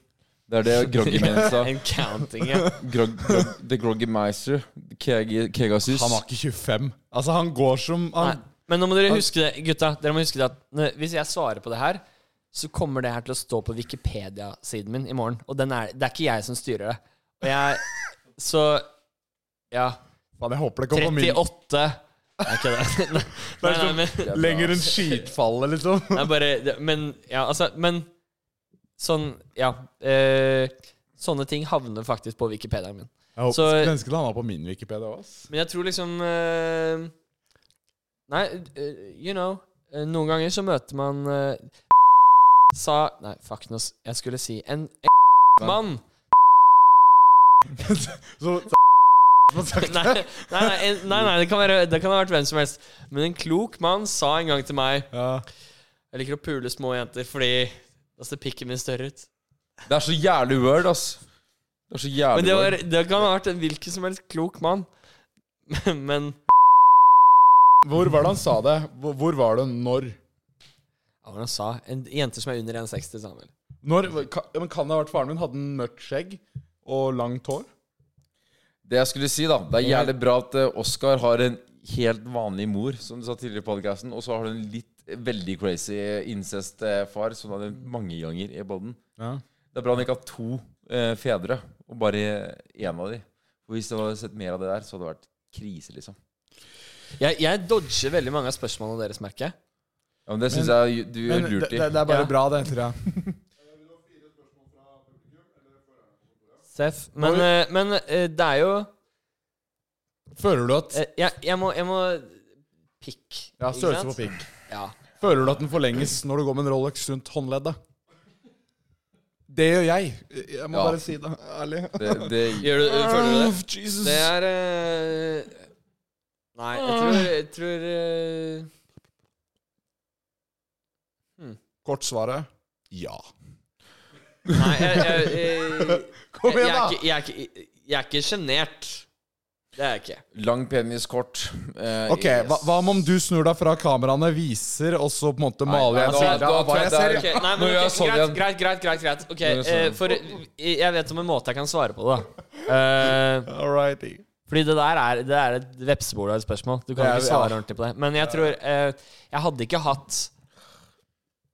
S3: Det er det Groggy Man sa.
S1: En counting, ja.
S3: Grog, grog, the Groggy Meister. Keg, Kegasus.
S2: Han har ikke 25. Altså, han går som
S1: Nei.
S2: han,
S1: Men nå må dere huske det, gutta. Dere må huske det at når- Hvis jeg svarer på det her, så kommer det her til å stå på Wikipedia-siden min i morgen. Og den er, det er ikke jeg som styrer det. Og jeg Så Ja.
S2: Faen, jeg håper det kommer på min
S1: 38 Det er ikke det. Nei, nei, nei, men
S3: Det er bra.
S2: Lenger enn skitfallet, liksom.
S1: Det er bare det, Men ja, altså Men sånn Ja. Eh, sånne ting havner faktisk på Wikipediaen min.
S2: Jeg håper,
S1: Så-
S2: skulle ønske det han var på min Wikipedia òg.
S1: Men jeg tror liksom eh, Nei, eh, you know eh, Noen ganger så møter man eh, Sa Nei, fuck nå. s- Jeg skulle si en, en mann.
S2: Så,
S1: Nei, nei, nei, en- nei, nei det, kan være, det kan ha vært hvem som helst. Men en klok mann sa en gang til meg
S2: ja.
S1: Jeg liker å pule små jenter fordi da ser pikken min altså, større ut.
S3: Det er så jævlig word, ass. Det var så jævlig
S1: Men det, var,
S3: bra.
S1: det kan ha vært en hvilken som helst klok mann. Men
S2: Hvor var det han sa det? Hvor, hvor var det? Når?
S1: ja, hva var det han sa? En jente som er under 1,60, sa han vel.
S2: Når, kan, ja, men kan det ha vært faren min? Hadde han mørkt skjegg og langt hår?
S3: Det jeg skulle si, da Det er jævlig bra at eh, Oscar har en helt vanlig mor, som du sa tidligere i podcasten, og så har du en litt eh, veldig crazy incest-far, som du hadde mange ganger i podden.
S2: Ja.
S3: Det er bra han ikke har to eh, fedre, og bare én av de. For Hvis du hadde sett mer av det der, så hadde det vært krise, liksom.
S1: Jeg, jeg dodger veldig mange av spørsmålene deres, merker jeg.
S3: Ja, men Det syns jeg du
S2: Men
S3: gjør
S2: det,
S3: lurt i.
S2: det, det er bare
S1: Ja.
S2: bra, det, tror jeg.
S1: Seth. Men, eh, men eh, det er jo
S2: Føler du at
S1: eh, jeg, jeg må, jeg må Pikk.
S2: Ja,
S1: ikke
S2: størrelse
S1: sant?
S2: på pikk.
S1: Ja.
S2: Føler du at den forlenges når du går med en Rolex rundt håndleddet? Det gjør jeg. Jeg må
S3: Ja.
S2: bare si det ærlig.
S3: Det, det,
S1: Gjør du, Eh, føler du det?
S2: Åh, Jesus.
S1: Det er eh, Nei, jeg tror, jeg tror eh,
S2: Kort svaret ja.
S1: Nei, jeg, jeg, jeg,
S2: Kom
S1: jeg,
S2: igjen,
S1: jeg,
S2: da!
S1: er ikke- jeg, er ikke- jeg er ikke sjenert. Det er jeg ikke.
S3: lang penis kort. eh,
S2: Ok, hva, hva om du snur deg fra kameraene, viser, og så på en måte maler
S1: altså,
S2: jeg
S3: da-
S2: bilder
S3: da
S2: av hva
S3: tror jeg
S2: jeg
S3: det
S2: ser?
S3: er-
S1: Ok, nei, men,
S3: Nå gjør jeg
S1: ok,
S3: sånn
S1: greit,
S3: igjen.
S1: greit, greit, greit, greit. Ok,
S3: gjør jeg
S1: eh,
S3: sånn.
S1: for jeg vet om en måte jeg kan svare på det, da. Eh,
S2: Alrighty.
S1: fordi det der er, det er et vepsebol av et spørsmål. Du kan
S2: Ja,
S1: ikke
S2: ja.
S1: svare ordentlig på det. Men jeg tror eh, Jeg hadde ikke hatt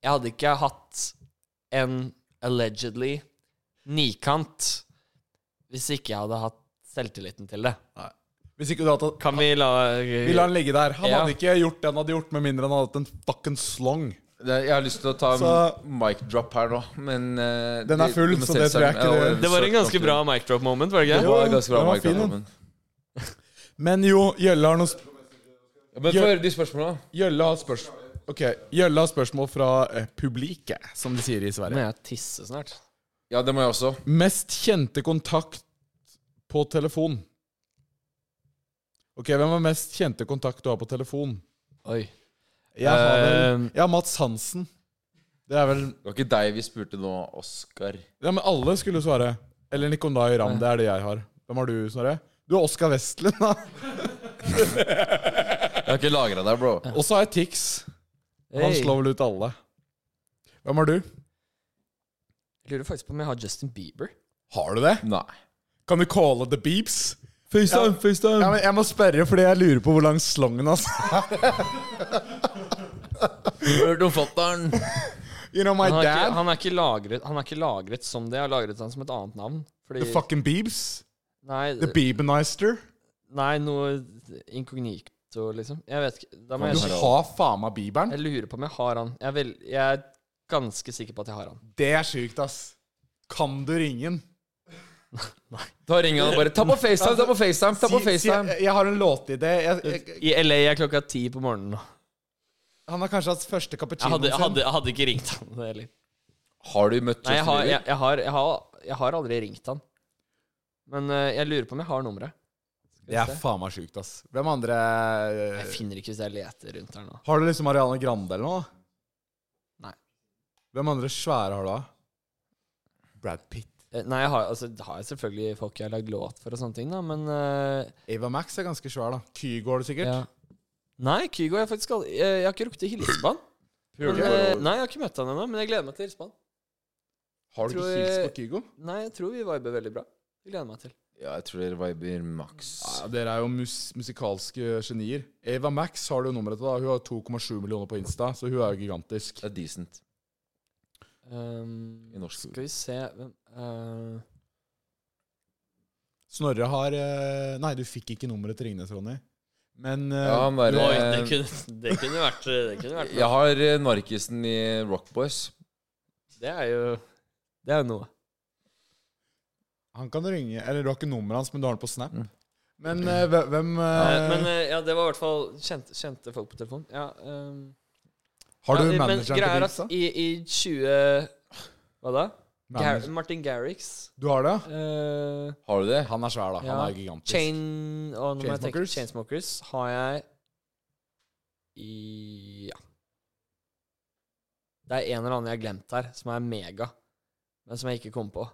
S1: Jeg hadde ikke hatt en allegedly nikant hvis ikke jeg hadde hatt selvtilliten til det.
S2: Hvis ikke du hadde
S1: Kan vi la
S2: Vi lar han ligge der. Han
S1: Ja.
S2: hadde ikke gjort det han hadde gjort, med mindre han hadde hatt en fucking slong.
S3: Det, jeg har lyst til å ta en
S2: Så-
S3: mic drop her nå, men eh,
S2: Den er
S3: det-
S2: full,
S3: du må
S2: så
S3: se
S2: det tror jeg
S3: selv.
S2: ikke
S3: Ja,
S2: det-
S1: Det var en ganske bra mic drop moment, var det ikke?
S3: Det var en ganske bra
S2: Den var
S3: mic drop,
S2: fin, den.
S3: men-
S2: Men jo, Gjølle har noen sp
S3: Ja, Men få høre de spørsmåla.
S2: Gjølle har spørsmål Ok, Gjølle har spørsmål fra eh, publiket, som de sier i
S1: Må
S2: Sverige.
S1: jeg tisse snart?
S3: Ja, det må jeg også.
S2: Mest kjente kontakt på telefon. Ok, hvem er mest kjente kontakt du har på telefon?
S1: Oi.
S2: Jeg har vel
S1: Eh,
S2: Jeg har Mats Hansen. Det er vel
S3: Det var ikke deg vi spurte nå, Oskar.
S2: Ja, men alle skulle svare. Eller Nikonai Ramm. Det er det jeg har. Hvem har du, Snorre? Du har Oskar Westlund, da.
S3: Jeg har ikke lagra deg, bro.
S2: Og så har jeg Tix. Han
S1: hey.
S2: slår vel ut alle. Hvem har du?
S1: Jeg lurer faktisk på om jeg har Justin Bieber.
S2: Har du det?
S3: Nei.
S2: Kan du calle the beeps?
S3: FaceTime, FaceTime.
S2: Ja, men jeg må spørre, fordi jeg lurer på hvor lang slangen hans er.
S3: Hørte om fatter'n.
S2: You know my
S1: Han er, ikke,
S2: dad?
S1: han, er ikke lagret, han er ikke lagret som det. Jeg har lagret han som et annet navn. Fordi
S2: The fucking beebs? The
S1: Nei,
S2: beebenister?
S1: nei noe inkognito, liksom. Jeg vet ikke. Da må
S2: Du
S1: jeg sjekke.
S2: har faen meg beeberen?
S1: Jeg lurer på om jeg har han. Jeg, vil, jeg er ganske sikker på at jeg har han.
S2: Det er sjukt, ass. Kan du ringe den?
S3: Da ringer han og bare Ta på FaceTime, ta på FaceTime, ta på
S2: Si- si-
S3: FaceTime.
S2: Jeg, jeg har en låtidé. Jeg- jeg-
S1: I LA er klokka ti på morgenen nå.
S2: Han har kanskje hatt første
S1: Jeg
S2: cappuccino
S1: hadde, jeg
S2: sin.
S1: hadde, jeg hadde ikke ringt han heller.
S3: Har du møtt
S1: Nei, jeg
S3: Justin
S1: har, jeg,
S3: Bieber?
S1: jeg, har, jeg, har, jeg har aldri ringt han. Men eh, jeg lurer på om jeg har nummeret. Skal vi
S2: Det er
S1: se.
S2: faen meg sjukt, ass. Hvem andre eh,
S1: Jeg finner ikke hvis jeg leter rundt her nå.
S2: Har du liksom Ariana Grande eller noe?
S1: Nei.
S2: Hvem andre svære har du, da? Brad Pitt.
S1: Eh, Nei, jeg har, altså, har jeg selvfølgelig folk jeg har lagd låt for og sånne ting, da, men eh,
S2: Ava Max er ganske svær, da. Kygo har du sikkert.
S1: ja. Nei, Kygo har jeg faktisk aldri Jeg, jeg har ikke rukket å hilse på han. Men,
S3: Puler.
S1: eh, nei, jeg har ikke møtt han ennå, men jeg gleder meg til å hilse på han.
S2: Har du
S1: Tror
S2: ikke
S1: jeg-
S2: hilst på Kygo?
S1: Nei, jeg tror vi viber veldig bra. Jeg gleder meg til.
S3: Ja, jeg tror dere viber maks.
S2: Ja, dere er jo mus musikalske genier. Ava Max har du jo nummeret til, da. Hun har 2,7 millioner på Insta, så hun er jo gigantisk.
S3: Det er decent.
S1: Ehm,
S3: I norsk
S1: skal vi se hvem eh,
S2: Snorre har eh, Nei, du fikk ikke nummeret til Ringnes, Ronny. Men eh,
S3: Ja, han der,
S1: Oi, det
S3: eh,
S1: kunne, det kunne vært Det kunne vært
S3: Jeg har eh, narkisen i Rock Boys.
S1: Det er jo Det er jo noe.
S2: han kan ringe Eller du har ikke nummeret hans, men du har det på Snap.
S3: Mm.
S2: Men eh, hve- hvem
S1: Eh,
S2: eh,
S1: men eh, ja, det var i hvert fall kjente, kjente folk på telefonen. Ja, ehm,
S2: Har du
S1: ja, eh, men
S2: manageren
S1: greia
S2: til
S1: er
S2: Insta?
S1: at I, I 20 Hva da? Gar
S2: Manager.
S1: Martin Garrix.
S2: Du har det?
S1: eh,
S3: Har du det?
S2: Han er svær, da. Han
S1: Ja.
S2: er gigantisk.
S1: Chain å, nå må jeg tenke.
S2: Chainsmokers?
S1: Chainsmokers har jeg i Ja. Det er en eller annen jeg har glemt her, som er mega, men som jeg ikke kom på.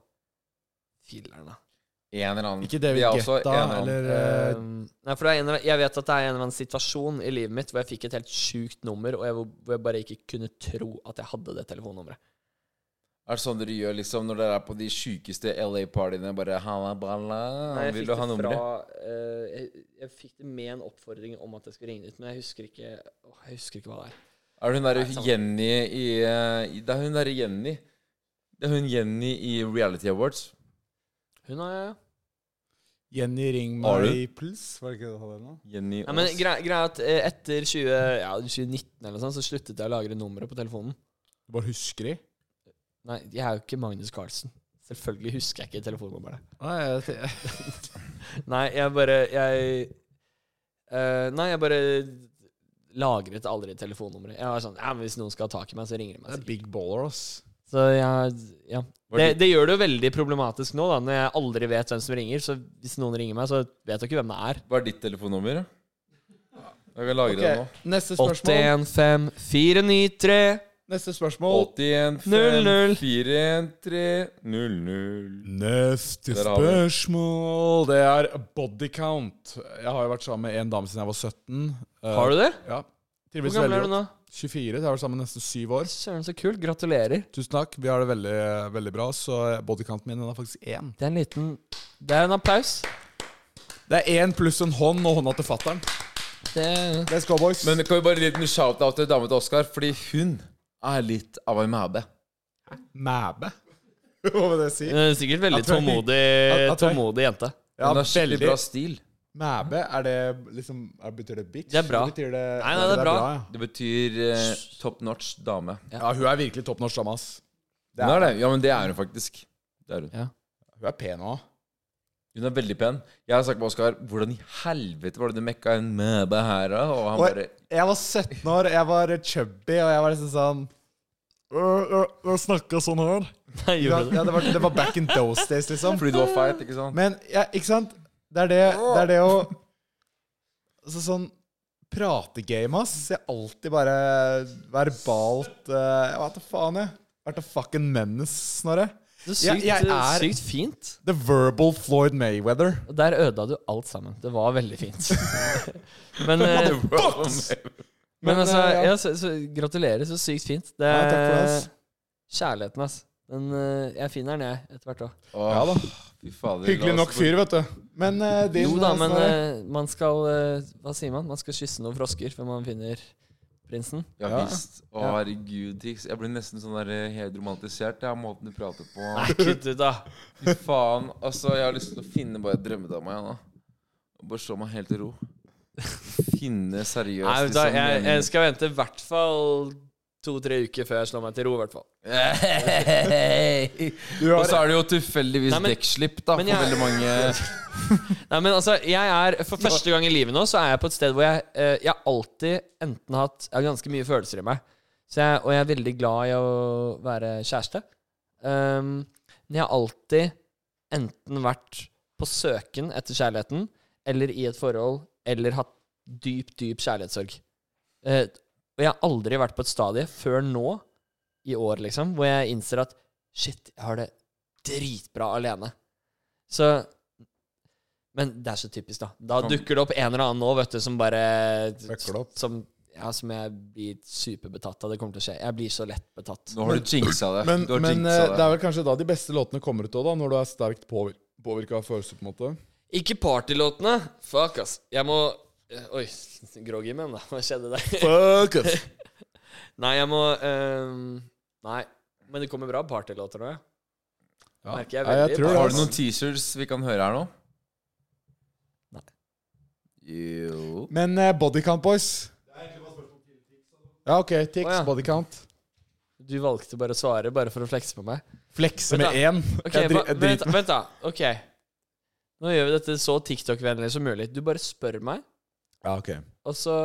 S1: Filler'n, da.
S3: En eller annen
S2: Ikke
S3: de
S2: David
S3: er også
S2: Getta
S3: en eller annen-
S2: eller eh,
S1: Um, nei, for det er en, eller annen- jeg vet at det er en eller annen situasjon i livet mitt hvor jeg fikk et helt sjukt nummer, og jeg, hvor hvor jeg bare ikke kunne tro at jeg hadde det telefonnummeret.
S3: Er det sånn dere gjør liksom når dere er på de sjukeste LA-partyene? Bare halla, balla,
S1: Nei, jeg
S3: vil
S1: fikk
S3: du ha
S1: det
S3: nummeret?
S1: fra, eh, jeg, jeg fikk det med en oppfordring om at jeg skulle ringe dit, men jeg husker ikke, åh, jeg husker ikke hva det er.
S3: Er det hun derre
S1: Nei, sånn- samme.
S3: Jenny i eh, i- Det er hun derre Jenny. Det er hun Jenny i Reality Awards.
S1: Hun har ja.
S2: Jenny Ring
S3: Har du?
S2: meg, please. Var det ikke det du hadde nå?
S3: Jenny
S1: Nei, men
S3: Aas.
S1: greia greia er at eh, etter 20, ja, 2019 eller noe sånt, så sluttet jeg å lagre nummeret på telefonen.
S2: Du bare husker de?
S1: Nei, jeg er jo ikke Magnus Carlsen. Selvfølgelig husker jeg ikke telefonnummeret.
S2: Nei, jeg,
S1: Nei, jeg bare Jeg eh, Nei, jeg bare lagret aldri telefonnummeret. Jeg var sånn Ja, men hvis noen skal ha tak i meg, så ringer de meg
S2: det er
S1: sikkert.
S2: big baller, ass.
S1: Så jeg Ja.
S3: Var
S1: Det,
S3: det-
S1: det gjør det jo veldig problematisk nå, da, når jeg aldri vet hvem som ringer. Så hvis noen ringer meg, så vet jeg ikke hvem det er.
S3: Hva er ditt telefonnummer? da? Jeg kan lagre det nå.
S2: Neste spørsmål.
S1: 815493
S2: Neste spørsmål.
S3: 81
S1: Null, null.
S3: 413
S2: Neste
S3: Der har vi det.
S2: spørsmål Det er body count. Jeg har jo vært sammen med en dame siden jeg var 17.
S1: Har du det?
S2: Ja.
S1: Hvor
S2: Trives
S1: gammel
S2: veldig
S1: er du
S2: godt.
S1: nå?
S2: 24. Jeg har vært sammen nesten syv år.
S1: Søren, så kult. Gratulerer.
S2: Tusen takk. Vi har det veldig, veldig bra, så bodycounten min den er faktisk én.
S1: Det er en liten Det er en applaus.
S2: Det er én pluss en hånd og hånda til fatter'n.
S1: Det
S2: Let's go, boys.
S3: Men kan vi bare gi en liten shout-out til dama til Oskar? Fordi hun er litt av en mæbe.
S2: Mæbe? Hva vil det si?
S1: Hun er sikkert veldig
S2: Jeg tror jeg-
S1: tålmodig,
S2: jeg- jeg tror jeg-
S1: tålmodig jente.
S2: Ja,
S3: Hun har skikkelig
S2: veldig.
S3: bra stil.
S2: Mæbe, er det liksom er, Betyr det bitch?
S1: Det er bra.
S2: Eller Betyr det,
S1: Nei, nei, det er bra.
S2: ja.
S3: Det betyr eh, top notch dame.
S2: ja, hun er virkelig topp norsk dame, ass. Det
S3: Hun er det. Ja, men det er hun faktisk. Det er hun.
S2: Hun er pen òg.
S3: Hun er veldig pen. Jeg har sagt med Oskar hvordan i helvete var det du mekka en mæbe her, da? Og han
S2: Oi.
S3: bare
S2: Jeg var 17 år, jeg var chubby, og jeg var liksom sånn «Øh, øh, Jeg snakka sånn her.
S1: Nei,
S2: Ja,
S1: gjorde du det?
S2: ja, det, var, det var back in those days, liksom.
S3: Fordi du var feit, ikke sant?
S2: Men ja, ikke sant? Det er det, det, er det å altså, Sånn prategame, ass. Jeg er alltid bare verbalt eh, Jeg vet da faen, jeg. Vært a fucking menace, Snorre.
S1: Det er
S2: Jeg-
S1: sykt, eh,
S2: jeg er-
S1: sykt fint.
S2: The verbal Floyd Mayweather.
S1: Og der ødela du alt sammen. Det var veldig fint. men, eh, men
S2: Men,
S1: altså,
S2: eh, ja.
S1: ja, så, så, gratulerer. Så sykt fint. Det
S2: Ja,
S1: er
S2: takk for det, ass.
S1: kjærligheten, ass. Den, eh, jeg finner den, jeg, etter hvert òg.
S3: Åh,
S2: Ja da.
S3: Fy fader.
S2: Hyggelig
S3: la oss-
S2: nok fyr, vet du. Men eh, din
S1: Jo da,
S2: eh,
S1: men
S2: Snorre,
S1: eh, man skal eh, Hva sier man? Man skal kysse noen frosker før man finner prinsen.
S3: Ja
S2: Ja.
S3: visst. Å,
S1: Ja.
S3: herregud, Tix. Jeg blir nesten sånn der eh, helt romantisert jeg, av måten du prater på.
S1: Nei, kutt ut, da!
S3: Fy faen. Altså, jeg har lyst til å finne bare drømmedama, jeg nå. Og Bare slå meg helt til ro. Finne seriøst
S1: Nei, da,
S3: liksom,
S1: jeg,
S3: en-
S1: jeg skal vente i hvert fall to-tre uker før jeg slår meg til ro, i hvert fall.
S2: du
S3: Og
S2: har,
S3: så er det jo tilfeldigvis
S1: Nei, men-
S3: dekkslipp, da,
S1: men
S3: for
S1: jeg-
S3: veldig mange
S1: Nei, men altså, jeg er For første gang i livet nå Så er jeg på et sted hvor jeg eh, Jeg har alltid enten hatt Jeg har ganske mye følelser i meg så jeg, Og jeg er veldig glad i å være kjæreste um, Men jeg har alltid Enten vært på søken etter kjærligheten Eller i et forhold Eller hatt dyp, dyp kjærlighetssorg Eh, Og jeg har aldri vært på et stadie Før nå I år liksom Hvor jeg innser at Shit, jeg har det dritbra alene Så men det er så typisk, da. Da
S3: Sånn.
S1: dukker det opp en eller annen nå, vet du, som bare
S2: Fucker det opp.
S1: Som, ja, som jeg blir superbetatt av. Det kommer til å skje. Jeg blir så lett betatt.
S3: Nå har du jinxa det.
S2: men,
S3: du har
S2: men
S3: jinxa
S2: eh,
S3: det.
S2: det er vel kanskje da de beste låtene kommer ut òg, da, når du er sterkt påvir påvirka av følelser, på en måte.
S1: Ikke partylåtene! Fuck, ass. Jeg må eh, Oi, groggy man, da. Hva skjedde der?
S2: Fuck it.
S1: nei, jeg må eh, Nei. Men det kommer bra partylåter nå, ja.
S2: Ja.
S1: Merker jeg
S2: Nei, jeg
S1: veldig.
S2: tror det,
S3: Har
S2: ass.
S3: du noen teasers vi kan høre her nå?
S1: Nei.
S3: Jo
S2: Men eh, body count, boys? Ja, ok. Tix,
S1: Å, ja.
S2: body count.
S1: Du valgte bare å svare, bare for å flekse på meg.
S2: Flekse
S1: Vent
S2: med én.
S1: Ok,
S2: Jeg dri-
S1: hva-
S2: jeg
S1: vent,
S2: driter-
S1: vent da. Ok. Nå gjør vi dette så TikTok-vennlig som mulig. Du bare spør meg,
S2: Ja, ok.
S1: og så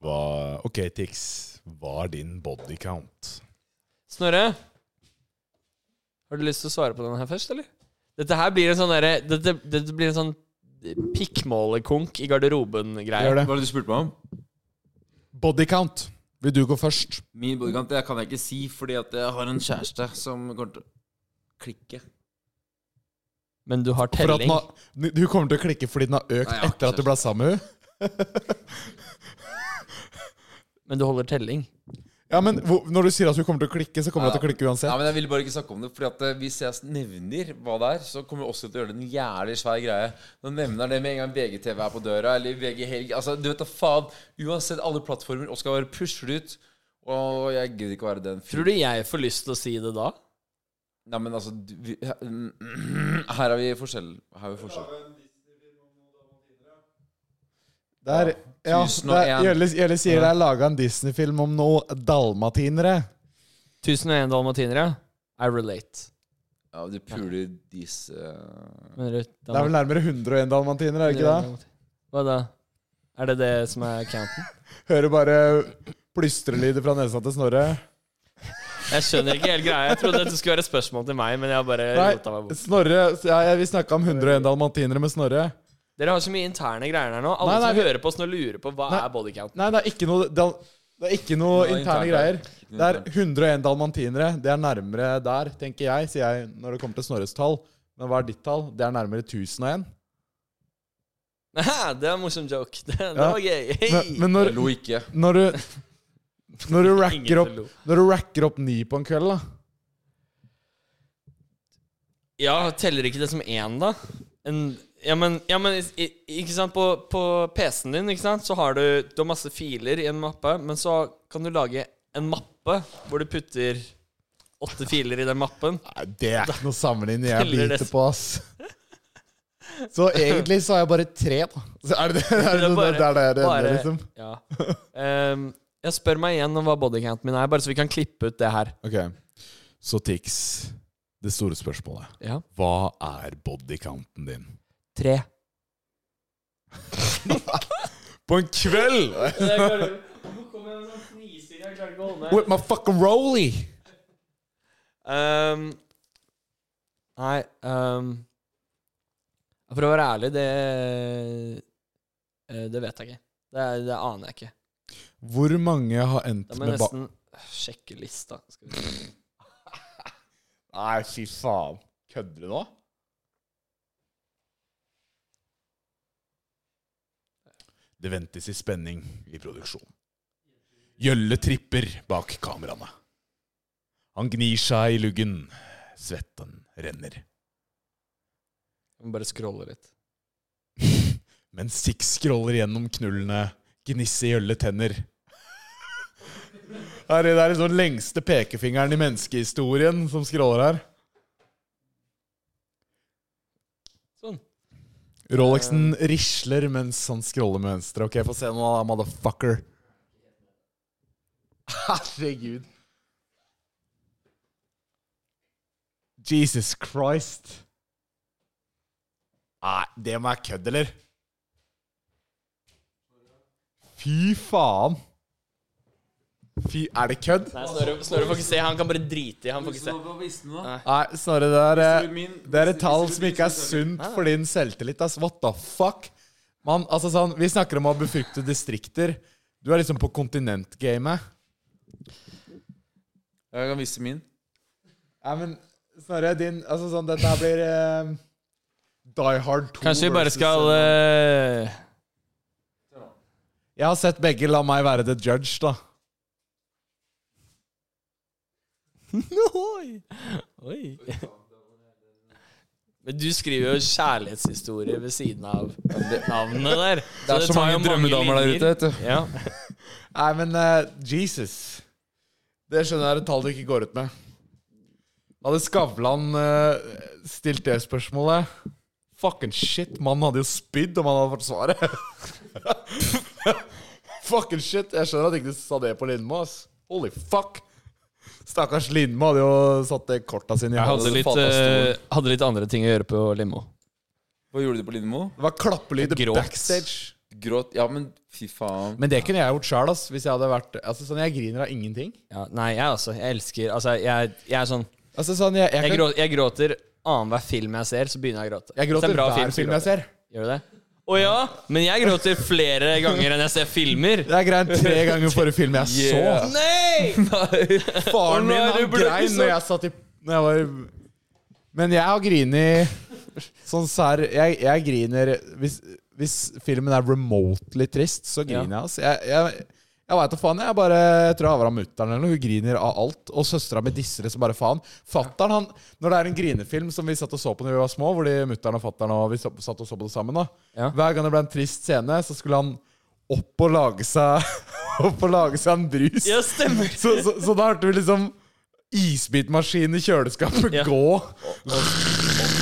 S2: Hva, ok, Tix. Hva er din body count?
S1: Snorre? Har du lyst til å svare på den her først, eller? Dette her blir en sånn derre dette, dette blir en sånn pikkmålekonk i garderoben-greie.
S2: Gjør
S3: Hva
S2: det.
S3: var det du spurte meg om?
S2: Body count. Vil du gå først?
S3: Min bodycount det kan jeg ikke si, fordi at jeg har en kjæreste som kommer til å klikke.
S1: Men du har
S2: For at den
S1: telling.
S2: har, du kommer til å klikke fordi den har økt
S3: Nei, jeg har ikke
S2: etter at du ble sammen med henne.
S1: Men du holder telling.
S2: Ja, men hvor, når du sier at du kommer til å klikke, så kommer du
S3: Ja.
S2: til å klikke
S3: Ja,
S2: uansett.
S3: men Jeg ville bare ikke snakke om det. Fordi at eh, Hvis jeg nevner hva det er, så kommer jeg også til å gjøre det en jævlig svær greie. Nå nevner det med en gang VGTV er på døra, eller VG Helg Altså, du vet da faen. Uansett alle plattformer. Oskar bare pusher det ut. Og jeg gidder ikke å være den
S1: Tror du jeg får lyst til å si det da?
S3: Nei, men altså du, vi, Her er vi forskjell. Her er vi forskjell.
S2: Der, ja,
S3: 1001.
S2: der, Jelle, Jelle sier det er laga en Disney-film om noen dalmatinere.
S1: 1001 dalmatinere. I relate.
S3: Ja, du puler disse eh,
S1: Men
S2: Det er vel nærmere 101 dalmatinere, er det ikke det?
S1: Hva da? Er det det som er counten?
S2: Hører bare plystrelyder fra nesa til Snorre.
S1: Jeg skjønner ikke hele greia. Jeg trodde dette skulle være et spørsmål til meg, men jeg har bare
S2: Nei,
S1: rota meg bort.
S2: Snorre, ja, jeg- vi snakka om 101 dalmatinere med Snorre.
S1: Dere har så mye interne greier her nå. Alle
S2: Nei, nei,
S1: som
S2: vi-
S1: hører på oss nå, lurer på hva
S2: Nei.
S1: er bodycounten.
S2: Nei, det er ikke noe, dal, det er ikke noe
S3: Det er
S2: interne
S3: interne.
S2: greier.
S3: noe
S2: Det er 101 dalmatinere. Det er nærmere der, tenker jeg, sier jeg når det kommer til Snorres tall. Men hva er ditt tall? Det er nærmere 1001.
S1: Haha, Det var en morsom joke. Det, det
S2: Ja.
S1: var gøy.
S2: Men,
S1: Hei.
S2: men når,
S3: Jeg lo ikke.
S2: når du når du, racker
S1: Ingen
S2: opp,
S1: som lo.
S2: når du racker opp ni på en kveld, da
S1: Ja, teller ikke det som én, da? En, ja, men, ja, men i, i- ikke sant? På, på PC-en din ikke sant? Så har du, du har masse filer i en mappe, men så kan du lage en mappe hvor du putter åtte filer i den mappen.
S2: Nei, Det er ikke noe sammenligning jeg
S1: Teller det
S2: biter på, ass. Så egentlig så har jeg bare tre, da. Så er det er det,
S1: Det er
S2: det,
S1: bare-
S2: er der det, det
S1: bare-
S2: ender, liksom?
S1: Ja. Ehm, jeg spør meg igjen om hva bodycounten min er, bare så vi kan klippe ut det her.
S2: Ok. Så Tix, det store spørsmålet.
S1: Ja.
S2: Hva er bodycounten din?
S1: Tre.
S2: På en kveld!
S1: Hvorfor kommer jeg med sånn fniser? Jeg klarer ikke å holde
S2: With my fucking rolly!
S1: Um, nei um, For å være ærlig, det eh, Det vet jeg ikke. Det, er- det aner jeg ikke.
S2: Hvor mange har endt
S1: Da må
S2: med
S1: jeg
S2: ba...
S1: nesten sjekke lista. Skal vi se.
S2: Nei, fy faen. Kødder du nå? Det ventes i spenning i produksjonen. Gjølle tripper bak kameraene. Han gnir seg i luggen. Svetten renner.
S1: Jeg må bare scrolle litt.
S2: Mens Six scroller gjennom knullene, gnisse gjølle tenner. Her er det er liksom den lengste pekefingeren i menneskehistorien som scroller her.
S1: Sånn.
S2: Rolexen risler mens han scroller med venstre. Ok, få se nå, da, motherfucker. Herregud. Jesus Christ. Nei, det må være kødd, eller? Fy faen. Fy, er det kødd?
S1: Nei, Snorre Snorre får ikke se. Han kan bare drite i. Han får ikke se.
S2: Nei, Snorre, det er eh,
S3: Det
S2: Det er et tall som ikke er sunt for din selvtillit. Ass. What the fuck? Man, altså sånn, vi snakker om å befrukte distrikter. Du er liksom på kontinentgamet.
S3: Jeg kan vise min.
S2: Nei, men Snorre, din Altså sånn, dette her blir eh, Die Hard 2
S1: Kanskje vi bare
S2: versus-
S1: skal eh,
S2: Jeg har sett begge. La meg være the judge, da.
S1: Oi. Oi. Men du skriver jo kjærlighetshistorie ved siden av navnet der.
S3: Det er så
S1: tar jo
S3: mange drømmedamer der
S1: linjer.
S3: ute, vet du.
S1: Ja.
S2: Nei, men eh, Jesus. Det skjønner jeg er et tall du ikke går ut med. Hadde Skavlan eh, stilt det spørsmålet Fucking shit, mannen hadde jo spydd om han hadde fått svaret. Fucking shit. Jeg skjønner at ikke du sa det på Lindmo. ass. Holy fuck. Stakkars Lindmo hadde jo satt det korta sine i
S1: Jeg
S2: halsen.
S1: hadde litt,
S3: falt av stolen.
S1: eh, hadde litt andre ting å gjøre på limo.
S3: Hva gjorde du på Lindmo?
S2: Det var klappelyder
S1: Gråt.
S2: backstage.
S3: Gråt? Ja, men fy faen.
S2: Men det kunne jeg gjort sjøl, ass. Hvis jeg hadde vært Altså, sånn, jeg griner av ingenting.
S1: Ja, nei, jeg altså. Jeg elsker Altså, jeg, jeg er sånn
S2: Altså, sånn, jeg, jeg,
S1: Jeg,
S2: kan,
S1: grå, jeg gråter annenhver film jeg ser, så begynner jeg å gråte. Hvis
S2: jeg
S1: det er
S2: gråter
S1: en bra
S2: hver
S1: så
S2: film jeg
S1: gråter
S2: ser.
S1: Gjør du det? Å ja! Men jeg gråter flere ganger enn jeg ser filmer.
S2: Det er greit tre ganger forrige film jeg
S3: Yeah.
S1: Nei!
S2: så. Faren min
S1: Nå er
S2: han
S1: du bløt,
S2: grein
S1: liksom.
S2: når jeg satt i når jeg var i- Men jeg har grini Sånn sær Jeg, jeg griner hvis, hvis filmen er remotely trist, så griner jeg, altså. Jeg, jeg, jeg veit da faen. Jeg bare jeg tror jeg har av mutter'n eller noe. Hun griner av alt. Og søstera mi disser det som bare faen. Fatteren, han Når det er en grinefilm som vi satt og så på når vi var små, hvor de mutter'n og fatter'n og vi satt og så på det sammen, da.
S1: Ja.
S2: Hver gang det ble en trist scene, så skulle han opp og lage seg Opp og lage seg en brus.
S1: Ja, stemmer.
S2: Så, så, så da hørte vi liksom isbitmaskinen i kjøleskapet
S1: Ja.
S2: gå.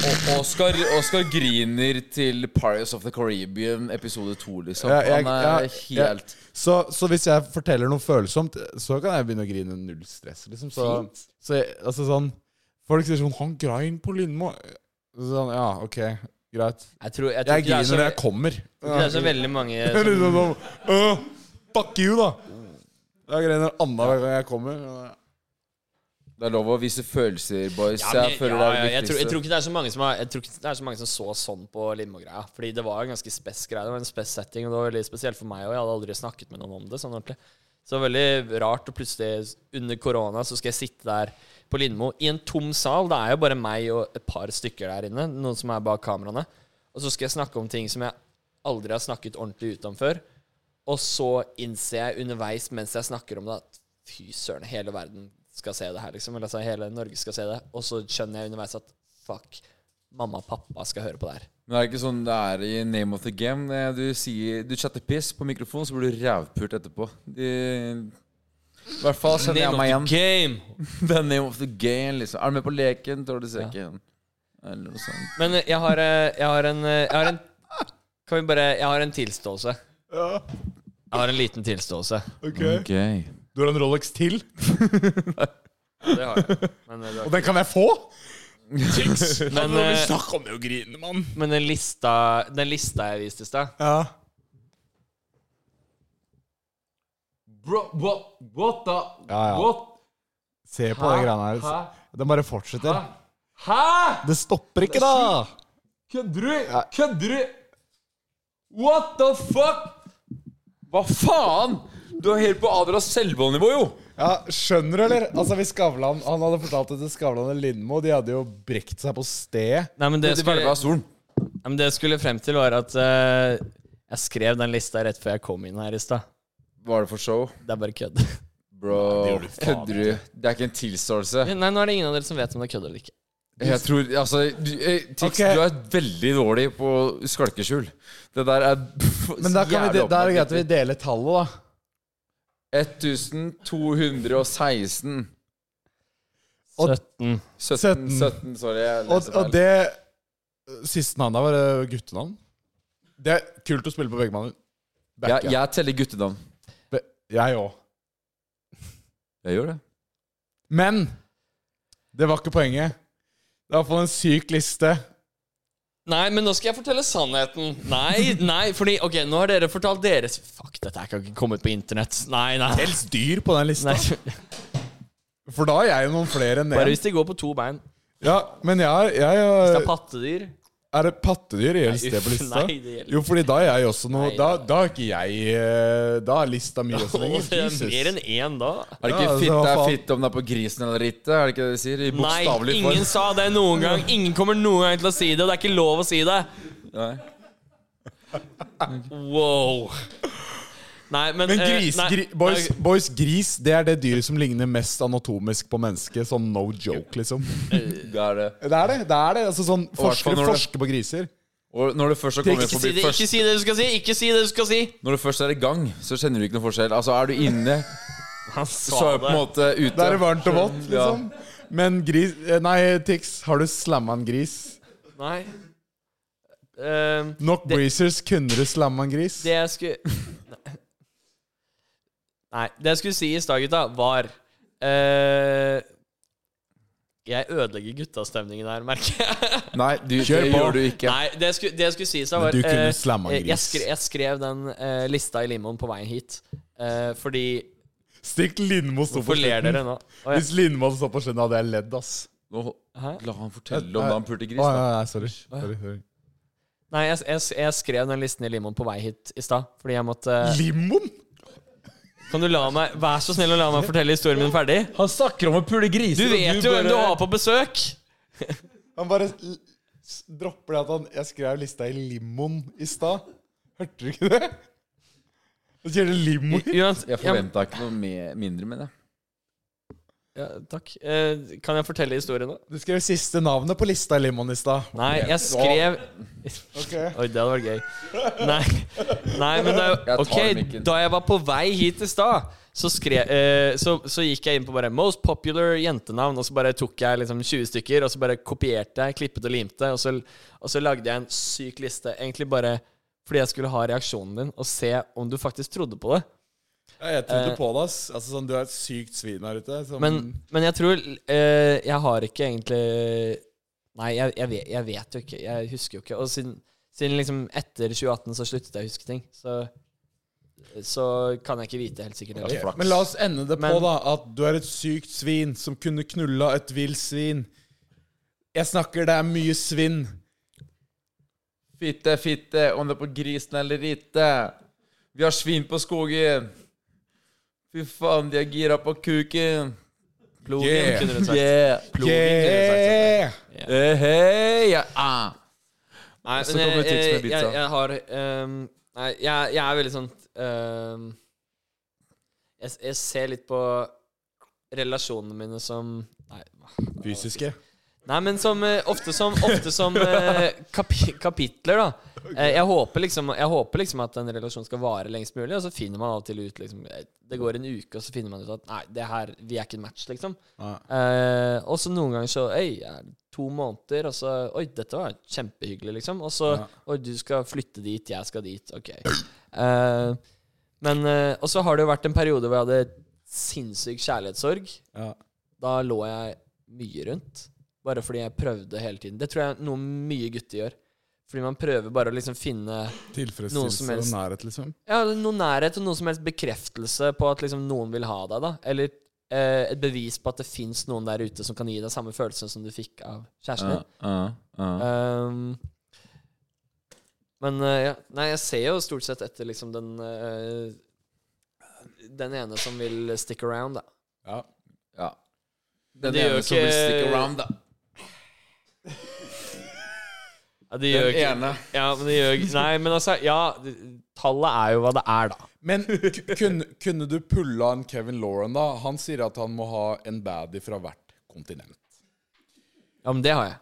S3: Og Oscar, Oscar griner til Pirates of the Caribbean episode 2, liksom.
S2: Ja, jeg-
S3: Han er
S2: ja, ja.
S3: helt
S2: Så, så hvis jeg forteller noe følsomt, så kan jeg begynne å grine null stress. Liksom. Så, så jeg, altså sånn Folk sier sånn 'Han grein på Lindmo'. Sånn, ja, ok, greit.
S1: Jeg, tror, jeg, tror ikke
S2: Jeg
S1: det er
S2: griner
S1: så,
S2: når jeg kommer.
S1: det er så veldig mange
S2: Det er
S1: som,
S2: liksom sånn «Åh, Fuck you, da! Jeg griner annenhver gang jeg kommer.
S3: Det er lov å vise følelser, boys.
S1: ja, men,
S3: jeg føler
S1: ja,
S3: det
S1: ja,
S3: er
S1: jeg,
S3: det
S1: tror, jeg
S3: viktigste.
S1: tror ikke det er så mange som har, Jeg tror ikke det er så mange som så sånn på Lindmo-greia. Fordi det var en ganske spess greie. Det var en spess setting, og det var veldig spesielt for meg òg. Jeg hadde aldri snakket med noen om det sånn ordentlig. Så det var veldig rart, og plutselig under korona så skal jeg sitte der på Lindmo i en tom sal. Det er jo bare meg og et par stykker der inne, noen som er bak kameraene. Og så skal jeg snakke om ting som jeg aldri har snakket ordentlig ut om før. Og så innser jeg underveis mens jeg snakker om det, at fy søren, hele verden skal se det her, liksom. Eller altså, hele Norge skal se det. Og så skjønner jeg underveis at fuck, mamma og pappa skal høre på det her.
S3: Men det er ikke sånn det er i Name of the Game. Eh, Du, sier, du chatter piss på mikrofonen, så blir du rævpult etterpå. De, I hvert fall kjenner jeg meg igjen.
S1: game!
S3: Det er name of the game, liksom. Er du med på leken, tar du sekken. Eller noe sånt.
S1: Men eh, jeg har, eh, jeg har en eh, Jeg har en Kan vi bare Jeg har en tilståelse. Jeg har en liten tilståelse.
S2: Ok
S3: Ok.
S2: Du har en Rolex til,
S1: Det har jeg. Men, eh, det
S2: og
S1: har-
S2: den kan jeg få?
S1: men, eh,
S2: Snakk om det å grine, mann!
S1: men den lista Den lista jeg viste i stad
S2: Ja.
S3: Bro, what, what the
S2: Ja, ja.
S3: What?
S2: Se på de greiene her. altså. Den bare fortsetter.
S3: Hæ?
S2: Det stopper ikke, da!
S3: Kødder du? Kødder du? What the fuck? Hva faen? Du er helt på Adrias Selvold-nivå, jo.
S2: Ja, Skjønner du, eller? Altså, hvis Skavlan Han hadde fortalt det til Skavlan og Lindmo. De hadde jo brekt seg på stedet.
S1: Nei, men det
S3: Det
S1: skulle,
S3: velva av stolen.
S1: Ja, men det jeg skulle frem til, var at eh, jeg skrev den lista rett før jeg kom inn her i stad.
S3: Var det for show?
S1: Det er bare kødd.
S3: Bro, kødder du? Det er ikke en tilståelse.
S1: Nei, nå er det ingen av dere som vet om det er kødd eller ikke.
S3: Jeg tror, altså du, eh, Tix,
S2: Ok.
S3: du er veldig dårlig på skalkeskjul. Det der er
S2: Men da kan vi,
S3: jævlig
S2: de- da er det greit
S3: åpenbart
S2: at vi deler tallet, da.
S3: 1216
S2: Og-
S1: 17.
S3: 17,
S2: Sytten.
S3: 17 sorry. Jeg
S2: Og,
S3: leser feil.
S2: og det siste navnet var eh, guttenavn. Det er kult å spille på begge mann.
S3: jeg, jeg teller guttenavn.
S2: Be- Jeg òg.
S3: Jeg gjør det.
S2: Men det var ikke poenget. Det er i hvert fall en syk liste.
S1: Nei, men nå skal jeg fortelle sannheten. Nei, nei, fordi Ok, nå har dere fortalt deres Fuck, dette her kan ikke komme ut på internett. Nei, nei.
S2: Dels dyr på den lista.
S1: nei.
S2: For da er jeg jo noen flere enn
S1: Bare
S2: det.
S1: hvis de går på to bein.
S2: Ja, men jeg, jeg,
S1: Hvis det er
S2: jeg
S1: pattedyr.
S2: Er det pattedyr
S1: Nei,
S2: gjelder sted på
S1: uff,
S2: lista?
S1: nei, det gjelder
S2: Jo, fordi da er jeg også noe
S1: Nei,
S2: Da,
S1: nei.
S2: da er ikke jeg eh, Da er lista mi også
S1: Å,
S2: lenger.
S1: det er
S2: Jesus.
S1: mer enn én da.
S3: Er det
S2: Ja,
S3: ikke
S2: altså,
S3: fitt,
S2: hva
S3: det er
S2: faen?
S3: fitt om det er på grisen eller ikke? Er det ikke det de sier? I
S1: Nei,
S3: bokstavelig
S1: ingen
S3: form.
S1: sa det noen gang. Ingen kommer noen gang til å si det, og det er ikke lov å si det.
S3: Nei.
S1: Wow. Nei, men
S2: Men
S1: eh,
S2: gris,
S1: nei,
S2: gri, boys, boys, gris det er det dyret som ligner mest anatomisk på mennesket. Sånn no joke, liksom.
S3: Det er det.
S2: Det er det. det, er det. Altså, sånn,
S3: hvertfall
S2: forskere
S3: når det-
S2: forsker på griser.
S3: Og når du først har
S1: Ikke
S3: kommet
S1: si,
S3: forbi
S1: det,
S3: først,
S1: ikke si det du skal si! Ikke si det du skal si!
S3: Når du først er i gang, så kjenner du ikke noe forskjell. Altså, er du inne,
S1: Han sa
S3: så er du på en måte ute.
S2: Da er det varmt og vått, liksom. Men gris eh, Nei, Tix, har du slamma en gris?
S1: Nei. Ehm,
S2: Nok breezers, kunne du slamma en gris?
S1: det jeg skulle Nei. Nei. Det jeg skulle si i stad, gutta, var eh, Jeg ødelegger guttastemningen her, merker jeg.
S3: Nei, du, det
S2: Kjør på.
S3: gjør du ikke.
S1: Nei, det jeg skulle, det jeg skulle si i stad,
S2: Men
S1: var
S2: du kunne
S1: eh,
S2: slamma en
S1: eh, jeg,
S2: gris.
S1: skrev, jeg skrev den eh, lista i limoen på veien hit, eh, fordi
S2: Stikk Lindmo sto på
S1: Hvorfor ler
S2: slutten.
S1: dere nå? Å, ja.
S2: Hvis Lindmo hadde stått på slutten, hadde jeg ledd, ass.
S3: Nå,
S1: Hæ?
S3: la han fortelle om da han pulte gris.
S2: Å,
S3: Da.
S2: nei, nei, sorry. sorry, sorry.
S1: Nei, jeg, jeg, jeg skrev den listen i limoen på vei hit i stad, fordi jeg måtte
S2: Limon?
S1: Kan du la meg Vær så snill å la meg fortelle historien min ferdig?
S3: Han snakker om å pule gris.
S1: Du vet jo hvem du har på besøk!
S2: Han bare s- dropper det at han Jeg skrev lista i limoen i stad. Hørte du ikke det? Så sier det limo.
S1: Uansett,
S3: Jeg forventa ikke noe mer, mindre, men jeg.
S1: Ja, ja, takk. Eh, kan jeg fortelle historien nå?
S2: Du skrev siste navnet på lista i limoen i stad.
S1: Nei, jeg skrev
S2: Ok.
S1: Oi, det hadde vært gøy. Nei, Nei men det er
S3: Jeg
S1: jo
S3: tar
S1: Ok,
S3: mikken.
S1: da jeg var på vei hit i stad, så, skrev, eh, så, så gikk jeg inn på bare 'Most popular jentenavn', og så bare tok jeg liksom 20 stykker, og så bare kopierte jeg, klippet og limte, og så, og så lagde jeg en syk liste. Egentlig bare fordi jeg skulle ha reaksjonen din, og se om du faktisk trodde på det.
S2: Ja, jeg trodde
S1: Eh.
S2: på det. ass Altså sånn, Du er et sykt svin her ute. Som,
S1: Men, men jeg tror eh, Jeg har ikke egentlig Nei, jeg, jeg, vet, jeg vet jo ikke. Jeg husker jo ikke. Og siden, siden liksom etter 2018 så sluttet jeg å huske ting. Så, så kan jeg ikke vite helt sikkert.
S3: Ja,
S1: heller.
S3: flaks.
S2: Men la oss ende det
S1: Men-
S2: på da at du er et sykt svin som kunne knulla et vilt svin. Jeg snakker, det er mye svinn.
S3: Fitte, fitte, om det er på grisen eller ikke. Vi har svin på skogen. Fy faen, de er gira på kuken.
S1: Plogin,
S2: Yeah.
S1: kunne du sagt.
S3: Yeah.
S1: Plogin, kunne du sagt.
S2: Yeah!
S3: Eh, hei, ja, ah.
S1: Nei,
S3: Så
S1: men jeg,
S3: kommer det tics med
S1: jeg,
S3: pizza.
S1: jeg, jeg har ehm, Nei, jeg, jeg er veldig sånn ehm, jeg, jeg ser litt på relasjonene mine som Nei,
S2: Fysiske.
S1: Nei, men som, eh, ofte som, ofte som eh, kapi kapitler, da. Eh, jeg, håper liksom, jeg håper liksom at en relasjon skal vare lengst mulig, og så finner man av og til ut liksom, eh, Det går en uke, og så finner man ut at nei, det her, vi er ikke en match, liksom.
S2: Nei.
S1: Eh, og så noen ganger så Øy, jeg er to måneder, og så Oi, dette var kjempehyggelig, liksom. Og så
S2: Ja.
S1: Oi, du skal flytte dit, jeg skal dit. Ok. Eh, men eh, Og så har det jo vært en periode hvor jeg hadde sinnssyk kjærlighetssorg.
S2: Ja.
S1: Da lå jeg mye rundt. Bare fordi jeg prøvde hele tiden. Det tror jeg er noe mye gutter gjør. Fordi man prøver bare å liksom finne Noe som
S2: Tilfredsstillelse og
S1: helst.
S2: nærhet, liksom.
S1: ja, noe nærhet og noe som helst bekreftelse på at liksom noen vil ha deg. da Eller eh, et bevis på at det fins noen der ute som kan gi deg samme følelsen som du fikk av kjæresten din.
S3: Ah, ah, ah.
S1: Ehm, men eh, ja, nei, jeg ser jo stort sett etter liksom den eh, Den ene som vil stick around, da.
S2: Ja.
S3: Ja.
S1: Men
S3: Den
S1: det gjør
S3: ene som
S1: ikke-
S3: vil stick around, da.
S1: Ja, det
S3: Den ene.
S1: Ja, men det gjør Nei, men altså Ja, det- tallet er jo hva det er, da.
S2: Men k- kunne, kunne du pulla en Kevin Lauren, da? Han sier at han må ha en baddie fra hvert kontinent.
S1: Ja, men det har jeg.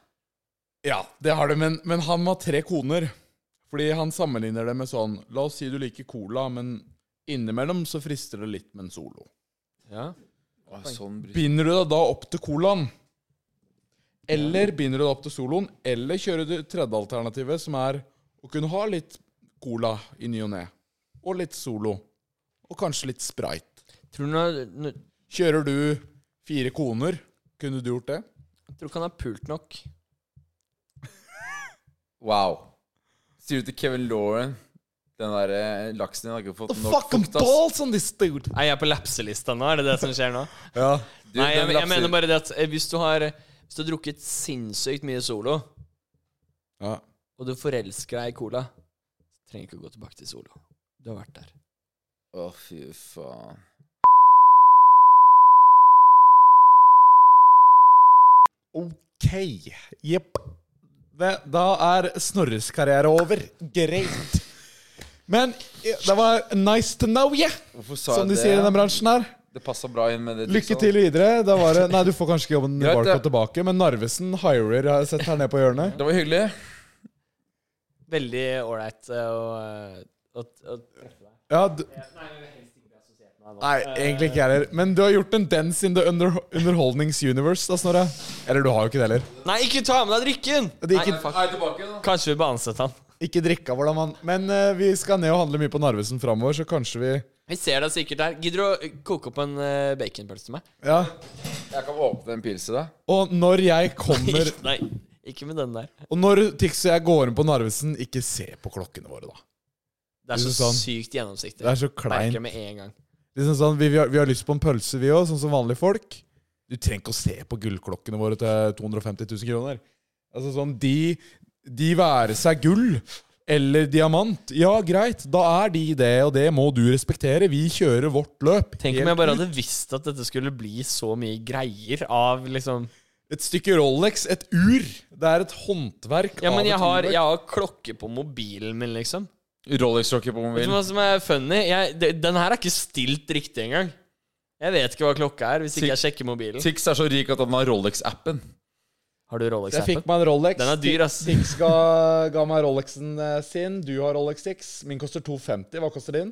S2: Ja, det har det, men, men han må ha tre koner. Fordi han sammenligner det med sånn La oss si du liker cola, men innimellom så frister det litt med en solo.
S1: Ja.
S3: Å, sånn bryr-
S2: Binder du deg da opp til colaen? Eller binder du deg opp til soloen? Eller kjører du tredje alternativet, som er å kunne ha litt cola i ny og ne? Og litt solo. Og kanskje litt sprite.
S1: Tror du nå- nå-
S2: Kjører du fire koner? Kunne du gjort det?
S1: tror du ikke han har pult nok?
S3: Wow. Sier du til Kevin Lauren Den der eh, laksen din har ikke fått
S2: The
S3: nok
S2: fucking
S3: ass.
S2: balls on this dude!
S1: Nei, jeg er på lapselista nå, er det det som skjer nå?
S2: Ja.
S3: Du,
S1: Nei, jeg,
S3: den
S1: jeg
S3: laksen-
S1: mener bare det at eh, hvis du har Hvis du har drukket sinnssykt mye solo,
S2: ja.
S1: og du forelsker deg i cola, så trenger du ikke å gå tilbake til solo. Du har vært der.
S3: Å, fy faen.
S2: Ok. Jepp. Det- Da er Snorres karriere over. Greit. Men eh, det var nice to know you,
S3: Hvorfor sa
S2: som de
S3: jeg
S2: sier i denne
S3: det?
S2: bransjen her.
S3: Det passa bra inn med det. liksom.
S2: Lykke
S3: tipset.
S2: til videre. Da var det, nei, du får kanskje ikke jobben i
S3: Greit,
S2: Barcode
S3: det.
S2: tilbake, men Narvesen hirer har jeg sett her nede på hjørnet.
S3: Det var hyggelig.
S1: Veldig ålreit eh, å eh, å- å-
S2: Ja, du, nei, egentlig ikke jeg heller. Men du har gjort en dance in the under, underholdnings universe, da, Snorre. Eller du har jo ikke det heller.
S1: Nei, ikke ta med deg drikken!
S2: Det er
S1: Nei,
S2: ikke-
S1: fuck.
S3: Er jeg tilbake, da?
S1: Kanskje vi bør ansette han.
S2: Ikke drikka, hvordan man Men eh, vi skal ned og handle mye på Narvesen framover, så kanskje vi
S1: Vi ser deg sikkert der. Gidder du å koke opp en eh, baconpølse til meg?
S2: Ja.
S3: Jeg kan åpne en pils til deg.
S2: Og når jeg kommer
S1: Nei, ikke med den der.
S2: Og når Tix og jeg går inn på Narvesen, ikke se på klokkene våre, da.
S1: Det er
S2: Det
S1: så
S2: er sånn-
S1: sykt gjennomsiktig.
S2: Det er så
S1: Merker
S2: kleint.
S1: det med en gang.
S2: Liksom sånn, vi, vi, har, vi har lyst på en pølse, vi òg, sånn som vanlige folk. Du trenger ikke å se på gullklokkene våre til 250 000 kroner. Altså sånn, de, de være seg gull eller diamant, ja, greit, da er de det, og det må du respektere. Vi kjører vårt løp.
S1: Tenk
S2: Helt
S1: om jeg bare
S2: ut.
S1: hadde visst at dette skulle bli så mye greier av liksom
S2: Et stykke Rolex, et ur. Det er et håndverk
S1: Ja,
S2: av
S1: men
S2: et
S1: jeg har,
S2: urverk.
S1: jeg har klokke på mobilen min, liksom.
S3: Rolex-rocker på
S1: Vet du
S3: mobilen.
S1: hva som er funny? Jeg, det, den her er ikke stilt riktig engang. Jeg vet ikke hva klokka er, hvis ikke jeg sjekker mobilen.
S3: Tix er så rik at han har Rolex-appen.
S1: Har du
S2: Så jeg fikk
S1: Rolex-appen?
S2: meg en Rolex.
S1: Den er dyr, ass.
S2: Tix ga, ga meg Rolexen eh, sin. Du har Rolex Tix. Min koster 250. Hva koster din?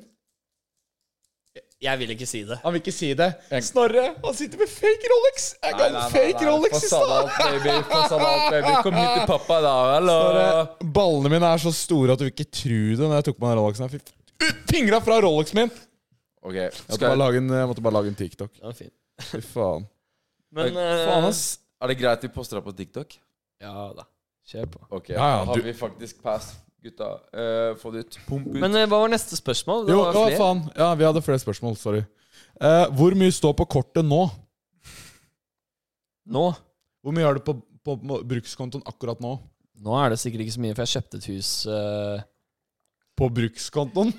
S1: Jeg vil ikke si det.
S2: Han vil ikke si det. Snorre, han sitter med fake Rolex! Jeg ga han fake Rolex i stad!
S3: Fasadalt, baby. Fasadalt, baby. Kom hit til pappa, da. Hallo.
S2: Snorre, Ballene mine er så store at du vil ikke tro det når jeg tok på meg Rolexen. Jeg fikk ut fingra fra Rolexen min! Jeg
S3: Ok,
S2: måtte,
S3: skal
S2: bare
S3: jeg,
S2: lage en, jeg måtte bare lage en TikTok.
S1: Den er fin.
S2: Fy faen.
S1: Men eh,
S2: Faen, ass.
S3: er det greit vi poster deg på TikTok?
S1: Ja da. Kjør på.
S3: Ok,
S2: Ja, ja,
S3: da har
S2: du-
S3: vi faktisk pass, gutta. Eh, få det ut. Pump ut.
S1: Men eh, hva var neste spørsmål? Det
S2: Jo,
S1: var
S2: å,
S1: flere.
S2: faen. Ja, vi hadde flere spørsmål. Sorry. Eh, hvor mye står på kortet nå?
S1: Nå.
S2: Hvor mye har du på, på, på brukskontoen akkurat nå?
S1: Nå er det sikkert ikke så mye, for jeg kjøpte et hus eh,
S2: På brukskontoen?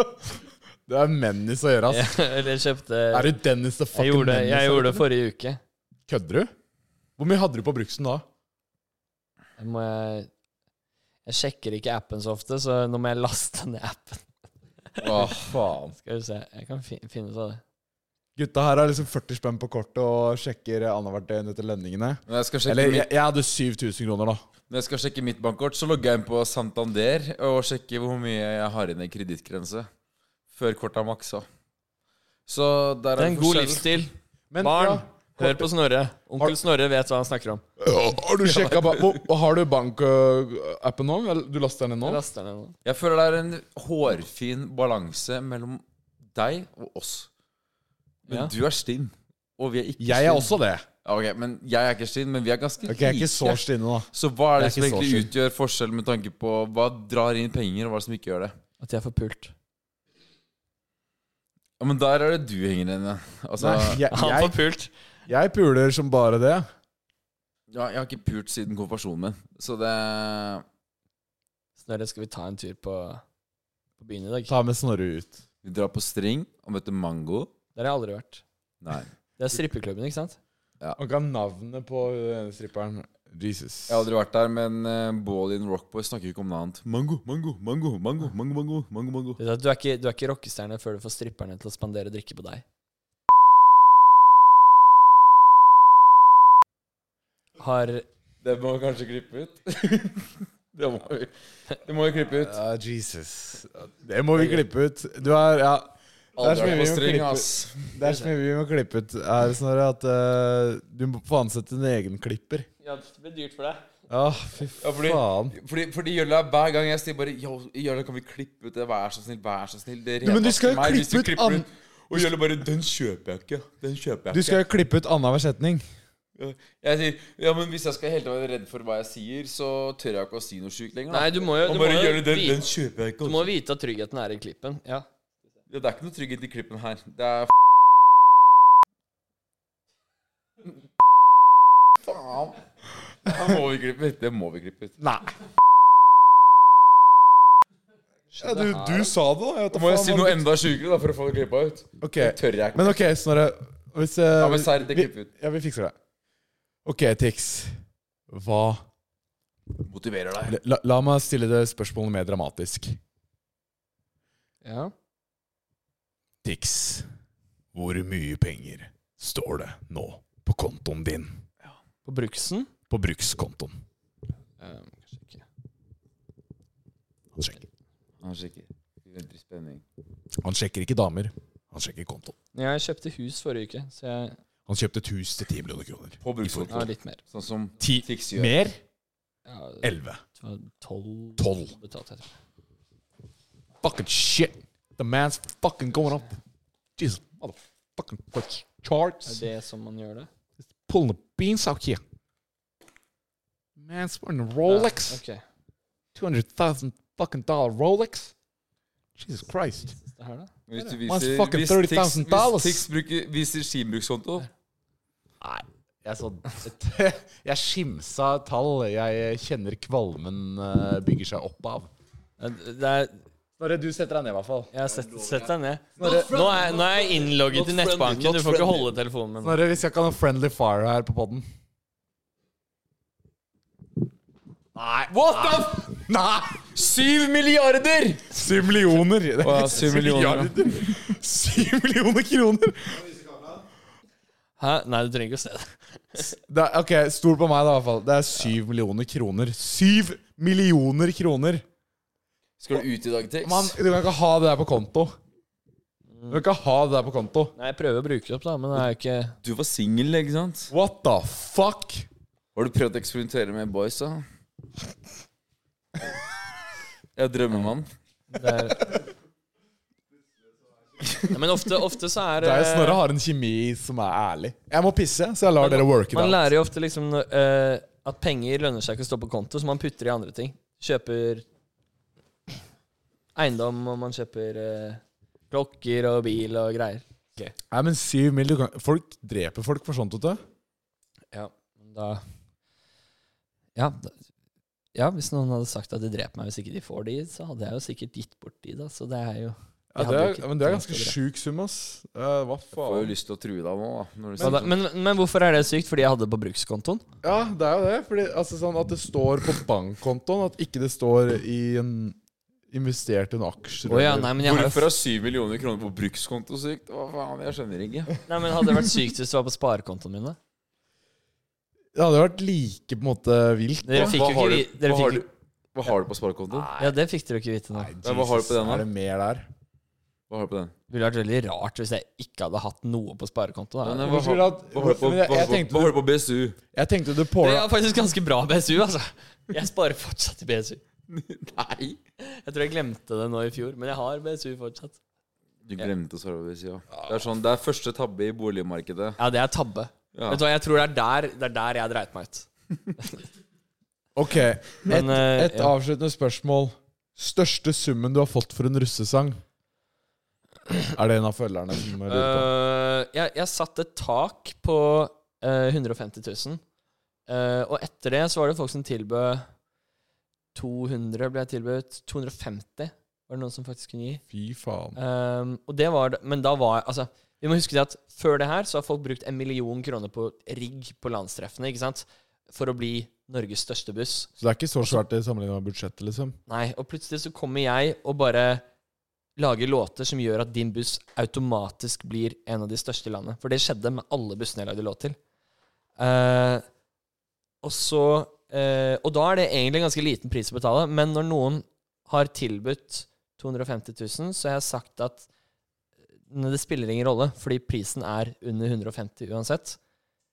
S2: det er Mennis å gjøre, ass.
S1: Eller jeg kjøpte
S2: Er du Dennis the
S1: Jeg
S2: fucking
S1: gjorde,
S2: Menace,
S1: jeg
S2: eller?
S1: gjorde det forrige uke.
S2: Kødder du? Hvor mye hadde du på bruksen da?
S1: Jeg Må jeg Jeg sjekker ikke appen så ofte, så nå må jeg laste ned appen.
S3: Åh, faen.
S1: Skal vi se. Jeg kan fi finne ut av det.
S2: Gutta her har liksom 40 spenn på kortet og sjekker annethvert døgn etter lønningene.
S3: Når jeg, skal sjekke
S2: Eller jeg,
S3: mitt,
S2: jeg hadde 7000 kroner, da.
S3: når jeg skal sjekke mitt bankkort, så logger jeg inn på Santander og sjekker hvor mye jeg har inne i kredittgrense. Før kortet er maksa. Så der
S1: Det
S3: er
S1: er en god livsstil.
S2: Men,
S1: Barn,
S2: ja,
S1: hør på Snorre. Onkel Snorre vet hva han snakker om.
S2: har du sjekka ba- hvor- Har du bankappen nå? Eller Du laster den ned nå?
S1: Laster ned nå.
S3: Jeg føler det er en hårfin balanse mellom deg og oss. Men
S1: Ja.
S3: du er stinn, og vi er ikke
S2: Jeg er
S3: stinn.
S2: også det.
S3: Ja, ok, men jeg er ikke stinn, men vi er ganske
S2: Ok, jeg er ikke så
S3: like.
S2: stinne, da.
S3: Så hva er det
S2: Jeg er
S3: som
S2: ikke så
S3: egentlig
S2: stinn.
S3: utgjør forskjell med tanke på hva drar inn penger, og hva er det som ikke gjør det?
S1: At jeg får pult.
S3: Ja, Men der er det du henger inne. Altså,
S2: Nei, jeg,
S1: Han
S2: jeg,
S1: får pult.
S2: jeg puler som bare det.
S3: ja, jeg har ikke pult siden konfirmasjonen min, så det
S1: Snorre, skal vi ta en tur på, på byen i dag?
S2: Ta med Snorre ut.
S3: Vi drar på string og møter Mango.
S1: Der har jeg aldri vært.
S3: Nei.
S1: Det er strippeklubben, ikke sant?
S2: Han kan navnet på uh, stripperen. Jesus.
S3: Jeg har aldri vært der, men uh, Ballin Rockboy snakker jo ikke om noe annet. Mango, mango, mango, mango, mango, mango, mango, mango.
S1: Du, vet at du er ikke, du er ikke rockestjerne før du får stripperne til å spandere drikke på deg. Har
S3: Det må vi kanskje klippe ut. det, må vi. det må vi klippe ut.
S2: Ja, Jesus. Det må vi klippe ut. Du er Ja. Det er så
S3: Aldri
S2: mye
S3: vært
S2: vi må
S3: på string,
S2: klippe
S3: ass.
S2: Det er så mye vi må klippe ut her, Snorre, at eh, du må få ansette en egen klipper.
S1: Ja, det blir dyrt for deg.
S2: Ja,
S3: Ah,
S2: fy
S3: Ja, fordi-
S2: faen.
S3: Fordi, fordi Jølla, hver gang jeg sier bare Yo, Jølla, kan vi klippe ut det? Vær så snill, vær så snill. Det
S2: Ja, men du
S3: renvasker
S2: skal jo
S3: meg hvis
S2: klippe
S3: du
S2: ut
S3: klipper
S2: an-
S3: Og Jølla bare Den kjøper jeg ikke. Den kjøper jeg
S2: Du
S3: ikke.
S2: skal jo klippe ut annenhver setning.
S3: Jeg sier Ja, men hvis jeg skal helt være redd for hva jeg sier, så tør jeg ikke å si noe sjukt lenger.
S1: Nei,
S3: Da.
S1: du må jo,
S3: Og
S1: du må
S3: bare
S1: jo
S3: Jølla, den, den
S1: vite,
S3: kjøper jeg ikke.
S1: du
S3: ass.»
S1: må vite at tryggheten er i klippen. Ja.
S3: Ja, det er ikke noe trygghet i klippen her. Det er f- Faen. Det må vi klippe ut. Det må vi klippe ut.
S2: Nei. Ja, du, du sa det, da. Jeg vet da
S3: Da må jeg
S2: faen
S3: si
S2: hva
S3: noe
S2: du-
S3: enda sjukere da, for å få det klippa ut.
S2: Ok,
S3: Det tør jeg ikke.
S2: Men ok, Snorre. Hvis eh,
S3: Ja, men serr, det
S2: vi-
S3: klipper vi ut.
S2: Ja, vi fikser det. Ok, Tix. Hva
S3: Motiverer deg.
S2: la, la meg stille det spørsmålet mer dramatisk.
S1: ja.
S2: Tix, hvor mye penger står det nå på kontoen din?
S1: På bruksen?
S2: På brukskontoen.
S1: Eh, kanskje ikke.
S2: Han sjekker.
S3: Han sjekker. Vi venter i spenning.
S2: Han sjekker ikke damer, han sjekker kontoen.
S1: Jeg kjøpte hus forrige uke, så jeg
S2: Han kjøpte et hus til 10 millioner kroner.
S3: På
S1: ja,
S3: brukskontoret.
S1: litt mer.
S3: Sånn som
S2: Ti-
S3: Tix gjør.
S2: Mer?
S1: Ja, det
S2: 11.
S1: var tolv
S2: Tolv.
S1: betalte jeg, tror jeg.
S2: Fucking shit. The man's fucking going up. Jesus, motherfucking Christ.
S1: Er
S2: charts.
S1: det som man gjør det?
S2: Pulling the beans out here. Man's wearing a Rolex.
S1: Ja, ok.
S2: 200,000 fucking dollar Rolex. Jesus Christ.
S1: Det her, da?
S3: Hvis du
S2: Man's
S3: viser
S2: fucking
S3: Hvis Tix,
S2: 30,000
S3: hvis
S2: dollars.
S3: Tix bruker, viser sin brukskonto
S2: Nei, jeg så Jeg skimsa tall. Jeg kjenner kvalmen eh, bygger seg opp av.
S1: Ja, Det er,
S2: Snorre, du setter deg ned, i hvert fall.
S1: jeg har sett, sett deg ned. Nå er, nå er jeg innlogget i nettbanken. Du får ikke holde telefonen min.
S2: Snorre, vi skal ikke ha noe friendly fire her på poden. Nei.
S3: What the f...
S2: Nei!
S3: Syv milliarder!
S2: Syv millioner.
S3: Å ja, syv millioner. ja.
S2: Milliarder. Syv millioner kroner!
S1: Hæ? Nei, du trenger ikke å se det.
S2: Det er, ok, Stol på meg, da, i hvert fall. Det er syv millioner kroner. Syv millioner kroner!
S3: Skal du ut i dag, Tix?
S2: Man, du kan ikke ha det der på konto. Du kan ikke ha det der på konto.
S1: Nei, jeg prøver å bruke det opp, da, men det er jo ikke
S3: Du var singel, ikke sant?
S2: What the fuck?
S3: Har du prøvd å eksperimentere med boys, da? Jeg er drømmemann.
S1: det er... Nei, men ofte, ofte så er
S2: Det er jo
S1: eh,
S2: Snorre har en kjemi som er ærlig. Jeg må pisse, så jeg lar dere worke
S1: Man
S2: det out.
S1: lærer jo ofte liksom eh, at penger lønner seg ikke å stå på konto, så man putter i andre ting. Kjøper eiendom, og man kjøper eh, klokker og bil og greier.
S2: Nei, men syv mil, du kan Folk dreper folk for sånt, vet du.
S1: Ja, men da ja, da- ja, hvis noen hadde sagt at de dreper meg hvis ikke de får de, så hadde jeg jo sikkert gitt bort de, da. Så det er jo
S2: Ja,
S1: Jeg
S2: det
S1: hadde
S2: er,
S1: jo ikke
S2: men det er
S1: tenkt
S2: ganske
S1: å drepe.
S2: sjuk sum, ass. Eh, hva
S3: Får jo
S2: faen?
S3: lyst til å true deg nå, da. Når du
S1: men,
S3: sier sånn.
S1: men, men hvorfor er det sykt? Fordi jeg hadde det på brukskontoen?
S2: Ja, det er jo det. Fordi, altså, sånn at det står på bankkontoen, at ikke det står i en investert i en aksjer.
S1: Å ja,
S2: eller-
S1: nei, men jeg har jo
S3: Hvorfor er syv millioner kroner på brukskonto sykt? Hva faen, jeg skjønner ikke.
S1: Nei, men Hadde det vært sykt hvis det var på sparekontoen min? da?
S2: Det hadde vært like på en måte vilt.
S1: Dere fikk jo
S3: hva,
S1: ikke
S3: har du,
S1: vi- dere
S3: hva, har
S1: fikk-
S3: du, hva har du på sparekonto?
S1: Ja, det fikk dere ikke vite nå.
S3: Ja, hva har du på den, da?
S2: er det mer der?
S3: Hva har du på den?
S1: Det ville vært veldig rart hvis jeg ikke hadde hatt noe på sparekonto. Da.
S3: Men,
S2: hvorfor
S3: hva,
S2: skulle du ha-
S3: hva, hva har du på,
S2: Men
S3: hva,
S2: jeg-
S3: har
S2: jeg
S3: du
S2: tenkte
S3: på, hva har du på BSU?
S2: Jeg tenkte du
S1: Det
S2: påla
S1: er faktisk ganske bra BSU, altså. Jeg sparer fortsatt i BSU.
S3: Nei!
S1: Jeg tror jeg glemte det nå i fjor, men jeg har BSU fortsatt.
S3: Du glemte å svare på BSU, ja. Det er sånn, det er første tabbe i boligmarkedet.
S1: Ja, det er tabbe.
S3: Ja.
S1: Vet du hva, jeg tror det er der, det er der jeg dreit meg ut.
S2: Ok, et,
S1: Men, eh,
S2: et
S1: ja.
S2: avsluttende spørsmål. Største summen du har fått for en russesang? Er det en av følgerne som
S3: Eh,
S2: lurer på?
S1: Øh, jeg, jeg satte et tak på øh, 150 000. Øh, og etter det så var det folk som tilbød 200, ble jeg tilbudt. 250 var det noen som faktisk kunne gi.
S2: Fy faen.
S1: Um, og det var, det- men da var altså, Vi må huske det at før det her så har folk brukt en million kroner på rigg på landstreffene ikke sant? for å bli Norges største buss.
S2: Så det er ikke så svært i sammenligning med budsjettet, liksom?
S1: Nei, Og plutselig så kommer jeg og bare lager låter som gjør at din buss automatisk blir en av de største i landet. For det skjedde med alle bussene jeg lagde låt til. Eh, og så eh, Og da er det egentlig en ganske liten pris å betale, men når noen har tilbudt 250 000, så har jeg sagt at Nei, det spiller ingen rolle, fordi prisen er under 150 uansett.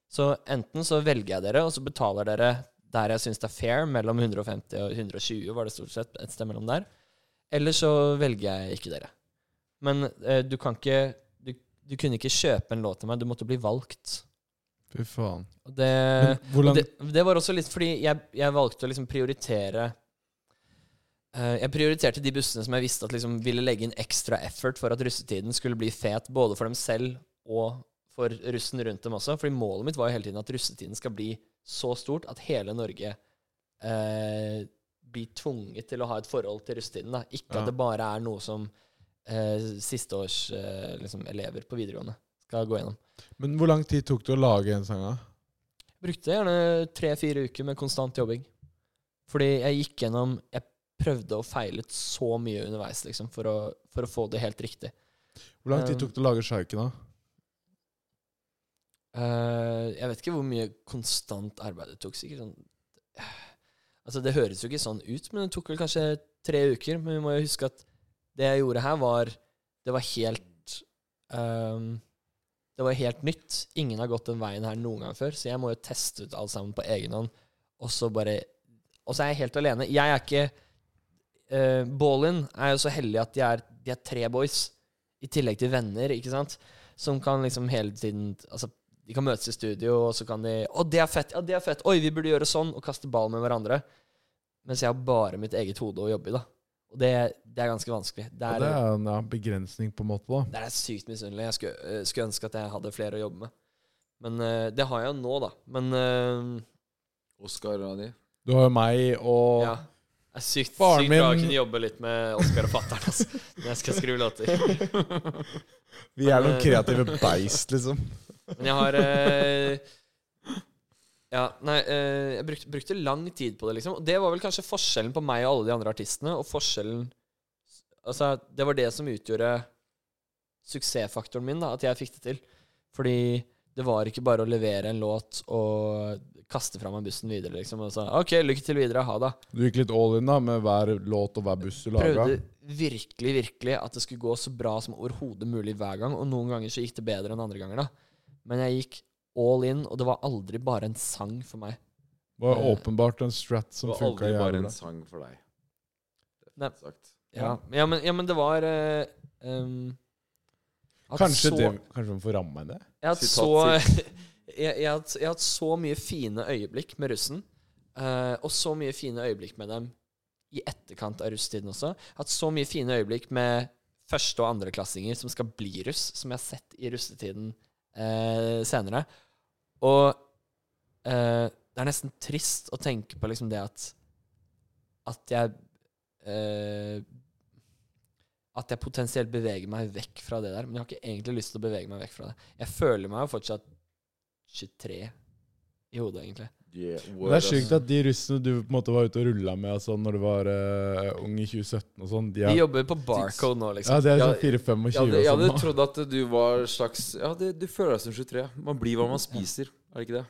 S1: Så enten så velger jeg dere, og så betaler dere der jeg syns det er fair, mellom 150 og 120, var det stort sett et sted mellom der. Eller så velger jeg ikke dere. Men eh, du kan ikke du, du kunne ikke kjøpe en låt til meg, du måtte bli valgt.
S2: Fy faen.
S1: Og det,
S3: Eh,
S2: Men hvordan-
S1: og det, det var også litt fordi jeg, jeg valgte å liksom prioritere eh, Jeg prioriterte de bussene som jeg visste at liksom ville legge inn ekstra effort for at russetiden skulle bli fet, både for dem selv og for russen rundt dem også. Fordi målet mitt var jo hele tiden at russetiden skal bli så stort at hele Norge eh, blir tvunget til å ha et forhold til russetiden. Da. Ikke
S2: Ja.
S1: at det bare er noe som eh, sisteårs eh, liksom, elever på videregående skal gå gjennom.
S2: Men hvor lang tid tok det å lage en sang, da?
S1: Brukte gjerne tre-fire uker med konstant jobbing. Fordi jeg gikk gjennom Jeg prøvde og feilet så mye underveis liksom, for, å, for å få det helt riktig.
S2: Hvor lang tid
S1: Um,
S2: tok det å lage sjaiken, da?
S1: Eh, jeg vet ikke hvor mye konstant arbeid det tok. Sikkert sånn Altså Det høres jo ikke sånn ut, men det tok vel kanskje tre uker. Men vi må jo huske at det jeg gjorde her, var Det var helt ehm, Det var helt nytt. Ingen har gått den veien her noen gang før, så jeg må jo teste ut alt sammen på egen hånd. Og så bare Og så er jeg helt alene. Jeg er ikke eh, Ballin er jo så heldig at de er, de er tre boys, i tillegg til venner, ikke sant, som kan liksom hele tiden Altså de kan møtes i studio, og så kan de Å, det er fett! Ja, det er fett! Oi, vi burde gjøre sånn! Og kaste ball med hverandre. Mens jeg har bare mitt eget hode å jobbe i, da. Og det, det er ganske vanskelig. Det
S2: Ja,
S1: er,
S2: det er en ja, begrensning, på en måte, da.
S1: der er jeg sykt misunnelig. Jeg skulle, eh, skulle ønske at jeg hadde flere å jobbe med. Men eh, det har jeg jo nå, da. Men eh,
S3: Oscar og de.
S2: Du har jo meg og
S1: ja. Det er sykt, sykt bra
S2: Faren
S1: å
S2: min-
S1: kunne jobbe litt med Oskar og fatter'n, altså. Når jeg skal skrive låter.
S2: Vi er
S1: Men,
S2: noen
S1: eh,
S2: kreative beist, liksom.
S1: Men jeg har eh, Ja, nei, eh, jeg brukte, brukte lang tid på det, liksom. Og det var vel kanskje forskjellen på meg og alle de andre artistene, og forskjellen Altså, det var det som utgjorde suksessfaktoren min, da, at jeg fikk det til. Fordi det var ikke bare å levere en låt og kaste fra meg bussen videre, liksom. Og så, OK, lykke til videre, ha det.
S2: Du gikk litt all in da med hver låt og hver buss du laga.
S1: Prøvde virkelig, virkelig at det skulle gå så bra som overhodet mulig hver gang. Og noen ganger så gikk det bedre enn andre ganger, da. Men jeg gikk all in, og det var aldri bare en sang for meg.
S2: Det var åpenbart en strat
S3: Det
S2: som
S3: var
S2: funka
S3: aldri bare
S2: jævlig
S3: en
S2: bra.
S3: sang for deg. Det er
S1: Nei.
S3: fint sagt.
S1: Ja, ja, men, ja men det var eh, ehm, at
S2: Kanskje,
S1: så,
S2: det, kanskje vi får ramma inn det?
S1: Jeg har hatt så
S3: Sitat
S1: jeg, jeg, har hatt- jeg har hatt så mye fine øyeblikk med russen, eh, og så mye fine øyeblikk med dem i etterkant av russetiden også. Jeg har hatt så mye fine øyeblikk med første- og andreklassinger som skal bli russ, som jeg har sett i russetiden eh, senere. Og eh, det er nesten trist å tenke på liksom det at at jeg eh, at jeg potensielt beveger meg vekk fra det der. Men jeg har ikke egentlig lyst til å bevege meg vekk fra det. Jeg føler meg jo fortsatt 23 i hodet, egentlig.
S3: Yeah,
S2: Men Det er
S1: altså.
S2: sjukt at de russene du på en måte var ute og rulla med og sånn, når du var eh, ung i 2017 og sånn, de
S1: Vi
S2: er,
S1: jobber på barcode nå,
S2: ja,
S1: liksom.
S2: de er
S3: Ja,
S2: sånn 4-25 og
S3: Jeg hadde, jeg
S2: sånn.
S3: hadde
S2: nå.
S3: trodd at du var slags Ja, det, du føler deg som 23. Man blir hva man spiser, er det ikke det?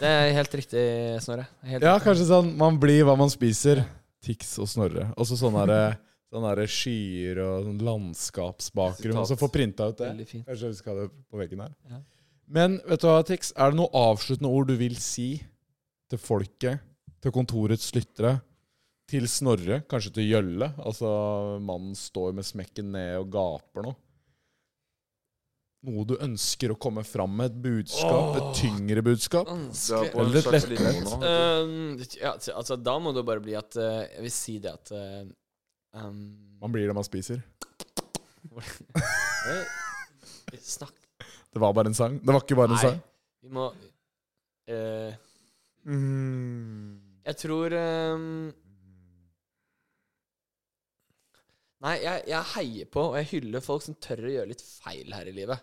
S1: Det er helt riktig, Snorre. Helt
S2: Ja,
S1: riktig.
S2: kanskje sånn Man blir hva man spiser. Tix og Snorre. Og så sånn derre sånn derre skyer og sånn landskapsbakgrunn. Og så få printa ut det.
S1: Veldig fint.
S2: Kanskje vi skal ha det på veggen her.
S1: Ja.
S2: Men vet du hva, Tix? Er det noe avsluttende ord du vil si til folket, til kontorets lyttere, til Snorre, kanskje til Gjølle? Altså, mannen står med smekken ned og gaper nå. Noe du ønsker å komme fram med? Et budskap? Et tyngre budskap?
S1: Vanskelig.
S2: på en Eller slags lettvint. linje
S3: nå.
S1: Øhm, Sånn, ja, altså, da må det bare bli at øh, Jeg vil si det at ehm, øh, øhm,
S2: Man blir det man spiser.
S1: vi Snakk
S2: Det var bare en sang. Det var ikke bare en
S1: Nei.
S2: sang.
S1: Vi må øh,
S3: Mm.
S1: Jeg tror ehm, øhm, Nei, jeg, jeg heier på og jeg hyller folk som tør å gjøre litt feil her i livet.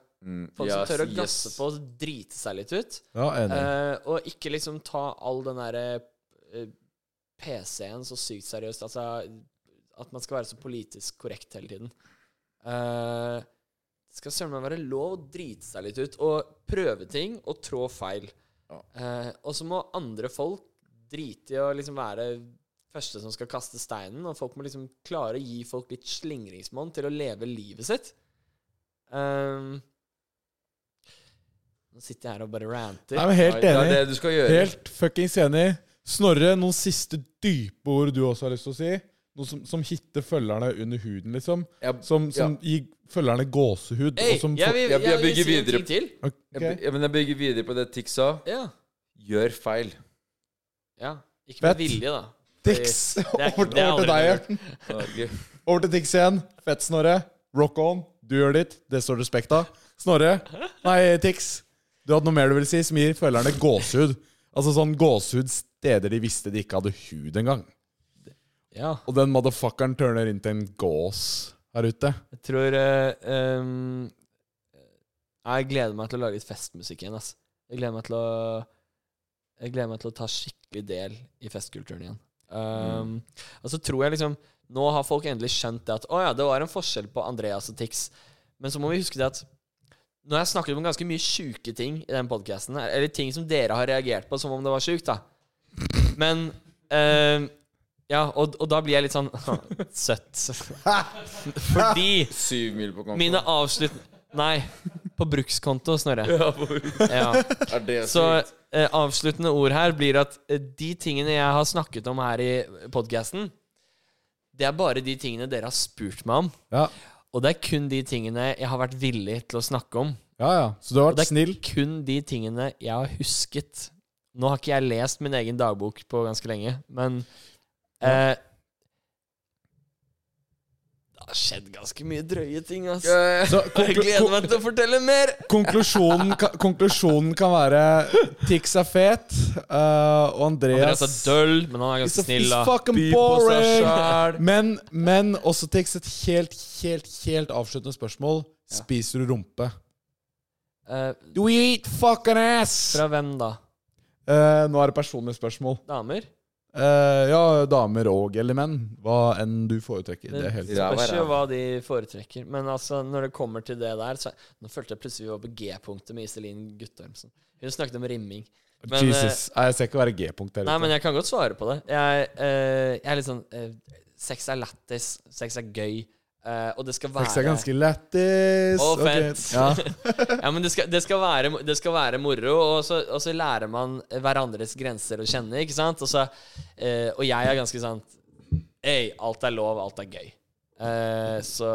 S1: Folk som tør å gasse på og drite seg litt ut.
S2: Ja, enig.
S1: Eh, og ikke liksom ta all den derre eh, PC-en så sykt seriøst. Altså at man skal være så politisk korrekt hele tiden. Eh, det skal søren meg være lov å drite seg litt ut og prøve ting og trå feil.
S3: Ja.
S1: Eh, og så må andre folk drite i å liksom være første som skal kaste steinen, og folk må liksom klare å gi folk litt slingringsmonn til å leve livet sitt. Eh, nå sitter jeg her og bare ranter.
S2: Nei, men helt
S3: Det er
S2: enig.
S3: det du skal gjøre.
S2: Helt fuckings enig. Snorre, noen siste dype ord du også har lyst til å si? Noe som, som hitter følgerne under huden, liksom?
S3: Jeg,
S2: Som, som gir følgerne gåsehud?
S1: Hey,
S2: og som
S1: jeg, vil,
S3: jeg- jeg bygger
S1: vil si en
S3: videre.
S1: ting til.
S2: Ok.
S3: jeg, ja, men jeg bygger videre på det Tix sa.
S1: Ja.
S3: Gjør feil.
S1: ja. Ikke med
S2: Fett.
S1: vilje, da.
S2: Tix!
S1: er-
S2: Over,
S1: det er aldri
S2: over til deg,
S1: noe.
S2: Hjerten.
S3: Ja, ok.
S2: Over til Tix igjen. Fett, Snorre. Rock on. Du gjør ditt. Det står respekt av. Snorre. Nei, Tix. Du hadde noe mer du ville si som gir følgerne gåsehud? Altså sånn gåsehud steder de visste de ikke hadde hud engang.
S1: Ja.
S2: Og den motherfuckeren turner inn til en gås her ute.
S1: Jeg tror eh, ehm, Jeg gleder meg til å lage litt festmusikk igjen, ass. Jeg gleder meg til å Jeg gleder meg til å ta skikkelig del i festkulturen igjen. Ehm, Og så tror jeg liksom Nå har folk endelig skjønt det at å ja, det var en forskjell på Andreas og Tix. Men så må vi huske det at nå har jeg snakket om ganske mye sjuke ting i den podkasten, eller ting som dere har reagert på som om det var sjukt, da. Men ehm, Ja, og, og da blir jeg litt sånn søtt. Fordi
S3: Syv mil på konto.
S1: mine avslutt... Nei, på brukskonto, Snorre.
S3: Ja, hvor-
S1: Ja.
S3: er det
S1: Så
S3: sykt?
S1: eh, avsluttende ord her blir at eh, de tingene jeg har snakket om her i podkasten, det er bare de tingene dere har spurt meg om.
S2: Ja,
S1: Og det er kun de tingene jeg har vært villig til å snakke om.
S2: ja. ja. Så du har
S1: Og det
S2: vært
S1: er
S2: snill.
S1: kun de tingene jeg har husket. Nå har ikke jeg lest min egen dagbok på ganske lenge, men eh, Det har skjedd ganske mye drøye ting, altså.
S3: Eh,
S2: Så
S1: Jeg
S2: konklu
S1: gleder meg til å fortelle mer!
S2: kon- konklusjonen, ka konklusjonen kan være Tix er fet, eh, og
S1: Andreas
S2: Andreas
S1: er døll, men han er
S2: is a-
S1: ganske snill,
S2: is
S1: da.
S2: fucking
S3: By på seg
S2: boring.
S3: sjæl.
S2: Men, men også Tix, et helt, helt, helt avsluttende spørsmål. Spiser du rumpe?
S1: Eh,
S2: Do you eat fucking ass?
S1: fra hvem, da?
S2: Eh, nå er det personlige spørsmål.
S1: Damer.
S2: Eh, ja, damer og eller menn. Hva enn du foretrekker. Det er helt
S3: Ja.
S1: Spørs
S3: ræva.
S1: jo hva de foretrekker. Men altså, når det kommer til det der så, Nå følte jeg plutselig vi var på G-punktet med Iselin Guttormsen. Hun snakket om rimming. Men, eh,
S2: Jesus. Nei, jeg ser ikke å være G-punkt der
S1: Nei, men
S2: ute.
S1: jeg kan godt svare på det. Jeg, eh, jeg er litt sånn eh, Sex er lættis. Sex er gøy. eh, og det skal være
S2: Sex er ganske lættis.
S1: Å,
S2: Ok.
S1: fett.
S2: Ja.
S1: Ja, men det skal, det skal, være, det skal være moro, og så, og så lærer man hverandres grenser å kjenne, ikke sant? Og, så, eh, og jeg er ganske sånn Ei, alt er lov, alt er gøy. Eh, så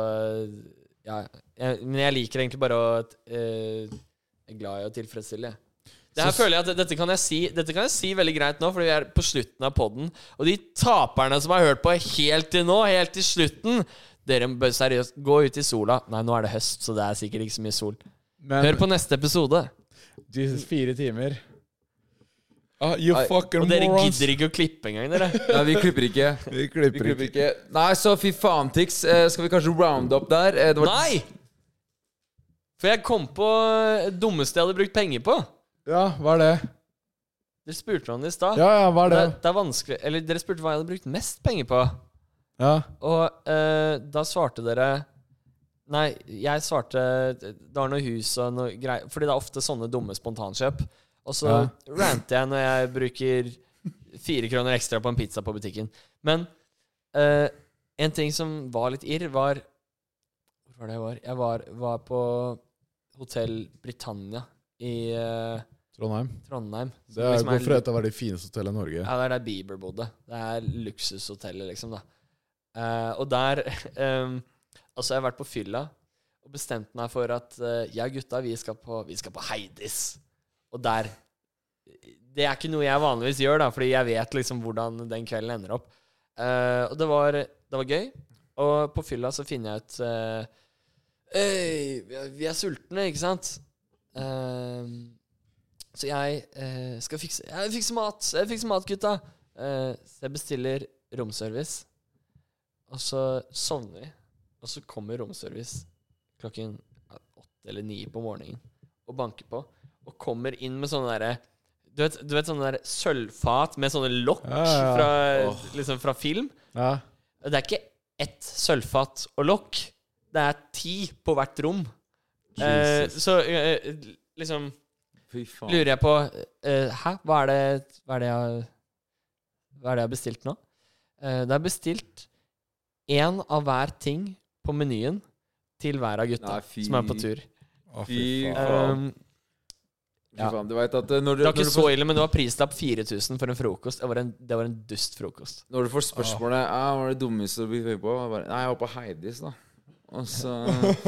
S1: Ja. Jeg, men jeg liker egentlig bare å eh, Jeg er glad i å tilfredsstille, jeg. Det her føler jeg at dette kan jeg, si, dette kan jeg si veldig greit nå, fordi vi er på slutten av poden. Og de taperne som har hørt på helt til nå, helt til slutten Dere bør seriøst gå ut i sola. Nei, nå er det høst, så det er sikkert ikke så mye sol.
S2: Men
S1: Hør på neste episode.
S2: Jesus, fire timer. Ah, you fucking
S1: Og dere
S2: morons.
S1: gidder ikke å klippe engang, dere.
S3: Nei, vi klipper ikke.
S2: Vi
S3: Vi
S2: klipper
S3: klipper
S2: ikke.
S3: ikke. Nei, så fy faen, Tix. Eh, Skal vi kanskje round up der? Eh, Det var
S1: Nei! For jeg kom på eh, det dummeste jeg hadde brukt penger på.
S2: Ja, hva er det?
S1: Dere spurte meg om det i stad.
S2: Ja, ja, hva er
S1: Det,
S2: det?
S1: det er vanskelig Eller dere spurte hva jeg hadde brukt mest penger på.
S2: Ja.
S1: Og eh, da svarte dere Nei, jeg svarte Det var noe hus og noe greier Fordi det er ofte sånne dumme spontankjøp. Og så
S2: Ja.
S1: ranter jeg når jeg bruker fire kroner ekstra på en pizza på butikken. Men eh, en ting som var litt irr, var Hvor var det jeg var? Jeg var, var på Hotell Britannia i eh,
S2: Trondheim.
S1: Trondheim. som
S2: Det er,
S1: liksom
S2: går for et av de fineste hotellene i Norge.
S1: ja, det er der Bieber bodde. Det er luksushotellet, liksom, da. Eh, og der um, Altså, jeg har vært på fylla og bestemt meg for at eh, jeg og gutta, vi skal, på, vi skal på Heidis. Og der Det er ikke noe jeg vanligvis gjør, da, fordi jeg vet liksom hvordan den kvelden ender opp. Eh, og det var, det var gøy. Og på fylla så finner jeg ut eh, Øy, vi er- vi er sultne, ikke sant? Eh, så jeg eh, skal fikse Jeg fikser mat, jeg fikser mat, gutta. Eh, så jeg bestiller romservice. Og så sovner vi. Og så kommer romservice klokken ja, åtte eller ni på morgenen og banker på. Og kommer inn med sånne derre du vet, du vet sånne der sølvfat med sånne lokk
S2: Ja, ja, ja.
S1: Fra, liksom fra film?
S2: Ja.
S1: Det er ikke ett sølvfat og lokk. Det er ti på hvert rom. Eh,
S3: Jesus.
S1: så eh, liksom
S3: Fy faen.
S1: lurer jeg på eh, Hæ? Hva er, det, hva, er det jeg, har- hva er det jeg har bestilt nå? Eh, det er bestilt én av hver ting på menyen til hver av gutta
S3: Nei, fy-
S1: som er på tur.
S2: Å, fy
S3: Fy
S2: faen.
S3: faen.
S1: Um,
S3: Fy faen. Du vet at eh, når du,
S1: det var
S3: når
S1: ikke
S3: du
S1: så
S3: får,
S1: ille, men det var prislapp 4000 for en frokost. Det var en, det var en dust frokost.
S3: når du får spørsmålet ah, Hva er det dummeste du blir høy på? Jeg bare, Nei, jeg var på Heidis, da. Og så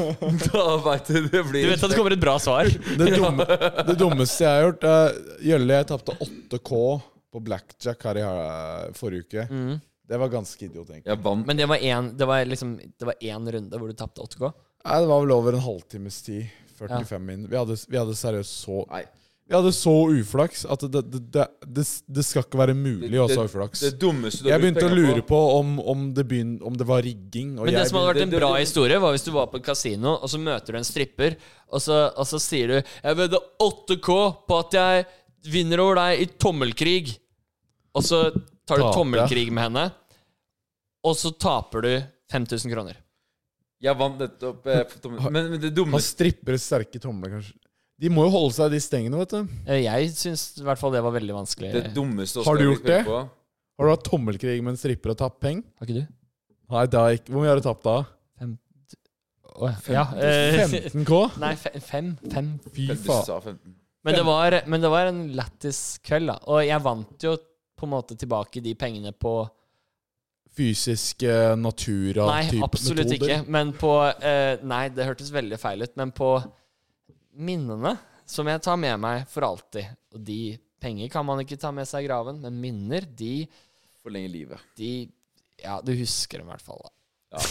S3: Da veit du det
S1: Du
S3: blir
S1: vet at det kommer et bra svar?
S2: Det, dumme, det dummeste jeg har gjort eh, Jølle, jeg tapte 8K på blackjack her i eh, forrige uke.
S1: Mm.
S2: Det var ganske idiot, egentlig.
S3: Jeg vant.
S1: Men det var én det var liksom, det var én runde hvor du tapte 8K?
S2: Nei, det var vel over en halvtimes tid. 45 min. Vi hadde, vi hadde seriøst så
S3: Nei.
S2: Vi hadde så uflaks at det, det, det, det, det skal ikke være mulig å ha så uflaks.
S3: Det dummeste du
S2: Jeg begynte å lure på om, om, det, begyn, om det var rigging. Og
S1: Men det
S2: jeg
S1: som hadde vært en
S3: det-
S1: bra
S3: det-
S1: historie, var hvis du var på et kasino, og så møter du en stripper, og så, og så sier du 'Jeg vedder 8K på at jeg vinner over deg i tommelkrig', og så tar du
S2: Taper.
S1: tommelkrig med henne, og så taper du 5000 kroner.
S3: Jeg vant nettopp eh, på tommelen. men, men det dummeste
S2: Har strippere sterke tomler, kanskje? De må jo holde seg i de stengene, vet du.
S1: Eh, Jeg syns i hvert fall det var veldig vanskelig.
S3: Det
S2: Har
S3: dummeste Oscar
S2: du
S3: vi
S2: gjort
S3: føler
S2: det?
S3: På.
S2: Har du hatt tommelkrig med en stripper og tapt penger?
S1: Har ikke du?
S2: Nei, det har jeg ikke. Hvor mye har du tapt da?
S1: Å, ja. eh,
S2: 15K?
S1: Nei, fe- fem. fem.
S2: Fy
S3: Du
S2: faen.
S3: sa 15.
S1: Men det var, men det var en lættis kveld, da. Og jeg vant jo på en måte tilbake de pengene på
S2: Fysisk eh, natura-type
S1: Nei,
S2: metoder?
S1: absolutt ikke. Men på eh, Nei, det hørtes veldig feil ut. Men på minnene som jeg tar med meg for alltid Og de penger kan man ikke ta med seg i graven, men minner, de,
S3: Forlenge livet.
S1: de Ja, du husker dem i hvert fall. da.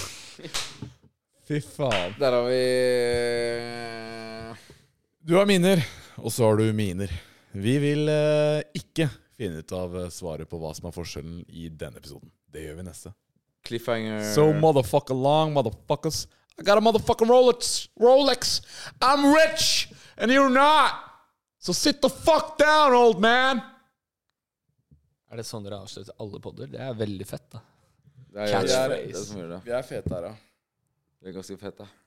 S2: Fy faen.
S3: Der har vi eh,
S2: Du har miner, og så har du miner. Vi vil eh, ikke finne ut av eh, svaret på hva som er forskjellen i denne episoden. Det gjør vi neste.
S3: Cliffhanger.
S2: So motherfucker long, motherfuckers. I got a motherfucking Rolex. Rolex. I'm rich, and you're not. So sit the fuck down, old man.
S1: Er det sånn dere avslutter alle podder? Det er veldig fett, da.
S3: Det er, det er, det er, det
S1: Catchphrase.
S3: som gjør det.
S6: Vi er fete her, ja.
S3: Det er ganske fett, da.